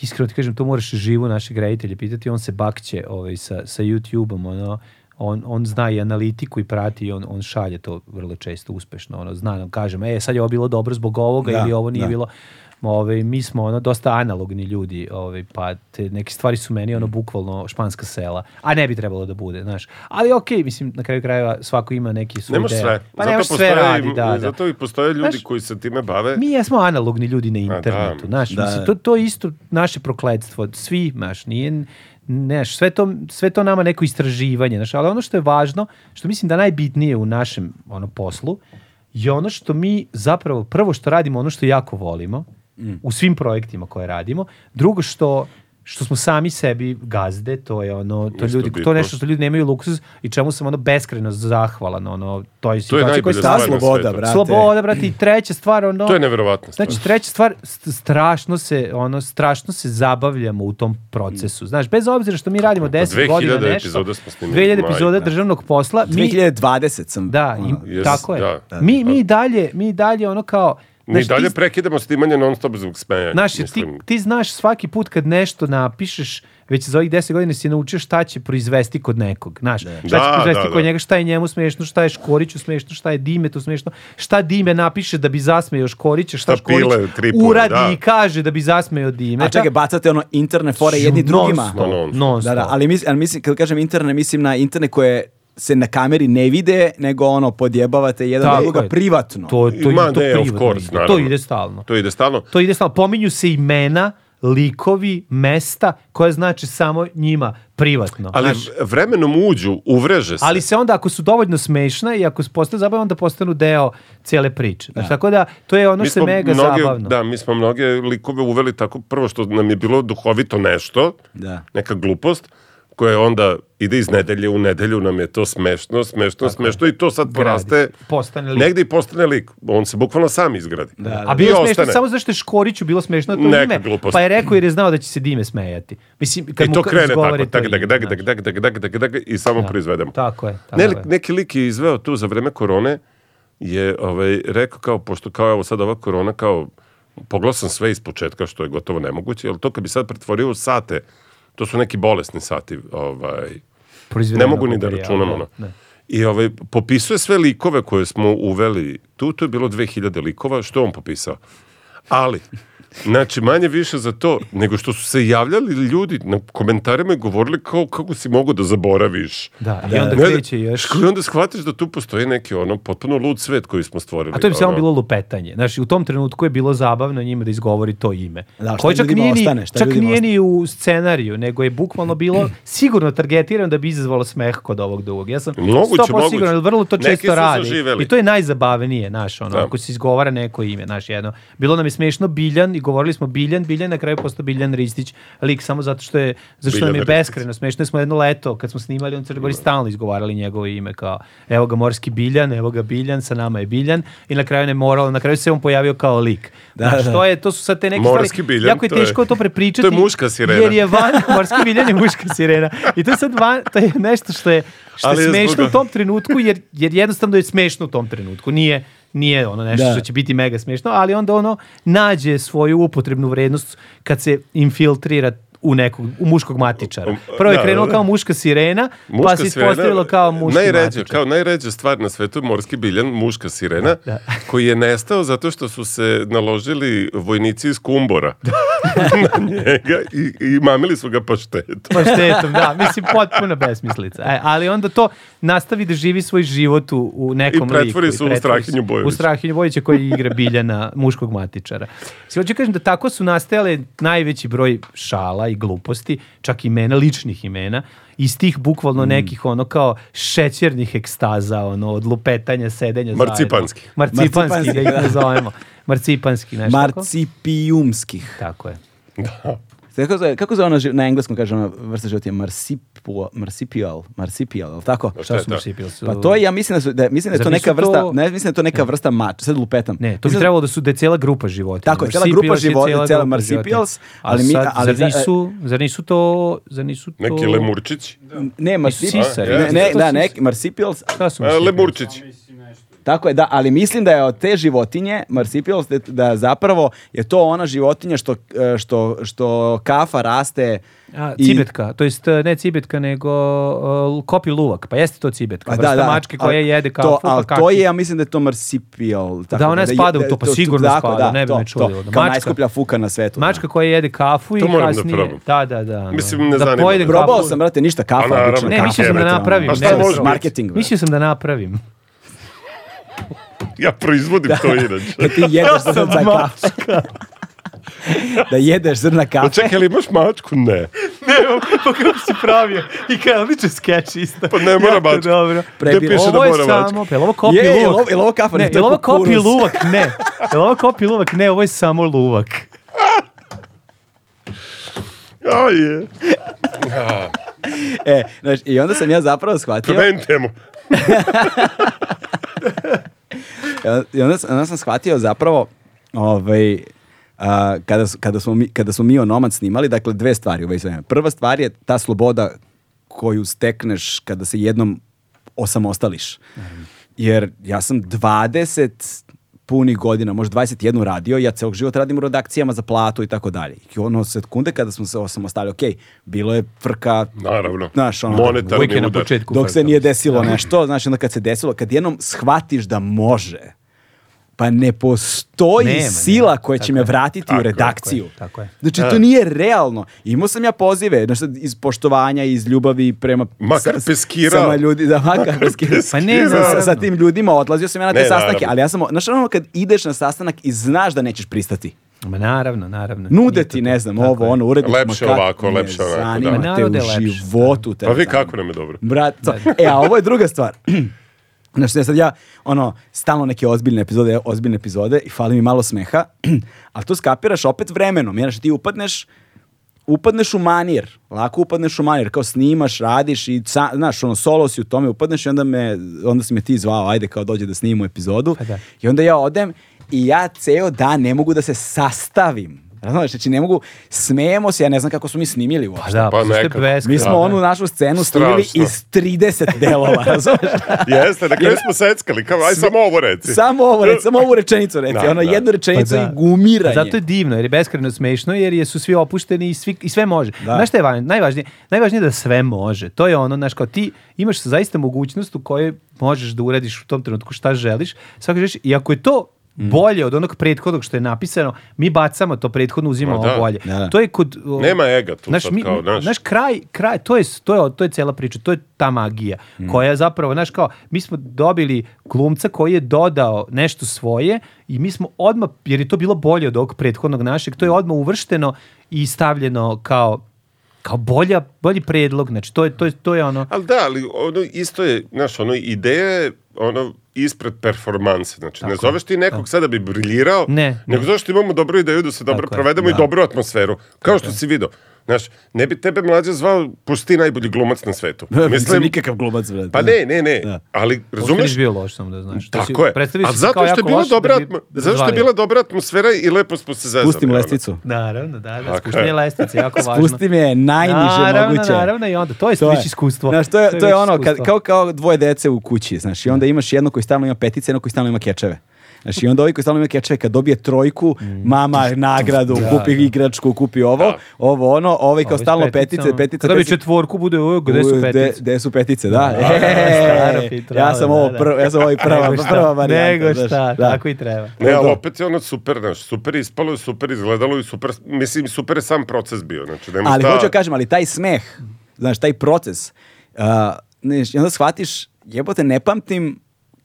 Iskreno ti kažem, to moraš živo našeg reditelja pitati, on se bakće ovaj, sa, sa YouTube-om, ono, on, on zna i analitiku i prati i on, on šalje to vrlo često uspešno, ono, zna nam, kažem, e, sad je ovo bilo dobro zbog ovoga Da, ili ovo nije da. bilo, Ove, mi smo ono dosta analogni ljudi, ove, pa te neke stvari su meni Mm. ono bukvalno španska sela, a ne bi trebalo da bude, znaš. Ali okej, mislim, na kraju krajeva svako ima neki svoj Ne može deo. sve. Pa zato ne može sve postoje, radi, da, da. Zato i postoje ljudi Znaš, koji se time bave. Mi jesmo analogni ljudi na internetu, da. znaš, Da. mislim, to, to je isto naše prokledstvo, svi, znaš, nije, znaš, sve to, sve to nama neko istraživanje, znaš, ali ono što je važno, što mislim da je najbitnije u našem ono, poslu, je ono što mi zapravo, prvo što radimo, ono što jako volimo, Mm. u svim projektima koje radimo, drugo što što smo sami sebi gazde, to je ono, to Isto ljudi, to bitno. je nešto što ljudi nemaju luksuz i čemu sam ono beskreno zahvalan, ono, toj To je situaciji najbolja koju Ta stvar na sam, slavim. sloboda, svetu. brate. sloboda, brate, i treća stvar, ono, To je neverovatno. stvar. Znači, treća stvar, st- strašno se, ono, strašno se zabavljamo u tom Mm. procesu. Znaš, bez obzira što mi radimo 10 godina 2000 nešto. Pa epizoda smo snimili, 2000 majko. epizoda državnog posla. Mi, 2020 sam. da, ono, i, Jes, tako je. da. Mi, mi dalje, mi dalje ono kao... Mi znaš, ti- dalje prekidamo snimanje non stop zbog smeja. Znaš, jer ti, mislim. ti znaš svaki put kad nešto napišeš, već za ovih 10 godina si naučio šta će proizvesti kod nekog. Znaš, šta će Da, proizvesti da, da. kod njega, šta je njemu smešno, šta je Škoriću smešno, šta je Dimetu smešno, šta Dime napiše da bi zasmejao Škorića, šta, Šta pile Škorić tri puta, uradi da. i kaže da bi zasmejao Dime. A čekaj, bacate ono interne fore jedni drugima. stop. Non, Non Da, da, ali mislim, ali mislim, kad kažem interne, mislim na interne koje se na kameri ne vide, nego ono, podjebavate jedan Tako drugoga je. privatno. to, to, Ma to, to ne, of privatno course, ide. To naravno. ide stalno. To ide stalno. To ide stalno. Pominju se imena, likovi, mesta koje znači samo njima privatno. Ali Znaš, v- vremenom uđu, uvreže se. Ali se onda, ako su dovoljno smešna i ako postaju zabavno, onda postanu deo cijele priče. Znači, tako da, to je ono Mi što je smo mega mnoge, zabavno. Da, mi smo mnoge likove uveli tako prvo što nam je bilo duhovito nešto, Da. neka glupost, koja onda ide iz nedelje u nedelju, nam je to smešno, smešno, smešno i to sad poraste. Postane lik. Negde i postane lik. On se bukvalno sam izgradi. A I bilo je smešno ostane. samo zašto je Škoriću bilo smešno to Neka ime, glupost. pa je rekao jer je znao da će se Dime smejati. Mislim, kad I mu to ka- krene tako, izgovori tak, to tak, ime, tak, tak, znaš. tak, tak, tak, tak, tak, i samo proizvedemo. znači. Tako je, tako Ne, je. neki lik je izveo tu za vreme korone, je ovaj, rekao kao, pošto kao evo sad ova korona, kao, pogledao sam sve iz početka, što je gotovo nemoguće, jer to kad bi sad pretvorio u sate, to su neki bolesni sati, ovaj, ne Proizvedeno mogu ni da materijal, računam, da, ono. da. I ovaj, popisuje sve likove koje smo uveli tu, to je bilo 2000 likova, što je on popisao. Ali, znači, manje više za to, nego što su se javljali ljudi na komentarima i govorili kao kako si mogu da zaboraviš. Da, i onda Ne, kreće još. I onda shvatiš da tu postoji neki ono potpuno lud svet koji smo stvorili. A to je samo ono. bilo lupetanje. Znači, u tom trenutku je bilo zabavno njima da izgovori to ime. Da, šta Koje čak ljudima nije, ni- ostane, šta čak ljudima nije ni u scenariju, nego je bukvalno bilo sigurno targetirano da bi izazvalo smeh kod ovog dugog. Ja sam Moguće, 100% moguće. siguran, jer vrlo to Neki su često radi. zaživeli. I to je najzabavnije, znaš, ono, Da. ako se izgovara neko ime, znaš, jedno. Bilo nam je smešno Biljan i govorili smo Biljan, Biljan, na kraju postao Biljan Ristić, lik samo zato što je, zato Biljan što nam je Ristić. beskreno smešno, jer smo jedno leto, kad smo snimali, on Crnogori stalno izgovarali njegovo ime, kao, evo ga morski Biljan, evo ga Biljan, sa nama je Biljan, i na kraju ne moralo, na kraju se on pojavio kao lik. Da, znaš, da. to je, to su sad te neke Morski stvari, Biljan, jako je to je- teško to, prepričati. to je muška sirena. Jer je van, morski Biljan je muška sirena. I to je sad van, to je nešto što je, što Ali je je smešno zbog- u tom trenutku, jer, jer jednostavno je smešno u tom trenutku. Nije, nije ono nešto Da. što će biti mega smešno, ali onda ono nađe svoju upotrebnu vrednost kad se infiltrira u nekog u muškog matičara. Prvo Da, je krenulo da. kao muška sirena, Muška pa se sirena, ispostavilo kao muški najređa, matičar. Kao najređa stvar na svetu je morski biljan, muška sirena, koji je nestao zato što su se naložili vojnici iz Kumbora na njega i, i mamili su ga paštetom. Pa štetom, da, mislim potpuno besmislica. E, ali onda to nastavi da živi svoj život u, u nekom I pretvori liku. se u Strahinju Bojovića. U Strahinju Bojovića koji igra Biljana, muškog matičara. Sve hoću kažem da tako su nastajale najveći broj šala i gluposti, čak imena, ličnih imena, iz tih Mm. bukvalno nekih ono kao šećernih ekstaza, ono, od lupetanja, sedenja Marcipanski. zajedno. Marcipanski. Marcipanski, da da. ih nazovemo. Marcipanski, nešto tako. Marcipijumskih. Tako je. Kako zove, kako zove ona, ži- na engleskom kaže ona vrsta životinja, marsipuo, marsipial, marsipial, jel tako? Šta Šta je su to? marcipili su? Pa to je, ja mislim da, su, da, mislim da je Zar to neka nisu to- vrsta, ne, mislim da je to neka vrsta mač, sad lupetam. Ne, to bi Mislim da- trebalo da su da je cijela grupa životinja. Tako je, cijela grupa Marsipilac je životinja, cijela grupa marsipilaz, životinja. A ali mi- sad, ali zar, za- nisu, zar nisu to... Zar nisu to... Neki lemurčići. Ne, marsipial, sisari. ne, ne, Jesu to da, sisari? neki marsipial, Šta su A, marsipilaz? Lemurčići. tako je, da, ali mislim da je od te životinje, marsipial, da, da zapravo je to ona životinja što, e, što, što kafa raste A, i- cibetka, to jest e, ne cibetka, nego uh, kopi luvak. Pa jeste to cibetka. Pa vrsta mačke koja ali jede kafu, to, pa ali kaki. to je, ja mislim da je to marsipial. Tako, Da, ona je- spada u to, pa sigurno tako, spada, ne bi to, me čudilo. To, Da, kao mačka- najskuplja fuka na svetu. Mačka koja jede kafu i To moram da kasnije... probam. Da, da, da. ono, Mislim, ne da zanima pojede me. kafu. Probao sam, brate, ništa kafa, A, naravno, obična Ne, kafa, mislio sam da brate, ono. napravim. A Pa šta ne, može biti? Marketing, brate. Mislio sam da napravim. Ja proizvodim to inače. Da ti jedeš zrna kafe. da jedeš zrna Pa kafe. čekaj, ali imaš mačku? Ne. Evo, pa kako si pravio. I kao liče skeč isto. Pa ne mora Jako mačka. Dobro. Gde Prebira. piše da ovo je mora mačka? samo, pa jel ovo kopi Je, je, luvak? jel ovo- jel ovo kafa? Ne, Ne, to je jel ovo kukuruz. kopi luvak? Ne. Jel ovo kopi luvak? Ne, ovo je samo luvak. A je. E, znaš, I onda sam ja zapravo shvatio... Komentujemo. I onda, sam- onda sam shvatio zapravo ovaj, a, kada, s- kada, smo mi, kada smo mi Onomad snimali, dakle dve stvari u vezi vremena. Prva stvar je ta sloboda koju stekneš kada se jednom osamostališ. Jer ja sam 20 punih godina, možda 21 radio, ja celog života radim u redakcijama za platu i tako dalje. I ono sekunde kada smo se osamostali, ok, bilo je frka, Naravno. Znaš, ono, Monetarni Uvijek je na udar. početku. dok se frka. nije desilo nešto, znači onda kad se desilo, kad jednom shvatiš da može, pa ne postoji Nema, nema. sila koja će Tako me je. vratiti Tako u je, redakciju. tako je, tako je. Znači, to nije realno. Imao sam ja pozive, znači, iz poštovanja, iz ljubavi prema... Makar s- peskirao. Sama ljudi, da, makar peskirao. Pa ne, sa, sa- sa naravno. tim ljudima odlazio sam ja na te Ne, sastanke, naravno. ali ja sam, znaš, ono kad ideš na sastanak i znaš da nećeš pristati. Ma naravno, naravno. Nude Nije to ti, to. ne znam, Tako ovo, je. ono, urednik. Lepše ma kako ovako, me lepše onako, da. zanima Ma te narod u je lepši, životu. te Pa vi ne zanima. kako nam je dobro. Brat, e, a ovo je druga stvar. Znaš, ja sad ja, ono, stalno neke ozbiljne epizode, ozbiljne epizode i fali mi malo smeha, ali to skapiraš opet vremenom, jer ti upadneš, upadneš u manir, lako upadneš u manir, kao snimaš, radiš i, sa- znaš, ono, solo si u tome, upadneš i onda, me, onda si me ti zvao, ajde, kao dođe da snimimo epizodu. Pa da. I onda ja odem i ja ceo dan ne mogu da se sastavim. Znaš, znači ne mogu, smejemo se, ja ne znam kako smo mi snimili uopšte. Pa Pa da, pa što je nekako. beskrajno. Mi smo onu našu scenu snimili Strašno. iz 30 delova, razumeš? Jeste, na kraju smo seckali. Kao, aj samo ovo reci. samo ovo, reci, samo ovu rečenicu reci, Da, ono da. jednu rečenicu Pa da. i gumiranje. Zato je divno, jer je beskrajno smešno, jer je su svi opušteni i, svi, i sve može. Da. Znaš šta je važno? najvažnije? Najvažnije je da sve može. To je ono, znaš, kao ti imaš zaista mogućnost u kojoj možeš da uradiš u tom trenutku šta želiš. Svako želiš, i ako je to Mm. bolje od onog prethodnog što je napisano, mi bacamo to prethodno, uzimamo Ma da. ovo bolje. Da, da. To je kod... o, Nema ega tu sad mi- kao, znaš. znaš, kraj, kraj, to je, to je, to je cela priča, to je ta magija Mm. koja je zapravo, znaš kao, mi smo dobili glumca koji je dodao nešto svoje i mi smo odmah, jer je to bilo bolje od ovog prethodnog našeg, Mm. to je odmah uvršteno i stavljeno kao kao bolja, bolji predlog, znači to je, to je, to je ono, Ali da, ali ono isto je, znaš, ono ideja je ono ispred performanse. Znači, ne zoveš ti nekog sada da bi briljirao, Ne, nego ne. zoveš ti imamo dobru ideju da se dobro Tako je, provedemo i da. dobru atmosferu. Kao što si vidio. Znaš, ne bi tebe mlađe zvao, pusti ti najbolji glumac na svetu. Mislim, nikakav glumac, brate. pa ne, ne, ne. Da. Ali, uopšte razumeš, nisi bio loš samo da znaš. To si- Tako je. predstavio A si se zato kao što je jako bila loš da dobra, bi atmo- zato što je razvalio. bila dobra atmosfera i lepo smo se zezali. Pustim ono. lesticu. Naravno, da, da, je. spuštenje lestice, jako važno. Pustim je najniže naravno, moguće. Naravno, i onda, to je već iskustvo. Znaš, to je, to je već ono, kad, iskustvo. kao, kao dvoje dece u kući, znaš, i onda imaš jedno koji stalno ima petice, jedno koji stalno ima kečeve. Znači, i onda ovi koji stalno imaju kečeve, kad dobije trojku, Mm. mama nagradu, kupi igračku, kupi ovo, ovo ono, ovaj kao Ovi s stalno petice, peticama. petice, Kada bi petice. četvorku bude ovo, gde su U, de- petice? Gde su petice, da. Da, staro E, Petrova, ja sam da, ovo da. prvo, ja sam ovaj prva, Nego šta, prva varijanta. Nego znaš, šta, da. tako i treba. Ne, ali Da. opet je ono super, znaš, super ispalo je, super izgledalo i super, mislim, super je sam proces bio, znači, nema Ali šta... hoću da kažem, ali taj smeh, znaš, taj proces, uh, znaš, i onda shvatiš, jebote, ne pamtim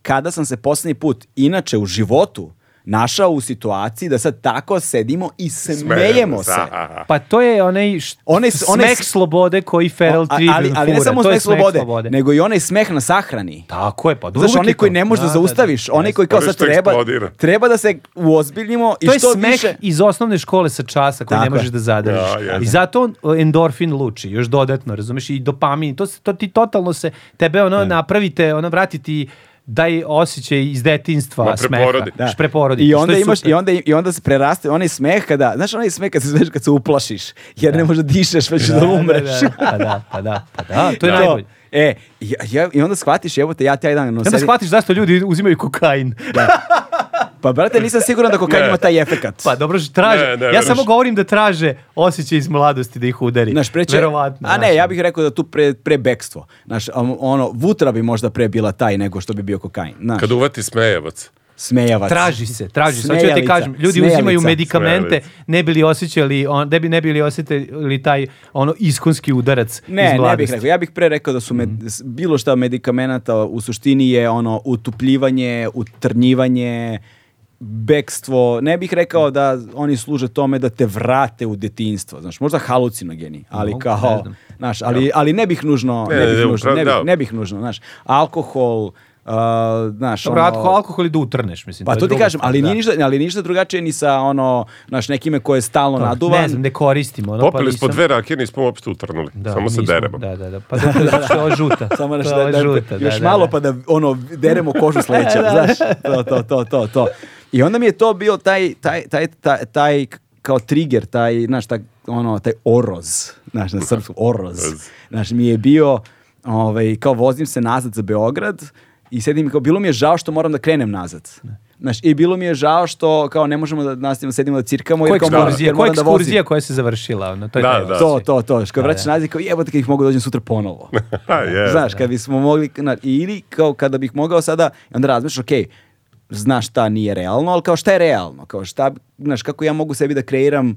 kada sam se posljednji put, inače u životu, našao u situaciji da sad tako sedimo i smejemo se. Aha. Pa to je onaj, š... Onaj s- onaj smeh s- slobode koji Feral O, a- Tribune ali, ali ne fura, samo to je smeh slobode, nego i onaj smeh na sahrani. Tako je, pa dobro. Znaš, onaj koji ne može da, zaustaviš, onaj koji kao Ono sad što treba, eksplodira. treba da se uozbiljimo i To je što smeh više... iz osnovne škole sa časa koji Tako ne možeš je. da zadržiš. Da, jeste. I zato on, o, endorfin luči, još dodatno, razumeš, i dopamin, to, se, to ti totalno se, tebe ono napravite, ono vratiti daj osjećaj iz detinstva Ma, smeha. preporodi. Da. Preporodi. I što onda je imaš super. i onda i onda se preraste onaj smeh kada, znaš onaj smeh kad se znaš kad se uplašiš, jer ne možeš da dišeš, već da, umreš. Da, da, pa da, pa da, pa da, to je To. najbolje. E, ja, ja, i onda shvatiš, evo te, ja taj dan... ono, I onda sedi- shvatiš zašto ljudi uzimaju kokain. Pa, brate, nisam siguran da kokain Ne. ima taj efekat. Pa dobro, že traže. Ne, ne, ja veruš. samo govorim da traže osjećaj iz mladosti da ih udari. Znaš, pre će- Verovatno. a ne, znaš. ono. ja bih rekao da tu pre, pre bekstvo. Znaš, am- ono, vutra bi možda pre bila taj nego što bi bio kokain. Znaš, Kad uvati smejevac. smejavac. Traži se, traži se. Hoću ja ti Smejalica, kažem, ljudi smejalica. uzimaju medikamente Smejalica. ne bi li osjećali, on, ne bi, ne bi li osjetili taj ono iskonski udarac iz Ne, ne mladosti. bih rekao. Ja bih pre rekao da su med, Mhm. s- bilo šta medikamenata u suštini je ono utupljivanje, utrnjivanje, bekstvo. Ne bih rekao da oni služe tome da te vrate u detinjstvo. Znaš, možda halucinogeni, ali Mogu, ne kao, znam. znaš, ali, ali ne bih nužno, Ne, ne, ne, bih nužno, ne, bih, upravo, da. ne bih nužno, znaš. Alkohol, uh, znaš, Dobro, ono- alkohol, alkohol i da utrneš, mislim. Pa je to ti druga kažem, stvar, ali da. nije, ništa, ali nije ništa drugačije ni sa ono, znaš, nekime koje je stalno naduvan. Ono, Ne znam, ne koristim. Ono, Popili pa smo nisam- dve rakije, nismo uopšte utrnuli. Da, Samo se nismo, deremo. Da, da, da. Pa zato zato što je ova žuta. Samo To nešto je da, ova da, žuta, da, još da, malo da. pa da ono deremo kožu s leća, znaš, to, to, to, to, to. I onda mi je to bio taj, taj, taj, taj, taj k- kao trigger, taj, znaš, taj, ono, taj oroz, znaš, na srpskom, oroz. Oroz. Znaš, mi je bio, ovaj, kao vozim se nazad za Beograd i sedim i kao, bilo mi je žao što moram da krenem nazad. Znaš, i bilo mi je žao što kao ne možemo da nastavimo, sedimo da cirkamo. Koja jer kao moram- ekskurzija, jer koja moram da vozim. ekskurzija koja se završila, ono, to je Da, taj da. osjećaj. To, to, to. Kad Da, vraćaš da. nazad, kao jebote kad ih mogu da dođem sutra ponovo. Ha, je. Znaš, kad bismo mogli, na, ili kao kada bih mogao sada, onda razmišljaš, ok, znaš šta nije realno, ali kao šta je realno, kao šta, znaš, kako ja mogu sebi da kreiram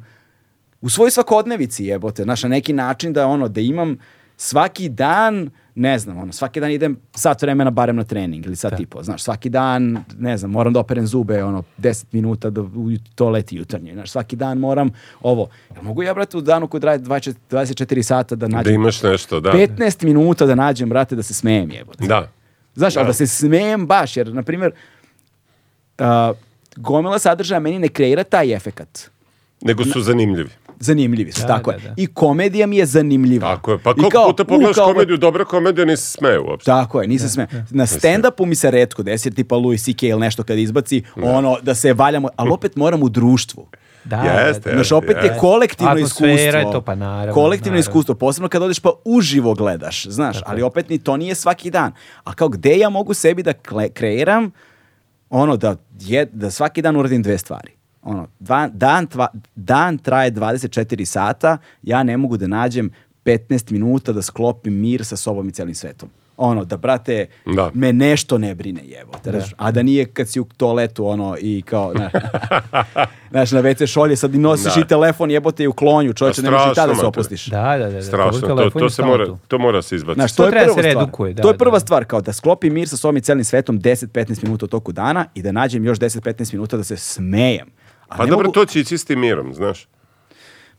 u svojoj svakodnevici jebote, znaš, na neki način da ono, da imam svaki dan, ne znam, ono, svaki dan idem sat vremena barem na trening ili sat i po, znaš, svaki dan, ne znam, moram da operem zube, ono, 10 minuta do, u to leti jutarnje, znaš, svaki dan moram ovo. Ja mogu ja, brate, u danu koji traje 24 24 sata da Da nađem imaš nešto, da. 15 minuta da nađem, brate, da se smejem jebote. Da. Znaš, ali da se smejem baš, jer, na primjer, a, gomila sadržaja meni ne kreira taj efekat. Nego su zanimljivi. Zanimljivi su, Da, tako da, je. da. I komedija mi je zanimljiva. Tako je. Pa I koliko kao, puta u, pogledaš kao, komediju, dobra komedija, nisi se smeju uopšte. Tako je, nisam sme. Na stand-upu mi se redko desi, jer tipa Louis C.K. ili nešto kada izbaci, ono, da se valjamo, ali opet moram u društvu. Da, Jeste, da, da. Znaš, opet je jeste. kolektivno Atmosfera iskustvo. je to, pa naravno, Kolektivno naravno. iskustvo, posebno kad odeš pa uživo gledaš, znaš, ali opet ni to nije svaki dan. A kao gde ja mogu sebi da kle- kreiram ono da, je, da svaki dan uradim dve stvari. Ono, dva- dan, tva- dan traje 24 sata, ja ne mogu da nađem 15 minuta da sklopim mir sa sobom i celim svetom. Ono, da, brate, Da. me nešto ne brine, jevo. A da nije kad si u toaletu, ono, i kao, znaš, znaš na WC šolje, sad i nosiš Da. i telefon, jebote i u klonju, čovječe, A ne možeš i tada strašno, se mater. opustiš. Da, da, da, da. Strašno, to, telefon to, je se stalno mora, tu. to mora se izbaciti. Znaš, To to, je treba prva se stvar. redukuje, da, to je da, prva da. stvar, kao da sklopim mir sa sobom i celim svetom 10-15 minuta u toku dana i da nađem još 10-15 minuta da se smejem. A Pa ne dobro, mogu- to će ići s tim mirom, znaš.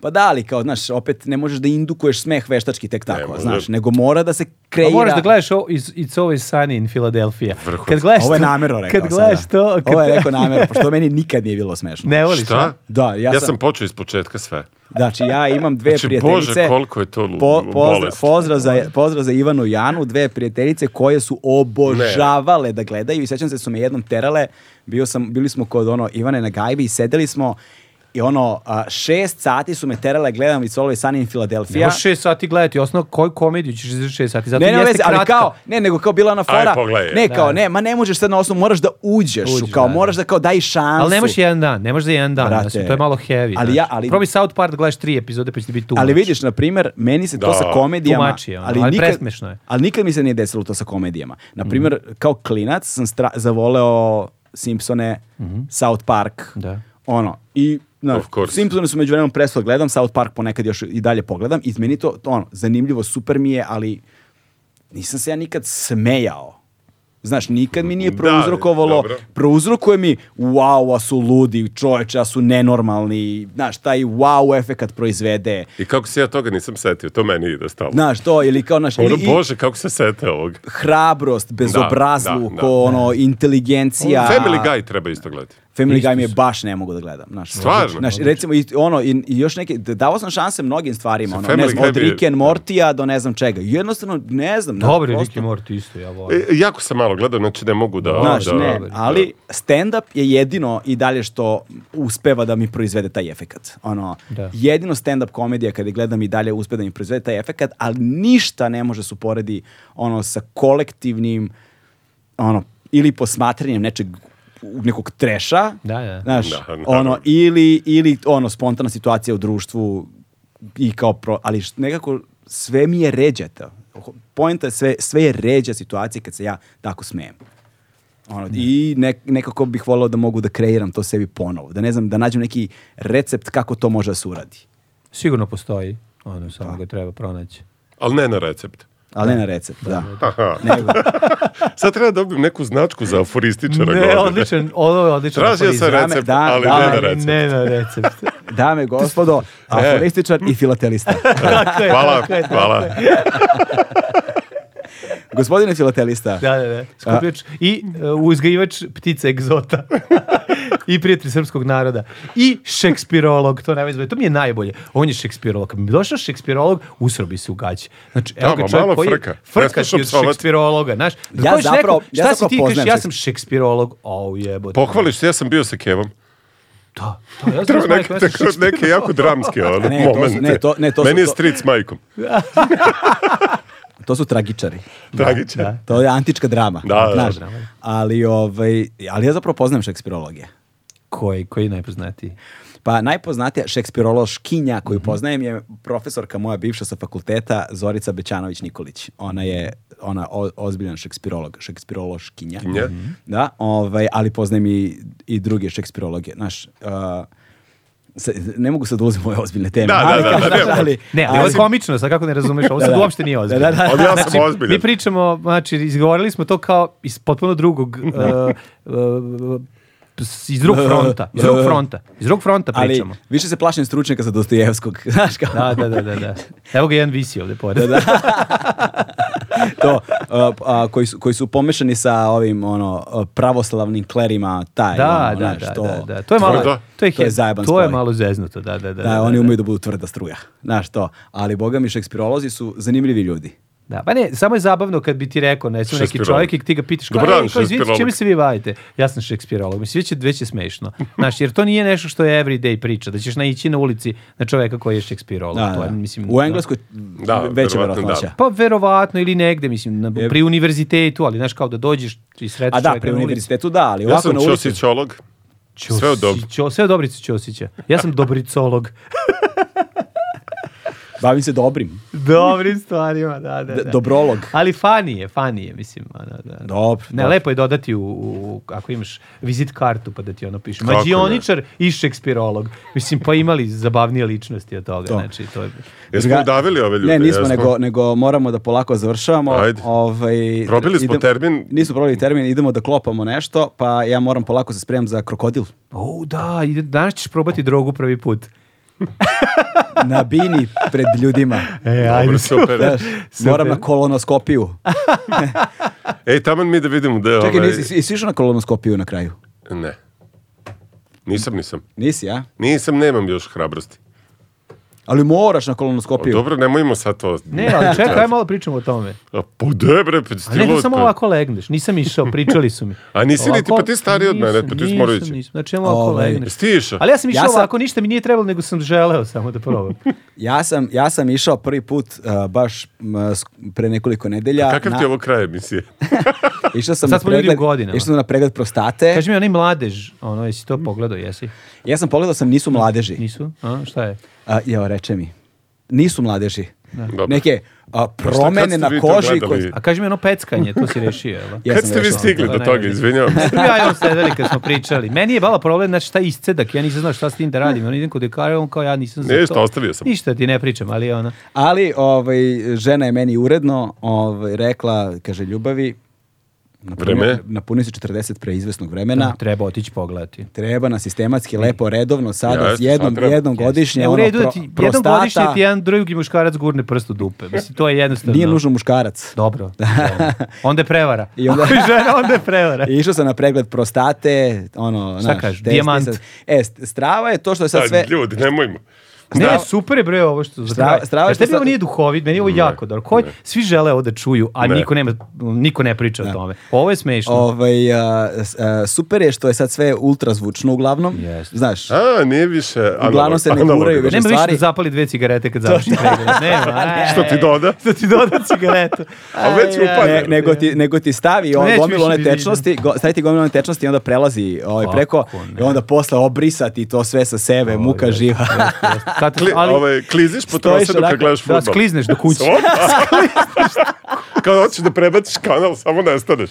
Pa da, ali kao, znaš, opet ne možeš da indukuješ smeh veštački tek tako, može. znaš, nego mora da se Pa kreira... moraš da gledaš o, iz, It's Always Sunny in Philadelphia. Vrhunski. Kad gledaš Ovo je to- namerno rekao Kad gledaš sada. to... Kad Ovo je rekao namerno, pošto meni nikad nije bilo smešno. Ne voliš, Šta? a? Da, ja, Ja sam... sam počeo iz početka sve. Znači, ja imam dve Znači, Bože, prijateljice... koliko je to lu- pozdrav, bolest. pozdrav za, pozdrav za Ivanu i Janu, dve prijateljice koje su obožavale da gledaju i sećam se da su me jednom terale, bio sam, bili smo kod ono Ivane na gajbi i sedeli smo I ono, a, šest sati su me terale, gledam It's Always Sunny in Philadelphia. Ja. Možeš 6 sati gledati, osnovno koju komediju ćeš za 6 sati? Zato Ne, ne, ne, jeste veze, ali kratka. kao, ne, nego kao bila ona fora. pogledaj. ne, kao, Da. ne, ma ne možeš sad na osnovu, moraš da uđeš, Uđi, u kao, da, moraš da kao daj šansu. Ali ne možeš jedan dan, ne možeš za jedan dan, Brate, znači, to je malo heavy. ali znaš. ja- ali- Probi South Park da gledaš tri epizode pa će ti biti tu. Ali vidiš, na primjer, meni se to Da. sa komedijama... Tumači je, ono, ali presmešno je. Mhm. Ali nikad mi se nije desilo to sa komedijama. Na primjer, kao klinac sam stra- zavoleo Simpsone, South Park, Mhm. Da. ono, i... Na, Of course. Simpsone su među vremenom prestao da gledam, South Park ponekad još i dalje pogledam i meni to, to ono, zanimljivo, super mi je, ali nisam se ja nikad smejao. Znaš, nikad mi nije Da, prouzrokovalo, dobro. prouzrokuje mi wow, a su ludi, čoveče, a su nenormalni, znaš, taj wow efekat proizvede. I kako se ja toga nisam setio, to meni ide stalo. Znaš, to, ili kao, znaš, Ono, ili, i bože, kako se sete ovog. hrabrost, bezobrazluk, Da, da, da. ono, inteligencija. Family Guy treba isto gledati. Family Guy mi je baš ne mogu da gledam. Znaš, Stvarno? Znaš, recimo, i, ono, i, i još neke, d- davao sam šanse mnogim stvarima, ono, ne Family znam, Guy od bi- Rick and Mortija do ne znam čega. Jednostavno, ne znam. znaš, Dobri, prosto- Ricky Morty isto, ja volim. E, jako sam malo gledao, znači ne mogu da... Znaš, da, ne, da. ali stand-up je jedino i dalje što uspeva da mi proizvede taj efekat. Ono, Da. jedino stand-up komedija kada je gledam i dalje uspe da mi proizvede taj efekat, ali ništa ne može se uporedi ono, sa kolektivnim ono, ili posmatranjem nečeg u- nekog treša, Da, da. znaš, Da, naravno. ono, ili, ili ono, spontana situacija u društvu i kao pro, ali š- nekako sve mi je ređe to. Poenta je sve, sve je ređa situacija kad se ja tako smijem. Ono, I nek- nekako bih volio da mogu da kreiram to sebi ponovo. Da ne znam, da nađem neki recept kako to može da se uradi. Sigurno postoji, ono, samo ga treba pronaći. Ali ne na recept. Ali ne na recept, da. Aha. Nego, Sad treba da dobijem neku značku za aforističara. Ne, godine. odličan, ovo je odličan. Tražio sam aforizam. Dame, recept, da, ali da, ne ali na recept. Ne na recept. dame i gospodo, aforističar i filatelista. Tako je, Hvala, tako je, tako hvala. je. Gospodine filatelista, Da, da, da. Skupljač i uh, uzgajivač ptice egzota. I prijatelj srpskog naroda. I šekspirolog, to najbolje. To mi je najbolje. On je šekspirolog. Kad bi došao šekspirolog, usrobi se u gaći. Znači, evo Da, ga ma čovjek malo koji frka. frka. Ne frka ti slušam od psovati. šekspirologa, znaš. Da Ja kažeš nekom, zapravo- ja šta si zapravo ti kažeš, poznajem ja šeks- sam šekspirolog. O, jebote. Pohvališ se, ja sam bio sa Kevom. Da, da, ja sam Treba s majkom, neke, ja sam tako, neke jako dramske ono, Ne, to su- momente. ne, to- ne, to su- Meni je to- stric s majkom. to su tragičari. Tragičan. To je antička drama. Da, da, znaš. da. Ali, ovaj, ali ja zapravo poznajem šekspirologije. Koji, koji je najpoznatiji? Pa najpoznatija šekspirološkinja Mhm. koju poznajem je profesorka moja bivša sa fakulteta Zorica Bećanović-Nikolić. Ona je ona o- ozbiljan šekspirolog, šekspirološkinja. Kinja. Mhm. Da, ovaj, ali poznajem i, i druge šekspirologe. Znaš, uh, sa- ne mogu sad da ulazim u ove ozbiljne teme. Da, da, ali da, kao, da, znaš, ne, ali- Ne, ali ovo je ali- komično, sad kako ne razumeš, ovo Da, sad da. uopšte nije ozbiljno. Da, da, da. Ali ja sam ozbiljan. Mi pričamo, znači, izgovorili smo to kao iz potpuno drugog, uh, uh, iz drugog fronta, iz drugog fronta, iz drugog fronta Ali pričamo. više se plašim stručnjaka sa Dostojevskog. Znaš kao, Da, da, da, da, da. Evo ga jedan visi ovde pored. to, uh, a, koji, su, koji su pomešani sa ovim ono, uh, pravoslavnim klerima, taj, Da, ono, da, znaš, da, to, da, da. To je malo, Tvrdo. to je, To je he- zajeban to je spoj. malo zeznuto, da, da, da. Da, oni umeju da budu tvrda struja. Znaš to. Ali, boga mi, šekspirolozi su zanimljivi ljudi. Da, pa ne, samo je zabavno kad bi ti rekao, ne, sam neki Šekspirolog. čovjek i ti ga pitaš, kao, Dobar dan, "Ej, kao, izvinite, šekspirolog." čime se vi bavite? Ja sam šekspirolog. Mislim, već je, već je smešno. Znaš, jer to nije nešto što je everyday priča, da ćeš naići na ulici na čovjeka koji je šekspirolog. Da, to je, da. mislim, U Engleskoj veća Da, verovatno verovatnoća. da. Pa verovatno ili negde, mislim, na, pri univerzitetu, ali znaš, kao da dođeš i sretneš A da, čovjeka pri na ulici. univerzitetu da, ali Ja ovako sam na ulici... čosićolog. Ćosić- Sve od dobro. Ćo- sve od Dobrice Ćosića. Ja sam dobricolog. Bavim se dobrim. Dobrim stvarima, da, da, D- da. dobrolog. Ali funny je, funny je, mislim. ono, da, da. Dobro, Ne, dobro. lepo je dodati u, u- ako imaš vizit kartu pa da ti ono piše. Kako Mađioničar i šekspirolog. Mislim, pa imali zabavnije ličnosti od toga. To. Znači, to je... Jesmo Druga- udavili ove ljude? Ne, nismo, Jesmo? nego, nego moramo da polako završavamo. Ajde. Ovaj, Probili smo idem- termin. Nismo probili termin, idemo da klopamo nešto, pa ja moram polako se spremam za krokodil. O, da, ide- danas ćeš probati drogu prvi put. Na bini pred ljudima. E, Dobro, super. Znaš, moram na kolonoskopiju. Ej, taman mi da vidimo da je Čekaj, ovaj- nisi, jesi išao na kolonoskopiju na kraju? Ne. Nisam, nisam. Nisi, a? Nisam, nemam još hrabrosti. Ali moraš na kolonoskopiju. Dobro, nemojmo sad to. Ne, ali čekaj, aj malo pričamo o tome. A, Pa debre, pa A ne da stilo samo to. ovako legneš. Nisam išao, pričali su mi. A nisi li ti, Ovako- pa ti stariji od mene, pa ti nisam, morao Nisam, ići. nisam. Znači, samo ovako Ovaj. legneš. Jesi ti išao? Ali ja sam išao Ja sam- ovako, ništa mi nije trebalo, nego sam želeo samo da probam. Ja sam, ja sam išao prvi put uh, baš m, s- pre nekoliko nedelja. Kakav na- ti je ovo kraj emisije? Išao sam Sad na smo ljudi u pregled, godinama. Išao sam na pregled prostate. Kaži mi, onaj mladež, ono, jesi to pogledao, jesi? Ja sam pogledao sam nisu mladeži. Nisu? A, šta je? A, jao, reče mi. Nisu mladeži. Dobro. Pa Neke a, kad promene ste na vi to koži. gledali? A kaži mi ono peckanje, to si rešio, jel? Ja Kad sam ste vi rešao. stigli To do je toga, najvažnije. izvinjavam se. Ja i on sedeli kad smo pričali. Meni je bala problem, znači taj iscedak, ja nisam znao šta s tim da radim. On idem kod dekara, on kao ja nisam za Ništa, to. ostavio sam. Ništa ti ne pričam, ali ono, ona. Ali ovaj, žena je meni uredno ovaj, rekla, kaže, ljubavi, napunio- Vreme? napunio si 40 preizvesnog vremena. Treba otići pogledati. Treba na sistematski, lepo, redovno, sada, Jeste, jednom, sad treba. jednom godišnje, Ne, u ono, redu da pro- ti jednom prostata, godišnje ti jedan drugi muškarac gurne prst u dupe. Mislim, to je jednostavno. nije nužno muškarac. Dobro. dobro. Onda je prevara. I I onda- onda... žena, onda je prevara. I išao sam na pregled prostate, ono, Šta znaš, kažeš, testi dijamant? sad. E, st- strava je to što je sad Sad, sve... Ljudi, nemojmo. Ne, Zdravo. super je bre ovo što za Zdravo- kraj. zdravo je Znaš, što tebi ovo sad- nije duhovit, meni je ovo jako dobro. Ko, ne. svi žele ovo da čuju, a Ne. niko, nema, niko ne priča o tome. Ovo je smešno. Ovaj, a, s- a, super je što je sad sve ultrazvučno uglavnom. Jeste. Znaš, A, nije više analog. Uglavnom se ne analog. guraju već. Nema više stvari- da zapali dve cigarete kad završi pregled. Nema. e, Što ti doda? Što ti doda cigaretu. A već Aj, aj, upadne. aj. E, Ne, nego, ti, nego ti stavi on, pa, Neću gomilu više one ni da idem. tečnosti, go, stavi ti gomilu one tečnosti i onda prelazi ovaj, Kako preko ne. i onda posle obrisati to sve sa sebe, muka jeste, živa. Kad, Kli, ali, ovaj, kliziš po Stojiš trosedu onako, kad gledaš da, futbol. sklizneš do kuće. Kao da hoćeš da prebaciš kanal, samo nestaneš.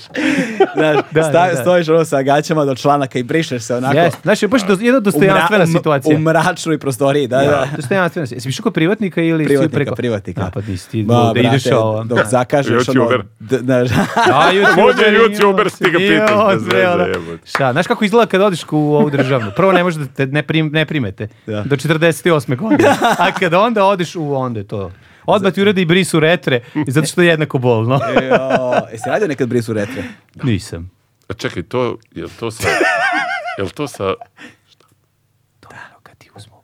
Znaš, Da, sta- da, da. stojiš ono sa gaćama do članaka i brišeš se onako. Jeste. Znaš, baš do, jedna u mra- dostojanstvena um- situacija. U mračnoj prostoriji, da, Da, da. dostojanstvena situacija. Jesi išao kod privatnika ili si Privatnika, preko? privatnika. A, pa nisi ti, Ba, da ideš brate, ovo. Dok zakažeš ono... Youtuber. d- znaš, A, YouTuber, On je YouTuber, ti ga nije pitaš, on, bez bre, veze, ono. jebote. Šta, znaš kako izgleda kad odiš u ovu državnu? Prvo ne možeš da te ne, prim, ne primete Da. do 48. godine. A kad onda odiš u onda je to. Odmah ti uradi i brisu retre, zato što je jednako bolno. E, jo, jesi radio nekad brisu retre? Nisam. A čekaj, to, je li to sa... Je li to sa... To je ono kad ti uzmu.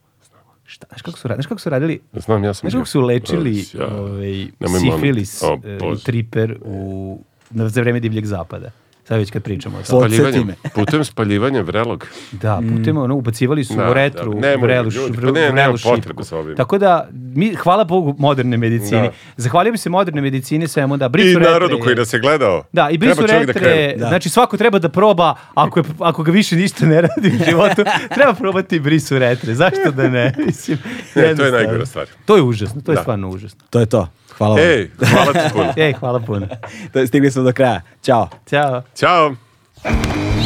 Šta, znaš kako su, ra- znaš kako su radili Znam, ja sam... Znaš kako su lečili Ja, ovaj, nemoj molim. sifilis O, e, Bože. i triper u, na, za vreme divljeg zapada? Sad već kad pričamo o tome. Podsjeti Spaljivanjem, me. putem spaljivanja vrelog. Da, putem ono, ubacivali su Da, u retru, da, nemoj, vrelu, š- ljudi, pa vrelu, ne, nema vrelu potrebe šipku. sa ovim. Tako da, mi, hvala Bogu moderne medicini. Da. Zahvalio bi se moderne medicini svemu da I brisu retre. narodu koji nas je gledao. Da, i brisu Treba čovjek da retre, krene. Da. znači svako treba da proba, ako, je, ako ga više ništa ne radi u životu, treba probati brisu retre, zašto da ne? Mislim, Ne, to je jednostavno. najgora stvar. To je užasno, to je Da. stvarno užasno. To je to. Hvala vam. Ej, hvala ti puno. Ej, hvala puno. To je- Stigli smo do kraja. Ćao. Ćao. Ćao.